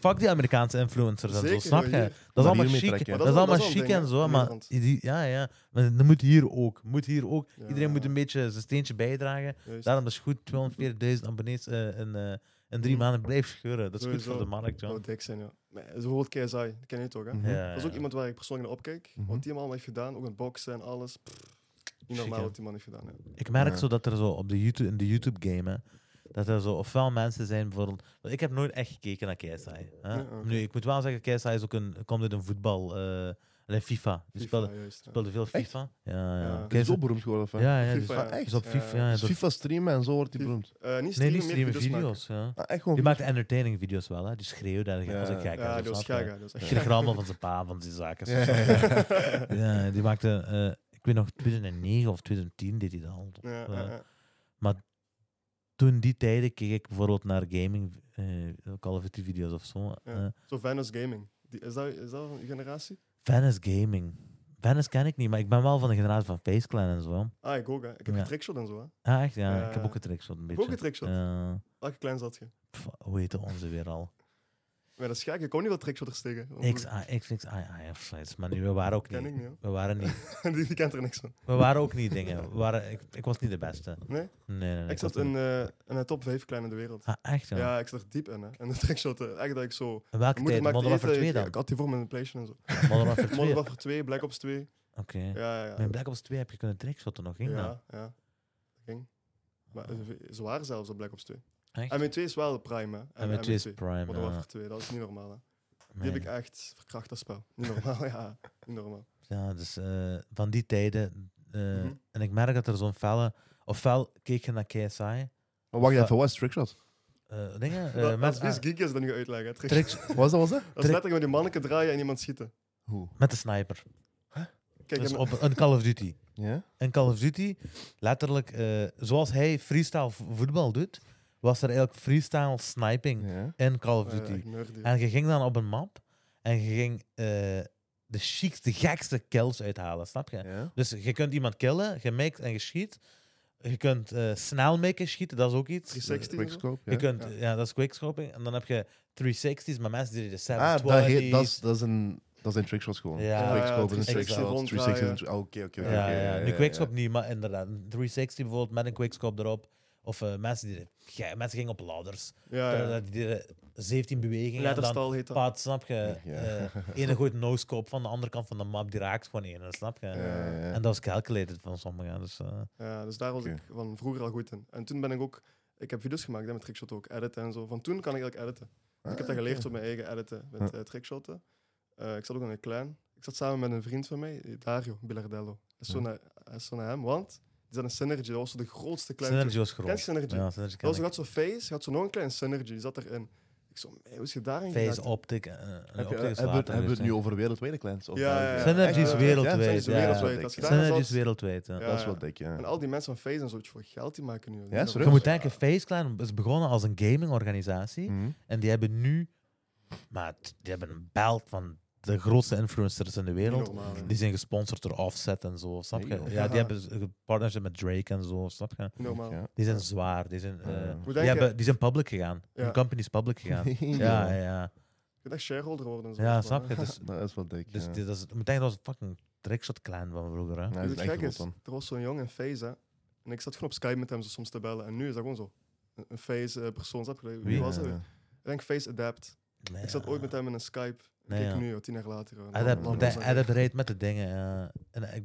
[SPEAKER 3] fuck die Amerikaanse influencers en zo,
[SPEAKER 1] Zeker,
[SPEAKER 3] snap
[SPEAKER 1] joh,
[SPEAKER 3] je?
[SPEAKER 1] hier.
[SPEAKER 3] Dat is
[SPEAKER 2] Maar
[SPEAKER 3] allemaal
[SPEAKER 2] hiermee
[SPEAKER 3] chic.
[SPEAKER 2] trekken.
[SPEAKER 3] Dat,
[SPEAKER 1] dat is
[SPEAKER 3] is
[SPEAKER 2] Maar
[SPEAKER 1] wel-
[SPEAKER 3] allemaal
[SPEAKER 1] dat is wel
[SPEAKER 3] chic
[SPEAKER 1] een
[SPEAKER 3] en
[SPEAKER 1] ding,
[SPEAKER 3] zo,
[SPEAKER 1] hè,
[SPEAKER 3] maar
[SPEAKER 1] Nederland.
[SPEAKER 3] die, ja, ja. Maar dat moet hier ook. Moet hier ook.
[SPEAKER 1] Ja. Dus-
[SPEAKER 3] Iedereen moet een beetje zijn steentje bijdragen.
[SPEAKER 1] Juist.
[SPEAKER 3] Daarom is het goed 240.000 abonnees eh, in, eh, in drie
[SPEAKER 1] Mhm.
[SPEAKER 3] maanden blijf scheuren. Dat is goed
[SPEAKER 1] Sowieso.
[SPEAKER 3] voor de markt,
[SPEAKER 1] Dat
[SPEAKER 3] joh.
[SPEAKER 1] zou dik zijn, ja. Maar Zo bijvoorbeeld KSI, dat ken je toch, hè?
[SPEAKER 2] Mhm.
[SPEAKER 3] Ja,
[SPEAKER 1] Dat is ook iemand waar ik persoonlijk naar opkijk.
[SPEAKER 2] Mhm.
[SPEAKER 1] Want die man heeft gedaan, ook een boksen en alles. Pff, niet
[SPEAKER 3] Chic,
[SPEAKER 1] normaal
[SPEAKER 3] hè?
[SPEAKER 1] wat die man heeft gedaan. Ja.
[SPEAKER 3] Ik merk
[SPEAKER 2] Ja.
[SPEAKER 3] zo dat er zo op de YouTube, in de YouTube-game, hè, dat er zo ofwel mensen zijn, bijvoorbeeld... want Ik heb nooit echt gekeken naar KSI. Hè?
[SPEAKER 1] Ja, oké.
[SPEAKER 3] Nu, ik moet wel zeggen, KSI is ook een, komt uit een voetbal... eh, Alleen FIFA. Die speelde,
[SPEAKER 1] juist, ja.
[SPEAKER 3] speelde veel
[SPEAKER 2] Echt?
[SPEAKER 3] FIFA. Ja, ja.
[SPEAKER 1] Ja.
[SPEAKER 3] Kijk,
[SPEAKER 2] Die is
[SPEAKER 3] ze-
[SPEAKER 2] ook beroemd geworden. van.
[SPEAKER 3] ja, ja,
[SPEAKER 1] FIFA,
[SPEAKER 3] dus,
[SPEAKER 1] ja.
[SPEAKER 2] Ah, echt?
[SPEAKER 3] dus op FIFA. Ja,
[SPEAKER 2] Dus
[SPEAKER 3] dat-
[SPEAKER 2] FIFA streamen en zo wordt hij
[SPEAKER 1] FIFA.
[SPEAKER 2] beroemd.
[SPEAKER 1] Eh, niet
[SPEAKER 3] nee,
[SPEAKER 1] streamen,
[SPEAKER 3] niet
[SPEAKER 1] meer
[SPEAKER 3] streamen,
[SPEAKER 1] video's maken.
[SPEAKER 3] video's. Ja.
[SPEAKER 2] Ah, echt gewoon
[SPEAKER 3] Die maakt entertaining video's wel, hè. Die schreeuwt daar
[SPEAKER 2] Ja.
[SPEAKER 3] als een gek.
[SPEAKER 1] Ja,
[SPEAKER 3] hè,
[SPEAKER 1] dat was
[SPEAKER 3] snap je?
[SPEAKER 1] gaga. Dat was
[SPEAKER 3] Die
[SPEAKER 1] echt
[SPEAKER 3] kreeg
[SPEAKER 1] gaga.
[SPEAKER 3] rammel van zijn pa, van zijn zaken.
[SPEAKER 2] Ja, ja, ja.
[SPEAKER 3] Ja, die maakte, eh, ik weet nog, 2009 of 2010 deed hij dat al.
[SPEAKER 1] Ja,
[SPEAKER 3] Eh,
[SPEAKER 1] ja, ja.
[SPEAKER 3] Toen die tijden keek ik bijvoorbeeld naar gaming, eh Call of Duty video's of zo.
[SPEAKER 1] Ja.
[SPEAKER 3] eh.
[SPEAKER 1] Zo Venus Gaming. Die, is, dat, is dat van uw generatie?
[SPEAKER 3] Venice Gaming. Venice ken ik niet, maar ik ben wel van de generatie van Face Clan en zo.
[SPEAKER 1] Ah, ik ook, hè. Ik heb
[SPEAKER 3] Ja.
[SPEAKER 1] getrickshot en zo, hè.
[SPEAKER 3] Ah, echt? Ja,
[SPEAKER 1] Ja.
[SPEAKER 3] ik heb ook getrickshot een beetje.
[SPEAKER 1] Eh, Ook getrickshot?
[SPEAKER 3] Ja.
[SPEAKER 1] Welke klein zat je?
[SPEAKER 3] Pff, hoe heette onze weer al?
[SPEAKER 1] Maar dat is gek, ik kon niet wel trickshotters tegen. Want
[SPEAKER 3] X, I, X, X, I, I, of zoiets. Maar nu, we waren ook
[SPEAKER 1] Ken ik
[SPEAKER 3] niet.
[SPEAKER 1] niet, hoor.
[SPEAKER 3] We waren niet.
[SPEAKER 1] die, die kent er niks van.
[SPEAKER 3] We waren ook niet dingen. We waren, ik, ik was niet de beste.
[SPEAKER 1] Nee?
[SPEAKER 3] Nee, nee, nee,
[SPEAKER 1] Ik
[SPEAKER 3] was
[SPEAKER 1] zat in,
[SPEAKER 3] niet-
[SPEAKER 1] eh, in de top 5 klein in de wereld.
[SPEAKER 3] Ah, echt? Ja.
[SPEAKER 1] Ja, ik zat er diep in, hè. En de trickshotten, echt dat ik zo...
[SPEAKER 3] En Welke
[SPEAKER 1] Mijn
[SPEAKER 3] tijd?
[SPEAKER 1] maakte
[SPEAKER 3] Modern Warfare
[SPEAKER 1] eten,
[SPEAKER 3] 2
[SPEAKER 1] ik-
[SPEAKER 3] dan?
[SPEAKER 1] Ik had die voor mijn PlayStation en zo.
[SPEAKER 3] Modern Warfare 2?
[SPEAKER 1] Modern
[SPEAKER 3] Oké.
[SPEAKER 1] Warfare 2, Black Ops 2. Ja, ja,
[SPEAKER 3] Met
[SPEAKER 1] ja.
[SPEAKER 3] Black Ops 2 heb je kunnen trickshotten nog, ging dat?
[SPEAKER 1] Ja, ja. Dat ging. Maar eh, zwaar zelfs op Black Ops 2.
[SPEAKER 3] Echt?
[SPEAKER 1] MW2 is wel de prime, hè.
[SPEAKER 3] En met 2 is
[SPEAKER 1] MW2.
[SPEAKER 3] Prime,
[SPEAKER 1] Modern
[SPEAKER 3] ja.
[SPEAKER 1] Warfare 2, dat is niet normaal, hè. Die
[SPEAKER 3] Nee.
[SPEAKER 1] heb ik echt verkracht, dat spel. Niet normaal, ja. Niet normaal.
[SPEAKER 3] Ja, dus eh, van die tijden. eh,
[SPEAKER 1] Mhm.
[SPEAKER 3] En ik merk dat er zo'n felle... Ofwel keek je naar KSI.
[SPEAKER 2] Maar wacht
[SPEAKER 3] Ja.
[SPEAKER 2] even, wat is trickshot?
[SPEAKER 3] eh, dingen? eh,
[SPEAKER 1] Dat-
[SPEAKER 3] met,
[SPEAKER 1] Als Wies
[SPEAKER 3] ah,
[SPEAKER 1] Geek is, dan nu uitleggen. hè. Trick-
[SPEAKER 3] tricks,
[SPEAKER 2] Wat was dat? Was dat?
[SPEAKER 1] Dat is letterlijk met die manneke draaien en iemand schieten.
[SPEAKER 2] Hoe?
[SPEAKER 3] met de sniper.
[SPEAKER 1] Kijk,
[SPEAKER 3] dus
[SPEAKER 1] en-
[SPEAKER 3] op een Call of Duty.
[SPEAKER 2] Ja?
[SPEAKER 3] In Call of Duty, letterlijk, eh, zoals hij freestyle vo- voetbal doet, was er eigenlijk freestyle sniping
[SPEAKER 2] Ja.
[SPEAKER 3] in Call of
[SPEAKER 1] eh,
[SPEAKER 3] Duty.
[SPEAKER 1] echt nerd, joh.
[SPEAKER 3] En je ging dan op een map en je ging eh, de chicste, gekste kills uithalen, snap je?
[SPEAKER 2] Ja.
[SPEAKER 3] Dus je kunt iemand killen, je mikt en je schiet. Je kunt eh, snel mikken, schieten, dat is ook iets.
[SPEAKER 1] 360 en zo.
[SPEAKER 2] Quickscope, ja.
[SPEAKER 3] Je kunt,
[SPEAKER 1] Ja.
[SPEAKER 3] ja. dat is quickscoping. En dan heb je 360's, maar mensen die de 720's...
[SPEAKER 2] Ah, dat heet- dat is- dat is een... Dat zijn trickshots gewoon.
[SPEAKER 3] Ja. Ja,
[SPEAKER 2] Quickscope
[SPEAKER 1] ja,
[SPEAKER 2] is een
[SPEAKER 3] 360
[SPEAKER 2] trickshot.
[SPEAKER 1] ronddraaien.
[SPEAKER 2] 360 is een... tri- oh, Oké, oké,
[SPEAKER 3] Ja,
[SPEAKER 2] oké.
[SPEAKER 3] ja,
[SPEAKER 2] oké,
[SPEAKER 3] Nu quickscope niet, maar inderdaad. een 360 bijvoorbeeld met een quickscope erop. Of eh, mensen, die, ja, mensen gingen op ladders.
[SPEAKER 2] Ah,
[SPEAKER 1] Ja, ja.
[SPEAKER 3] Dat- Die deden 17 bewegingen. en dan
[SPEAKER 1] Letterstal heet dat.
[SPEAKER 3] Pat, snap je?
[SPEAKER 2] Ja.
[SPEAKER 3] eh ene gooit no-scope van de andere kant van de map, die raakt gewoon ene, snap je?
[SPEAKER 2] Ja, ja, ja.
[SPEAKER 3] En dat is calculated van sommigen. Dus, eh,
[SPEAKER 1] Ja, dus daar was
[SPEAKER 2] Oké.
[SPEAKER 1] ik van vroeger al goed in. En toen ben ik ook... Ik heb video's gemaakt hè, met trickshot ook, editen en zo. Van toen kan ik eigenlijk editen. Dus ik heb dat
[SPEAKER 2] Ah,
[SPEAKER 1] geleerd
[SPEAKER 2] oké.
[SPEAKER 1] op mijn eigen editen, met eh, trickshotten. Eh, ik zat ook in een clan. Ik zat samen met een vriend van mij, eh, Dario Bilardello. Dat is zo
[SPEAKER 2] Ja.
[SPEAKER 1] naar- dat is zo naar hem, want die zat een Synergy. Dat was zo de grootste clan. toen.
[SPEAKER 3] Synergy was groot.
[SPEAKER 1] Ken je Synergy?
[SPEAKER 3] Ja, Synergy ken
[SPEAKER 1] Dat was,
[SPEAKER 3] ik.
[SPEAKER 1] je had zo'n face, je had zo nog een klein Synergy, die zat erin. Ik zo, "Mei, hoe is je daarin
[SPEAKER 3] Face,
[SPEAKER 1] geraakt?"
[SPEAKER 3] optic. eh, eh,
[SPEAKER 2] Heb je-
[SPEAKER 3] optic is
[SPEAKER 2] Hebben we het-
[SPEAKER 3] later,
[SPEAKER 2] hebben we
[SPEAKER 3] dus,
[SPEAKER 2] het nu over wereldwijde clans? of eh,
[SPEAKER 1] Ja, ja,
[SPEAKER 2] België?
[SPEAKER 1] ja.
[SPEAKER 3] Synergy
[SPEAKER 1] is
[SPEAKER 2] Echt?
[SPEAKER 3] wereldwijd,
[SPEAKER 2] Synergy is
[SPEAKER 3] ja.
[SPEAKER 2] wereldwijd,
[SPEAKER 1] Dat is
[SPEAKER 2] ja.
[SPEAKER 1] daar
[SPEAKER 3] Synergy
[SPEAKER 1] zat-
[SPEAKER 3] is wereldwijd. ja.
[SPEAKER 1] Ja.
[SPEAKER 2] Dat is wel dik, ja.
[SPEAKER 1] En al die mensen van Face en zo, wat je voor geld die maken nu.
[SPEAKER 2] Ja,
[SPEAKER 3] Je
[SPEAKER 2] serieus?
[SPEAKER 3] moet denken, Face Clan is begonnen als een
[SPEAKER 1] Hm.
[SPEAKER 3] gamingorganisatie.
[SPEAKER 2] Mhm.
[SPEAKER 3] En die hebben nu... Maar t- die hebben een belt van de grootste influencers in de wereld.
[SPEAKER 1] Normaal,
[SPEAKER 3] Die zijn gesponsord door Offset en zo, snap je?
[SPEAKER 2] Nee,
[SPEAKER 3] Ja,
[SPEAKER 2] joh.
[SPEAKER 3] die hebben z- een partnership met Drake en zo, snap je?
[SPEAKER 1] normaal.
[SPEAKER 2] Ja.
[SPEAKER 3] Die zijn zwaar, die zijn, eh,
[SPEAKER 2] Ja. Hoe
[SPEAKER 3] die,
[SPEAKER 1] denk je-
[SPEAKER 3] hebben, die zijn public gegaan.
[SPEAKER 1] Ja.
[SPEAKER 3] Hun company is public gegaan.
[SPEAKER 2] Nee,
[SPEAKER 3] ja,
[SPEAKER 2] joh.
[SPEAKER 3] ja.
[SPEAKER 1] Je kunt echt shareholder worden. En zo,
[SPEAKER 3] Ja,
[SPEAKER 1] dat is wel,
[SPEAKER 3] snap je?
[SPEAKER 1] hè.
[SPEAKER 3] Dus,
[SPEAKER 2] Dat is wel dik,
[SPEAKER 3] dus
[SPEAKER 2] ja.
[SPEAKER 3] dit is, ik moet denken, dat was een fucking trickshot clan van vroeger, hè?
[SPEAKER 2] Ja,
[SPEAKER 1] Weet
[SPEAKER 2] die
[SPEAKER 1] je wat
[SPEAKER 2] zijn echt
[SPEAKER 1] gek
[SPEAKER 2] groot
[SPEAKER 1] is,
[SPEAKER 2] dan.
[SPEAKER 1] er was zo'n jong in Face, hè. En ik zat gewoon op Skype met hem zo soms te bellen. En nu is dat gewoon zo. Een- Een Face-persoon, snap je? Wie,
[SPEAKER 3] Wie?
[SPEAKER 1] was
[SPEAKER 2] Ja.
[SPEAKER 1] het? Ik denk Face Adapt.
[SPEAKER 3] Nee,
[SPEAKER 1] Ik zat ooit met hem in een Skype.
[SPEAKER 3] Nee,
[SPEAKER 1] Kijk
[SPEAKER 3] ja.
[SPEAKER 1] nu, joh, tien jaar later. eh, joh.
[SPEAKER 3] Adap,
[SPEAKER 1] Lam-
[SPEAKER 2] moet
[SPEAKER 1] lam-
[SPEAKER 3] de,
[SPEAKER 1] lam-
[SPEAKER 3] Adap reed met de dingen, ja. En eh, ik,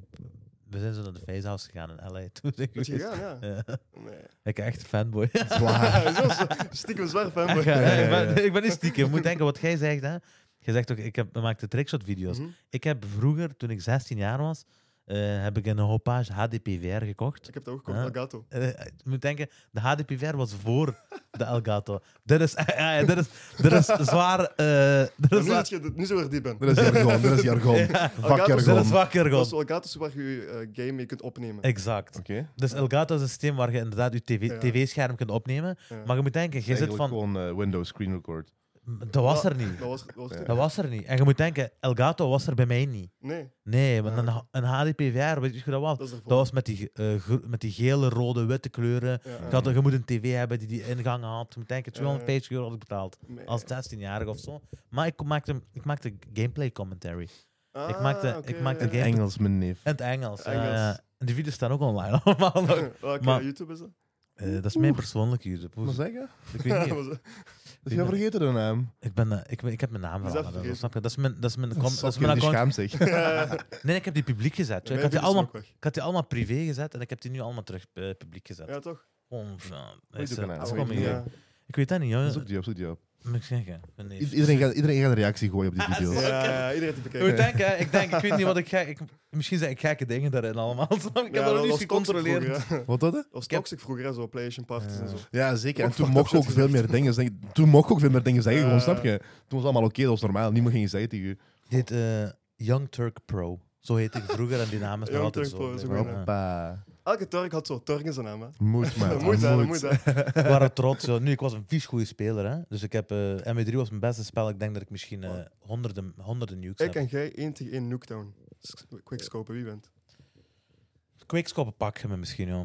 [SPEAKER 3] we zijn zo naar de Facehouse gegaan in L.A. toen. Ik,
[SPEAKER 1] Is je
[SPEAKER 3] wist-
[SPEAKER 1] gegaan, ja?
[SPEAKER 3] ja.
[SPEAKER 1] Nee.
[SPEAKER 3] ik ben echt een fanboy.
[SPEAKER 1] Zo is het. Stiekem zwaar fanboy.
[SPEAKER 3] Ja, ik,
[SPEAKER 2] ja.
[SPEAKER 3] ben, ik ben niet stiekem. Je moet denken wat jij zegt, hè. Jij zegt ook, ik, heb, ik maakte trickshot-video's.
[SPEAKER 1] Mhm.
[SPEAKER 3] Ik heb vroeger, toen ik 16 jaar was, eh, heb ik een Hopage HDPVR gekocht.
[SPEAKER 1] Ik heb dat ook gekocht,
[SPEAKER 3] Ja.
[SPEAKER 1] Elgato.
[SPEAKER 3] Eh, je moet denken, de HDPVR was voor de Elgato. Dit is, ja, ja, dit is, dit is zwaar... eh dit
[SPEAKER 1] Maar
[SPEAKER 3] is
[SPEAKER 1] Nu,
[SPEAKER 3] zwaar
[SPEAKER 1] zit je, nu zo weer diep in.
[SPEAKER 2] Dat is jargon, dat is jargon.
[SPEAKER 1] Elgato
[SPEAKER 3] dit
[SPEAKER 2] Vakjargon.
[SPEAKER 3] is wakker,
[SPEAKER 1] Dat is
[SPEAKER 3] gewoon.
[SPEAKER 1] Elgato is waar je je eh, game mee kunt opnemen.
[SPEAKER 3] Exact.
[SPEAKER 2] Oké.
[SPEAKER 3] Dus Elgato is een systeem waar je inderdaad je
[SPEAKER 1] Ja.
[SPEAKER 3] tv-scherm kunt opnemen.
[SPEAKER 1] Ja.
[SPEAKER 3] Maar je moet denken, je zit
[SPEAKER 2] Eigenlijk
[SPEAKER 3] van...
[SPEAKER 2] gewoon eh, Windows screen record.
[SPEAKER 3] Dat was
[SPEAKER 1] Ja,
[SPEAKER 3] er niet.
[SPEAKER 1] Dat was, dat was
[SPEAKER 2] Ja.
[SPEAKER 1] toen-
[SPEAKER 3] Dat was er niet. En je moet denken, Elgato was er bij mij niet.
[SPEAKER 1] Nee,
[SPEAKER 3] Nee, want
[SPEAKER 1] Ja.
[SPEAKER 3] een, H- een HDPVR, weet je hoe dat was?
[SPEAKER 1] dat is ervoor.
[SPEAKER 3] Dat was met die, eh, gro- met die gele, rode, witte kleuren.
[SPEAKER 1] Ja, eh,
[SPEAKER 3] Je, had, je moet een tv hebben die die ingang had. Je moet denken,
[SPEAKER 1] Ja.
[SPEAKER 3] 250 euro had ik betaald.
[SPEAKER 1] nee.
[SPEAKER 3] Als 16-jarige of zo. Maar ik maakte, ik maakte gameplay commentary. ik
[SPEAKER 1] Ah,
[SPEAKER 3] maakte- ik
[SPEAKER 1] oké,
[SPEAKER 3] maakte
[SPEAKER 1] ja, ja.
[SPEAKER 3] game-
[SPEAKER 2] Engels, mijn neef.
[SPEAKER 3] In het Engels. ja,
[SPEAKER 1] Engels.
[SPEAKER 3] ja. en die video's staan ook online allemaal nog.
[SPEAKER 1] Welke
[SPEAKER 3] Maar-
[SPEAKER 1] YouTube is dat?
[SPEAKER 3] Eh, dat is mijn persoonlijke YouTube.
[SPEAKER 2] Moet
[SPEAKER 3] Hoe-
[SPEAKER 2] zeggen?
[SPEAKER 3] Ik, weet niet,
[SPEAKER 1] Was dat-
[SPEAKER 2] Dus je vergeten de naam.
[SPEAKER 3] ik, ben, eh, ik, ben- ik heb mijn naam
[SPEAKER 1] Die is
[SPEAKER 3] veranderd.
[SPEAKER 1] afgegeven.
[SPEAKER 3] Dat, snap je? dat is mijn, dat is mijn, com- dat is
[SPEAKER 2] Zakken,
[SPEAKER 3] mijn
[SPEAKER 2] die
[SPEAKER 3] account.
[SPEAKER 2] schaamt zich.
[SPEAKER 3] Nee, ik heb die publiek gezet.
[SPEAKER 1] Mijn
[SPEAKER 3] Ik had die,
[SPEAKER 1] video's
[SPEAKER 3] allemaal,
[SPEAKER 1] ook weg.
[SPEAKER 3] ik had die allemaal privé gezet en ik heb die nu allemaal terug eh, publiek gezet.
[SPEAKER 1] Ja, toch? Ah,
[SPEAKER 3] Gewoon, ja,
[SPEAKER 2] Goeie
[SPEAKER 3] is, eh,
[SPEAKER 2] kanaal,
[SPEAKER 3] is
[SPEAKER 2] goeie
[SPEAKER 3] gewoon
[SPEAKER 2] kanaal.
[SPEAKER 3] mijn- Ik weet dat niet, joh.
[SPEAKER 2] Zoek die op, zoek die op.
[SPEAKER 3] Moet ik zeggen. Ik ben niet-
[SPEAKER 2] I- Iedereen gaat, iedereen gaat een reactie gooien op die
[SPEAKER 3] Ah,
[SPEAKER 2] video's.
[SPEAKER 3] zo.
[SPEAKER 1] Ja, ja, iedereen heeft het
[SPEAKER 3] Ik
[SPEAKER 1] bekeken.
[SPEAKER 3] moet denken, hè. ik denk, ik weet niet wat ik gek... Ik, misschien zeg ik gekke dingen daarin allemaal. snap je? Ik heb
[SPEAKER 1] Ja,
[SPEAKER 3] dat nog
[SPEAKER 1] was
[SPEAKER 3] niet
[SPEAKER 1] toxic
[SPEAKER 3] gecontroleerd.
[SPEAKER 1] vroeger, hè.
[SPEAKER 2] Wat dat? hè?
[SPEAKER 1] Dat was
[SPEAKER 3] Ik heb-
[SPEAKER 1] toxic vroeger, hè, zo PlayStation parties en zo.
[SPEAKER 2] Ja, zeker. En
[SPEAKER 1] Ook
[SPEAKER 2] toen
[SPEAKER 1] fucked
[SPEAKER 2] mocht
[SPEAKER 1] up
[SPEAKER 2] ook
[SPEAKER 1] shit
[SPEAKER 2] veel meer
[SPEAKER 1] gezegd.
[SPEAKER 2] dingen zeggen. Toen mocht ik ook veel meer dingen zeggen, gewoon,
[SPEAKER 1] Ja.
[SPEAKER 2] snap je? Toen was allemaal oké, dat was normaal. Niemand ging iets zeggen tegen je.
[SPEAKER 3] Dit eh, Young Turk Pro. Zo heette ik vroeger en die naam is nog
[SPEAKER 1] Young
[SPEAKER 3] altijd
[SPEAKER 1] Turk
[SPEAKER 3] zo.
[SPEAKER 1] Pro is ook
[SPEAKER 3] Ja.
[SPEAKER 2] Hoppa.
[SPEAKER 1] Elke Turk had zo Turk in zijn naam, hè.
[SPEAKER 2] Moet, maar.
[SPEAKER 1] Dat moet, hè, dat moet, hè.
[SPEAKER 3] We waren trots. hoor. Nu, ik was een vies goede speler. Hè? Dus ik heb, eh, MW3 was mijn beste spel. Ik denk dat ik misschien eh, honderden, honderden nukes
[SPEAKER 1] Ik
[SPEAKER 3] heb.
[SPEAKER 1] en jij 1 tegen 1 Nookdown. S- Quickscopen, wie bent?
[SPEAKER 3] Kweekskoppen pak je me misschien, joh.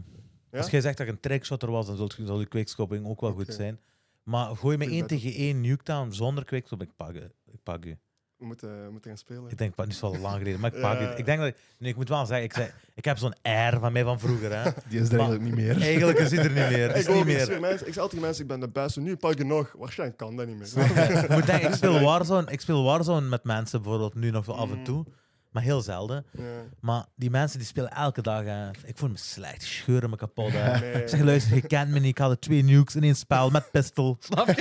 [SPEAKER 1] Ja?
[SPEAKER 3] Als jij zegt dat ik een trickshotter was, dan zult- zal die kweekskopping ook wel
[SPEAKER 1] Oké.
[SPEAKER 3] goed zijn. Maar gooi me
[SPEAKER 1] Ik
[SPEAKER 3] één
[SPEAKER 1] ben-
[SPEAKER 3] tegen één nuketown zonder kweekskop, ik pak, je. ik pak u.
[SPEAKER 1] We moeten, we moeten gaan spelen.
[SPEAKER 3] Ik denk, pa- dit is wel lang geleden, maar ik
[SPEAKER 1] Ja.
[SPEAKER 3] pak u. Ik denk dat ik, nee, ik moet wel zeggen, ik, zei, ik heb zo'n air van mij van vroeger. Hè?
[SPEAKER 2] Die is er
[SPEAKER 3] Maar-
[SPEAKER 2] eigenlijk niet meer.
[SPEAKER 3] Eigenlijk is het er niet meer. Het is
[SPEAKER 1] ook,
[SPEAKER 3] niet
[SPEAKER 1] ik
[SPEAKER 3] meer.
[SPEAKER 1] zeg mensen- ik zei altijd mensen, ik ben de beste, nu pak je nog. Waarschijnlijk kan dat niet meer.
[SPEAKER 3] Ik moet denken, ik speel Warzone, ik speel Warzone met mensen bijvoorbeeld nu nog wel af
[SPEAKER 1] Mm.
[SPEAKER 3] en toe, maar heel zelden.
[SPEAKER 1] Ja.
[SPEAKER 3] Maar die mensen die spelen elke dag. hè. ik voel me slecht. die Scheuren me kapot. hè.
[SPEAKER 1] Nee.
[SPEAKER 3] Ik zeg, luister, je kent me niet. Ik had er twee nukes in één spel met pistol. Snap je?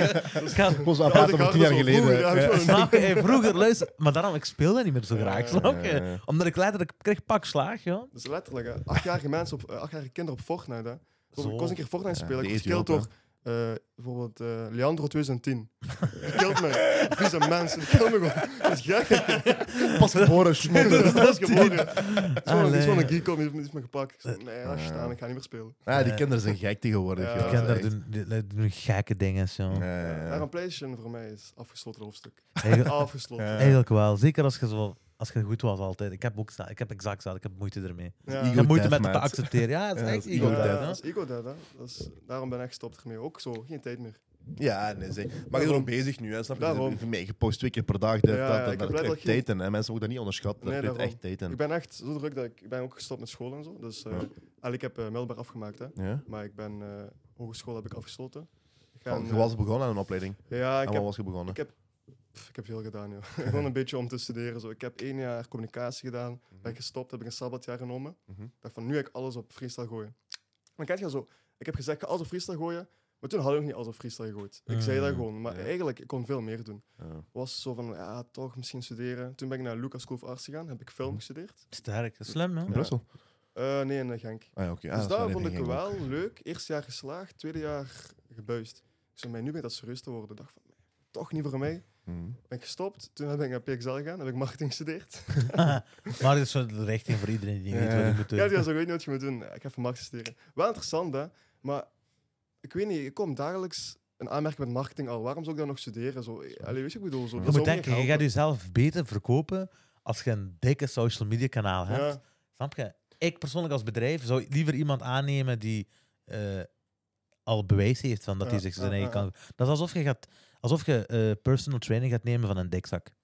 [SPEAKER 3] Ik had-
[SPEAKER 2] Ik was aan
[SPEAKER 1] Ja,
[SPEAKER 2] het praten
[SPEAKER 1] dat
[SPEAKER 2] over
[SPEAKER 1] gaat
[SPEAKER 2] tien jaar
[SPEAKER 1] zo vroeger, ja,
[SPEAKER 2] geleden.
[SPEAKER 1] dat
[SPEAKER 2] Ja.
[SPEAKER 1] is wel een-
[SPEAKER 3] Snap je? Hey, vroeger, luister. Maar daarom, ik speelde niet meer zo graag.
[SPEAKER 1] Ja,
[SPEAKER 3] Snap je? Omdat ik letterlijk kreeg pak slaag, joh.
[SPEAKER 1] Dat is letterlijk, hè. Achtjarige mensen, op, eh, achtjarige kinderen op Fortnite, hè. Zo,
[SPEAKER 3] Zo.
[SPEAKER 1] Ik was een keer Fortnite
[SPEAKER 2] Ja,
[SPEAKER 1] spelen, ik
[SPEAKER 2] die
[SPEAKER 1] was
[SPEAKER 2] eet je
[SPEAKER 1] gekild door... eh, bijvoorbeeld eh, Leandro 2010. Die kilt me. Vieze mensen, die kilt me gewoon. Dat is gek.
[SPEAKER 2] Pas geboren, schmotter.
[SPEAKER 1] Dat is gewoon... Zo'n
[SPEAKER 3] Allee.
[SPEAKER 1] is gewoon een geek om, die heeft me gepakt. Ik zei, nee, als je staan, ik ga niet meer spelen.
[SPEAKER 2] Ah, die kinderen zijn gek tegenwoordig.
[SPEAKER 1] Ja.
[SPEAKER 2] joh.
[SPEAKER 1] Die
[SPEAKER 3] Kinderen
[SPEAKER 2] Echt.
[SPEAKER 3] doen, die- die doen gekke dingen, joh.
[SPEAKER 2] Ja, ja, ja.
[SPEAKER 1] Maar een PlayStation voor mij is afgesloten hoofdstuk.
[SPEAKER 3] Eigen-
[SPEAKER 1] Afgesloten.
[SPEAKER 2] Ja.
[SPEAKER 3] Eigenlijk wel. Zeker als je, zo, als je goed was altijd. Ik heb ook sta- ik heb exact dat. Ik heb moeite ermee.
[SPEAKER 1] Ja.
[SPEAKER 3] Ik
[SPEAKER 2] Ego
[SPEAKER 3] heb moeite met het te
[SPEAKER 2] deathmatch.
[SPEAKER 3] accepteren. Ja, het is
[SPEAKER 2] Ja,
[SPEAKER 3] echt
[SPEAKER 2] dat is ego
[SPEAKER 3] ego
[SPEAKER 1] Ja,
[SPEAKER 3] death, hè.
[SPEAKER 1] dat is ego dead, hè. Dat is, daarom ben ik gestopt ermee. Ook zo, geen tijd meer.
[SPEAKER 2] Ja, nee, zeker. Maar je
[SPEAKER 1] Daarom.
[SPEAKER 2] bent ook bezig nu, hè, snap je?
[SPEAKER 1] Daarom.
[SPEAKER 2] Je- Je je post twee keer per dag. Dat,
[SPEAKER 1] Ja, ja,
[SPEAKER 2] dat, dat,
[SPEAKER 1] ik heb
[SPEAKER 2] dat creëert
[SPEAKER 1] letterlijk
[SPEAKER 2] tijd in, hè. Mensen moeten dat niet onderschatten. Dat
[SPEAKER 1] Nee,
[SPEAKER 2] creëert
[SPEAKER 1] daarom.
[SPEAKER 2] echt tijd in.
[SPEAKER 1] Ik ben echt zo druk dat ik, ik ben ook gestopt met school en zo. Dus eh eigenlijk, ik heb eh, middelbaar afgemaakt, hè.
[SPEAKER 2] Ja?
[SPEAKER 1] Maar ik ben, eh, hogeschool heb ik afgesloten. Ik ga
[SPEAKER 2] Want
[SPEAKER 1] een,
[SPEAKER 2] Oh, je was begonnen aan een opleiding.
[SPEAKER 1] eh, ja, ik
[SPEAKER 2] en wat
[SPEAKER 1] heb,
[SPEAKER 2] was je begonnen?
[SPEAKER 1] ik heb- pff, ik heb veel gedaan, joh. Gewoon een beetje om te studeren. Zo. Ik heb één jaar communicatie gedaan. Ben gestopt, heb ik een sabbatjaar genomen.
[SPEAKER 2] Mhm.
[SPEAKER 1] dacht van, nu ga ik alles op freestyle gooien. Maar kijk je zo, ik heb gezegd, ik ga alles op freestyle gooien, maar toen had ik nog niet alles op freestyle gegooid. Ik zei dat
[SPEAKER 3] Mm,
[SPEAKER 1] gewoon, maar
[SPEAKER 2] ja.
[SPEAKER 1] eigenlijk, ik kon veel meer doen.
[SPEAKER 2] Ja.
[SPEAKER 1] Was zo van, ja, toch, misschien studeren. Toen ben ik naar Lucas School of Arts gegaan, heb ik film
[SPEAKER 2] Mhm.
[SPEAKER 1] gestudeerd.
[SPEAKER 3] Sterk. Slim, hè.
[SPEAKER 2] In Brussel?
[SPEAKER 1] Eh, nee, in eh, Genk.
[SPEAKER 2] Ah, ja, oké. Ah,
[SPEAKER 1] dus
[SPEAKER 2] dat is
[SPEAKER 1] daar
[SPEAKER 2] waar,
[SPEAKER 1] vond
[SPEAKER 2] die
[SPEAKER 1] ik
[SPEAKER 2] ging
[SPEAKER 1] wel
[SPEAKER 2] ook.
[SPEAKER 1] leuk. Eerste jaar geslaagd, tweede jaar gebuist. Ik zei, mij nu ben dat serieus te worden. Ik dacht van, nee, toch niet voor mij.
[SPEAKER 2] Mhm.
[SPEAKER 1] Ben ik gestopt. Toen ben ik naar PXL gegaan, heb ik marketing gestudeerd.
[SPEAKER 3] maar dit is wel de richting voor iedereen die niet weet wat hij
[SPEAKER 2] Ja.
[SPEAKER 3] moet doen.
[SPEAKER 1] Ja, die was ook, ik weet niet wat je moet doen. Ik ga even Max studeren. Wel interessant, hè. Maar ik weet niet, ik kom dagelijks een aanmerking met marketing al. Waarom zou ik dan nog studeren? Zo, eh, allee, weet je, wat ik bedoel, zo,
[SPEAKER 3] Je
[SPEAKER 1] dat
[SPEAKER 3] moet
[SPEAKER 1] zou me
[SPEAKER 3] denken, je
[SPEAKER 1] niet
[SPEAKER 3] gaat
[SPEAKER 1] helpen.
[SPEAKER 3] jezelf beter verkopen als je een dikke social media kanaal hebt.
[SPEAKER 1] Ja,
[SPEAKER 3] Snap je? Ik persoonlijk als bedrijf zou liever iemand aannemen die eh, al bewijs heeft van dat
[SPEAKER 1] Ja,
[SPEAKER 3] hij zich zijn
[SPEAKER 1] ja,
[SPEAKER 3] eigen
[SPEAKER 1] ja,
[SPEAKER 3] kan. Dat is alsof je, gaat, alsof je eh, personal training gaat nemen van een dikzak.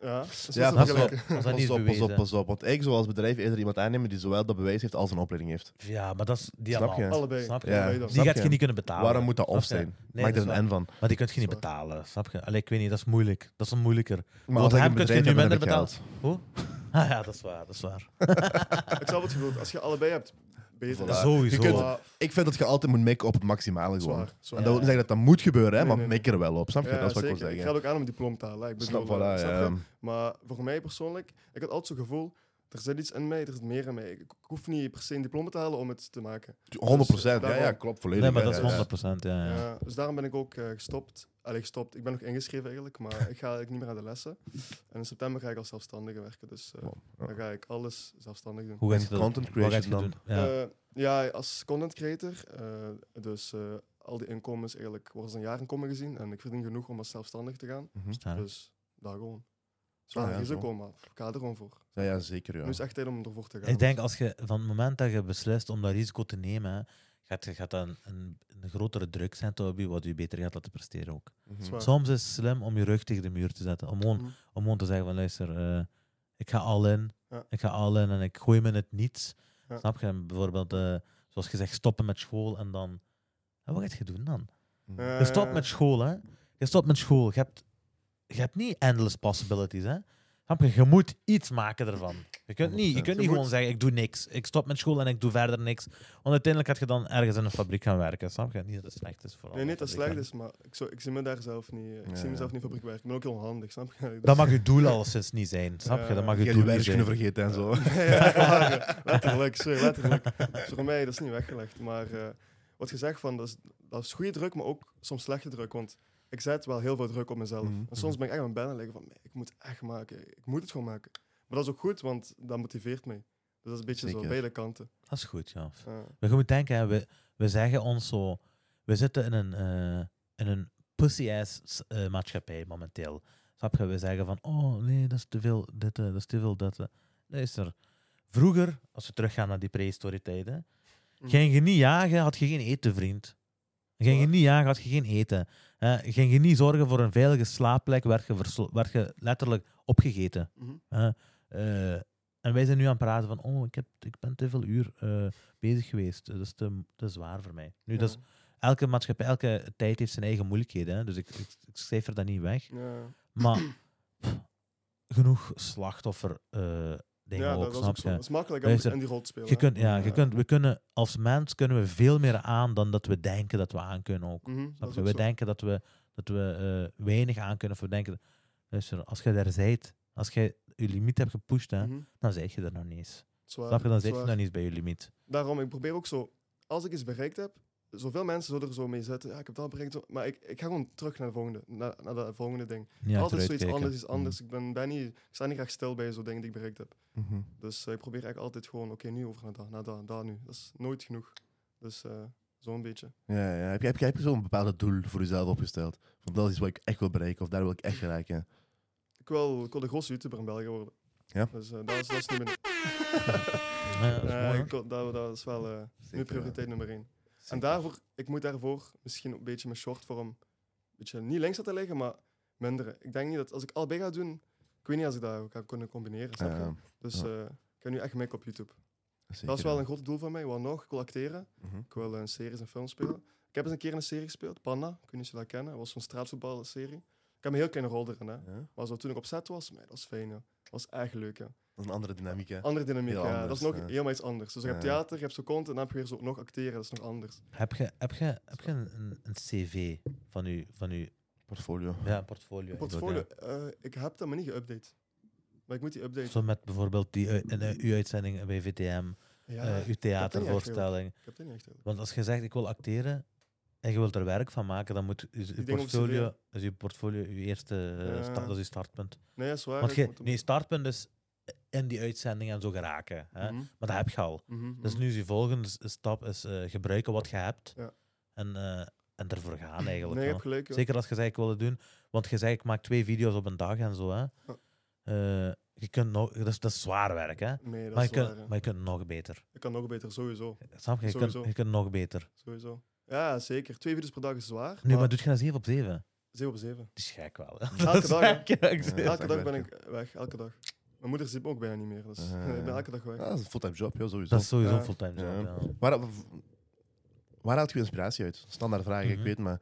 [SPEAKER 1] ja. dat is
[SPEAKER 2] Ja,
[SPEAKER 1] te
[SPEAKER 3] Pas op,
[SPEAKER 1] vergelijken.
[SPEAKER 3] als dat niet
[SPEAKER 2] Pas
[SPEAKER 3] is
[SPEAKER 2] op, pas op,
[SPEAKER 3] bewezen.
[SPEAKER 2] pas op. Want ik zou als bedrijf eerder iemand aannemen die zowel dat bewijs heeft als een opleiding heeft.
[SPEAKER 3] Ja, maar dat is die
[SPEAKER 2] Snap
[SPEAKER 3] allemaal.
[SPEAKER 2] je?
[SPEAKER 1] Allebei.
[SPEAKER 3] Snap je?
[SPEAKER 2] Ja.
[SPEAKER 1] Allebei dan.
[SPEAKER 3] Die
[SPEAKER 2] Snap
[SPEAKER 3] gaat
[SPEAKER 2] je?
[SPEAKER 3] je niet kunnen betalen.
[SPEAKER 2] Waarom moet dat
[SPEAKER 3] Snap
[SPEAKER 2] op
[SPEAKER 3] je?
[SPEAKER 2] zijn?
[SPEAKER 3] Nee,
[SPEAKER 2] Maak
[SPEAKER 3] dat
[SPEAKER 2] er
[SPEAKER 3] is
[SPEAKER 2] een N van.
[SPEAKER 3] Maar die kun je niet
[SPEAKER 1] Zwaar.
[SPEAKER 3] betalen, snap je? Allee, ik weet niet, dat is moeilijk. Dat is een moeilijker.
[SPEAKER 2] Maar
[SPEAKER 3] Want
[SPEAKER 2] als ik
[SPEAKER 3] hem
[SPEAKER 2] een
[SPEAKER 3] kun je
[SPEAKER 2] bedrijf
[SPEAKER 3] nu
[SPEAKER 2] heb, dan
[SPEAKER 3] minder
[SPEAKER 2] heb ik
[SPEAKER 3] betalen.
[SPEAKER 2] geld.
[SPEAKER 3] Hoe? Ah ja, dat is waar, dat is waar.
[SPEAKER 1] Ik snap wat je bedoelt. Als je allebei hebt, beter.
[SPEAKER 2] Voilà.
[SPEAKER 3] Sowieso.
[SPEAKER 2] Je kunt-
[SPEAKER 1] Ja,
[SPEAKER 2] Ik vind dat je altijd moet mikken op het maximale gewoon.
[SPEAKER 1] zwaar, zwaar.
[SPEAKER 2] En dat wil niet zeggen dat dat moet gebeuren, hè,
[SPEAKER 1] Nee,
[SPEAKER 2] maar
[SPEAKER 1] nee, nee.
[SPEAKER 2] mik er wel op. Snap je?
[SPEAKER 1] Ja,
[SPEAKER 2] dat is wat
[SPEAKER 1] zeker.
[SPEAKER 2] ik wil
[SPEAKER 1] Ik
[SPEAKER 2] zeggen.
[SPEAKER 1] ga ook aan om diplomtaal. hè. Ik bedoel,
[SPEAKER 2] Snap,
[SPEAKER 1] eh,
[SPEAKER 2] voilà,
[SPEAKER 1] snap
[SPEAKER 2] ja.
[SPEAKER 1] je? Maar voor mij persoonlijk, ik had altijd zo'n gevoel, er zit iets in mij, er zit meer in mij. Ik, ik hoef niet per se een diploma te halen om het te maken.
[SPEAKER 2] 100 procent. Ja,
[SPEAKER 1] daarom-
[SPEAKER 2] ja, klopt. Volledig.
[SPEAKER 3] Nee, maar
[SPEAKER 2] hè,
[SPEAKER 3] dat is
[SPEAKER 2] ja, ja.
[SPEAKER 3] 100%. Ja, ja.
[SPEAKER 1] Ja, dus daarom ben ik ook eh, gestopt. Allee, gestopt. Ik ben nog ingeschreven eigenlijk, maar ik ga eigenlijk niet meer aan de lessen. En in september ga ik als zelfstandige werken, dus eh,
[SPEAKER 2] Wow, ja.
[SPEAKER 1] dan ga ik alles zelfstandig doen.
[SPEAKER 3] Hoe gaat je
[SPEAKER 2] En
[SPEAKER 3] dat-
[SPEAKER 2] content
[SPEAKER 3] wat gaat je
[SPEAKER 2] creation dan?
[SPEAKER 3] doen? Ja.
[SPEAKER 1] Eh, ja, als content creator, eh, dus eh, al die inkomens eigenlijk worden als een jaarinkomen gezien en ik verdien genoeg om als zelfstandig te gaan,
[SPEAKER 2] Mhm.
[SPEAKER 3] Sterk.
[SPEAKER 1] dus daar gewoon. Zwaar
[SPEAKER 2] Ah, ja,
[SPEAKER 1] risico, maar ik ga er gewoon voor.
[SPEAKER 2] Ja, ja, zeker. Ja.
[SPEAKER 1] Nu is echt tijd om ervoor te gaan.
[SPEAKER 3] Ik denk
[SPEAKER 1] dus.
[SPEAKER 3] als je van het moment dat je beslist om dat risico te nemen, hè, gaat, je- gaat dat een, een, een grotere druk zijn op je, wat je beter gaat laten presteren ook.
[SPEAKER 2] Mhm.
[SPEAKER 1] Zwaar.
[SPEAKER 3] Soms is het slim om je rug tegen de muur te zetten. Om gewoon,
[SPEAKER 1] Mhm.
[SPEAKER 3] om gewoon te zeggen van luister, eh, ik ga al in.
[SPEAKER 1] Ja.
[SPEAKER 3] Ik ga al in en ik gooi me in het niets.
[SPEAKER 1] Ja.
[SPEAKER 3] Snap je? En Bijvoorbeeld, eh, zoals gezegd, stoppen met school en dan. Ja, wat gaat je doen dan?
[SPEAKER 2] Mhm.
[SPEAKER 3] Je
[SPEAKER 1] Eh,
[SPEAKER 3] stopt met school, hè? Je stopt met school. Je hebt, je hebt niet endless possibilities, hè? Snap je? Je moet iets maken ervan. Je kunt niet, je
[SPEAKER 2] 100%.
[SPEAKER 3] kunt
[SPEAKER 1] Je
[SPEAKER 3] niet gewoon
[SPEAKER 1] moet-
[SPEAKER 3] zeggen, ik doe niks. Ik stop met school en ik doe verder niks. Want uiteindelijk had je dan ergens in een fabriek gaan werken. Snap je? Niet dat het slecht is. Vooral
[SPEAKER 1] Nee, niet
[SPEAKER 3] dat
[SPEAKER 1] dat het slecht is, maar ik, zou, ik zie me daar zelf niet. eh, Ik
[SPEAKER 2] Ja,
[SPEAKER 1] zie
[SPEAKER 2] ja.
[SPEAKER 1] mezelf niet in fabriek werken. Ik ben ook heel handig, snap je? Dus-
[SPEAKER 3] Dat mag je doel alleszins niet zijn. Snap je? Dat mag
[SPEAKER 2] Je
[SPEAKER 3] je
[SPEAKER 2] hebt
[SPEAKER 3] doel
[SPEAKER 2] je
[SPEAKER 3] niet
[SPEAKER 2] werk kunnen
[SPEAKER 3] zijn.
[SPEAKER 2] vergeten en zo.
[SPEAKER 1] ja, klaar, eh. letterlijk, sorry, letterlijk. Dus voor mij, dat is niet weggelegd. Maar eh, wat je zegt, van, dat, is, dat is goede druk, maar ook soms slechte druk. Want ik zet wel heel veel druk op mezelf.
[SPEAKER 2] Mhm.
[SPEAKER 1] En soms ben ik echt aan het bellen liggen van, nee, ik moet het echt maken. Ik moet het gewoon maken. Maar dat is ook goed, want dat motiveert mij. Dus dat is een beetje zo,
[SPEAKER 2] Zeker.
[SPEAKER 1] beide kanten.
[SPEAKER 3] Dat is goed, ja.
[SPEAKER 1] Ja.
[SPEAKER 3] Maar je moet denken, hè, we, we zeggen ons zo... We zitten in een, eh, in een pussy-ass eh, maatschappij momenteel. Snap je? We zeggen van, oh nee, dat is te veel dit, eh, dat is te veel dat. eh. Luister, vroeger, als we teruggaan naar die prehistorie tijden,
[SPEAKER 1] Mm.
[SPEAKER 3] ging je niet jagen, had je geen eten, vriend. Ging je
[SPEAKER 1] Waar?
[SPEAKER 3] niet jagen, had je geen eten. Eh, ging je niet zorgen voor een veilige slaapplek, werd je, verslo- werd je letterlijk opgegeten.
[SPEAKER 1] Mhm.
[SPEAKER 3] Eh, en wij zijn nu aan het praten van, oh, ik, heb, ik ben te veel uur eh, bezig geweest. Eh, Dat is te, te zwaar voor mij. Nu,
[SPEAKER 1] Ja.
[SPEAKER 3] dat is, elke maatschappij, elke tijd heeft zijn eigen moeilijkheden. Hè? Dus ik, ik, ik cijfer dat niet weg.
[SPEAKER 1] Ja.
[SPEAKER 3] Maar pff, genoeg slachtoffer eh, dingen
[SPEAKER 1] Ja,
[SPEAKER 3] ook,
[SPEAKER 1] dat, dat is ook
[SPEAKER 3] snap
[SPEAKER 1] zo. Dat
[SPEAKER 3] je?
[SPEAKER 1] is makkelijk
[SPEAKER 3] Luister,
[SPEAKER 1] om in die rol te spelen.
[SPEAKER 3] Je
[SPEAKER 1] hè.
[SPEAKER 3] kunt, ja, je kunt, we kunnen, als mens kunnen we veel meer aan dan dat we denken dat we aan kunnen ook.
[SPEAKER 1] Mhm, dat
[SPEAKER 3] Snap
[SPEAKER 1] is
[SPEAKER 3] je?
[SPEAKER 1] ook
[SPEAKER 3] We
[SPEAKER 1] zo.
[SPEAKER 3] denken dat we, dat we eh, weinig aan kunnen. Of we denken, luister, als je daar zijt, als je je limiet hebt gepusht, hè,
[SPEAKER 1] Mhm.
[SPEAKER 3] dan zeg je er nog niet eens.
[SPEAKER 1] Zwaar,
[SPEAKER 3] Snap je? Dan zit je
[SPEAKER 1] zwaar.
[SPEAKER 3] nog niet eens bij je limiet.
[SPEAKER 1] daarom, ik probeer ook zo, als ik iets bereikt heb, zoveel mensen zullen er zo mee zitten. Ja, ik heb dat bereikt, zo- maar ik, ik ga gewoon terug naar de volgende, naar, naar dat volgende ding.
[SPEAKER 3] Niet
[SPEAKER 1] Altijd
[SPEAKER 3] achteruit
[SPEAKER 1] zoiets
[SPEAKER 3] kijken. Mhm.
[SPEAKER 1] anders, iets anders. Ik, ben, ben niet, ik sta niet graag stil bij zo'n dingen die ik bereikt heb.
[SPEAKER 2] Mhm.
[SPEAKER 1] Dus eh, ik probeer eigenlijk altijd gewoon, oké, nu over naar dat, naar dat, daar nu. Dat is nooit genoeg. Dus eh, zo'n beetje.
[SPEAKER 2] Ja, ja. Heb je, heb je, heb je zo'n bepaald doel voor jezelf opgesteld? Van dat is wat ik echt wil bereiken of daar wil ik echt geraken.
[SPEAKER 1] Ik wil, ik wil de grootste YouTuber in België worden.
[SPEAKER 2] Ja.
[SPEAKER 1] Dus eh, dat, is, dat is niet mijn...
[SPEAKER 3] Mm. Ja, dat is
[SPEAKER 1] Eh,
[SPEAKER 3] mooi, hoor.
[SPEAKER 1] ik wil- dat, dat is wel eh, mijn
[SPEAKER 2] Zeker,
[SPEAKER 1] prioriteit nummer één.
[SPEAKER 2] Zeker.
[SPEAKER 1] En daarvoor, ik moet daarvoor misschien een beetje mijn shortvorm een beetje niet links laten liggen, maar minderen. Ik denk niet dat als ik allebei ga doen, ik weet niet als ik dat ga kunnen combineren. Snap je?
[SPEAKER 2] Ja,
[SPEAKER 1] dus
[SPEAKER 2] ja.
[SPEAKER 1] eh, ik heb nu echt make op YouTube.
[SPEAKER 2] zeker,
[SPEAKER 1] dat is wel
[SPEAKER 2] ja.
[SPEAKER 1] een groot doel van mij. Wat nog? Ik wil acteren.
[SPEAKER 2] Mhm.
[SPEAKER 1] Ik wil eh, een series en films spelen. Ik heb eens een keer in een serie gespeeld, Panna. Ik weet niet of je dat kennen. Dat was zo'n straatvoetbalserie. Ik heb een heel kleine rol erin. Hè.
[SPEAKER 2] Ja.
[SPEAKER 1] Maar zo, toen ik op set was, man, dat was fijn. hè. Dat was echt leuk. Hè.
[SPEAKER 2] Dat is een andere dynamiek, hè?
[SPEAKER 1] Andere dynamiek.
[SPEAKER 2] Heel
[SPEAKER 1] ja. dat
[SPEAKER 2] anders,
[SPEAKER 1] is nog
[SPEAKER 2] ja.
[SPEAKER 1] helemaal iets anders. Dus je hebt
[SPEAKER 2] Ja.
[SPEAKER 1] theater, je hebt zo content en dan heb je weer zo nog acteren. Dat is nog anders.
[SPEAKER 3] Heb je, heb je, heb je een, een- een cv van je van uw-
[SPEAKER 2] Portfolio.
[SPEAKER 3] ja, een portfolio?
[SPEAKER 1] Een
[SPEAKER 3] eigenlijk,
[SPEAKER 1] portfolio, eh, ik heb dat maar niet geüpdate. Maar ik moet die
[SPEAKER 3] ja.
[SPEAKER 1] updaten.
[SPEAKER 3] Zo met bijvoorbeeld die, u- een, uw uitzending bij VTM,
[SPEAKER 1] Ja,
[SPEAKER 3] eh, uw theatervoorstelling.
[SPEAKER 1] ik heb dat niet echt heel.
[SPEAKER 3] Want als je zegt, ik wil acteren en je wilt er werk van maken, dan moet je, je
[SPEAKER 1] dingen op
[SPEAKER 3] portfolio, is je portfolio je eerste eh,
[SPEAKER 1] Ja.
[SPEAKER 3] sta- dat is je startpunt.
[SPEAKER 1] Nee, dat is waar.
[SPEAKER 3] Want
[SPEAKER 1] ik
[SPEAKER 3] je,
[SPEAKER 1] moet hem-
[SPEAKER 3] nee, startpunt is in die uitzending en zo geraken. Hè?
[SPEAKER 1] Mhm,
[SPEAKER 3] Maar dat heb je al.
[SPEAKER 1] mhm,
[SPEAKER 3] Dus
[SPEAKER 1] mhm.
[SPEAKER 3] nu is je volgende s- stap is, eh, gebruiken wat je hebt
[SPEAKER 1] Ja.
[SPEAKER 3] en, eh, en ervoor gaan eigenlijk.
[SPEAKER 1] Nee, je
[SPEAKER 3] ja.
[SPEAKER 1] hebt gelijk. ja.
[SPEAKER 3] Zeker als je zegt ik wil het doen, want je zegt ik maak twee video's op een dag en zo. Hè. Eh, je kunt nog, dat, is, dat is zwaar werk, hè?
[SPEAKER 1] Nee, dat
[SPEAKER 3] maar, je
[SPEAKER 1] is waar.
[SPEAKER 3] kunt,
[SPEAKER 1] ja.
[SPEAKER 3] maar je kunt nog beter.
[SPEAKER 1] Ik kan nog beter, sowieso.
[SPEAKER 3] Snap je? Je kunt,
[SPEAKER 1] Sowieso.
[SPEAKER 3] je kunt nog beter.
[SPEAKER 1] sowieso. Ja, zeker. Twee video's per dag is zwaar.
[SPEAKER 3] Nu, maar doe je dat 7 op 7? Dat
[SPEAKER 1] 7 op 7.
[SPEAKER 3] is gek wel. hè.
[SPEAKER 1] Elke
[SPEAKER 3] Dat is
[SPEAKER 1] dag, hè?
[SPEAKER 3] gek, ja, ik
[SPEAKER 2] Ja.
[SPEAKER 3] zeg.
[SPEAKER 1] Elke
[SPEAKER 2] echt
[SPEAKER 1] dag ben ik weg, elke dag. Mijn moeder ziet me ook bijna niet meer, dus
[SPEAKER 3] Eh.
[SPEAKER 2] Ah.
[SPEAKER 1] ik ben elke dag weg.
[SPEAKER 2] Ja, dat is een fulltime job, ja, sowieso.
[SPEAKER 3] Dat is sowieso
[SPEAKER 1] Ja.
[SPEAKER 3] een fulltime job.
[SPEAKER 2] Ja.
[SPEAKER 3] Ja.
[SPEAKER 2] Waar, waar haalt je inspiratie uit? Standaard vraag, ik
[SPEAKER 3] Mhm.
[SPEAKER 2] weet, maar...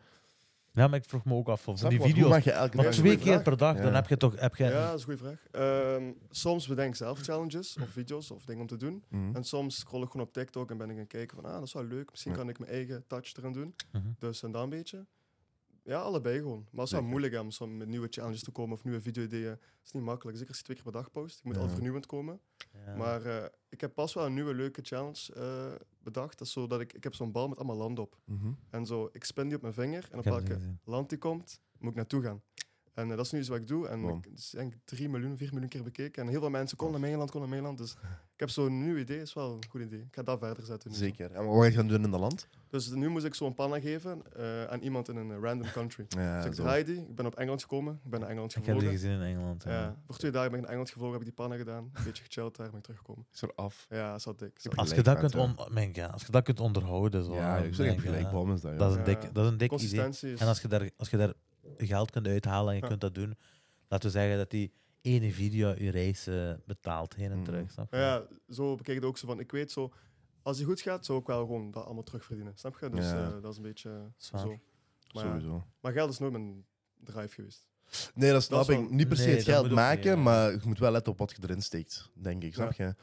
[SPEAKER 3] ja, maar ik vroeg me ook af van
[SPEAKER 2] Snap
[SPEAKER 3] die
[SPEAKER 2] je, hoe
[SPEAKER 3] video's.
[SPEAKER 2] mag je elke
[SPEAKER 3] Want
[SPEAKER 2] dag-
[SPEAKER 3] twee
[SPEAKER 1] goeie
[SPEAKER 3] keer
[SPEAKER 1] vraag.
[SPEAKER 3] per dag, dan
[SPEAKER 2] Ja.
[SPEAKER 3] heb je toch heb je
[SPEAKER 1] Ja, dat is een goede vraag. Ehm, soms bedenk ik zelf challenges of video's of dingen om te doen.
[SPEAKER 2] Mhm.
[SPEAKER 1] En soms scroll ik gewoon op TikTok en ben ik aan het kijken van, ah, dat is wel leuk. Misschien
[SPEAKER 2] Ja.
[SPEAKER 1] kan ik mijn eigen touch erin doen.
[SPEAKER 3] Mhm.
[SPEAKER 1] Dus en dan een beetje. Ja, allebei gewoon. Maar het is wel
[SPEAKER 2] Zeker.
[SPEAKER 1] moeilijk hè, om soms met nieuwe challenges te komen of nieuwe video-ideeën. Het is niet makkelijk. Zeker als je twee keer per dag post. Ik moet
[SPEAKER 2] Ja.
[SPEAKER 1] al vernieuwend komen.
[SPEAKER 3] Ja.
[SPEAKER 1] Maar eh, ik heb pas wel een nieuwe leuke challenge eh, bedacht. Dat is zo dat ik, ik heb zo'n bal met allemaal landen op.
[SPEAKER 2] Mhm.
[SPEAKER 1] En zo, ik spin die op mijn vinger. En
[SPEAKER 3] Ik
[SPEAKER 1] op
[SPEAKER 3] heb het niet
[SPEAKER 1] welke
[SPEAKER 3] gezien.
[SPEAKER 1] land die komt, moet ik naartoe gaan. En eh, dat is nu iets wat ik doe. En
[SPEAKER 2] Wow.
[SPEAKER 1] ik het is denk ik 3 miljoen, 4 miljoen keer bekeken. En heel veel mensen, kom naar mijn land, kom naar mijn land. Dus ik heb zo'n nieuw idee, is wel een goed idee. Ik ga dat verder zetten. Nu zo.
[SPEAKER 2] Zeker. En wat ga je gaan doen in dat land?
[SPEAKER 1] Dus nu moest ik zo'n panna geven eh, aan iemand in een eh, random country.
[SPEAKER 2] Ja,
[SPEAKER 1] Dus ik
[SPEAKER 2] zo.
[SPEAKER 1] draai die, ik ben op Engeland gekomen, ik ben naar Engeland
[SPEAKER 3] Ik heb die
[SPEAKER 1] gevlogen.
[SPEAKER 3] gezien in Engeland. ja.
[SPEAKER 1] Ja, voor twee dagen ben ik naar Engeland gevlogen, heb ik die pannen gedaan, een beetje gechilled daar, ben ik teruggekomen.
[SPEAKER 2] Is er af.
[SPEAKER 1] Ja, zat dik. Zat
[SPEAKER 2] Heb
[SPEAKER 1] dik.
[SPEAKER 3] Als je,
[SPEAKER 2] Gelijk
[SPEAKER 3] dat
[SPEAKER 2] met,
[SPEAKER 3] kunt on, mijn god, als je dat kunt onderhouden, zo,
[SPEAKER 2] Ja,
[SPEAKER 3] dan
[SPEAKER 2] ik zeg
[SPEAKER 3] denk je,
[SPEAKER 2] gelijk
[SPEAKER 3] hè,
[SPEAKER 2] bom is dat,
[SPEAKER 3] dat is
[SPEAKER 2] joh.
[SPEAKER 3] een
[SPEAKER 1] Ja.
[SPEAKER 3] dik, dat is een dik idee.
[SPEAKER 1] Consistentie is...
[SPEAKER 3] En als je, daar, als je daar geld kunt uithalen en je
[SPEAKER 1] Ja.
[SPEAKER 3] kunt dat doen, laten we zeggen dat die ene video je reis eh, betaalt heen en
[SPEAKER 2] Mhm.
[SPEAKER 3] terug. Snap je?
[SPEAKER 1] Maar ja, zo bekijk ik het ook zo van, ik weet zo, als die goed gaat, zou ik wel gewoon dat allemaal terugverdienen, snap je? Dus
[SPEAKER 2] Ja.
[SPEAKER 1] eh, dat is een beetje eh,
[SPEAKER 3] Zwaar.
[SPEAKER 1] zo. Maar, ja,
[SPEAKER 2] Sowieso.
[SPEAKER 1] maar geld is nooit mijn drive geweest.
[SPEAKER 2] Nee, dat snap
[SPEAKER 1] Dat is
[SPEAKER 2] ik.
[SPEAKER 1] wel-
[SPEAKER 2] Niet per se
[SPEAKER 3] Nee,
[SPEAKER 2] het
[SPEAKER 3] dat
[SPEAKER 2] geld
[SPEAKER 3] bedoel ik
[SPEAKER 2] maken,
[SPEAKER 3] niet, ja.
[SPEAKER 2] maar je moet wel letten op wat je erin steekt, denk ik. Snap je?
[SPEAKER 1] ja.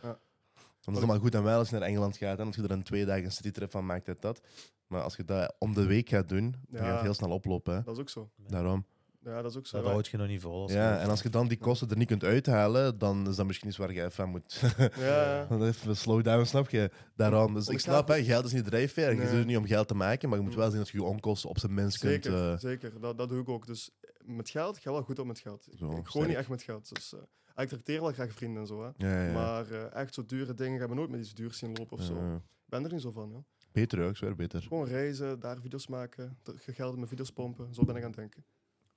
[SPEAKER 2] Want het is allemaal goed en wel als je naar Engeland gaat en als je er een twee dagen een citytrip van maakt, dit, dat. Maar als je dat om de week gaat doen, dan gaat
[SPEAKER 1] Ja.
[SPEAKER 2] het heel snel oplopen. hè.
[SPEAKER 1] Dat is ook zo.
[SPEAKER 2] Daarom.
[SPEAKER 1] Ja, dat is ook zo.
[SPEAKER 3] Dat
[SPEAKER 1] Ja.
[SPEAKER 3] houdt je nog niet vol. als
[SPEAKER 2] Ja,
[SPEAKER 3] je-
[SPEAKER 2] en als je dan die kosten er niet kunt uithalen, dan is dat misschien iets waar je even aan moet.
[SPEAKER 1] Ja, ja.
[SPEAKER 2] Dan Even een slowdown, snap je? Daarom. Dus
[SPEAKER 1] Om
[SPEAKER 2] ik
[SPEAKER 1] de geld-
[SPEAKER 2] snap, hè, geld is niet drijfveer. en Je
[SPEAKER 1] Nee. Mm.
[SPEAKER 2] doet het niet om geld te maken, maar je moet wel zien dat je je onkosten op zijn minst kunt.
[SPEAKER 1] Zeker,
[SPEAKER 2] eh,
[SPEAKER 1] zeker. Dat, dat doe ik ook. Dus met geld, ik ga wel goed op met geld. Ik,
[SPEAKER 2] Zo,
[SPEAKER 1] ik gooi
[SPEAKER 2] sterk.
[SPEAKER 1] niet echt met geld. Dus, eh, ik trakteer wel graag vrienden en zo. Hè.
[SPEAKER 2] ja, ja, ja.
[SPEAKER 1] Maar eh, echt zo dure dingen gaan we nooit met iets duurs zien lopen of zo.
[SPEAKER 2] Eh,
[SPEAKER 1] Ik ben er niet zo van. Joh.
[SPEAKER 2] beter, hoor, ik zweer beter.
[SPEAKER 1] Gewoon reizen, daar video's maken, dat je geld in mijn video's pompen. Zo ben ik aan het denken.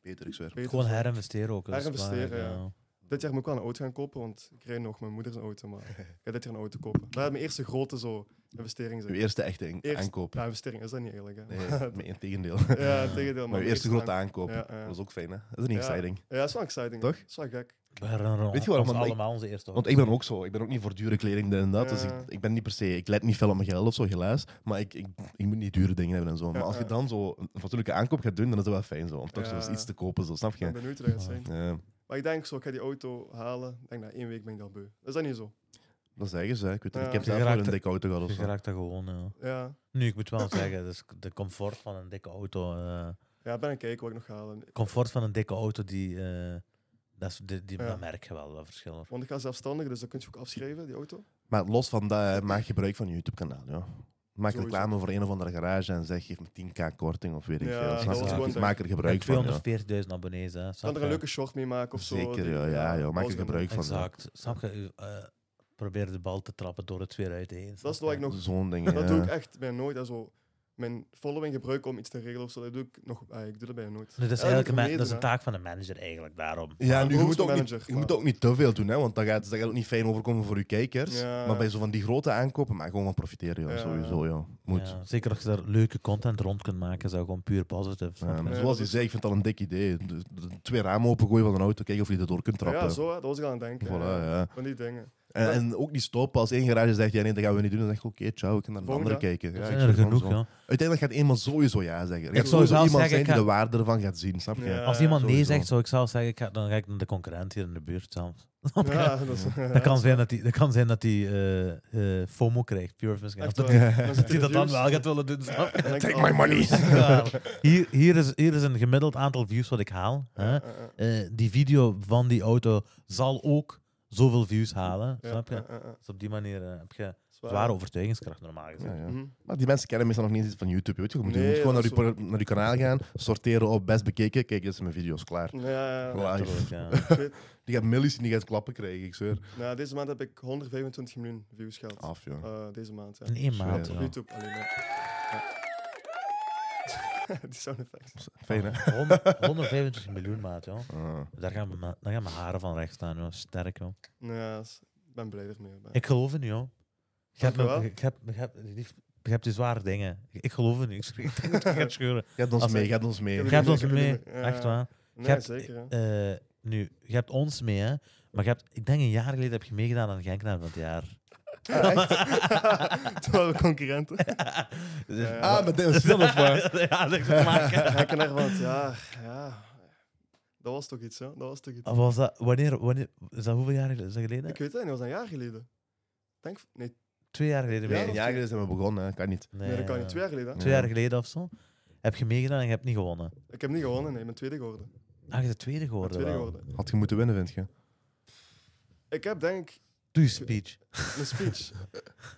[SPEAKER 2] Beter, ik zweer.
[SPEAKER 1] Beter
[SPEAKER 3] Gewoon
[SPEAKER 1] zo.
[SPEAKER 3] herinvesteren ook. dat is
[SPEAKER 1] Herinvesteren,
[SPEAKER 3] waar,
[SPEAKER 1] ja. Dit jaar moet ik wel een auto gaan kopen, want ik rijd nog mijn moeder zijn auto. Maar ik ga dit jaar een auto kopen. Dat gaat mijn eerste grote zo, investering
[SPEAKER 2] Uw
[SPEAKER 1] zijn.
[SPEAKER 2] eerste echte in-
[SPEAKER 1] Eerst-
[SPEAKER 2] aankoop.
[SPEAKER 1] Ja, investering is dat niet eerlijk. Hè?
[SPEAKER 2] Nee,
[SPEAKER 1] Maar-
[SPEAKER 2] maar in tegendeel.
[SPEAKER 1] ja, tegendeel.
[SPEAKER 2] Maar
[SPEAKER 1] mijn
[SPEAKER 2] uw eerste grote aankoop.
[SPEAKER 1] Ja, ja.
[SPEAKER 2] Dat is ook fijn, hè? Dat is niet
[SPEAKER 1] Ja.
[SPEAKER 2] exciting.
[SPEAKER 1] Ja, dat is wel exciting.
[SPEAKER 2] Toch?
[SPEAKER 1] Dat is wel gek.
[SPEAKER 3] We herinneren
[SPEAKER 2] Weet je
[SPEAKER 3] ons
[SPEAKER 2] waarom? Want ik-
[SPEAKER 3] allemaal onze eerste
[SPEAKER 2] Want ik ben ook zo. Ik ben ook niet voor dure kleding dit en dat. Dus
[SPEAKER 1] Ja.
[SPEAKER 2] ik, ik ben niet per se... Ik let niet veel op mijn geld of zo, helaas. Maar ik, ik, ik moet niet dure dingen hebben en zo. Maar
[SPEAKER 1] Ja,
[SPEAKER 2] als je
[SPEAKER 1] ja.
[SPEAKER 2] dan zo een fatsoenlijke aankoop gaat doen, dan is dat wel fijn zo. Om toch
[SPEAKER 1] Ja.
[SPEAKER 2] zo eens iets te kopen, zo. Snap
[SPEAKER 1] Ik ben
[SPEAKER 2] je?
[SPEAKER 1] benieuwd hoe dat gaat zijn.
[SPEAKER 2] Ja,
[SPEAKER 1] Maar ik denk zo, ik ga die auto halen. Ik denk na één week ben ik daar beu. Is dat niet zo?
[SPEAKER 2] dat zeggen ze. hè. Ik, weet het niet. ik heb
[SPEAKER 1] Ja.
[SPEAKER 2] zelf
[SPEAKER 3] Je
[SPEAKER 2] wel
[SPEAKER 3] raakt er-
[SPEAKER 2] een dikke auto gehad of
[SPEAKER 3] Je
[SPEAKER 2] zo.
[SPEAKER 3] raakt dat gewoon. ja.
[SPEAKER 1] Ja.
[SPEAKER 3] Nu, ik moet wel zeggen, dus de comfort van een dikke auto. eh,
[SPEAKER 1] Ja, ik ben aan het kijken wat ik nog ga halen.
[SPEAKER 3] comfort van een dikke auto, die, eh, dat, is, die, die,
[SPEAKER 1] Ja.
[SPEAKER 3] dat merk je wel, dat verschil.
[SPEAKER 1] Want ik ga zelfstandig, dus dat kun je ook afschrijven, die auto.
[SPEAKER 2] Maar los van dat, hè, maak gebruik van je YouTube-kanaal, ja. Maak
[SPEAKER 1] Sowieso.
[SPEAKER 2] reclame voor een of andere garage en zeg, geef me 10k korting of weet ik
[SPEAKER 1] Ja,
[SPEAKER 2] veel.
[SPEAKER 1] dat
[SPEAKER 2] Snap
[SPEAKER 3] was
[SPEAKER 2] je?
[SPEAKER 3] gewoon
[SPEAKER 2] Dus
[SPEAKER 1] dat-
[SPEAKER 2] Maak er
[SPEAKER 3] En
[SPEAKER 2] gebruik van, ja.
[SPEAKER 3] 240.000 abonnees, hè.
[SPEAKER 1] Kan
[SPEAKER 3] snap
[SPEAKER 1] er een
[SPEAKER 3] je?
[SPEAKER 1] leuke short mee maken of zo?
[SPEAKER 2] Zeker,
[SPEAKER 1] die-
[SPEAKER 2] ja. ja, ja. Maak er
[SPEAKER 1] dat is
[SPEAKER 2] gebruik van. ja.
[SPEAKER 3] Exact. Snap je? U, eh, probeer de bal te trappen door het weer uit heen.
[SPEAKER 1] Dat is
[SPEAKER 3] snap
[SPEAKER 1] wat
[SPEAKER 3] je?
[SPEAKER 1] ik nog...
[SPEAKER 2] Zo'n ding,
[SPEAKER 1] Dat
[SPEAKER 2] ja.
[SPEAKER 1] doe ik echt bij nooit. hè, Zo. Mijn following gebruiken om iets te regelen of zo, dat doe ik nog... ah, ik doe dat bij nooit.
[SPEAKER 3] Nee, dat,
[SPEAKER 1] Ja, dat
[SPEAKER 3] is eigenlijk een, ma-
[SPEAKER 1] vermeden,
[SPEAKER 3] dat is een
[SPEAKER 1] hè.
[SPEAKER 3] taak van een manager eigenlijk, daarom.
[SPEAKER 2] Ja, nu,
[SPEAKER 1] behoefte
[SPEAKER 2] je, moet ook niet,
[SPEAKER 1] manager,
[SPEAKER 2] je
[SPEAKER 1] maar-
[SPEAKER 2] moet ook niet te veel doen, hè, want dat gaat, dat gaat ook niet fijn overkomen voor je kijkers.
[SPEAKER 1] Ja.
[SPEAKER 2] Maar bij zo van die grote aankopen, maar gewoon van profiteren, joh,
[SPEAKER 1] Ja.
[SPEAKER 2] sowieso. Joh. Moet.
[SPEAKER 3] Ja, zeker als je daar leuke content rond kunt maken, zou gewoon puur positief.
[SPEAKER 2] Ja,
[SPEAKER 3] snap je?
[SPEAKER 2] maar
[SPEAKER 1] Nee,
[SPEAKER 2] zoals
[SPEAKER 1] dat
[SPEAKER 2] je
[SPEAKER 1] is-
[SPEAKER 2] zei, ik vind het al een dik idee. De- de- twee ramen opengooien van een auto, kijken of je erdoor kunt trappen.
[SPEAKER 1] Ja, zo, hè, dat was ik aan het denken.
[SPEAKER 2] Voilà,
[SPEAKER 1] ja.
[SPEAKER 2] ja.
[SPEAKER 1] Van die dingen.
[SPEAKER 2] En, en ook niet stoppen als één garage zegt, ja nee, dat gaan we niet doen. Dan zeg ik, oké, ciao, ik ga naar een
[SPEAKER 1] Volgende.
[SPEAKER 2] andere kijken. Ja,
[SPEAKER 3] Er
[SPEAKER 2] ik
[SPEAKER 3] zijn
[SPEAKER 2] vind
[SPEAKER 3] er
[SPEAKER 2] het
[SPEAKER 3] genoeg,
[SPEAKER 2] gewoon zo.
[SPEAKER 3] joh.
[SPEAKER 2] Uiteindelijk gaat iemand sowieso ja zeggen. Er
[SPEAKER 1] zou
[SPEAKER 2] gaat sowieso
[SPEAKER 3] zelfs
[SPEAKER 2] iemand
[SPEAKER 3] zeggen,
[SPEAKER 2] zijn
[SPEAKER 3] ik
[SPEAKER 2] die
[SPEAKER 3] ga-
[SPEAKER 2] de waarde ervan gaat zien, snap je?
[SPEAKER 1] Ja.
[SPEAKER 3] Als iemand nee
[SPEAKER 2] sowieso.
[SPEAKER 3] zegt, zou ik zelf zeggen, ik ga, dan ga ik naar de concurrent hier in de buurt zelf.
[SPEAKER 1] Ja, dat, is,
[SPEAKER 3] Dat kan zijn dat hij, dat kan zijn dat hij eh, eh, FOMO krijgt, pure
[SPEAKER 1] Echt,
[SPEAKER 3] misgaan.
[SPEAKER 1] waar. Dan zit
[SPEAKER 3] Dat hij dat dan
[SPEAKER 1] views.
[SPEAKER 3] wel gaat willen doen. snap je?
[SPEAKER 1] Dan denk ik,
[SPEAKER 2] Take
[SPEAKER 1] oh,
[SPEAKER 2] my money.
[SPEAKER 1] views.
[SPEAKER 3] Ja. Hier, hier, is, hier is een gemiddeld aantal views wat ik haal. Hè?
[SPEAKER 1] Ja, ja, ja.
[SPEAKER 3] Eh, die video van die auto zal ook zoveel views halen.
[SPEAKER 1] Ja,
[SPEAKER 3] Snap je?
[SPEAKER 1] ja, ja, ja.
[SPEAKER 3] Dus op die manier eh, heb je
[SPEAKER 1] Zwaar.
[SPEAKER 3] zware overtuigingskracht normaal gezien.
[SPEAKER 2] Ja, ja.
[SPEAKER 1] Mhm.
[SPEAKER 2] Maar die mensen kennen meestal nog niet eens iets van YouTube. Weet je. Je moet, je
[SPEAKER 1] Nee,
[SPEAKER 2] moet gewoon
[SPEAKER 1] dat
[SPEAKER 2] naar je,
[SPEAKER 1] is
[SPEAKER 2] pro- naar je kanaal gaan, sorteren op best bekeken. Kijk, dit zijn mijn video's, klaar.
[SPEAKER 1] Ja, ja, ja.
[SPEAKER 2] Voilà.
[SPEAKER 3] Natuurlijk, ja.
[SPEAKER 1] Ik weet-
[SPEAKER 2] Die gaat millies en die gaat klappen krijgen, ik zweer.
[SPEAKER 1] Nou, deze maand heb ik 125 miljoen views gehad.
[SPEAKER 2] Af, joh.
[SPEAKER 1] Eh, deze maand, ja.
[SPEAKER 3] In één maand.
[SPEAKER 1] Op
[SPEAKER 3] ja.
[SPEAKER 1] YouTube alleen maar. Ja. Die sound effects.
[SPEAKER 2] Fijn, hè?
[SPEAKER 3] 100 125 miljoen maat, joh.
[SPEAKER 2] Ah.
[SPEAKER 3] Daar gaan, mijn- daar gaan mijn haren van recht staan, joh. Sterk, joh.
[SPEAKER 1] Nou Ja, s- ik ben blij ermee. Ik ben-
[SPEAKER 3] Ik geloof in u, joh. Je hebt, me,
[SPEAKER 1] Dank u wel.
[SPEAKER 3] je, hebt, je, hebt, je hebt die zware dingen. Ik geloof in u. Ik schrik- ik denk dat je gaat scheuren.
[SPEAKER 2] Gaat ons
[SPEAKER 3] Als-
[SPEAKER 2] mee, gaat ons mee.
[SPEAKER 1] Ik
[SPEAKER 3] Je
[SPEAKER 1] heb
[SPEAKER 3] hebt
[SPEAKER 1] het niet,
[SPEAKER 3] ons
[SPEAKER 1] ik
[SPEAKER 3] mee.
[SPEAKER 1] heb het niet meer.
[SPEAKER 3] Echt waar.
[SPEAKER 1] Nee,
[SPEAKER 3] Je hebt-
[SPEAKER 1] zeker. hè.
[SPEAKER 3] Eh, nu, je hebt ons mee, hè. Maar je hebt, ik denk een jaar geleden heb je meegedaan aan de Genkenaar van het jaar.
[SPEAKER 1] Toen waren Ah, we concurrenten.
[SPEAKER 3] Dus-
[SPEAKER 2] Ah, maar dit is stil of wat?
[SPEAKER 3] ja, dat te maken.
[SPEAKER 1] Gekken daarvan, ja, ja. Dat was toch iets, hè? Dat was toch iets.
[SPEAKER 3] Of was dat, wanneer, wanneer, is dat hoeveel jaar geleden? Is dat geleden?
[SPEAKER 1] Ik weet het niet, dat was een jaar geleden. Ik Denk, nee,
[SPEAKER 3] Twee jaar geleden.
[SPEAKER 2] Nee,
[SPEAKER 3] weet
[SPEAKER 2] een
[SPEAKER 3] ik.
[SPEAKER 2] jaar geleden zijn we begonnen, hè. kan niet.
[SPEAKER 1] nee, dat kan
[SPEAKER 3] eh,
[SPEAKER 1] niet. Twee jaar geleden. hè.
[SPEAKER 3] Twee jaar geleden of zo. Heb je meegedaan en je hebt niet gewonnen.
[SPEAKER 1] Ik heb niet gewonnen, nee, ik ben tweede geworden. Ik ben
[SPEAKER 3] Ah, je bent tweede geworden.
[SPEAKER 1] tweede
[SPEAKER 3] wel.
[SPEAKER 1] geworden.
[SPEAKER 2] Had je moeten winnen, vind je?
[SPEAKER 1] Ik heb denk ik
[SPEAKER 3] Doe je speech.
[SPEAKER 1] een speech.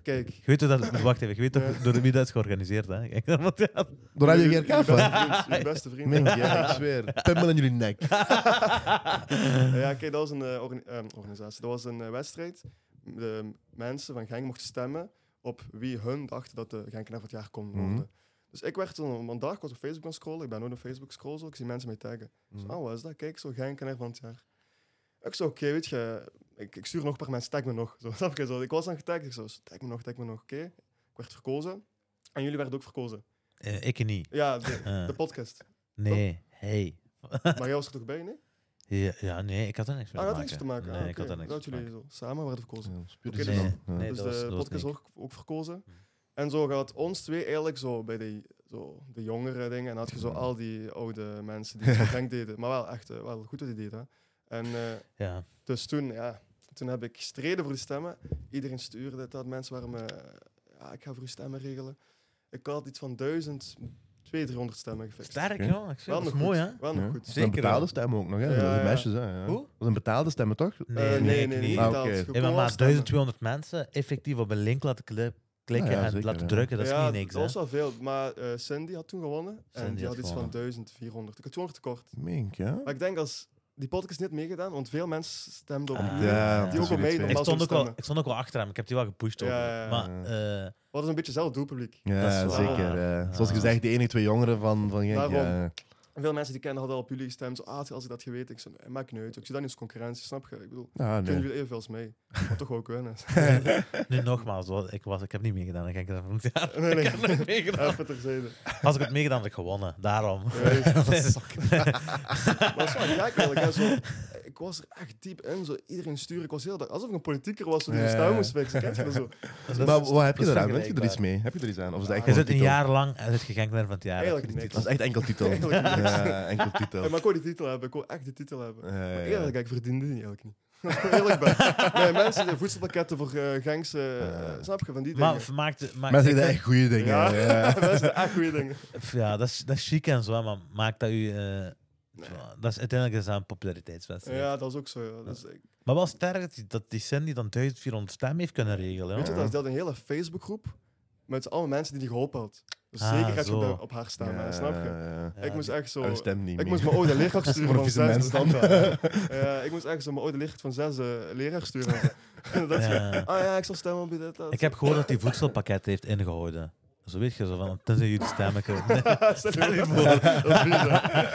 [SPEAKER 1] Kijk,
[SPEAKER 3] Je weet hoe dat, wacht even, je weet toch
[SPEAKER 1] Ja.
[SPEAKER 3] door wie dat is georganiseerd, hè? Kijk, want ja.
[SPEAKER 2] Door Radio
[SPEAKER 1] Jullie-
[SPEAKER 2] GRK,
[SPEAKER 1] jullie
[SPEAKER 2] van?
[SPEAKER 1] beste vriend, jullie beste vriend.
[SPEAKER 2] Meen jij, ik zweer. Pimmel in jullie nek.
[SPEAKER 1] Ja, kijk, dat was een eh, orga- ehm, organisatie. Dat was een eh, wedstrijd. De mensen van Genk mochten stemmen op wie hun dachten dat de Genkenaar van het jaar kon worden.
[SPEAKER 2] Mhm.
[SPEAKER 1] Dus ik werd dan op een dag, ik was op Facebook aan het scrollen. Ik ben nooit op Facebook scrollen, zo. ik zie mensen mij taggen. Dus,
[SPEAKER 3] Mhm.
[SPEAKER 1] oh, wat is dat? Kijk, zo Genkenaar van het jaar. Ik zo, oké, weet je, ik, ik stuur nog een paar mensen, tag me nog. Zo, snap je? Zo, ik was aan getagd, ik zo, tag me nog, tag me nog, oké. Ik werd verkozen. En jullie werden ook verkozen.
[SPEAKER 3] Eh, ik niet.
[SPEAKER 1] Ja, de,
[SPEAKER 3] Eh,
[SPEAKER 1] de podcast.
[SPEAKER 3] nee, hey.
[SPEAKER 1] Maar jij was er toch bij, nee?
[SPEAKER 3] Ja, ja, nee, ik had er niks mee
[SPEAKER 1] Ah, dat
[SPEAKER 3] te
[SPEAKER 1] had niks
[SPEAKER 3] maken.
[SPEAKER 1] te maken.
[SPEAKER 3] Nee,
[SPEAKER 1] Ah,
[SPEAKER 3] ik had
[SPEAKER 1] oké.
[SPEAKER 3] er niks
[SPEAKER 1] Dat
[SPEAKER 3] mee te
[SPEAKER 1] jullie zo samen werden verkozen.
[SPEAKER 2] Oké,
[SPEAKER 1] dus
[SPEAKER 2] dan.
[SPEAKER 3] Nee,
[SPEAKER 2] Ja.
[SPEAKER 3] nee,
[SPEAKER 1] dus
[SPEAKER 3] dat was- Mm.
[SPEAKER 1] de
[SPEAKER 3] dat was
[SPEAKER 1] podcast
[SPEAKER 3] niks.
[SPEAKER 1] ook, ook verkozen.
[SPEAKER 3] Hm.
[SPEAKER 1] En zo gaat ons twee eigenlijk zo bij die zo de jongere dingen. En dan had je zo
[SPEAKER 3] Mm.
[SPEAKER 1] al die oude mensen die het denk deden. Maar wel echt eh, wel goed dat die deden. hè. En eh,
[SPEAKER 3] Ja.
[SPEAKER 1] dus toen, ja, toen heb ik gestreden voor die stemmen. Iedereen stuurde het dat. Mensen waren me, eh, ja, ik ga voor uw stemmen regelen. Ik had iets van 1000, 200, 300 stemmen gefixt.
[SPEAKER 3] Sterk,
[SPEAKER 2] Oké.
[SPEAKER 3] joh. Ik zeg,
[SPEAKER 1] Wel
[SPEAKER 3] dat is
[SPEAKER 1] nog
[SPEAKER 3] mooi,
[SPEAKER 1] goed.
[SPEAKER 3] hè?
[SPEAKER 1] Wel nog
[SPEAKER 2] Ja.
[SPEAKER 1] goed.
[SPEAKER 2] Dat is een
[SPEAKER 4] Zeker
[SPEAKER 2] betaalde
[SPEAKER 4] wel.
[SPEAKER 2] stem ook nog, hè?
[SPEAKER 1] Ja,
[SPEAKER 2] Dat
[SPEAKER 1] ja,
[SPEAKER 2] zijn
[SPEAKER 1] ja.
[SPEAKER 2] meisjes, hè? Ja.
[SPEAKER 4] Hoe?
[SPEAKER 2] Dat is een betaalde stem, toch?
[SPEAKER 1] Eh,
[SPEAKER 4] nee,
[SPEAKER 1] nee,
[SPEAKER 3] Nee,
[SPEAKER 1] nee,
[SPEAKER 4] ik
[SPEAKER 1] niet.
[SPEAKER 4] niet.
[SPEAKER 2] Ah,
[SPEAKER 1] betaald.
[SPEAKER 2] oké.
[SPEAKER 1] Gewoon
[SPEAKER 3] Hey, maar,
[SPEAKER 1] wel
[SPEAKER 3] maar
[SPEAKER 1] stemmen.
[SPEAKER 3] 1200 mensen effectief op een link laten kli- klikken
[SPEAKER 2] Nou Ja, ja,
[SPEAKER 3] en
[SPEAKER 2] zeker,
[SPEAKER 3] laten
[SPEAKER 2] ja.
[SPEAKER 3] drukken, dat is
[SPEAKER 1] ja,
[SPEAKER 3] niet niks.
[SPEAKER 1] Dat
[SPEAKER 3] Hè?
[SPEAKER 1] was wel veel, maar eh, Cindy had toen gewonnen. en
[SPEAKER 3] Cindy
[SPEAKER 1] die
[SPEAKER 3] had
[SPEAKER 1] had iets van
[SPEAKER 3] gewonnen.
[SPEAKER 1] 1400. Ik had 200 tekort.
[SPEAKER 2] Mink, ja?
[SPEAKER 1] Maar ik denk als... Die podcast niet meegedaan, want veel mensen stemden op
[SPEAKER 3] Ah.
[SPEAKER 1] Muur.
[SPEAKER 2] Ja,
[SPEAKER 3] Die
[SPEAKER 2] dat
[SPEAKER 3] ook
[SPEAKER 1] al
[SPEAKER 2] is weer
[SPEAKER 1] mee-
[SPEAKER 2] twee.
[SPEAKER 3] Ik
[SPEAKER 1] was
[SPEAKER 3] stond,
[SPEAKER 1] om
[SPEAKER 3] ook wel,
[SPEAKER 1] stemmen.
[SPEAKER 3] ik stond ook wel achter hem, ik heb die wel gepusht.
[SPEAKER 1] Ja,
[SPEAKER 3] ook.
[SPEAKER 1] ja, ja.
[SPEAKER 3] Maar eh,
[SPEAKER 1] Wat is een beetje hetzelfde doelpubliek.
[SPEAKER 2] Ja,
[SPEAKER 3] Dat is waar.
[SPEAKER 2] zeker. eh.
[SPEAKER 3] Ja.
[SPEAKER 2] Zoals gezegd, de enige twee jongeren van, van Genk.
[SPEAKER 1] Ah. Daarom. Ah,
[SPEAKER 2] Ja.
[SPEAKER 1] En veel mensen die kennen hadden al op jullie gestemd. Zo, ah, als ik dat geweten. Ik zei, nee, maakt niet uit. Ik zie dat niet als concurrentie, snap je? Ik bedoel,
[SPEAKER 2] Ah,
[SPEAKER 1] kunnen
[SPEAKER 2] nee.
[SPEAKER 1] jullie evenveel als mee. Maar toch ook winnen.
[SPEAKER 3] nu nogmaals, wat- ik, was, ik heb niet meegedaan. Ik denk dat volgend jaar.
[SPEAKER 1] Nee, nee.
[SPEAKER 3] Ik heb nooit meegedaan.
[SPEAKER 1] Even terzijde.
[SPEAKER 3] Als ik had meegedaan, had ik gewonnen. Daarom.
[SPEAKER 1] Nee.
[SPEAKER 3] Ja,
[SPEAKER 1] Maar dat is wel gek eigenlijk. hè. Zo, ik was er echt diep in. Zo, iedereen sturen. Ik was heel dag alsof ik een politieker was die
[SPEAKER 2] Ja.
[SPEAKER 1] zijn stem moest fixen. Kent je dat zo?
[SPEAKER 2] Maar wat heb
[SPEAKER 3] dat
[SPEAKER 2] je
[SPEAKER 3] is
[SPEAKER 2] daar aan? Heb je er iets
[SPEAKER 3] vergelijkbaar.
[SPEAKER 2] mee? Heb je er iets aan? Of is dat
[SPEAKER 1] Ja,
[SPEAKER 2] echt
[SPEAKER 3] Je
[SPEAKER 2] gewoon
[SPEAKER 3] zit een
[SPEAKER 2] titel?
[SPEAKER 3] jaar lang en zit gegenkler van het jaar.
[SPEAKER 1] Eigenlijk
[SPEAKER 3] Heb je die
[SPEAKER 1] niks.
[SPEAKER 2] Dat
[SPEAKER 3] titel?
[SPEAKER 2] is echt enkel titel.
[SPEAKER 1] Eigenlijk niks.
[SPEAKER 2] Ja, enkel titel.
[SPEAKER 1] Ja, maar ik wou die titel hebben. Ik wou echt die titel hebben.
[SPEAKER 2] Ja, ja,
[SPEAKER 1] Maar
[SPEAKER 2] ja.
[SPEAKER 3] Eh,
[SPEAKER 1] Eerlijk, ik verdiende die eigenlijk niet. Als ik eerlijk ben. Nee, mensen die voedselpakketten voor eh Genks, eh,
[SPEAKER 2] Ja.
[SPEAKER 1] snap je, van die dingen.
[SPEAKER 3] Maar maakt. maakt-
[SPEAKER 2] Mensen
[SPEAKER 3] ik
[SPEAKER 2] zeggen
[SPEAKER 3] vind-
[SPEAKER 2] echt goede dingen.
[SPEAKER 1] ja,
[SPEAKER 2] ja.
[SPEAKER 1] mensen doen echt goede dingen.
[SPEAKER 3] Pff, Ja, dat is, dat is chic en zo, hè, maar maakt dat u. eh, ja, dat is uiteindelijk is dat een populariteitswedstrijd.
[SPEAKER 1] Ja, dat is ook zo. Ja. Dus, ik-
[SPEAKER 3] Maar wel sterk dat die- dat die Cindy dan 1400 stemmen heeft kunnen regelen.
[SPEAKER 1] Weet
[SPEAKER 3] hoor.
[SPEAKER 1] je, dat is dat een hele Facebookgroep met allemaal mensen die die geholpen had. Dus
[SPEAKER 3] Ah,
[SPEAKER 1] zeker gaat je
[SPEAKER 3] zo.
[SPEAKER 1] op, de- op haar staan, hè, eh, snap je?
[SPEAKER 2] Ja.
[SPEAKER 3] Ja,
[SPEAKER 1] ik moest
[SPEAKER 3] die-
[SPEAKER 1] echt zo...
[SPEAKER 2] Haar stem niet
[SPEAKER 1] Ik
[SPEAKER 2] meer.
[SPEAKER 1] moest mijn oude leraar
[SPEAKER 2] Voor
[SPEAKER 1] sturen
[SPEAKER 2] een
[SPEAKER 1] van
[SPEAKER 2] vieze
[SPEAKER 1] zes
[SPEAKER 2] mens.
[SPEAKER 1] standaard. Ja, ik moest echt zo mijn oude leraar van zes eh, leraar sturen. dat ze-
[SPEAKER 3] Ja.
[SPEAKER 1] Ah ja, ik zal stemmen op dit, dat.
[SPEAKER 3] Ik heb gehoord dat hij voedselpakket heeft ingehouden. Zo weet je, zo van, tenzij jullie stemmen kunnen.
[SPEAKER 1] Stel je
[SPEAKER 3] voor.
[SPEAKER 1] Dat is vies, hè.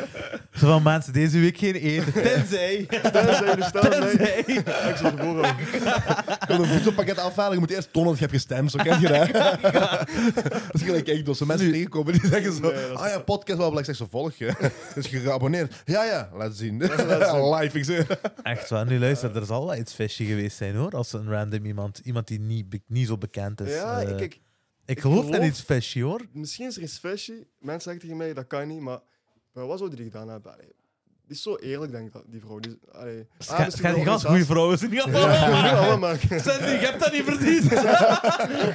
[SPEAKER 3] Zo van, mensen, deze week geen eten, tenzij.
[SPEAKER 1] Tenzij jullie stemmen, nee.
[SPEAKER 3] Tenzij.
[SPEAKER 1] Ik zal ervoor
[SPEAKER 2] Ik wil een voedselpakket afhalen. Je moet eerst tonen dat je hebt gestemd. Zo ken je dat. Dat is gelijk echt Als mensen tegenkomen die zeggen zo...
[SPEAKER 1] Nee, dat is-
[SPEAKER 2] ah ja, podcast wel. Ik zeg zo, volg je. Dus je geabonneerd. Ja, ja. Laat zien. Live, ik zeg.
[SPEAKER 3] Echt waar, nu luister, er zal wel iets fishy geweest zijn hoor. Als een random iemand, iemand die niet, be- niet zo bekend is.
[SPEAKER 1] Ja,
[SPEAKER 3] eh,
[SPEAKER 1] ik- ik,
[SPEAKER 3] ik
[SPEAKER 1] ik
[SPEAKER 3] geloof in
[SPEAKER 1] geloof-
[SPEAKER 3] iets fishy hoor.
[SPEAKER 1] misschien is er iets fishy. Mensen zeggen tegen mij, dat kan niet, maar maar wat zou die gedaan hebben? Allee, die is zo eerlijk, denk ik, dat, die vrouw. Die, allee,
[SPEAKER 3] Het
[SPEAKER 1] Ah,
[SPEAKER 3] gaat- het
[SPEAKER 1] misschien
[SPEAKER 3] gaat
[SPEAKER 1] de
[SPEAKER 3] die gast
[SPEAKER 1] organisatie-
[SPEAKER 3] goede vrouwen zijn. Die gaat allemaal.
[SPEAKER 1] Ja, allemaal.
[SPEAKER 3] Sandy, je hebt dat niet verdiend.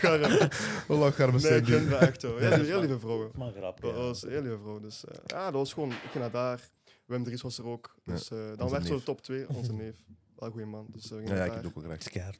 [SPEAKER 2] Lacharme
[SPEAKER 1] Nee, ik
[SPEAKER 2] Cindy.
[SPEAKER 1] gun dat echt, hoor. Ja, die heel lieve vrouwen.
[SPEAKER 3] Maar
[SPEAKER 1] Dat was een heel lieve vrouw. Dus eh, ja, dat was gewoon, ik ging naar daar. Wim Dries was er ook. Dus eh, dan
[SPEAKER 2] onze
[SPEAKER 1] werd zo
[SPEAKER 2] neef.
[SPEAKER 1] top 2, onze neef. Wel een goede man. Dus eh, we gingen
[SPEAKER 2] Ja,
[SPEAKER 1] naar
[SPEAKER 2] ik heb
[SPEAKER 1] daar.
[SPEAKER 2] het ook wel graag.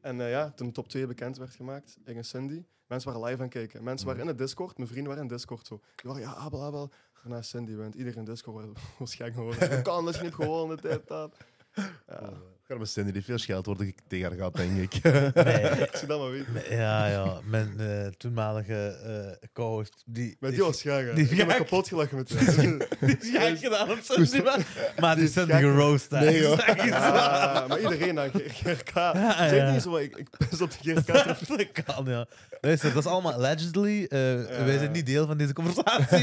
[SPEAKER 1] En eh, ja, toen top 2 bekend werd gemaakt, ik en Cindy, mensen waren live aan het kijken. Mensen
[SPEAKER 3] Mm.
[SPEAKER 1] waren in het Discord, mijn vrienden waren in het Discord zo. Die waren, ja, Abel, Abel. Daarna Cindy wint. Iedereen in Discord werd- was gek geworden. Dat kan, dat is niet gewonnen, dit, dat. Ah. Ja,
[SPEAKER 2] Lacharme Cindy. Die veel geld wordt tegen haar gaat, denk ik.
[SPEAKER 3] Nee,
[SPEAKER 1] als je dat maar weet.
[SPEAKER 3] m- ja, ja. Mijn eh, toenmalige eh co-host. Die,
[SPEAKER 1] Maar die was gek, hè.
[SPEAKER 3] die
[SPEAKER 1] Ik heb me
[SPEAKER 3] gek.
[SPEAKER 1] kapot gelachen met die.
[SPEAKER 3] Die is gek gedaan op Sandy, maar, maar die Sandy geroast. hè.
[SPEAKER 2] Nee, joh.
[SPEAKER 3] Zeg eens waar.
[SPEAKER 1] Ah, maar iedereen naar GRK.
[SPEAKER 3] Ja,
[SPEAKER 1] Zeg
[SPEAKER 3] ja.
[SPEAKER 1] niet zo, maar ik, ik pis op de GRK.
[SPEAKER 3] Dat kan, ja. Luister, dat is allemaal allegedly. eh,
[SPEAKER 1] Ja.
[SPEAKER 3] Wij zijn niet deel van deze conversatie.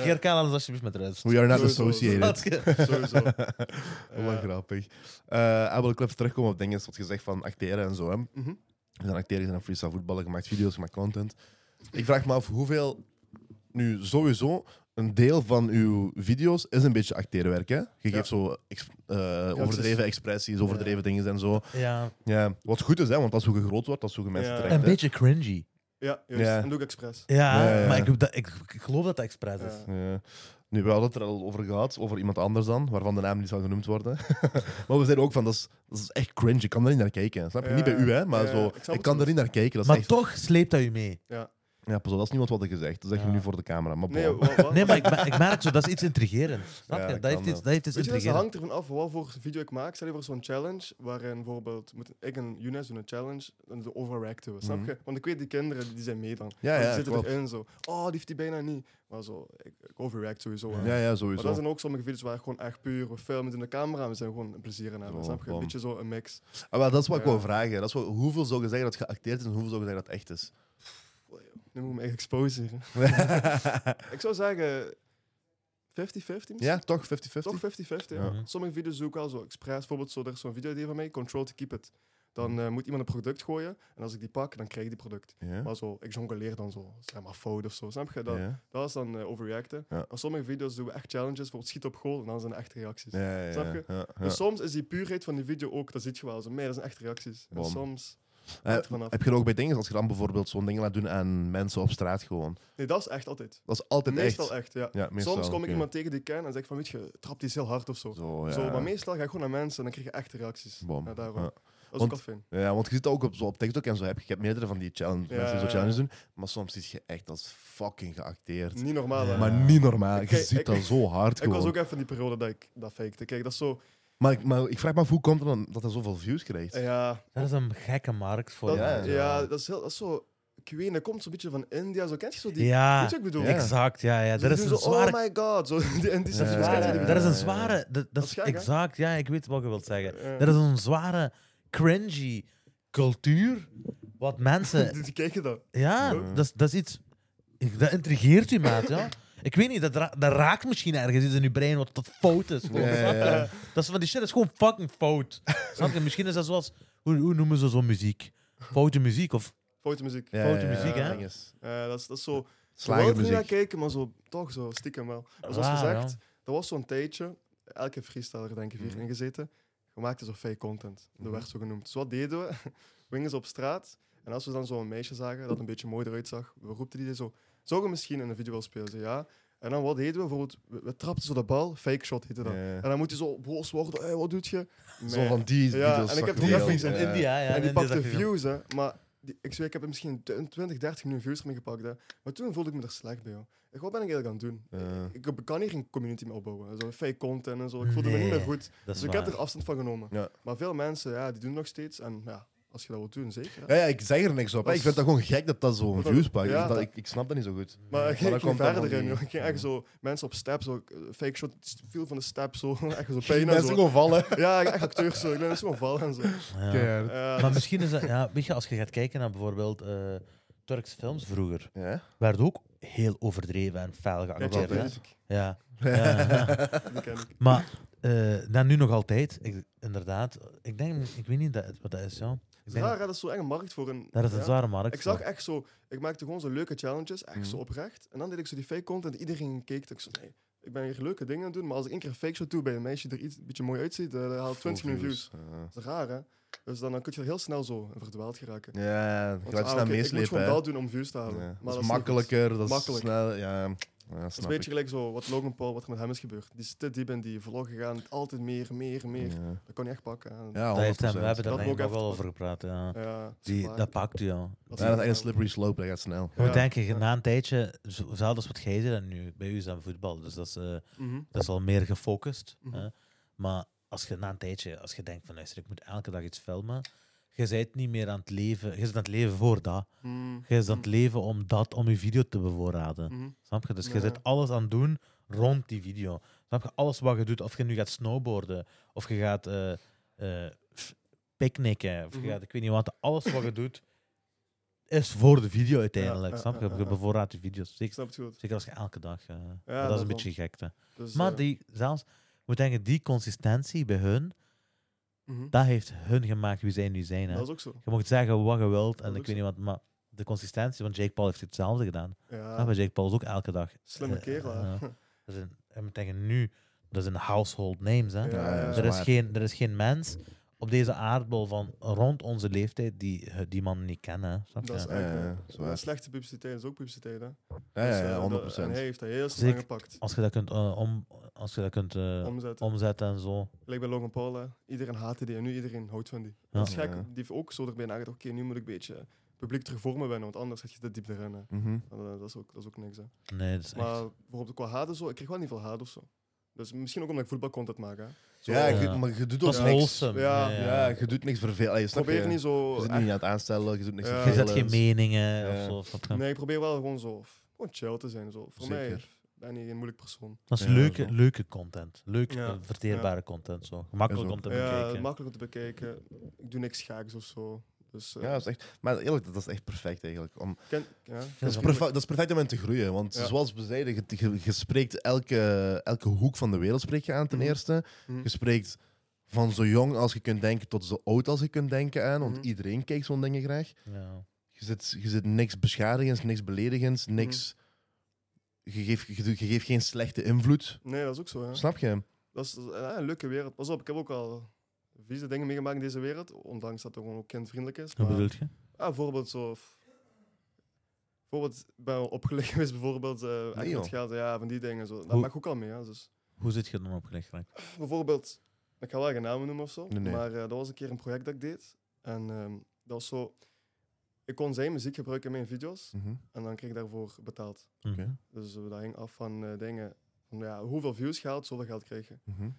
[SPEAKER 3] Geer Kaan, laat ons alsjeblieft met rust.
[SPEAKER 2] We are not
[SPEAKER 1] Sowieso.
[SPEAKER 2] associated.
[SPEAKER 3] Dat ge-
[SPEAKER 1] Sowieso.
[SPEAKER 3] Oh
[SPEAKER 2] Wel
[SPEAKER 1] Ja.
[SPEAKER 2] grappig. Eh Abel, ik wil even terugkomen op dingen wat gezegd van acteren en zo. Hè.
[SPEAKER 1] Mhm.
[SPEAKER 2] We zijn acteren, we zijn freestyle voetballen gemaakt, video's gemaakt, content. Ik vraag me af hoeveel... Nu, sowieso, een deel van uw video's is een beetje acteerwerk, hè? Je geeft zo ex- eh, overdreven expressies, overdreven dingen en zo.
[SPEAKER 3] Ja,
[SPEAKER 2] Ja, wat goed is, hè? Want dat is hoe je groot wordt, dat is hoe je mensen
[SPEAKER 1] Ja.
[SPEAKER 2] trekt.
[SPEAKER 3] een
[SPEAKER 2] hè.
[SPEAKER 3] beetje cringy.
[SPEAKER 1] Ja, juist.
[SPEAKER 2] Ja.
[SPEAKER 1] En doe ik expres. Eh,
[SPEAKER 3] Ja,
[SPEAKER 2] Ja, ja, ja.
[SPEAKER 3] maar ik, dat, ik, ik geloof dat dat expres is.
[SPEAKER 1] Ja.
[SPEAKER 2] Ja. Eh, Nu, we hadden het er al over gehad, over iemand anders dan, waarvan de naam niet zal genoemd worden. maar we zeiden ook van, dat is, dat is echt cringe, ik kan er niet naar kijken. Snap je?
[SPEAKER 1] Ja,
[SPEAKER 2] Niet bij u, hè, maar
[SPEAKER 1] ja,
[SPEAKER 2] zo,
[SPEAKER 1] ik snap
[SPEAKER 2] ik,
[SPEAKER 1] het
[SPEAKER 2] kan
[SPEAKER 1] wel.
[SPEAKER 2] er niet naar kijken. Dat is
[SPEAKER 3] maar
[SPEAKER 2] echt,
[SPEAKER 3] toch sleept dat je mee.
[SPEAKER 2] ja, pas op, dat is niemand wat ik gezegd. Dat zeg je
[SPEAKER 3] Ja.
[SPEAKER 2] nu voor de camera, maar
[SPEAKER 1] Nee, oh,
[SPEAKER 2] bon.
[SPEAKER 1] wa- wa-
[SPEAKER 3] Nee, maar ik, mer- ik merk zo, dat is iets intrigerends. Snap
[SPEAKER 2] Ja,
[SPEAKER 3] je?
[SPEAKER 2] dat
[SPEAKER 3] Dat heeft
[SPEAKER 2] kan
[SPEAKER 3] iets, dat heeft iets
[SPEAKER 1] Weet je, dat hangt
[SPEAKER 3] intrigerends.
[SPEAKER 1] ervan af wat voor video ik maak. Stel je voor zo'n challenge, waarin bijvoorbeeld moet ik en Younes doen een challenge, dan de overacten we, snap
[SPEAKER 2] Mhm.
[SPEAKER 1] je? Want ik weet, die kinderen die zijn mee dan.
[SPEAKER 2] Ja,
[SPEAKER 1] Want
[SPEAKER 2] ja,
[SPEAKER 1] die zitten
[SPEAKER 2] klopt.
[SPEAKER 1] erin zo. Oh, die heeft die bijna niet. Maar zo, ik, ik overact sowieso. hè.
[SPEAKER 2] Ja, ja,
[SPEAKER 1] oh. Maar dat
[SPEAKER 2] sowieso.
[SPEAKER 1] zijn ook sommige video's waar ik gewoon echt puur, we filmen in de camera, we zijn gewoon een plezier aan hebben,
[SPEAKER 2] Zo,
[SPEAKER 1] snap je?
[SPEAKER 2] Oh, bam.
[SPEAKER 1] Een beetje zo een mix.
[SPEAKER 2] Ah, maar dat is wat ik
[SPEAKER 1] Ja.
[SPEAKER 2] wil vragen. Dat is wat, hoeveel zou je zeggen dat geacteerd is en hoeveel zou je zeggen dat het echt is?
[SPEAKER 1] Nu moet ik me echt exposeren. ik zou zeggen 50-50 misschien.
[SPEAKER 2] ja, toch? 50-50?
[SPEAKER 1] Toch 50-50.
[SPEAKER 2] Ja.
[SPEAKER 1] Sommige video's doe ik wel zo expres. Bijvoorbeeld, zo, er is zo'n video idee van mij, Control to Keep It. Dan eh, moet iemand een product gooien. En als ik die pak, dan krijg ik die product.
[SPEAKER 2] Ja.
[SPEAKER 1] Maar zo, ik jongleer dan zo, zeg maar fout of zo. Snap je? Dat,
[SPEAKER 2] Ja.
[SPEAKER 1] dat is dan eh, overreacten.
[SPEAKER 2] Ja.
[SPEAKER 1] Maar sommige video's doen we echt challenges, bijvoorbeeld schiet op goal. En dan zijn er echt reacties.
[SPEAKER 2] Ja, ja, ja,
[SPEAKER 1] Snap je?
[SPEAKER 2] ja, ja.
[SPEAKER 1] En soms is die puurheid van die video ook, dat ziet je wel. Zo, meer dat zijn echt reacties. En
[SPEAKER 2] Bom.
[SPEAKER 1] soms...
[SPEAKER 2] Eh,
[SPEAKER 1] hangt er vanaf.
[SPEAKER 2] heb je dat ook bij dingen, als je dan bijvoorbeeld zo'n ding laat doen aan mensen op straat gewoon.
[SPEAKER 1] Nee, dat is echt altijd.
[SPEAKER 2] Dat is altijd
[SPEAKER 1] meestal
[SPEAKER 2] echt.
[SPEAKER 1] echt, ja.
[SPEAKER 2] Ja, meestal,
[SPEAKER 1] soms kom ik
[SPEAKER 2] oké.
[SPEAKER 1] iemand tegen die ik ken en zeg ik van, weet je, trap die eens heel hard of zo.
[SPEAKER 2] Zo, ja.
[SPEAKER 1] Zo, maar meestal ga ik gewoon naar mensen en dan krijg je echte reacties.
[SPEAKER 2] Bom.
[SPEAKER 1] Ja, daarom.
[SPEAKER 2] Ja.
[SPEAKER 1] Dat is
[SPEAKER 2] Want-
[SPEAKER 1] ook al fijn.
[SPEAKER 2] Ja, want je ziet dat ook op, zo op TikTok en zo. Heb je, je hebt meerdere van die challenge,
[SPEAKER 1] Ja.
[SPEAKER 2] mensen die zo challenges doen. Maar soms zit je echt als fucking geacteerd.
[SPEAKER 1] Niet normaal, hè.
[SPEAKER 2] Maar niet normaal.
[SPEAKER 1] Ik-
[SPEAKER 2] Je ziet
[SPEAKER 1] ik-
[SPEAKER 2] dat zo hard
[SPEAKER 1] Ik
[SPEAKER 2] gewoon.
[SPEAKER 1] was ook even in die periode dat ik dat fakte. Kijk, dat is zo...
[SPEAKER 2] maar, ik- maar ik vraag me af, hoe komt het dan dat hij zoveel views krijgt?
[SPEAKER 1] Ja,
[SPEAKER 3] Dat is een gekke markt voor
[SPEAKER 1] dat,
[SPEAKER 2] Ja,
[SPEAKER 1] ja,
[SPEAKER 2] ja.
[SPEAKER 3] jou.
[SPEAKER 1] dat, is heel, dat is zo... Ik weet niet, dat komt zo'n beetje van India. Zo, kent je zo die...
[SPEAKER 3] Ja,
[SPEAKER 1] Weet je wat ik bedoel?
[SPEAKER 2] Ja.
[SPEAKER 3] exact. Ja, ja.
[SPEAKER 1] Zo,
[SPEAKER 3] Er
[SPEAKER 1] die
[SPEAKER 3] is
[SPEAKER 1] doen
[SPEAKER 3] een
[SPEAKER 1] zo,
[SPEAKER 3] zware...
[SPEAKER 1] Oh my god. Zo, die, en die
[SPEAKER 2] Ja,
[SPEAKER 1] zijn
[SPEAKER 2] ja,
[SPEAKER 1] zo- kent je
[SPEAKER 2] ja,
[SPEAKER 1] die
[SPEAKER 2] ja.
[SPEAKER 3] Dat is
[SPEAKER 1] bedoel?
[SPEAKER 3] een zware... Dat, dat
[SPEAKER 1] Dat
[SPEAKER 3] is
[SPEAKER 1] is gek, hè?
[SPEAKER 3] exact, ja. Ik weet wat je wilt zeggen.
[SPEAKER 1] Ja.
[SPEAKER 3] Er is een zware, cringy cultuur. Wat mensen...
[SPEAKER 1] Die, die kijken dat.
[SPEAKER 3] Ja,
[SPEAKER 2] Ja.
[SPEAKER 3] dat, is- dat is iets... ik- Dat intrigeert u, maat. Ja. Ik weet niet, dat, ra- dat raakt misschien ergens iets in uw brein wat tot fout is. gewoon,
[SPEAKER 2] Ja, ja,
[SPEAKER 3] snap je?
[SPEAKER 2] ja.
[SPEAKER 3] Dat is van die shit, dat is gewoon fucking fout. Snap je? Misschien is dat zoals... Hoe, hoe noemen ze zo'n muziek? Foute muziek of...
[SPEAKER 1] Foute muziek.
[SPEAKER 2] Ja,
[SPEAKER 3] Foute
[SPEAKER 2] ja, ja,
[SPEAKER 3] muziek,
[SPEAKER 2] ja,
[SPEAKER 3] hè?
[SPEAKER 2] ding is-
[SPEAKER 1] Eh, dat, is, dat is zo... Je wilt er niet naar
[SPEAKER 2] Slagermuziek.
[SPEAKER 1] kijken, maar zo, toch zo, stiekem wel. Maar zoals
[SPEAKER 3] Raar,
[SPEAKER 1] gezegd,
[SPEAKER 3] ja.
[SPEAKER 1] dat was zo'n tijdje, elke freestyler denk ik hierin gezeten, we maakten zo fake content. Dat
[SPEAKER 2] Mhm.
[SPEAKER 1] werd zo genoemd. Dus wat deden we? We gingen zo op straat en als we dan zo'n meisje zagen dat een beetje mooi eruit zag, we roepten die zo, zou je misschien in een video wel spelen? Ze ja. En dan wat deden we? Bijvoorbeeld, we, we trapten zo de bal, fake shot heette dat.
[SPEAKER 2] Ja.
[SPEAKER 1] En dan moet je zo boos worden, hey, wat doet je?
[SPEAKER 2] Zo
[SPEAKER 1] Nee.
[SPEAKER 2] van die
[SPEAKER 1] Ja,
[SPEAKER 2] video's.
[SPEAKER 1] en ik heb
[SPEAKER 2] zag
[SPEAKER 1] die
[SPEAKER 2] wel.
[SPEAKER 1] reference
[SPEAKER 3] In
[SPEAKER 1] in
[SPEAKER 2] Ja.
[SPEAKER 3] India,
[SPEAKER 1] en
[SPEAKER 3] ja.
[SPEAKER 1] die
[SPEAKER 3] in India
[SPEAKER 1] pakte
[SPEAKER 3] zag je dat.
[SPEAKER 1] views, hè. Maar die, ik zweer, ik heb er misschien 20, 30 miljoen views ermee gepakt, hè. Maar toen voelde ik me er slecht bij, joh. Ik, wat ben ik eigenlijk aan het doen?
[SPEAKER 2] Ja.
[SPEAKER 1] Ik, ik kan hier geen community meer opbouwen. Zo fake content en zo. Ik voelde me niet
[SPEAKER 3] Nee,
[SPEAKER 1] meer goed.
[SPEAKER 3] Dat is
[SPEAKER 1] Dus ik heb
[SPEAKER 3] waar.
[SPEAKER 1] er afstand van genomen.
[SPEAKER 2] Ja.
[SPEAKER 1] Maar veel mensen, ja, die doen het nog steeds. En ja, als je dat wilt doen, zeker. hè.
[SPEAKER 2] Ja, ja, ik zeg er niks op. hè.
[SPEAKER 1] Dat
[SPEAKER 2] Ik vind dat gewoon gek dat dat zo'n
[SPEAKER 1] Dat-
[SPEAKER 2] views pakt.
[SPEAKER 1] ja.
[SPEAKER 2] Ik- dat- ik, ik snap dat niet zo goed.
[SPEAKER 1] Maar ik ging,
[SPEAKER 2] dat komt dan van
[SPEAKER 1] verder in,
[SPEAKER 2] die-
[SPEAKER 1] joh. Ik ging echt zo mensen op step, zo eh, fake shot, viel van de step, zo. Echt zo
[SPEAKER 2] Die
[SPEAKER 1] pijn en
[SPEAKER 2] mensen
[SPEAKER 1] zo.
[SPEAKER 2] gewoon vallen.
[SPEAKER 1] Ja, echt acteurs, zo. Ik ben gewoon vallen en zo.
[SPEAKER 3] Ja.
[SPEAKER 1] Ja,
[SPEAKER 3] Maar misschien is dat... Ja, weet je, als je gaat kijken naar bijvoorbeeld eh Turks films vroeger,
[SPEAKER 2] Ja.
[SPEAKER 3] werd ook heel overdreven en fel
[SPEAKER 1] ja,
[SPEAKER 3] geacteerd.
[SPEAKER 1] Chad
[SPEAKER 3] hè?
[SPEAKER 1] Music,
[SPEAKER 3] Ja. ja, ja.
[SPEAKER 1] die ken ik.
[SPEAKER 3] Maar eh dan nu nog altijd, ik, inderdaad. Ik denk, ik weet niet dat, wat dat is, ja. Ik
[SPEAKER 1] Dus Het is
[SPEAKER 3] denk,
[SPEAKER 1] Raar,
[SPEAKER 3] dat-
[SPEAKER 1] hè, dat is zo echt een markt voor een...
[SPEAKER 3] daar is een
[SPEAKER 1] ja.
[SPEAKER 3] zware markt.
[SPEAKER 1] Ik zag
[SPEAKER 3] voor.
[SPEAKER 1] echt zo, ik maakte gewoon zo leuke challenges, echt
[SPEAKER 2] Mhm.
[SPEAKER 1] zo oprecht. En dan deed ik zo die fake content, iedereen keek. Ik zo, nee, ik ben hier leuke dingen aan het doen, maar als ik één keer een fake shot doe bij een meisje die er iets een beetje mooi uitziet, eh, dan haal ik 20 miljoen views.
[SPEAKER 2] Ja.
[SPEAKER 1] Dat is raar, hè? Dus dan, dan kun je er heel snel zo in verdwaald geraken.
[SPEAKER 2] Ja, je
[SPEAKER 1] Want,
[SPEAKER 2] laat je
[SPEAKER 1] ah,
[SPEAKER 2] snel
[SPEAKER 1] oké, ik moet
[SPEAKER 2] meeslepen.
[SPEAKER 1] gewoon
[SPEAKER 2] hè.
[SPEAKER 1] dat doen om views te halen.
[SPEAKER 2] Ja.
[SPEAKER 1] Maar
[SPEAKER 2] Dat is
[SPEAKER 1] niet goed.
[SPEAKER 2] makkelijker, dat is
[SPEAKER 1] Makkelijk.
[SPEAKER 2] snel. Ja, ja
[SPEAKER 1] Dat is
[SPEAKER 2] snap
[SPEAKER 1] een
[SPEAKER 2] ik.
[SPEAKER 1] beetje gelijk zo wat Logan Paul, wat er met hem is gebeurd. Die zit te diep in die vlog gegaan, altijd meer, meer, meer.
[SPEAKER 2] Ja.
[SPEAKER 1] Dat kon je echt pakken. En-
[SPEAKER 2] Ja,
[SPEAKER 3] Dat
[SPEAKER 2] 100%.
[SPEAKER 3] heeft hem, we hebben daar
[SPEAKER 2] Ja,
[SPEAKER 1] Dat
[SPEAKER 3] eigenlijk
[SPEAKER 1] ook
[SPEAKER 3] nog
[SPEAKER 1] even-
[SPEAKER 3] wel over gepraat, ja.
[SPEAKER 1] Ja, dat is
[SPEAKER 3] Die,
[SPEAKER 1] gevaarlijk.
[SPEAKER 3] dat pakt u, ja.
[SPEAKER 1] Dat is
[SPEAKER 2] dat is echt een
[SPEAKER 1] gevaarlijk.
[SPEAKER 2] slippery slope, dat gaat snel.
[SPEAKER 1] Ja.
[SPEAKER 3] Hoe denk je, na een tijdje, zo- zelfs als wat jij zei dan nu, bij u is aan voetbal, dus dat is, eh,
[SPEAKER 1] Mhm.
[SPEAKER 3] dat is al meer gefocust.
[SPEAKER 1] Mhm.
[SPEAKER 3] hè. Maar als je na een tijdje, als je denkt van luister, ik moet elke dag iets filmen, je bent niet meer aan het leven, je bent aan het leven voor dat.
[SPEAKER 1] Mhm.
[SPEAKER 3] Je bent aan het leven om dat, om je video te bevoorraden.
[SPEAKER 1] Mhm.
[SPEAKER 3] Snap je? Dus je
[SPEAKER 1] Ja.
[SPEAKER 3] zit alles aan het doen rond die video. Snap je? Alles wat je doet, of je nu gaat snowboarden, of je gaat eh eh, f- picknicken, of je
[SPEAKER 1] Mhm.
[SPEAKER 3] gaat, ik weet niet wat, alles wat je doet, is voor de video uiteindelijk.
[SPEAKER 1] ja,
[SPEAKER 3] snap je?
[SPEAKER 1] ja, ja,
[SPEAKER 3] Je
[SPEAKER 1] ja.
[SPEAKER 3] bevoorraadt je video's.
[SPEAKER 1] Ik
[SPEAKER 3] Zeker,
[SPEAKER 1] snap het goed.
[SPEAKER 3] zeker als je elke dag. eh, maar dat is een
[SPEAKER 1] daarom.
[SPEAKER 3] beetje gekte.
[SPEAKER 1] Dus,
[SPEAKER 3] Maar
[SPEAKER 1] eh,
[SPEAKER 3] die, zelfs, ik moet denken, die consistentie bij hun,
[SPEAKER 1] mhm.
[SPEAKER 3] dat heeft hun gemaakt wie zij nu zijn. Hè?
[SPEAKER 1] dat is ook zo.
[SPEAKER 3] Je mocht zeggen wat je wilt, en
[SPEAKER 1] is
[SPEAKER 3] ik
[SPEAKER 1] ook
[SPEAKER 3] weet niet
[SPEAKER 1] zo.
[SPEAKER 3] wat, maar de consistentie, want Jake Paul heeft hetzelfde gedaan.
[SPEAKER 1] Ja,
[SPEAKER 2] Ah,
[SPEAKER 3] Snap je? Jake Paul is ook elke dag.
[SPEAKER 1] slimme
[SPEAKER 3] eh,
[SPEAKER 1] kerel. hè.
[SPEAKER 3] eh, Dat is een, ik moet zeggen, nu, dat is een household names. Hè?
[SPEAKER 1] Ja, ja,
[SPEAKER 3] er, is
[SPEAKER 2] zwaar.
[SPEAKER 3] geen, er is geen mens op deze aardbol van rond onze leeftijd die eh, die man niet kennen. hè. Snap je?
[SPEAKER 1] Dat is
[SPEAKER 2] Ja,
[SPEAKER 1] echt,
[SPEAKER 2] ja,
[SPEAKER 1] hè.
[SPEAKER 2] ja, zwaar.
[SPEAKER 1] Maar slechte publiciteit is ook publiciteit, hè.
[SPEAKER 2] Ja,
[SPEAKER 1] Dus,
[SPEAKER 2] ja,
[SPEAKER 1] eh,
[SPEAKER 2] ja,
[SPEAKER 1] dat-
[SPEAKER 2] 100
[SPEAKER 1] En hij heeft dat heel snel
[SPEAKER 3] Zeker.
[SPEAKER 1] aangepakt.
[SPEAKER 3] Als je dat kunt, eh, om, als je dat kunt eh,
[SPEAKER 1] Omzetten.
[SPEAKER 3] omzetten en zo.
[SPEAKER 1] Gelijk bij Logan Paul, hè. Iedereen haatte die en nu iedereen houdt van die.
[SPEAKER 3] Ja.
[SPEAKER 1] Dat is gek.
[SPEAKER 2] Ja.
[SPEAKER 1] Die heeft ook zo erbij nagedacht, oké, nu moet ik een beetje publiek terug voor me wennen, want anders zit je te diep erin, hè.
[SPEAKER 2] Mhm.
[SPEAKER 1] En, eh, dat, is ook, dat is ook niks, hè.
[SPEAKER 3] Nee, dat is echt.
[SPEAKER 1] Maar bijvoorbeeld qua haat en zo, ik kreeg wel niet veel haat of zo. Dus misschien ook omdat ik voetbalcontent maak, hè. Zo,
[SPEAKER 2] Ja,
[SPEAKER 1] eh,
[SPEAKER 2] ik-
[SPEAKER 3] Ja.
[SPEAKER 2] maar je doet
[SPEAKER 3] Dat
[SPEAKER 2] ook
[SPEAKER 3] is
[SPEAKER 2] niks.
[SPEAKER 3] wholesome.
[SPEAKER 1] Ja,
[SPEAKER 2] Ja, je doet niks vervelend.
[SPEAKER 1] probeer niet zo...
[SPEAKER 2] Je zit
[SPEAKER 1] echt-
[SPEAKER 2] niet aan het aanstellen, je doet niks
[SPEAKER 1] Ja.
[SPEAKER 3] Je
[SPEAKER 2] vervelends.
[SPEAKER 3] zet geen meningen
[SPEAKER 2] Ja.
[SPEAKER 3] of zo. snap je?
[SPEAKER 1] nee, ik probeer wel gewoon zo... Gewoon chill te zijn, zo. Voor mij
[SPEAKER 2] Zeker.
[SPEAKER 1] ben ik geen moeilijk persoon.
[SPEAKER 3] Dat is
[SPEAKER 2] Ja,
[SPEAKER 3] leuke,
[SPEAKER 2] zo.
[SPEAKER 3] leuke content. Leuk
[SPEAKER 1] Ja.
[SPEAKER 3] eh, verteerbare content. Zo. Gemakkelijk
[SPEAKER 2] Ja,
[SPEAKER 3] om te
[SPEAKER 1] Ja,
[SPEAKER 3] bekijken.
[SPEAKER 1] makkelijk om te bekijken. Ik doe niks gaaks of zo. Dus... eh,
[SPEAKER 2] Ja, dat is echt, maar eerlijk, dat is echt perfect eigenlijk. Om,
[SPEAKER 1] ken- ja.
[SPEAKER 2] dat, is perfect, dat is perfect om in te groeien. Want
[SPEAKER 1] Ja.
[SPEAKER 2] zoals we zeiden, je, je- je spreekt elke, elke hoek van de wereld spreek je aan ten
[SPEAKER 1] Mhm.
[SPEAKER 2] eerste.
[SPEAKER 1] Mhm.
[SPEAKER 2] Je spreekt van zo jong als je kunt denken tot zo oud als je kunt denken aan. Want
[SPEAKER 1] Mhm.
[SPEAKER 2] iedereen kijkt zo'n dingen graag.
[SPEAKER 3] Ja.
[SPEAKER 2] Je zit, je zit niks beschadigends, niks beledigends,
[SPEAKER 1] Mhm.
[SPEAKER 2] niks. Je, geeft, je, doet- je geeft geen slechte invloed.
[SPEAKER 1] Nee, dat is ook zo. Hè.
[SPEAKER 2] Snap je?
[SPEAKER 1] Dat is dat is, eh, een leuke wereld. Pas op, ik heb ook al vieze dingen meegemaakt in deze wereld. Ondanks dat het gewoon ook kindvriendelijk is.
[SPEAKER 3] Hoe
[SPEAKER 1] maar-
[SPEAKER 3] bedoel je?
[SPEAKER 1] Ja, bijvoorbeeld zo. f- Bijvoorbeeld, ik ben wel opgelegd geweest, bijvoorbeeld. eh echt
[SPEAKER 2] joh.
[SPEAKER 1] met geld, ja, van die dingen. Zo. Dat
[SPEAKER 3] Hoe-
[SPEAKER 1] maak ik ook al mee. Hè, dus.
[SPEAKER 3] Hoe zit je er dan opgelegd geraakt?
[SPEAKER 1] Bijvoorbeeld, ik ga wel geen namen noemen of zo.
[SPEAKER 2] Nee, nee.
[SPEAKER 1] Maar eh, dat was een keer een project dat ik deed. En ehm, dat was zo. Ik kon zijn muziek gebruiken in mijn video's.
[SPEAKER 2] Mhm.
[SPEAKER 1] En dan kreeg ik daarvoor betaald.
[SPEAKER 3] Mhm.
[SPEAKER 1] Dus eh, dat hing af van eh, dingen. Van, ja, hoeveel views geld, zoveel geld krijg je.
[SPEAKER 2] Mhm.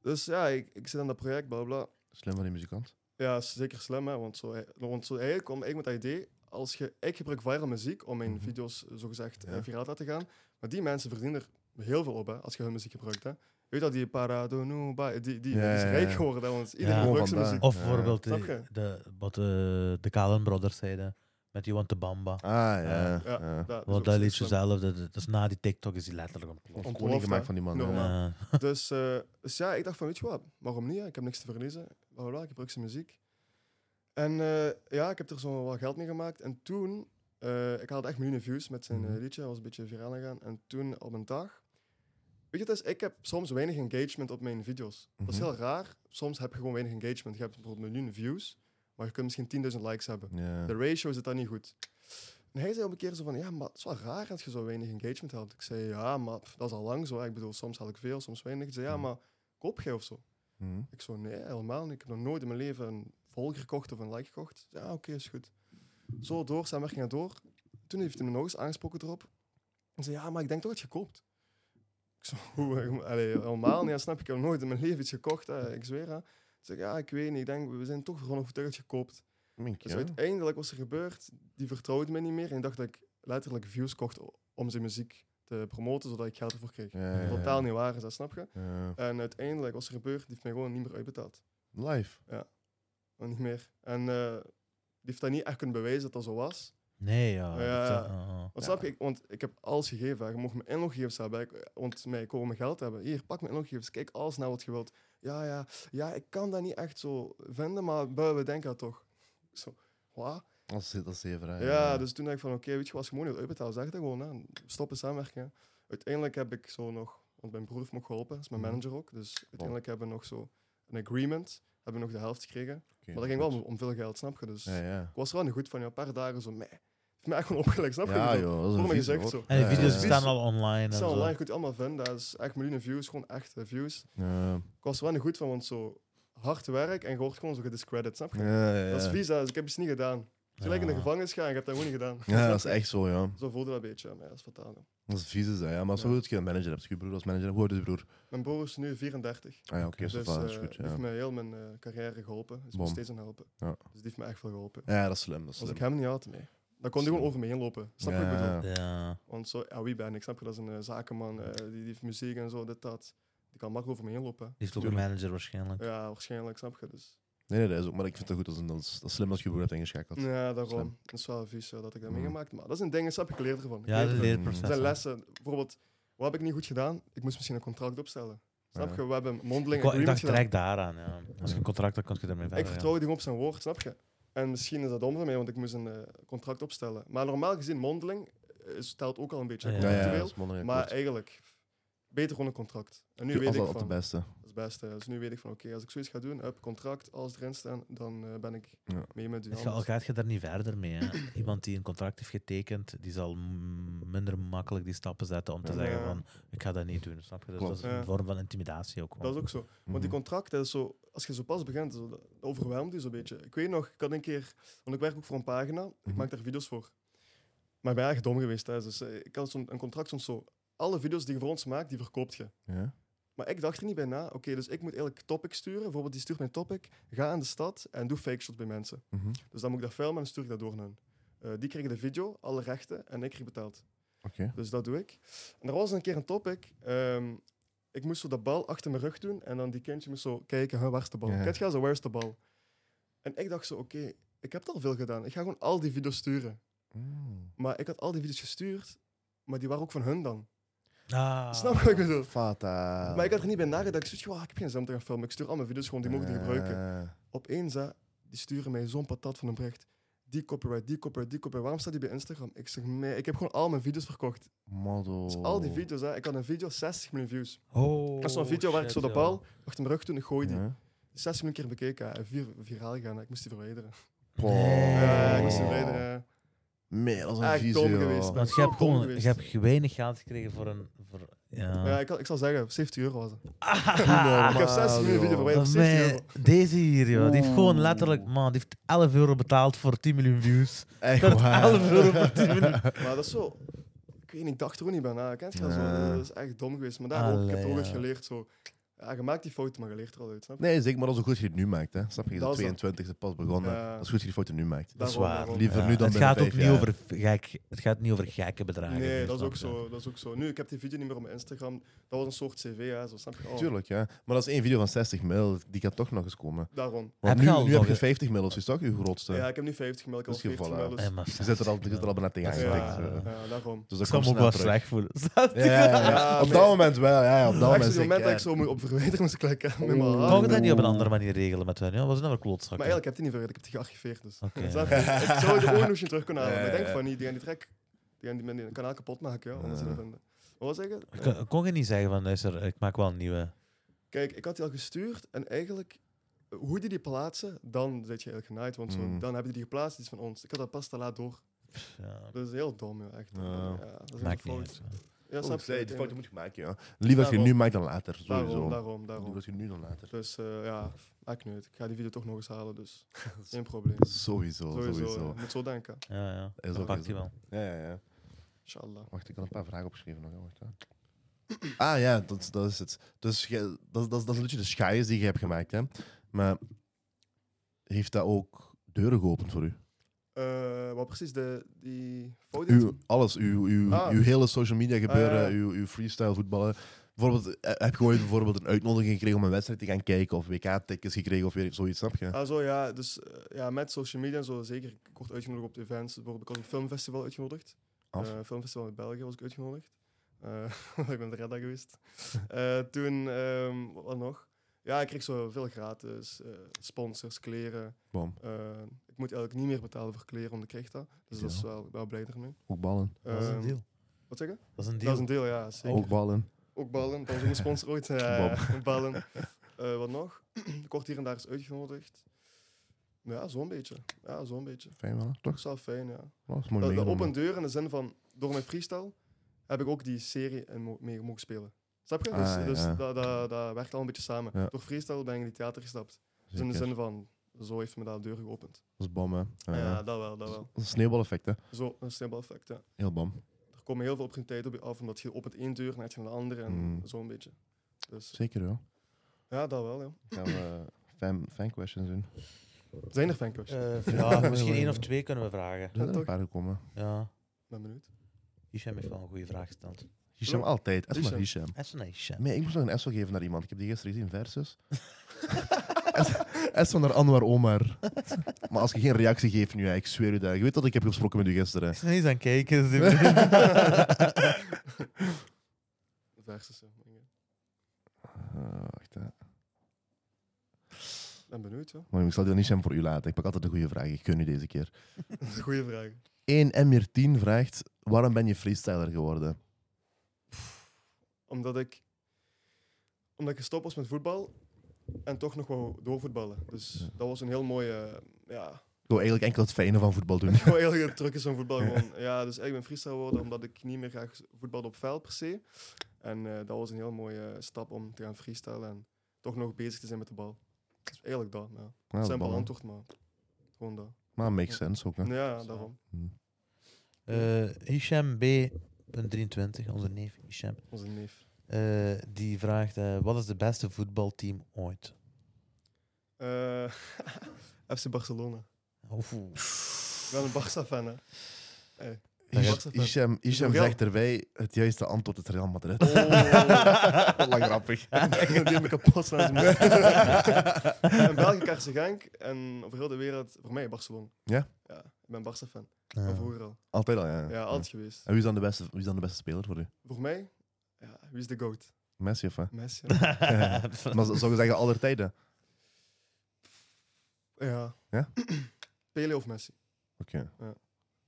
[SPEAKER 1] Dus ja, ik, ik zit aan dat project, bla bla.
[SPEAKER 2] Slim van die muzikant.
[SPEAKER 1] Ja, is zeker slim, hè? Want, zo, eh, want zo, eigenlijk kwam ik met dat idee. Als je, ik gebruik viral muziek om mijn
[SPEAKER 2] Mhm.
[SPEAKER 1] video's eh, zogezegd
[SPEAKER 2] Ja.
[SPEAKER 1] eh, viraal te laten gaan. Maar die mensen verdienen er heel veel op hè, als je hun muziek gebruikt. Hè. Je weet dat die Paradonuba, die, die, die
[SPEAKER 2] Ja,
[SPEAKER 1] is
[SPEAKER 2] ja,
[SPEAKER 1] rijk
[SPEAKER 2] ja.
[SPEAKER 1] geworden, hè, want iedereen
[SPEAKER 3] Ja.
[SPEAKER 1] gebruikt zijn
[SPEAKER 2] Gewoon
[SPEAKER 1] muziek.
[SPEAKER 3] Of
[SPEAKER 2] Ja.
[SPEAKER 3] bijvoorbeeld
[SPEAKER 1] Snap
[SPEAKER 3] de,
[SPEAKER 1] je?
[SPEAKER 3] de, wat eh, de Kalen Brothers zeiden met You Want to Bamba.
[SPEAKER 2] Ah ja.
[SPEAKER 1] Ja,
[SPEAKER 2] ja.
[SPEAKER 1] Dat is ook
[SPEAKER 3] Want dat
[SPEAKER 1] zo
[SPEAKER 3] liedje
[SPEAKER 1] slim.
[SPEAKER 3] zelf, dat, dat is na die TikTok is die letterlijk ontploft.
[SPEAKER 2] Of koning
[SPEAKER 1] Ontploft,
[SPEAKER 2] gemaakt
[SPEAKER 1] hè?
[SPEAKER 2] van die man.
[SPEAKER 1] Normaal.
[SPEAKER 2] ja.
[SPEAKER 3] Ja.
[SPEAKER 1] Dus, eh, dus ja, ik dacht van, weet je wat, waarom niet? hè? Ik heb niks te verliezen. Bla, bla, bla, ik gebruik zijn muziek. En eh, ja, ik heb er zo wel geld mee gemaakt. En toen, eh, ik had echt miljoenen views met zijn eh,
[SPEAKER 2] Mhm.
[SPEAKER 1] liedje. Hij was een beetje viraal gegaan. En toen op een dag... Weet je, het is, ik heb soms weinig engagement op mijn video's. Dat is
[SPEAKER 2] Mhm.
[SPEAKER 1] heel raar. Soms heb je gewoon weinig engagement. Je hebt bijvoorbeeld miljoenen views, maar je kunt misschien 10.000 likes hebben.
[SPEAKER 2] Ja.
[SPEAKER 1] De ratio zit daar niet goed. En hij zei op een keer zo van, ja, maar het is wel raar dat je zo weinig engagement hebt. Ik zei, ja, maar pff, dat is al lang zo. hè. Ik bedoel, soms had ik veel, soms weinig. Hij zei, ja,
[SPEAKER 2] Mhm.
[SPEAKER 1] maar koop jij of zo?
[SPEAKER 2] Mhm.
[SPEAKER 1] Ik zo, nee, helemaal niet. Ik heb nog nooit in mijn leven een volger gekocht of een like gekocht. Hij zei, ja, oké, is goed. Zo door, samenwerking gaat door. Toen heeft hij me nog eens aangesproken erop. En zei, ja, maar ik denk toch dat je koopt. Ik zo, hoe? eh, Allee, helemaal niet. Ja, snap je, ik heb nog nooit in mijn leven iets gekocht, hè. ik zweer. Hè. Ik zeg, ja, ik weet niet. Ik denk, we zijn toch gewoon overtuigd dat je koopt.
[SPEAKER 2] Mink,
[SPEAKER 1] Dus
[SPEAKER 2] ja.
[SPEAKER 1] uiteindelijk was er gebeurd, die vertrouwde me niet meer en ik dacht dat ik letterlijk views kocht o- om zijn muziek te promoten, zodat ik geld ervoor kreeg.
[SPEAKER 2] Ja, ja, ja.
[SPEAKER 1] Totaal niet waar is dat, snap je?
[SPEAKER 2] Ja.
[SPEAKER 1] En uiteindelijk was er gebeurd, die heeft mij gewoon niet meer uitbetaald.
[SPEAKER 2] Live.
[SPEAKER 1] Maar niet meer. En eh, die heeft dat niet echt kunnen bewijzen dat dat zo was.
[SPEAKER 3] Nee, ja.
[SPEAKER 1] Ja.
[SPEAKER 3] dat, eh, eh, eh.
[SPEAKER 1] Want snap je, ik- want ik heb alles gegeven. hè. Je mocht mijn inloggegevens hebben, hè. Ik- want mij komen mijn geld hebben. Hier, pak mijn inloggegevens, kijk alles naar wat je wilt. Ja, ja, ja, ik kan dat niet echt zo vinden, maar bui, we denken dat toch. Zo, wat?
[SPEAKER 2] Dat is, dat is zeer vrij.
[SPEAKER 1] Ja, dus toen dacht ik van, oké, weet je, wat, als je gewoon niet wilt uitbetalen, zeg dat gewoon. Hè. Stop in samenwerking. hè. Uiteindelijk heb ik zo nog, want mijn broer heeft me ook geholpen, dat is mijn
[SPEAKER 2] Mhm.
[SPEAKER 1] manager ook. Dus uiteindelijk hebben we nog zo een agreement, hebben we nog de helft gekregen.
[SPEAKER 2] Oké,
[SPEAKER 1] maar dat ging wel om, om veel geld, snap je? Dus
[SPEAKER 2] Ja, ja.
[SPEAKER 1] ik was er wel niet goed van, ja, een paar dagen zo, meh. Heeft mij echt gewoon opgelegd, snap je? dus Ik
[SPEAKER 2] Ja,
[SPEAKER 1] bedoel,
[SPEAKER 2] joh. Dat is
[SPEAKER 1] Voor
[SPEAKER 2] een
[SPEAKER 1] me
[SPEAKER 2] vieze,
[SPEAKER 1] gezegd
[SPEAKER 2] hoor.
[SPEAKER 1] zo.
[SPEAKER 3] En die
[SPEAKER 2] Ja, ja,
[SPEAKER 3] video's
[SPEAKER 2] ja.
[SPEAKER 3] staan al online. En
[SPEAKER 1] Het zijn
[SPEAKER 3] zo.
[SPEAKER 1] online, goed allemaal vinden, dat is echt miljoenen views, gewoon echt eh, views.
[SPEAKER 2] Ja.
[SPEAKER 1] Ik was er wel niet goed van, want zo hard werk en je wordt gewoon zo gediscredit, snap je?
[SPEAKER 2] Ja, ja,
[SPEAKER 1] Dat is
[SPEAKER 2] ja.
[SPEAKER 1] vies, hè, dus ik heb iets niet gedaan. Gelijk in de
[SPEAKER 3] Ja.
[SPEAKER 1] gevangenis gaan, ik heb dat gewoon niet gedaan.
[SPEAKER 2] Ja, dat is echt zo, ja.
[SPEAKER 1] Zo voelde dat een beetje, maar ja, dat is fataal. hè.
[SPEAKER 2] Dat is vies, is dat, ja. Maar zo
[SPEAKER 1] Ja.
[SPEAKER 2] wil je een manager hebt. Je broer als manager. Hoe oud is je broer?
[SPEAKER 1] Mijn broer is nu 34.
[SPEAKER 2] Ah ja, oké,
[SPEAKER 1] dus
[SPEAKER 2] zo
[SPEAKER 1] eh,
[SPEAKER 2] vaak, dat is goed.
[SPEAKER 1] die heeft
[SPEAKER 2] Ja.
[SPEAKER 1] me heel mijn eh, carrière geholpen. Is me
[SPEAKER 2] Bom.
[SPEAKER 1] steeds aan het helpen.
[SPEAKER 2] Ja.
[SPEAKER 1] Dus die heeft me echt veel geholpen.
[SPEAKER 2] ja, dat is slim. Dat is
[SPEAKER 1] Als ik
[SPEAKER 2] slim.
[SPEAKER 1] hem niet had, nee. Dan kon hij gewoon
[SPEAKER 2] Slim.
[SPEAKER 1] over me heen lopen. Snap je
[SPEAKER 2] ja,
[SPEAKER 1] wat ik bedoel?
[SPEAKER 2] ja.
[SPEAKER 3] Ja.
[SPEAKER 1] Want zo, ja, wie ben ik? Snap je, dat is een eh, zakenman. eh, die, die heeft muziek en zo, dit, dat. Die kan makkelijk over me heen lopen.
[SPEAKER 3] Die heeft ook een
[SPEAKER 2] Tuurlijk.
[SPEAKER 3] manager waarschijnlijk.
[SPEAKER 1] Ja, waarschijnlijk, snap je. Dus.
[SPEAKER 2] Nee, nee, dat is ook. Maar ik vind het goed. Dat is, dat is, dat is slim als je je broer hebt ingeschakeld.
[SPEAKER 1] Ja, daarom.
[SPEAKER 2] Slim.
[SPEAKER 1] Dat is wel vies eh, dat ik dat
[SPEAKER 2] Mm.
[SPEAKER 1] meegemaakt. Maar dat zijn dingen, snap je, ik leer ervan. Ik
[SPEAKER 3] Ja,
[SPEAKER 1] leer
[SPEAKER 3] dat
[SPEAKER 1] ervan.
[SPEAKER 3] leerproces.
[SPEAKER 1] Er zijn
[SPEAKER 3] hè.
[SPEAKER 1] lessen. Bijvoorbeeld, wat heb ik niet goed gedaan? Ik moest misschien een contract opstellen. Snap
[SPEAKER 2] Ja.
[SPEAKER 1] je, we hebben
[SPEAKER 3] Ik,
[SPEAKER 1] mondeling
[SPEAKER 3] wou- ik
[SPEAKER 1] agreement
[SPEAKER 3] dacht
[SPEAKER 1] gedaan.
[SPEAKER 3] direct daaraan. Ja. Als je een contract hebt, kan je daarmee verder.
[SPEAKER 1] Ik vertrouw die gewoon op zijn woord, snap je? En misschien is dat dom van mij, want ik moest een eh, contract opstellen. Maar normaal gezien, mondeling eh, is- telt ook al een beetje
[SPEAKER 3] Ja,
[SPEAKER 2] Ja, ja,
[SPEAKER 1] contractueel.
[SPEAKER 2] dat is mondeling
[SPEAKER 1] maar
[SPEAKER 2] akkoord.
[SPEAKER 1] eigenlijk, beter gewoon een contract. En nu
[SPEAKER 2] Tuur-
[SPEAKER 1] weet
[SPEAKER 2] als
[SPEAKER 1] ik
[SPEAKER 2] dat
[SPEAKER 1] van,
[SPEAKER 2] op de
[SPEAKER 1] dat
[SPEAKER 2] beste.
[SPEAKER 1] is het beste. Dus nu weet ik van, oké, als ik zoiets ga doen, heb contract, alles erin staan, dan eh, ben ik
[SPEAKER 2] Ja.
[SPEAKER 1] mee met die
[SPEAKER 3] Het ga- Al
[SPEAKER 1] anders.
[SPEAKER 3] gaat je daar niet verder mee. Hè. Iemand die een contract heeft getekend, die zal m- minder makkelijk die stappen zetten om te
[SPEAKER 2] Ja.
[SPEAKER 3] zeggen van ik ga dat niet doen. Snap je? Dus
[SPEAKER 2] Klopt.
[SPEAKER 3] dat is een
[SPEAKER 1] Ja.
[SPEAKER 3] vorm van intimidatie ook.
[SPEAKER 1] Dat is ook zo. Want
[SPEAKER 2] Mhm.
[SPEAKER 1] die contracten, is zo, als je zo pas begint, zo, dat overweldigt je zo'n beetje. Ik weet nog, ik had een keer, want ik werk ook voor een pagina, ik
[SPEAKER 2] Mhm.
[SPEAKER 1] maak daar video's voor. Maar ik ben erg dom geweest. Hè. Dus, eh, ik had zo'n een contract soms zo, alle video's die je voor ons maakt, die verkoopt je.
[SPEAKER 2] Ja.
[SPEAKER 1] Maar ik dacht er niet bij na. Oké, dus ik moet eigenlijk topic sturen. Bijvoorbeeld, die stuurt mijn topic. Ga aan de stad en doe fake shots bij mensen.
[SPEAKER 2] Mhm.
[SPEAKER 1] Dus dan moet ik dat filmen en dan stuur ik dat door naar hun. Eh, die kregen de video, alle rechten en ik kreeg betaald.
[SPEAKER 2] Oké.
[SPEAKER 1] Dus dat doe ik. En er was een keer een topic. ehm, ik moest zo dat bal achter mijn rug doen en dan die kindje moest zo kijken, huh, waar is de bal?
[SPEAKER 2] Ja.
[SPEAKER 1] Kijk, ga zo, waar is de bal? En ik dacht zo, oké, ik heb het al veel gedaan. Ik ga gewoon al die video's sturen.
[SPEAKER 2] Mm.
[SPEAKER 1] Maar ik had al die video's gestuurd, maar die waren ook van hun dan.
[SPEAKER 3] Ah.
[SPEAKER 1] Snap je wat ik bedoel?
[SPEAKER 2] Fata.
[SPEAKER 1] Maar ik had er niet bij nagedacht. Ik zoiets, "Wow, ik heb geen zin om te gaan filmen. Ik stuur al mijn video's gewoon, die
[SPEAKER 2] Ah.
[SPEAKER 1] mogen die gebruiken. Opeens, hè, die sturen mij zo'n patat van een bericht. Die copyright, die copyright, die copyright. Waarom staat die bij Instagram? Ik zeg, nee, ik heb gewoon al mijn video's verkocht.
[SPEAKER 2] Model.
[SPEAKER 1] Dus al die video's, hè. ik had een video 60 miljoen views.
[SPEAKER 3] Oh,
[SPEAKER 1] Dat is zo'n video waar ik zo
[SPEAKER 3] shit,
[SPEAKER 1] de
[SPEAKER 3] ja.
[SPEAKER 1] bal achter mijn rug toen ik gooide.
[SPEAKER 2] Ja.
[SPEAKER 1] 60 miljoen keer bekeken hè, en vier, viraal gaan. hè. Ik moest die verwijderen.
[SPEAKER 3] Oh.
[SPEAKER 2] Ploh.
[SPEAKER 3] Nee.
[SPEAKER 1] Ja, ik
[SPEAKER 3] Oh.
[SPEAKER 1] moest die verwijderen.
[SPEAKER 2] Meer als een
[SPEAKER 1] Echt
[SPEAKER 2] visie.
[SPEAKER 1] dom
[SPEAKER 2] joh.
[SPEAKER 1] Ah, geweest, man.
[SPEAKER 3] Want je hebt
[SPEAKER 1] Zo dom
[SPEAKER 3] gewoon je
[SPEAKER 1] geweest.
[SPEAKER 3] hebt weinig geld gekregen voor een. Voor, ja.
[SPEAKER 1] Ja, ik, had- ik zal zeggen, 70 euro was het.
[SPEAKER 3] Ah,
[SPEAKER 1] ik heb 60 miljoen video
[SPEAKER 2] joh.
[SPEAKER 1] verwijderd,
[SPEAKER 3] dat
[SPEAKER 1] 70
[SPEAKER 3] mij-
[SPEAKER 1] euro.
[SPEAKER 3] deze hier, joh, die heeft gewoon
[SPEAKER 2] Oeh.
[SPEAKER 3] letterlijk, man, die heeft 11 euro betaald voor 10 miljoen views.
[SPEAKER 2] Echt
[SPEAKER 3] Dat
[SPEAKER 2] waar.
[SPEAKER 3] 11 euro voor 10 miljoen.
[SPEAKER 1] Maar dat is zo... Ik weet niet, ik dacht er ook niet bij na. Kent je dat
[SPEAKER 2] Ja.
[SPEAKER 1] zo? Dat is echt dom geweest. Maar daar ook, ik heb
[SPEAKER 3] Allee,
[SPEAKER 1] het ook eens
[SPEAKER 3] ja.
[SPEAKER 1] geleerd zo. Ja, je maakt die fouten, maar je leert er al uit, snap je?
[SPEAKER 2] Nee, zeker, maar dat is ook goed dat je het nu maakt. Hè. Snap je? Je
[SPEAKER 1] Dat
[SPEAKER 2] bent
[SPEAKER 1] is dan-
[SPEAKER 2] 22 e pas begonnen.
[SPEAKER 1] Ja.
[SPEAKER 2] Dat is goed dat je die foto nu maakt.
[SPEAKER 3] eh, Dat is
[SPEAKER 1] Daarom,
[SPEAKER 3] waar.
[SPEAKER 1] daarom.
[SPEAKER 2] Liever nu dan
[SPEAKER 3] het
[SPEAKER 2] binnen
[SPEAKER 3] gaat ook
[SPEAKER 2] vijf
[SPEAKER 3] niet
[SPEAKER 2] jaar.
[SPEAKER 3] over gek, het gaat niet over gekke bedragen.
[SPEAKER 1] Nee,
[SPEAKER 3] hier,
[SPEAKER 1] dat is
[SPEAKER 3] snap
[SPEAKER 1] ook
[SPEAKER 3] je?
[SPEAKER 1] zo. Dat is ook zo. Nu, ik heb die video niet meer op mijn Instagram. Dat was een soort cv, hè, zo snap je? Oh,
[SPEAKER 2] Tuurlijk, ja. Maar dat is één video van 60 mil. Die kan toch nog eens komen.
[SPEAKER 1] Daarom.
[SPEAKER 2] Want
[SPEAKER 3] Heb
[SPEAKER 2] nu,
[SPEAKER 3] je al
[SPEAKER 2] nu
[SPEAKER 3] nog
[SPEAKER 2] heb je
[SPEAKER 3] een-
[SPEAKER 2] 50 mil of zo, is toch? Je grootste.
[SPEAKER 1] Ja, ik heb nu 50 gemeld, ik heb al
[SPEAKER 2] Dus je
[SPEAKER 1] 40
[SPEAKER 2] voilà.
[SPEAKER 1] gemeld.
[SPEAKER 3] Nee, maar
[SPEAKER 2] Je zit er al, je zit er al bijna
[SPEAKER 3] Dat
[SPEAKER 2] tegen
[SPEAKER 3] is
[SPEAKER 2] aangetikt.
[SPEAKER 1] ja,
[SPEAKER 3] waar.
[SPEAKER 2] eh.
[SPEAKER 1] ja, daarom.
[SPEAKER 3] Ik
[SPEAKER 2] Dus
[SPEAKER 3] zou
[SPEAKER 2] dat komt
[SPEAKER 3] me ook
[SPEAKER 2] snel
[SPEAKER 3] wel
[SPEAKER 2] terug.
[SPEAKER 3] slecht voelen.
[SPEAKER 1] Ah,
[SPEAKER 2] Ja, ja, ja.
[SPEAKER 1] Ja,
[SPEAKER 2] op
[SPEAKER 1] maar-
[SPEAKER 2] dat moment wel. Ja, ja, op dat
[SPEAKER 1] Echt
[SPEAKER 2] moment
[SPEAKER 1] zo die moment dat ik
[SPEAKER 2] zeker.
[SPEAKER 1] zo moet op verwijderen moest eh, klikken. met mijn
[SPEAKER 2] Oeh.
[SPEAKER 1] hand.
[SPEAKER 3] Kon je dat niet op een andere manier regelen met hen? Ja? Wat is nou voor klootzak?
[SPEAKER 1] Maar eigenlijk heb ik die niet verwijderd, ik heb die gearchiveerd. Dus.
[SPEAKER 3] Oké.
[SPEAKER 1] Snap je? ik zou de oorloesje terug kunnen halen. Maar ik denk
[SPEAKER 2] Ja.
[SPEAKER 1] van niet, die gaan die track, die gaan die, die kanaal kapot maken. Ja, anders
[SPEAKER 2] Ja.
[SPEAKER 1] ja. Wat wil zeggen?
[SPEAKER 3] Kon- Kon je niet zeggen van, luister, ik maak wel een nieuwe.
[SPEAKER 1] Kijk, ik had die al gestuurd en eigenlijk, eh, hoe die die plaatsen, dan zit je eigenlijk genaaid. Want zo,
[SPEAKER 2] Mm.
[SPEAKER 1] dan hebben die die geplaatst, die is van ons. Ik had dat pas te laat door.
[SPEAKER 3] Ja,
[SPEAKER 1] Dat is heel dom, joh, echt.
[SPEAKER 2] Ja.
[SPEAKER 1] dat is een
[SPEAKER 3] maakt niet
[SPEAKER 1] fout.
[SPEAKER 3] uit.
[SPEAKER 1] Ja,
[SPEAKER 2] Oh,
[SPEAKER 1] snap
[SPEAKER 2] ik zei,
[SPEAKER 1] je?
[SPEAKER 2] die foto moet je maken, ja. Liever als je nu
[SPEAKER 1] Daarom.
[SPEAKER 2] maakt dan later, sowieso.
[SPEAKER 1] Daarom, daarom, daarom.
[SPEAKER 2] Liever als je nu dan later.
[SPEAKER 1] Dus eh, ja, maakt niet uit. Ik ga die video toch nog eens halen, dus geen probleem.
[SPEAKER 2] Sowieso,
[SPEAKER 1] Sowieso,
[SPEAKER 2] sowieso.
[SPEAKER 1] je moet zo denken.
[SPEAKER 3] Ja, ja.
[SPEAKER 2] Is
[SPEAKER 3] Dan
[SPEAKER 2] ook
[SPEAKER 3] pakt
[SPEAKER 2] zo.
[SPEAKER 3] hij wel.
[SPEAKER 2] Ja, ja, ja.
[SPEAKER 1] Inshallah.
[SPEAKER 2] Wacht, ik had een paar vragen opgeschreven nog. hè. Wacht, hè. Ah ja, dat, dat is het. Dus je- dat, dat, dat is een beetje de schaaiers die je hebt gemaakt, hè. Maar heeft dat ook deuren geopend voor u?
[SPEAKER 1] Eh, wat precies de, die fout is?
[SPEAKER 2] Uw, alles, uw, uw,
[SPEAKER 1] Oh, Ah.
[SPEAKER 2] uw hele social media gebeuren,
[SPEAKER 1] Ah, ja.
[SPEAKER 2] uw, uw freestyle voetballen. Bijvoorbeeld, eh, heb je ooit bijvoorbeeld een uitnodiging gekregen om een wedstrijd te gaan kijken of WK-tickets gekregen of weer zoiets, snap je?
[SPEAKER 1] Ah, zo ja, dus eh, ja, met social media en zo zeker. Ik word uitgenodigd op de events. Bijvoorbeeld, ik was op een filmfestival uitgenodigd.
[SPEAKER 2] Af.
[SPEAKER 1] Eh, filmfestival in België was ik uitgenodigd. Eh, ik ben de redder geweest. Eh, toen, ehm, wat nog? Ja, ik kreeg zo veel gratis. eh, sponsors, kleren.
[SPEAKER 2] Bam,
[SPEAKER 1] Eh, ik moet eigenlijk niet meer betalen voor kleren, want ik kreeg dat. Dus dat is
[SPEAKER 2] Ja.
[SPEAKER 1] wel, ik ben wel blij ermee.
[SPEAKER 2] ook ballen.
[SPEAKER 3] Dat is een
[SPEAKER 1] Ehm,
[SPEAKER 3] deal.
[SPEAKER 1] Wat zeggen?
[SPEAKER 3] Dat is een
[SPEAKER 1] Dat is
[SPEAKER 3] deal. Oh.
[SPEAKER 1] een deel, ja. Zeker.
[SPEAKER 2] Ook ballen.
[SPEAKER 1] Ook ballen, dat was ook een sponsor ooit. Ja, ballen. Eh, wat nog? Ik word hier en daar eens uitgenodigd. Ja, zo'n beetje. Ja, zo'n beetje.
[SPEAKER 2] Fijn wel,
[SPEAKER 1] Dat
[SPEAKER 2] toch? Oh,
[SPEAKER 1] is wel fijn, ja.
[SPEAKER 2] Dat is mooi
[SPEAKER 1] Dat, dat
[SPEAKER 2] meegenomen.
[SPEAKER 1] open deur in Eh, de zin van, door mijn freestyle heb ik ook die serie in mo- mee mogen spelen. Snap je? Dus,
[SPEAKER 2] Ah,
[SPEAKER 1] dus
[SPEAKER 2] ja.
[SPEAKER 1] dat, dat, dat werkt al een beetje samen.
[SPEAKER 2] Ja.
[SPEAKER 1] Door freestyle ben ik in die theater gestapt. Dus in
[SPEAKER 2] Zeker.
[SPEAKER 1] de zin van, zo heeft me dat de deur geopend.
[SPEAKER 2] Dat is bom, hè. Ja,
[SPEAKER 1] Ja,
[SPEAKER 2] ja. Dus-
[SPEAKER 1] dat wel, dat
[SPEAKER 2] Dat
[SPEAKER 1] wel.
[SPEAKER 2] is een sneeuwbaleffect, hè.
[SPEAKER 1] Zo, een sneeuwbaleffect, ja.
[SPEAKER 2] Heel bom.
[SPEAKER 1] Er komen heel veel opportuniteiten op je af, omdat je opent één deur, dan heb je naar de andere en
[SPEAKER 2] Mm.
[SPEAKER 1] zo'n beetje. Dus
[SPEAKER 2] Zeker, ja.
[SPEAKER 1] ja, dat wel, ja.
[SPEAKER 2] Gaan we fan, fan questions doen.
[SPEAKER 1] Zijn er fanquest?
[SPEAKER 3] Eh, ja, misschien één of twee kunnen we vragen.
[SPEAKER 2] Er zijn er een
[SPEAKER 1] toch?
[SPEAKER 2] paar gekomen.
[SPEAKER 3] Ja,
[SPEAKER 1] Ben benieuwd.
[SPEAKER 3] Hisham heeft wel een goede vraag gesteld.
[SPEAKER 2] Hisham altijd. Echt maar Hisham.
[SPEAKER 3] Dat is een Hisham.
[SPEAKER 2] Nee, ik moest nog een SO geven naar iemand. Ik heb die gisteren gezien, Versus. SO naar Anwar Omar. Maar als je geen reactie geeft nu, hè, ik zweer u dat. Je weet dat ik heb gesproken met u gisteren. Eh,
[SPEAKER 3] Ik ben eens aan het kijken. dus ik-
[SPEAKER 1] Versus, ja. Ik
[SPEAKER 2] Eh, wacht, hè.
[SPEAKER 1] ben benieuwd, ja.
[SPEAKER 2] Maar ik zal die niet zijn voor u laten. Ik pak altijd de goede vraag. Ik gun u deze keer.
[SPEAKER 1] Dat is een goede vraag.
[SPEAKER 2] 1 Emir 10 vraagt, waarom ben je freestyler geworden?
[SPEAKER 1] Omdat ik, omdat ik gestopt was met voetbal en toch nog wou doorvoetballen. Dus
[SPEAKER 2] Ja.
[SPEAKER 1] dat was een heel mooie, ja,
[SPEAKER 2] Ik wil eigenlijk enkel het fijne van voetbal doen.
[SPEAKER 1] gewoon heel veel trucjes van voetbal. Gewoon. Ja, dus ik ben freestyle geworden omdat ik niet meer graag voetbalde op veld per se. En eh, dat was een heel mooie stap om te gaan freestylen en toch nog bezig te zijn met de bal. Dus eigenlijk dat, ja.
[SPEAKER 2] Ja,
[SPEAKER 1] Simpel
[SPEAKER 2] bam.
[SPEAKER 1] antwoord, maar gewoon dat.
[SPEAKER 2] Maar makes sense ook. Hè. Hm.
[SPEAKER 1] Ja, ja,
[SPEAKER 3] Zo.
[SPEAKER 1] daarom.
[SPEAKER 3] Eh, Hisham B.23, onze neef Hisham,
[SPEAKER 1] Onze neef.
[SPEAKER 3] eh, die vraagt: eh, wat is de beste voetbalteam ooit?
[SPEAKER 1] Eh, FC Barcelona.
[SPEAKER 3] Oef.
[SPEAKER 1] Ik ben een Barca-fan, hè.
[SPEAKER 2] Hish-
[SPEAKER 1] Barca fan.
[SPEAKER 2] Hisham, Hisham
[SPEAKER 1] Geld.
[SPEAKER 2] zegt erbij, het juiste antwoord is Real Madrid.
[SPEAKER 1] Oh.
[SPEAKER 2] Lang grappig.
[SPEAKER 1] Ik neem die me kapot naar zijn moeder. In België Karsegank en over heel de wereld, voor mij Barcelona.
[SPEAKER 2] Ja? Ah.
[SPEAKER 1] Ja, ik ben Barca-fan. Van
[SPEAKER 3] Ja.
[SPEAKER 1] vroeger al.
[SPEAKER 2] Altijd al, ja.
[SPEAKER 1] Ja, altijd geweest.
[SPEAKER 2] En wie is, dan de beste, wie is dan de beste speler voor u?
[SPEAKER 1] Voor mij, Ja, wie is de goat?
[SPEAKER 2] Messi of hè?
[SPEAKER 1] Messi.
[SPEAKER 2] Maar z- zou je zeggen, aller tijden?
[SPEAKER 1] ja.
[SPEAKER 2] Ja?
[SPEAKER 1] Pele of Messi?
[SPEAKER 2] Oké,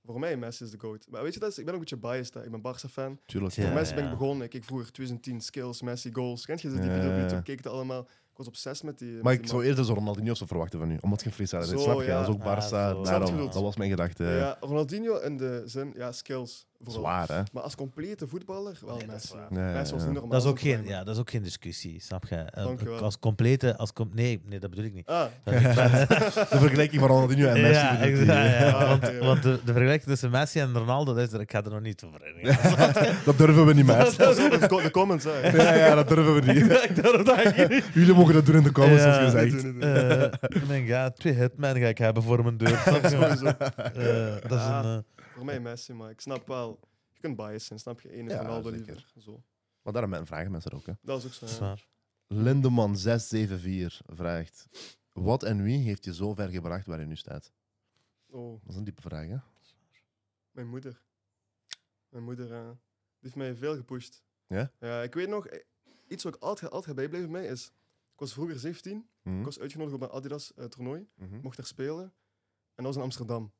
[SPEAKER 1] Voor mij Messi is de goat. Maar weet je, dat is, ik ben ook een beetje biased. Hè. Ik ben Barca fan.
[SPEAKER 2] tuurlijk.
[SPEAKER 3] Ja,
[SPEAKER 1] Door Messi ben ik
[SPEAKER 3] ja.
[SPEAKER 1] begonnen. Ik keek vroeger 2010 skills, Messi goals. Kent je die
[SPEAKER 2] Ja,
[SPEAKER 1] video op
[SPEAKER 2] ja,
[SPEAKER 1] YouTube?
[SPEAKER 2] ja.
[SPEAKER 1] Ik keek het allemaal. Ik was obsess met die.
[SPEAKER 2] Maar
[SPEAKER 1] met
[SPEAKER 2] ik
[SPEAKER 1] die
[SPEAKER 2] zou
[SPEAKER 1] man.
[SPEAKER 2] eerder zo Ronaldinho zo verwachten van u, omdat je een Fries
[SPEAKER 1] Zo,
[SPEAKER 2] bent. Snap je?
[SPEAKER 1] ja.
[SPEAKER 2] Dat is ook
[SPEAKER 3] Ah,
[SPEAKER 2] Barca.
[SPEAKER 3] zo.
[SPEAKER 1] je
[SPEAKER 3] Snap
[SPEAKER 2] daarom,
[SPEAKER 1] bedoeld?
[SPEAKER 2] dat was mijn gedachte.
[SPEAKER 1] Ja, Ronaldinho in de zin, ja, skills. Vooral.
[SPEAKER 2] Zwaar, hè?
[SPEAKER 1] Maar als complete voetballer, wel
[SPEAKER 3] Nee, dat is
[SPEAKER 1] Messi.
[SPEAKER 3] waar.
[SPEAKER 2] Ja, ja,
[SPEAKER 1] Messi was
[SPEAKER 2] ja.
[SPEAKER 1] niet normaal.
[SPEAKER 3] Dat is, ook
[SPEAKER 1] zo'n
[SPEAKER 3] geen,
[SPEAKER 1] kleine.
[SPEAKER 3] ja, dat is ook geen discussie, snap je? Eh,
[SPEAKER 1] Dank je wel.
[SPEAKER 3] Als complete... Als com nee, nee, dat bedoel ik niet.
[SPEAKER 1] Ah,
[SPEAKER 3] Dat is-
[SPEAKER 2] De vergelijking van Ronaldinho en Messi.
[SPEAKER 3] ja,
[SPEAKER 2] bedoelt
[SPEAKER 3] ik- ja,
[SPEAKER 2] hij.
[SPEAKER 3] ja,
[SPEAKER 1] Ah,
[SPEAKER 3] want,
[SPEAKER 1] oké.
[SPEAKER 3] want de, de vergelijking tussen Messi en Ronaldo, dat is er, ik ga er nog niet over in.
[SPEAKER 2] Dat durven we niet, maat.
[SPEAKER 1] Dat is ook de- de comments, hè.
[SPEAKER 2] Nee, ja, ja, dat durven we niet.
[SPEAKER 3] Ik durf dat eigenlijk niet.
[SPEAKER 2] Jullie mogen dat doen in de comments,
[SPEAKER 3] Ja.
[SPEAKER 2] zoals
[SPEAKER 1] Niet
[SPEAKER 2] gezegd.
[SPEAKER 1] doen, niet doen.
[SPEAKER 3] Eh, ik denk, ja, twee hitmen ga ik hebben voor mijn deur. Snap je?
[SPEAKER 1] Sowieso.
[SPEAKER 3] Eh, dat is een... eh,
[SPEAKER 1] Voor mij Messi, maar ik snap wel. Je kunt bias zijn, snap je? Eén is
[SPEAKER 2] Ja,
[SPEAKER 1] Ronaldo
[SPEAKER 2] zeker.
[SPEAKER 1] liever. Zo.
[SPEAKER 2] Maar daarom men- vragen mensen ook. Hè.
[SPEAKER 1] Dat is ook zo.
[SPEAKER 3] dat is
[SPEAKER 1] ja.
[SPEAKER 3] waar.
[SPEAKER 2] Lindeman674 vraagt: Wat en wie heeft je zo ver gebracht waar je nu staat?
[SPEAKER 1] Oh,
[SPEAKER 2] Dat is een diepe vraag, hè?
[SPEAKER 1] mijn moeder. Mijn moeder eh, die heeft mij veel gepusht.
[SPEAKER 2] Ja?
[SPEAKER 1] Ja, ik weet nog, eh, iets wat ik altijd, altijd bijbleven bij mij is... Ik was vroeger 17,
[SPEAKER 2] Hm?
[SPEAKER 1] Ik was uitgenodigd op een eh, Adidas-toernooi.
[SPEAKER 2] Mhm.
[SPEAKER 1] Ik mocht daar spelen. En dat was in Amsterdam.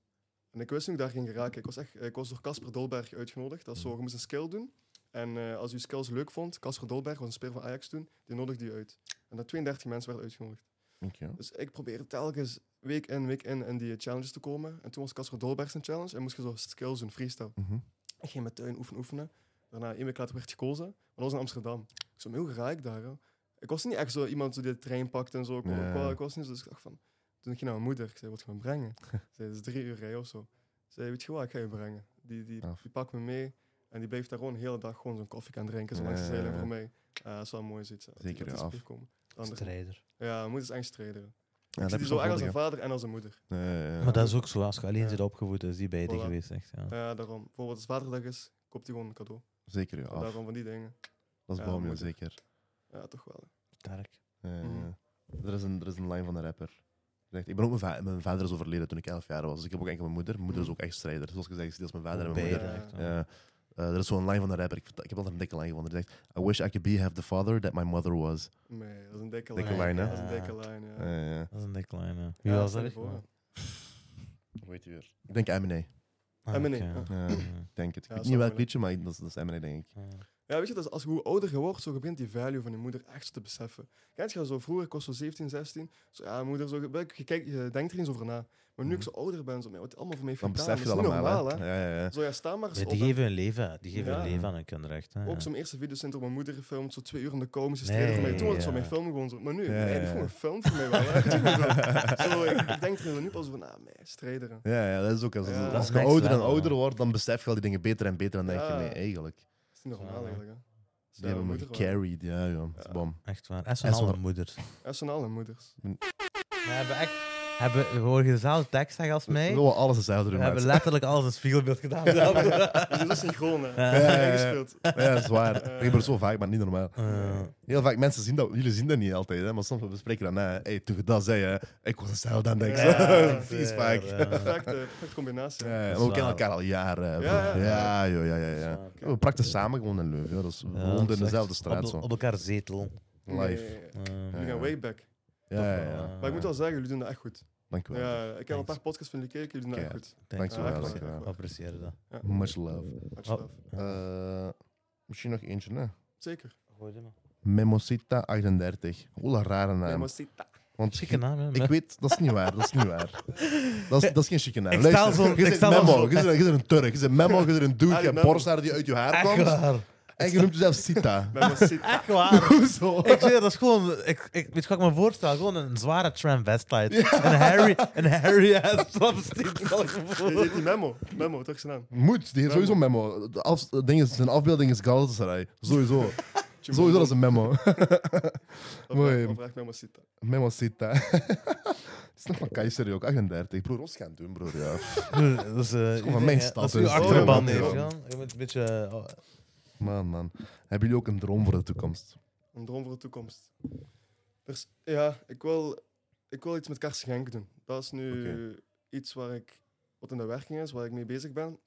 [SPEAKER 1] En ik wist toen ik daar ging geraken. Ik was, echt, ik was door Casper Dolberg uitgenodigd. Dat is
[SPEAKER 2] Mhm.
[SPEAKER 1] zo, je moest een skill doen. En eh, als je skills leuk vond, Casper Dolberg was een speler van Ajax toen, die nodigde je uit. En dat 32 mensen werden uitgenodigd.
[SPEAKER 2] Dank je.
[SPEAKER 1] Dus ik probeerde telkens week in, week in, in die challenges te komen. En toen was Casper Dolberg zijn challenge en moest je zo skills doen, freestyle.
[SPEAKER 2] Mhm.
[SPEAKER 1] Ik ging met tuin oefenen, oefenen. Daarna, één week later werd ik gekozen. Maar dat was in Amsterdam. Ik zei, maar hoe ga ik daar? hè?" Ik was niet echt zo iemand die de trein pakt en zo. Ik, wa-
[SPEAKER 2] Ja.
[SPEAKER 1] ik wa- ik was niet zo. Dus ik dacht van... Toen ik ging naar mijn moeder. Ik zei, wat ga je me brengen? Ze zei, het is drie uur rij of zo. Ze zei, weet je wat, ik ga je brengen. Die, die,
[SPEAKER 2] Af.
[SPEAKER 1] die pakt me mee. En die blijft daar gewoon de hele dag gewoon zo'n koffie gaan drinken. Zolang ze
[SPEAKER 2] Ja.
[SPEAKER 1] zeilen voor mij. Eh, dat is wel mooi zoiets. hè. Dat die-
[SPEAKER 2] Zeker,
[SPEAKER 1] dat die
[SPEAKER 2] af.
[SPEAKER 1] spier komen. De andere-
[SPEAKER 3] Strijder.
[SPEAKER 1] Ja, mijn moeder is echt strijder.
[SPEAKER 2] Ja,
[SPEAKER 1] ik
[SPEAKER 2] dat
[SPEAKER 1] zie
[SPEAKER 2] heb
[SPEAKER 1] die
[SPEAKER 2] je
[SPEAKER 1] zo
[SPEAKER 2] zo
[SPEAKER 1] erg als
[SPEAKER 2] nodig,
[SPEAKER 1] een
[SPEAKER 2] hè.
[SPEAKER 1] vader en als een moeder.
[SPEAKER 2] Ja, ja, ja.
[SPEAKER 3] Maar dat is ook zo. Als je alleen
[SPEAKER 1] Ja.
[SPEAKER 3] zit opgevoed, is die beide
[SPEAKER 1] Voilà.
[SPEAKER 3] geweest. Echt, ja.
[SPEAKER 1] Ja, Eh, daarom. Bijvoorbeeld als vaderdag is, koopt hij gewoon een cadeau.
[SPEAKER 2] Zeker, ja. af.
[SPEAKER 1] Daarom van die dingen.
[SPEAKER 2] Dat
[SPEAKER 1] Ja,
[SPEAKER 2] is Baumje,
[SPEAKER 1] moeilijk.
[SPEAKER 2] zeker.
[SPEAKER 1] Ja, toch wel. hè.
[SPEAKER 3] Sterk.
[SPEAKER 2] Ja, ja,
[SPEAKER 1] Mhm.
[SPEAKER 2] ja. Er, is een, er is een line van de rapper. Die zegt, ik ben ook mijn, va- mijn vader is overleden toen ik 11 jaar was. Dus ik heb ook enkel mijn moeder. Mijn moeder is
[SPEAKER 1] Mhm.
[SPEAKER 2] ook echt strijder. Zoals gezegd, ik zie deels mijn vader en mijn
[SPEAKER 3] Beide,
[SPEAKER 2] moeder.
[SPEAKER 1] moeder.
[SPEAKER 3] echt, hoor.
[SPEAKER 2] Ja. Eh, er is zo'n line van de rapper. Ik, vind- ik heb altijd een dikke line gevonden. Die zegt, I wish I could be half the father that my mother was.
[SPEAKER 1] Nee, dat is een dikke lijn.
[SPEAKER 2] Dikke lijn, hè?
[SPEAKER 1] Dat is een dikke lijn, ja.
[SPEAKER 2] Ja, ja, ja.
[SPEAKER 3] Dat is een dikke lijn. ja. Wie
[SPEAKER 1] Ja,
[SPEAKER 3] was
[SPEAKER 1] stel
[SPEAKER 3] dat?
[SPEAKER 1] je
[SPEAKER 3] Ah,
[SPEAKER 1] voor,
[SPEAKER 3] echt, man?
[SPEAKER 2] Hoe heet die weer? Ik denk Eminem.
[SPEAKER 3] Ah,
[SPEAKER 1] Eminem,
[SPEAKER 3] oké, Ah, ja.
[SPEAKER 2] Ja, ik
[SPEAKER 3] Ja.
[SPEAKER 2] denk het. Ik
[SPEAKER 1] Ja,
[SPEAKER 2] weet
[SPEAKER 1] is
[SPEAKER 2] niet
[SPEAKER 1] wel
[SPEAKER 2] welk liedje, maar dat is, dat is Eminem, denk ik.
[SPEAKER 3] Ja.
[SPEAKER 1] Ja, weet je, dat is als je hoe ouder je wordt, zo je begint die value van je moeder echt zo te beseffen. Kijk, je zo vroeger, ik was zo 17, 16, zo, ja, moeder, zo, je, je, kijkt- je denkt er eens over na. Maar nu ik zo ouder ben, zo, "Man, wat die allemaal voor mij heeft
[SPEAKER 2] Mhm. Dan
[SPEAKER 1] gedaan,
[SPEAKER 2] besef je dat
[SPEAKER 1] is niet
[SPEAKER 2] allemaal.
[SPEAKER 1] normaal,
[SPEAKER 2] hè? Ja, ja, ja.
[SPEAKER 1] Zo, ja, sta maar eens
[SPEAKER 3] Die
[SPEAKER 1] op.
[SPEAKER 3] die
[SPEAKER 1] hè.
[SPEAKER 3] geven hun leven. Die geven hun
[SPEAKER 1] Ja.
[SPEAKER 3] leven aan hun kinderen, echt. Hè.
[SPEAKER 1] Ook
[SPEAKER 3] ja.
[SPEAKER 1] zo'n eerste videocentrum, mijn moeder gefilmd, zo twee uur in de komen, ze
[SPEAKER 3] Nee,
[SPEAKER 1] streden voor mij. Toen was het zo
[SPEAKER 3] ja.
[SPEAKER 1] mijn film gewoon zo. Maar nu,
[SPEAKER 2] Ja,
[SPEAKER 1] nee,
[SPEAKER 2] ja,
[SPEAKER 1] die
[SPEAKER 2] ja.
[SPEAKER 1] vond een film voor mij wel. hè. Weet je wel, zo. Zo, ik, ik denk er nu pas van, ah, nee, strijderen.
[SPEAKER 2] Ja, ja, dat is ook. Als,
[SPEAKER 1] Ja. Dat
[SPEAKER 2] als
[SPEAKER 1] is
[SPEAKER 2] je
[SPEAKER 3] next
[SPEAKER 2] ouder en
[SPEAKER 3] level,
[SPEAKER 2] ouder
[SPEAKER 3] hè.
[SPEAKER 2] wordt, dan besef je al die dingen beter en beter. En denk je,
[SPEAKER 1] Ja.
[SPEAKER 2] nee, eigenlijk.
[SPEAKER 1] Dat is niet normaal
[SPEAKER 3] Ja.
[SPEAKER 1] eigenlijk, hè.
[SPEAKER 2] Die hebben me gecarried. Ja, ja. Dat is
[SPEAKER 1] Ja.
[SPEAKER 2] bom.
[SPEAKER 3] Echt waar. En zo'n
[SPEAKER 2] En zo'n-
[SPEAKER 3] alle moeders.
[SPEAKER 1] Nationale moeders.
[SPEAKER 3] We hebben echt... Hebben, we horen dezelfde tekst zeggen als
[SPEAKER 2] We
[SPEAKER 3] mij.
[SPEAKER 2] willen alles hetzelfde doen,
[SPEAKER 3] We hebben
[SPEAKER 2] maat.
[SPEAKER 3] letterlijk alles een spiegelbeeld gedaan. Ja. Eh,
[SPEAKER 1] Dus dat is synchroon, hè.
[SPEAKER 3] Ja,
[SPEAKER 2] ja, ja.
[SPEAKER 1] Ingespeeld.
[SPEAKER 2] Ja, dat is waar. Dat gebeurt zo vaak, maar niet normaal.
[SPEAKER 3] Eh,
[SPEAKER 2] Heel vaak, mensen zien dat, jullie zien dat niet altijd, hè, maar soms bespreken we dat na. Hé, hey, toen je dat zei, hè, ik was hetzelfde aan het denken.
[SPEAKER 1] Ja,
[SPEAKER 2] Vies
[SPEAKER 3] ja,
[SPEAKER 2] vaak.
[SPEAKER 3] ja.
[SPEAKER 2] Ja,
[SPEAKER 1] Perfecte, perfecte combinatie. Dus hè.
[SPEAKER 2] ja,
[SPEAKER 3] Dat
[SPEAKER 2] maar
[SPEAKER 3] is
[SPEAKER 2] we kennen
[SPEAKER 3] waar.
[SPEAKER 2] elkaar al jaren. bro.
[SPEAKER 1] Ja,
[SPEAKER 2] Ja,
[SPEAKER 1] ja.
[SPEAKER 2] ja, joh, ja, ja, ja.
[SPEAKER 3] Ja,
[SPEAKER 2] We prakten samen gewoon in Leuven. Ja. Dat is, we
[SPEAKER 3] dat
[SPEAKER 2] woonden
[SPEAKER 3] is
[SPEAKER 2] in dezelfde
[SPEAKER 3] echt
[SPEAKER 2] straat.
[SPEAKER 3] eh, Op,
[SPEAKER 2] Zo.
[SPEAKER 3] op elkaar zetel.
[SPEAKER 2] Live.
[SPEAKER 1] Nee,
[SPEAKER 3] Eh,
[SPEAKER 1] Jullie gaan
[SPEAKER 2] Ja.
[SPEAKER 1] way back.
[SPEAKER 2] Ja, ja, ja.
[SPEAKER 1] Maar ik moet wel zeggen, jullie doen dat echt goed.
[SPEAKER 2] Dank u wel.
[SPEAKER 1] Ja, ik heb al een
[SPEAKER 3] Thanks.
[SPEAKER 1] paar podcasts van jullie gekeken, jullie doen dat echt goed.
[SPEAKER 3] Thanks,
[SPEAKER 1] Ja,
[SPEAKER 2] Dankjewel,
[SPEAKER 1] echt
[SPEAKER 3] man.
[SPEAKER 1] waar,
[SPEAKER 2] dankjewel.
[SPEAKER 1] echt
[SPEAKER 3] Ik
[SPEAKER 1] waar.
[SPEAKER 3] apprecieer dat.
[SPEAKER 1] Ja,
[SPEAKER 2] Much love.
[SPEAKER 1] much love.
[SPEAKER 2] Eh, misschien nog eentje, hè?
[SPEAKER 1] Zeker.
[SPEAKER 2] Memosita38. Oeh, een rare naam.
[SPEAKER 1] Memosita.
[SPEAKER 2] Want
[SPEAKER 3] Chique naam, hè?
[SPEAKER 2] Ik weet, dat is niet waar, dat is niet waar. Dat is, dat is geen chique naam.
[SPEAKER 3] Ik stel
[SPEAKER 2] Luister,
[SPEAKER 3] zo'n-
[SPEAKER 2] je
[SPEAKER 3] ik
[SPEAKER 2] bent
[SPEAKER 3] stel wel
[SPEAKER 2] Memo,
[SPEAKER 3] zo'n-
[SPEAKER 2] je bent- je bent een Turk, je bent Memo, je bent een dude,
[SPEAKER 1] Ah,
[SPEAKER 2] je
[SPEAKER 1] die
[SPEAKER 2] hebt
[SPEAKER 1] Memo.
[SPEAKER 2] borsthaar die uit je haar
[SPEAKER 3] Echt
[SPEAKER 2] komt.
[SPEAKER 3] waar.
[SPEAKER 2] En je noemt jezelf Sita.
[SPEAKER 1] Memosita.
[SPEAKER 3] Echt waar.
[SPEAKER 2] Hoezo?
[SPEAKER 3] Ik zweer, dat is gewoon... Ik, ik, weet je wat ik me voorstel? Gewoon een zware transvestite. Een Harry... Een Harry-ass travestiet. stel ik me
[SPEAKER 1] Die
[SPEAKER 3] voor.
[SPEAKER 1] heet die Memo. Memo, toch zijn naam.
[SPEAKER 2] Moet, die heeft
[SPEAKER 1] Memo.
[SPEAKER 2] sowieso een Memo. De af, de ding is, zijn afbeelding is Galatasaray. Sowieso. Sowieso dat is een Memo. mooi.
[SPEAKER 1] Of vraag Memosita.
[SPEAKER 2] Memo Sita. Het is nog van Keizer ook, 38. Broer, ons gaan doen, broer. Ja.
[SPEAKER 3] Dat is, eh,
[SPEAKER 2] gewoon van mijn
[SPEAKER 3] hè.
[SPEAKER 2] stad,
[SPEAKER 3] Als je een
[SPEAKER 2] dus.
[SPEAKER 3] achterban
[SPEAKER 1] Oh,
[SPEAKER 3] heeft,
[SPEAKER 1] man.
[SPEAKER 3] Jan, je moet een beetje... eh, oh,
[SPEAKER 2] Man, man. Hebben jullie ook een droom voor de toekomst?
[SPEAKER 1] Een droom voor de toekomst. Dus ja, ik wil, ik wil iets met Karsengenk doen. Dat is nu iets waar ik, wat in de werking is, waar ik mee bezig ben.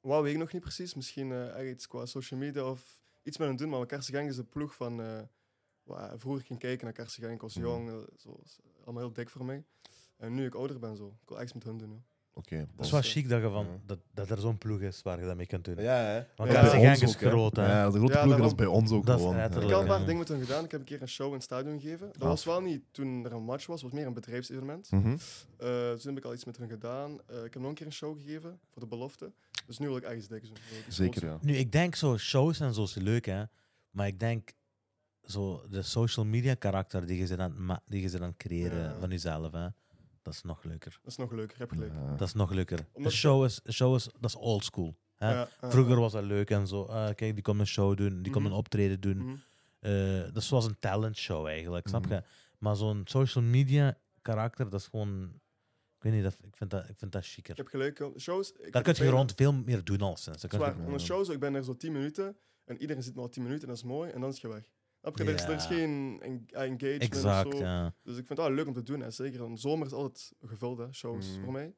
[SPEAKER 1] Wat weet ik nog niet precies. Misschien eh, echt iets qua social media of iets met hen doen, maar Karse Genk is de ploeg van... eh, waar vroeger ging kijken naar Karse Genk, ik was
[SPEAKER 2] Mhm.
[SPEAKER 1] jong, eh, zo, is allemaal heel dik voor mij. En nu ik ouder ben, zo, ik wil echt iets met hun doen. joh.
[SPEAKER 2] Oké.
[SPEAKER 3] Dat
[SPEAKER 2] bos.
[SPEAKER 3] is wel chic dat, je
[SPEAKER 2] Ja.
[SPEAKER 3] van, dat, dat er zo'n ploeg is waar je dat mee kunt doen.
[SPEAKER 2] Ja, hè.
[SPEAKER 3] Want
[SPEAKER 1] Ja,
[SPEAKER 2] bij
[SPEAKER 3] dat
[SPEAKER 1] bij
[SPEAKER 3] Genk
[SPEAKER 2] ons
[SPEAKER 3] is
[SPEAKER 2] ook, hè.
[SPEAKER 3] groot, hè.
[SPEAKER 2] Ja, dat is een
[SPEAKER 1] Ja,
[SPEAKER 2] grote ploeg, dat
[SPEAKER 1] daarom.
[SPEAKER 2] is bij ons ook
[SPEAKER 3] Dat is
[SPEAKER 2] gewoon. hè.
[SPEAKER 1] Ik
[SPEAKER 3] letterlijk.
[SPEAKER 1] heb al een
[SPEAKER 3] Tuurlijk,
[SPEAKER 1] paar
[SPEAKER 3] ja.
[SPEAKER 1] dingen met hun gedaan. Ik heb een keer een show in het stadion gegeven. Dat
[SPEAKER 2] Ah.
[SPEAKER 1] was wel niet toen er een match was, het was meer een bedrijfsevenement.
[SPEAKER 2] Mhm.
[SPEAKER 1] Eh, toen heb ik al iets met hun gedaan. Eh, ik heb nog een keer een show gegeven voor de belofte. Dus nu wil ik echt iets diks doen. Wil ik iets
[SPEAKER 2] Zeker,
[SPEAKER 1] groots
[SPEAKER 2] ja.
[SPEAKER 3] Nu, ik denk zo, shows en zo is leuk, hè. Maar ik denk, zo, de social media karakter die je zit aan, het ma- die je zit aan het creëren
[SPEAKER 1] Ja.
[SPEAKER 3] van jezelf, hè. Dat is nog leuker.
[SPEAKER 1] doen. Dat is nog leuker, heb gelijk.
[SPEAKER 2] Ja.
[SPEAKER 3] Dat is nog leuker. Een
[SPEAKER 1] Omdat-
[SPEAKER 3] show is, een show is, dat is old school. hè.
[SPEAKER 1] Ja, ja,
[SPEAKER 3] Vroeger
[SPEAKER 1] ja.
[SPEAKER 3] was dat leuk en zo. Ah, kijk, die komt een show doen, die komt
[SPEAKER 1] Ah. Mhm.
[SPEAKER 3] een optreden doen.
[SPEAKER 1] Mhm.
[SPEAKER 3] Eh, dat is zoals een talentshow eigenlijk, snap
[SPEAKER 2] Mhm.
[SPEAKER 3] je? Maar zo'n social media karakter, dat is gewoon... Ik weet niet, dat, ik, vind dat, ik vind dat
[SPEAKER 1] Ik
[SPEAKER 3] chiquer.
[SPEAKER 1] heb gelijk. joh. Shows, ik
[SPEAKER 3] Daar
[SPEAKER 1] vind
[SPEAKER 3] kun
[SPEAKER 1] het
[SPEAKER 3] je
[SPEAKER 1] fijn.
[SPEAKER 3] rond veel meer doen al sinds. Dan kun je-
[SPEAKER 1] Zwaar.
[SPEAKER 2] Ja.
[SPEAKER 1] Onder shows, ik ben er zo 10 minuten en iedereen zit maar al 10 minuten en dat is mooi en dan is je weg. Snap je? Er, is, er is
[SPEAKER 3] Ja.
[SPEAKER 1] geen en- engagement of
[SPEAKER 3] Exact,
[SPEAKER 1] zo.
[SPEAKER 3] ja.
[SPEAKER 1] Dus ik vind het wel leuk om te doen. En zeker in de zomer is altijd gevuld, hè, shows
[SPEAKER 2] Mhm.
[SPEAKER 1] voor mij.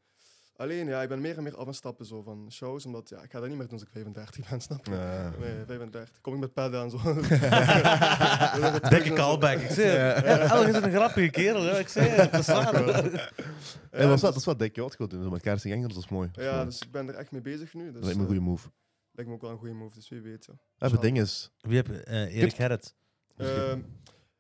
[SPEAKER 1] Alleen, ja, ik ben meer en meer af aan stappen zo, van shows, omdat ja, ik ga dat niet meer doen als ik 35 ben, snap je?
[SPEAKER 2] Ja.
[SPEAKER 1] Nee, 35. Kom ik met padden aan, zo.
[SPEAKER 3] Dikke callback. Ik zei het. Elg is een grappige kerel. hè. Ik zei het. Dat is waar.
[SPEAKER 2] Hey, maar dat is wel- dat is wel dik, joh. Wat je wilt doen zo met kaars en dat is mooi. Dat is
[SPEAKER 1] Ja,
[SPEAKER 2] mooi.
[SPEAKER 1] dus ik ben er echt mee bezig nu.
[SPEAKER 2] Dat
[SPEAKER 1] Dus,
[SPEAKER 2] lijkt me een
[SPEAKER 1] eh,
[SPEAKER 2] goede move.
[SPEAKER 1] lijkt me ook wel een goede move, dus wie weet. Ja.
[SPEAKER 2] Ja, het ding is...
[SPEAKER 3] Wie heb je? Eh, Erik Gerrit.
[SPEAKER 1] Ehm,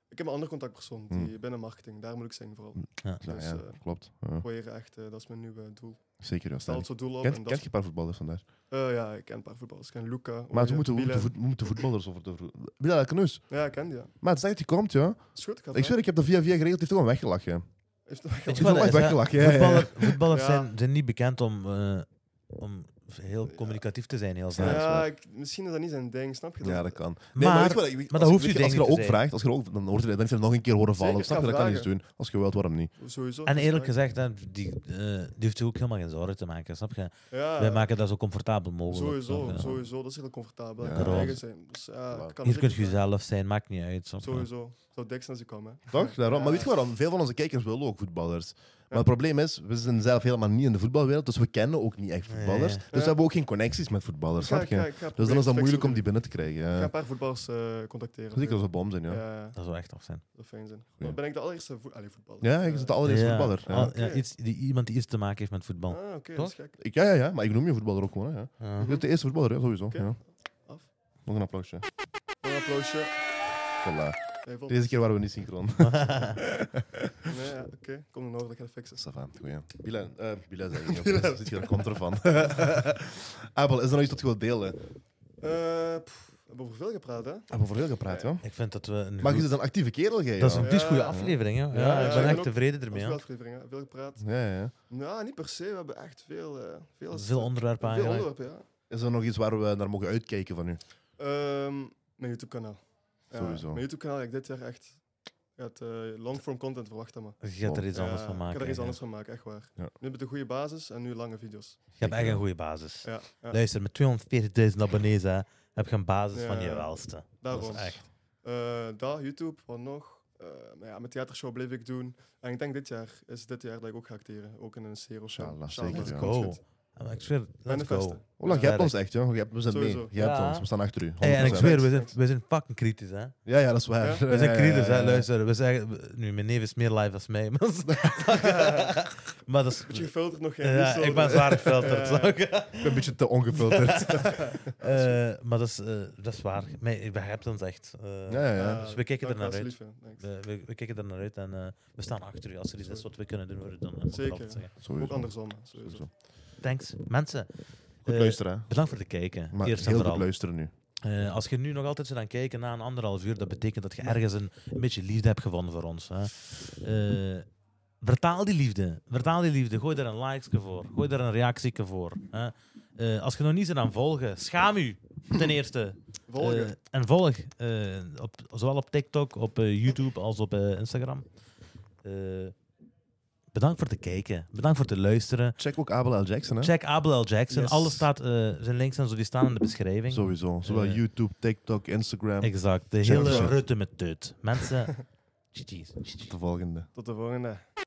[SPEAKER 1] ik heb een andere contactpersoon die
[SPEAKER 2] Mhm.
[SPEAKER 1] binnen marketing, daar moet ik zijn vooral.
[SPEAKER 2] Ja,
[SPEAKER 1] dus,
[SPEAKER 2] ja,
[SPEAKER 1] eh,
[SPEAKER 2] klopt. Ja.
[SPEAKER 1] Proberen echt, eh, dat is mijn nieuwe doel.
[SPEAKER 2] Zeker, ja.
[SPEAKER 1] Stel
[SPEAKER 2] sterk.
[SPEAKER 1] het zo doel op. en
[SPEAKER 2] Kent,
[SPEAKER 1] dat
[SPEAKER 2] kent
[SPEAKER 1] is-
[SPEAKER 2] je een paar voetballers vandaar?
[SPEAKER 1] Eh, ja, ik ken een paar voetballers. Ik ken Luca.
[SPEAKER 2] Maar
[SPEAKER 1] Oranje,
[SPEAKER 2] we moeten, we,
[SPEAKER 1] Bielen.
[SPEAKER 2] moeten, voet- we moeten voetballers over de... vro- Bilal Canoes.
[SPEAKER 1] Ja, ik ken die. Ja.
[SPEAKER 2] dus. Maar het is echt die komt, ja.
[SPEAKER 1] Is goed, ik ga
[SPEAKER 2] Ik zweer, ik heb dat via via geregeld. heeft gewoon weggelachen.
[SPEAKER 1] Heeft het wel
[SPEAKER 3] Weet
[SPEAKER 2] Die
[SPEAKER 3] je
[SPEAKER 1] gehad.
[SPEAKER 2] heeft
[SPEAKER 3] wat
[SPEAKER 2] echt
[SPEAKER 3] het is, hè?
[SPEAKER 2] weggelachen. ja, ja, ja.
[SPEAKER 3] Voetballer, voetballers
[SPEAKER 1] Ja.
[SPEAKER 3] zijn, zijn niet bekend om, eh, om heel
[SPEAKER 1] Ja.
[SPEAKER 3] communicatief te zijn. Heel
[SPEAKER 2] Ja,
[SPEAKER 3] snel.
[SPEAKER 2] dat is
[SPEAKER 1] Ja,
[SPEAKER 2] waar.
[SPEAKER 1] ik, misschien is dat niet zijn ding, snap je?
[SPEAKER 2] Ja, dat kan.
[SPEAKER 3] Maar,
[SPEAKER 2] weet je wat, ik- als
[SPEAKER 3] dat
[SPEAKER 2] ik-
[SPEAKER 3] hoeft
[SPEAKER 2] weet
[SPEAKER 3] u
[SPEAKER 2] je, Als je
[SPEAKER 3] denk
[SPEAKER 2] dat
[SPEAKER 3] ik
[SPEAKER 2] ook
[SPEAKER 3] te
[SPEAKER 2] vraagt, als je er ook, dan hoort je dan heeft je het nog een keer horen vallen.
[SPEAKER 1] Zeker,
[SPEAKER 2] snap
[SPEAKER 1] ik
[SPEAKER 2] je,
[SPEAKER 1] ga
[SPEAKER 2] dat kan niet
[SPEAKER 1] vragen.
[SPEAKER 2] doen. Als je wilt, waarom niet?
[SPEAKER 1] Sowieso.
[SPEAKER 3] En
[SPEAKER 1] dat is
[SPEAKER 3] eerlijk
[SPEAKER 1] waar.
[SPEAKER 3] gezegd, hè, die, eh, die heeft er ook helemaal geen zorgen te maken. Snap je?
[SPEAKER 1] Ja,
[SPEAKER 3] Wij maken dat zo comfortabel mogelijk.
[SPEAKER 1] Ah. sowieso,
[SPEAKER 3] snap je?
[SPEAKER 1] sowieso. Dat is heel comfortabel.
[SPEAKER 2] Ja.
[SPEAKER 1] Ja. Kan
[SPEAKER 3] Daarom.
[SPEAKER 1] eigen zijn. Dus, ja,
[SPEAKER 2] Voilà.
[SPEAKER 1] het kan
[SPEAKER 3] Hier kun
[SPEAKER 1] zeker
[SPEAKER 3] je
[SPEAKER 1] zijn.
[SPEAKER 3] zelf zijn, maakt niet uit. snap je?
[SPEAKER 1] Sowieso. Het Zou dik zijn als je kwam, hè.
[SPEAKER 2] Toch? Daarom.
[SPEAKER 1] Ja.
[SPEAKER 2] Maar weet je waarom? Veel van onze kijkers willen ook voetballers. Maar het probleem is, we zijn zelf helemaal niet in de voetbalwereld, dus we kennen ook niet echt voetballers.
[SPEAKER 3] Nee.
[SPEAKER 2] Dus we
[SPEAKER 1] Ja.
[SPEAKER 2] hebben ook geen connecties met voetballers,
[SPEAKER 1] Ik ga-
[SPEAKER 2] snap
[SPEAKER 1] ik ga-
[SPEAKER 2] je?
[SPEAKER 1] ik ga het
[SPEAKER 2] Dus dan is dat
[SPEAKER 1] proberen
[SPEAKER 2] moeilijk om die
[SPEAKER 1] fixen.
[SPEAKER 2] binnen te krijgen.
[SPEAKER 1] Ik ga
[SPEAKER 2] Ja.
[SPEAKER 1] een paar voetballers eh, contacteren.
[SPEAKER 2] Zeker als we bom zijn,
[SPEAKER 1] Ja,
[SPEAKER 2] ja.
[SPEAKER 1] ja,
[SPEAKER 3] Dat zou echt af zijn.
[SPEAKER 1] dat zou fijn zijn.
[SPEAKER 2] Ja.
[SPEAKER 1] Dan ben ik de allereerste voet- allee, voetballer.
[SPEAKER 2] Ja, ik zit de allereerste
[SPEAKER 3] Ja.
[SPEAKER 2] Oh, voetballer.
[SPEAKER 3] Al-
[SPEAKER 2] Ja.
[SPEAKER 3] ja,
[SPEAKER 1] Oké.
[SPEAKER 3] iets, die, iemand die iets te maken heeft met voetbal.
[SPEAKER 1] Ah, oké, dat is gek.
[SPEAKER 2] Ik, ja, ja, ja, maar ik noem je voetballer ook gewoon. Hè, ja.
[SPEAKER 3] Ja.
[SPEAKER 2] Je bent de eerste voetballer, ja, sowieso.
[SPEAKER 1] Oké.
[SPEAKER 2] Ja.
[SPEAKER 1] Af.
[SPEAKER 2] Nog een applausje.
[SPEAKER 1] Een applausje.
[SPEAKER 2] Voilà.
[SPEAKER 1] Even op.
[SPEAKER 2] Deze keer waren we niet synchroon.
[SPEAKER 1] Nee, ja, oké. Kom dan over, ik ga het fixen.
[SPEAKER 2] Savan, goeie. Bila, eh Bila zei ik. Bila. Zit je, dat komt ervan. Abel, is er nog iets dat je wilt delen? We
[SPEAKER 1] Eh, pff, we hebben over veel gepraat, hè?
[SPEAKER 2] hebben voor heel gepraat, ja.
[SPEAKER 3] Ik vind dat we. een
[SPEAKER 2] Maar je
[SPEAKER 3] goed-
[SPEAKER 2] bent een actieve kerel, jij.
[SPEAKER 3] dat is
[SPEAKER 2] ja.
[SPEAKER 3] een vies goede
[SPEAKER 1] Ja.
[SPEAKER 3] aflevering, hè? Ja,
[SPEAKER 2] ja,
[SPEAKER 3] ik
[SPEAKER 1] ik
[SPEAKER 3] ben
[SPEAKER 1] ben
[SPEAKER 3] echt
[SPEAKER 1] ook-
[SPEAKER 3] tevreden
[SPEAKER 1] Dat is
[SPEAKER 3] ermee.
[SPEAKER 1] veel
[SPEAKER 3] hè.
[SPEAKER 1] afleveringen, hè, veel gepraat.
[SPEAKER 2] Ja, ja, ja.
[SPEAKER 1] Nou, niet per se. We hebben echt veel... eh, veel,
[SPEAKER 3] Dat is Veel onderwerpen
[SPEAKER 1] veel
[SPEAKER 3] eigenlijk.
[SPEAKER 1] onderwerpen, ja.
[SPEAKER 2] Is er nog iets waar we naar mogen uitkijken van u?
[SPEAKER 1] Ehm, mijn YouTube-kanaal. Ja,
[SPEAKER 2] Sowieso.
[SPEAKER 1] Mijn YouTube-kanaal, ik dit jaar echt... Gaat, eh long-form content verwachten, maar.
[SPEAKER 3] Je gaat er iets
[SPEAKER 1] Ja,
[SPEAKER 3] anders van maken.
[SPEAKER 1] Ik ga er iets
[SPEAKER 3] hè.
[SPEAKER 1] anders van maken, echt waar.
[SPEAKER 2] Ja.
[SPEAKER 1] Nu met een goede basis en nu lange video's.
[SPEAKER 3] Je hebt echt een goede basis.
[SPEAKER 1] Ja, ja,
[SPEAKER 3] Luister, met 240.000 abonnees hè, heb je een basis van
[SPEAKER 1] Ja.
[SPEAKER 3] je welste. Dat
[SPEAKER 1] daarom.
[SPEAKER 3] is echt.
[SPEAKER 1] Eh, dat, YouTube, wat nog? Eh, maar ja, mijn theatershow bleef ik doen. En ik denk dit jaar is dit jaar dat ik ook ga acteren. Ook in een serie show.
[SPEAKER 2] Inshallah, zeker,
[SPEAKER 1] dat
[SPEAKER 2] ja.
[SPEAKER 1] komt
[SPEAKER 3] Go.
[SPEAKER 1] goed.
[SPEAKER 3] Ja, maar Ik zweer, let's go.
[SPEAKER 1] Manifesten.
[SPEAKER 2] Ola,
[SPEAKER 3] Ja,
[SPEAKER 2] jij Oh, hebt
[SPEAKER 3] ja,
[SPEAKER 2] ons echt, joh. Jij hebt, we zijn
[SPEAKER 1] Sowieso.
[SPEAKER 2] mee. Jij hebt
[SPEAKER 3] Ja.
[SPEAKER 2] ons. We staan achter u. 100%.
[SPEAKER 3] Hey, en ik zweer, we zijn,
[SPEAKER 1] Thanks.
[SPEAKER 3] we zijn fucking kritisch, hè?
[SPEAKER 2] Ja, ja, dat is waar.
[SPEAKER 1] Ja?
[SPEAKER 3] We zijn kritisch,
[SPEAKER 2] ja,
[SPEAKER 3] hè?
[SPEAKER 2] ja.
[SPEAKER 3] Luister, we zeggen. Nu, mijn neef is meer live als mij. Maar, maar dat
[SPEAKER 1] Beetje
[SPEAKER 3] is.
[SPEAKER 1] gefilterd nog. geen
[SPEAKER 3] Ja,
[SPEAKER 1] nieuws,
[SPEAKER 3] ik ben
[SPEAKER 1] eh,
[SPEAKER 3] zwaar gefilterd.
[SPEAKER 1] Ja.
[SPEAKER 3] snap je?
[SPEAKER 2] Ik ben een beetje te ongefilterd.
[SPEAKER 3] Eh, maar dat is, eh, dat is waar. Maar je begrijpt ons echt. Eh,
[SPEAKER 2] Ja, ja, ja.
[SPEAKER 1] eh,
[SPEAKER 3] Dus we kijken
[SPEAKER 1] dank
[SPEAKER 3] er naar
[SPEAKER 1] wel,
[SPEAKER 3] uit.
[SPEAKER 1] alsjeblieft, ja. Thanks.
[SPEAKER 3] We, we, we kijken er naar uit en eh, we staan achter u. Als er iets is wat we kunnen doen, we doen het dan. eh,
[SPEAKER 1] Zeker.
[SPEAKER 3] om het af te zeggen.
[SPEAKER 1] Ook
[SPEAKER 2] Sowieso.
[SPEAKER 1] andersom. hè, sowieso.
[SPEAKER 2] Sowieso.
[SPEAKER 3] Thanks, mensen.
[SPEAKER 2] Goed
[SPEAKER 3] Eh,
[SPEAKER 2] luisteren, hè.
[SPEAKER 3] Bedankt voor het kijken.
[SPEAKER 2] Maar
[SPEAKER 3] Eerst en
[SPEAKER 2] heel goed
[SPEAKER 3] vooral.
[SPEAKER 2] luisteren nu.
[SPEAKER 3] Eh, als je nu nog altijd zit aan kijken na een anderhalf uur, dat betekent dat je ergens een, een beetje liefde hebt gevonden voor ons. Hè. Eh, vertaal die liefde. Vertaal die liefde. Gooi daar een likesje voor. Gooi daar een reactieke voor. Hè. Eh, als je nog niet zit aan volgen, schaam u ten eerste.
[SPEAKER 1] Volgen.
[SPEAKER 3] Eh, en volg, eh, op, zowel op TikTok, op eh, YouTube als op eh, Instagram. Eh, bedankt voor het kijken. Bedankt voor het luisteren.
[SPEAKER 2] Check ook Abel L. Jackson, hè.
[SPEAKER 3] Check Abel L. Jackson.
[SPEAKER 1] Yes.
[SPEAKER 3] Alles staat, eh, zijn links en zo, die staan in de beschrijving.
[SPEAKER 2] Sowieso. Zowel
[SPEAKER 3] Eh.
[SPEAKER 2] YouTube, TikTok, Instagram.
[SPEAKER 3] Exact. De
[SPEAKER 2] Check
[SPEAKER 3] hele
[SPEAKER 2] it out.
[SPEAKER 3] rutte met teut. Mensen, GG's.
[SPEAKER 2] Tot de volgende.
[SPEAKER 1] Tot de volgende.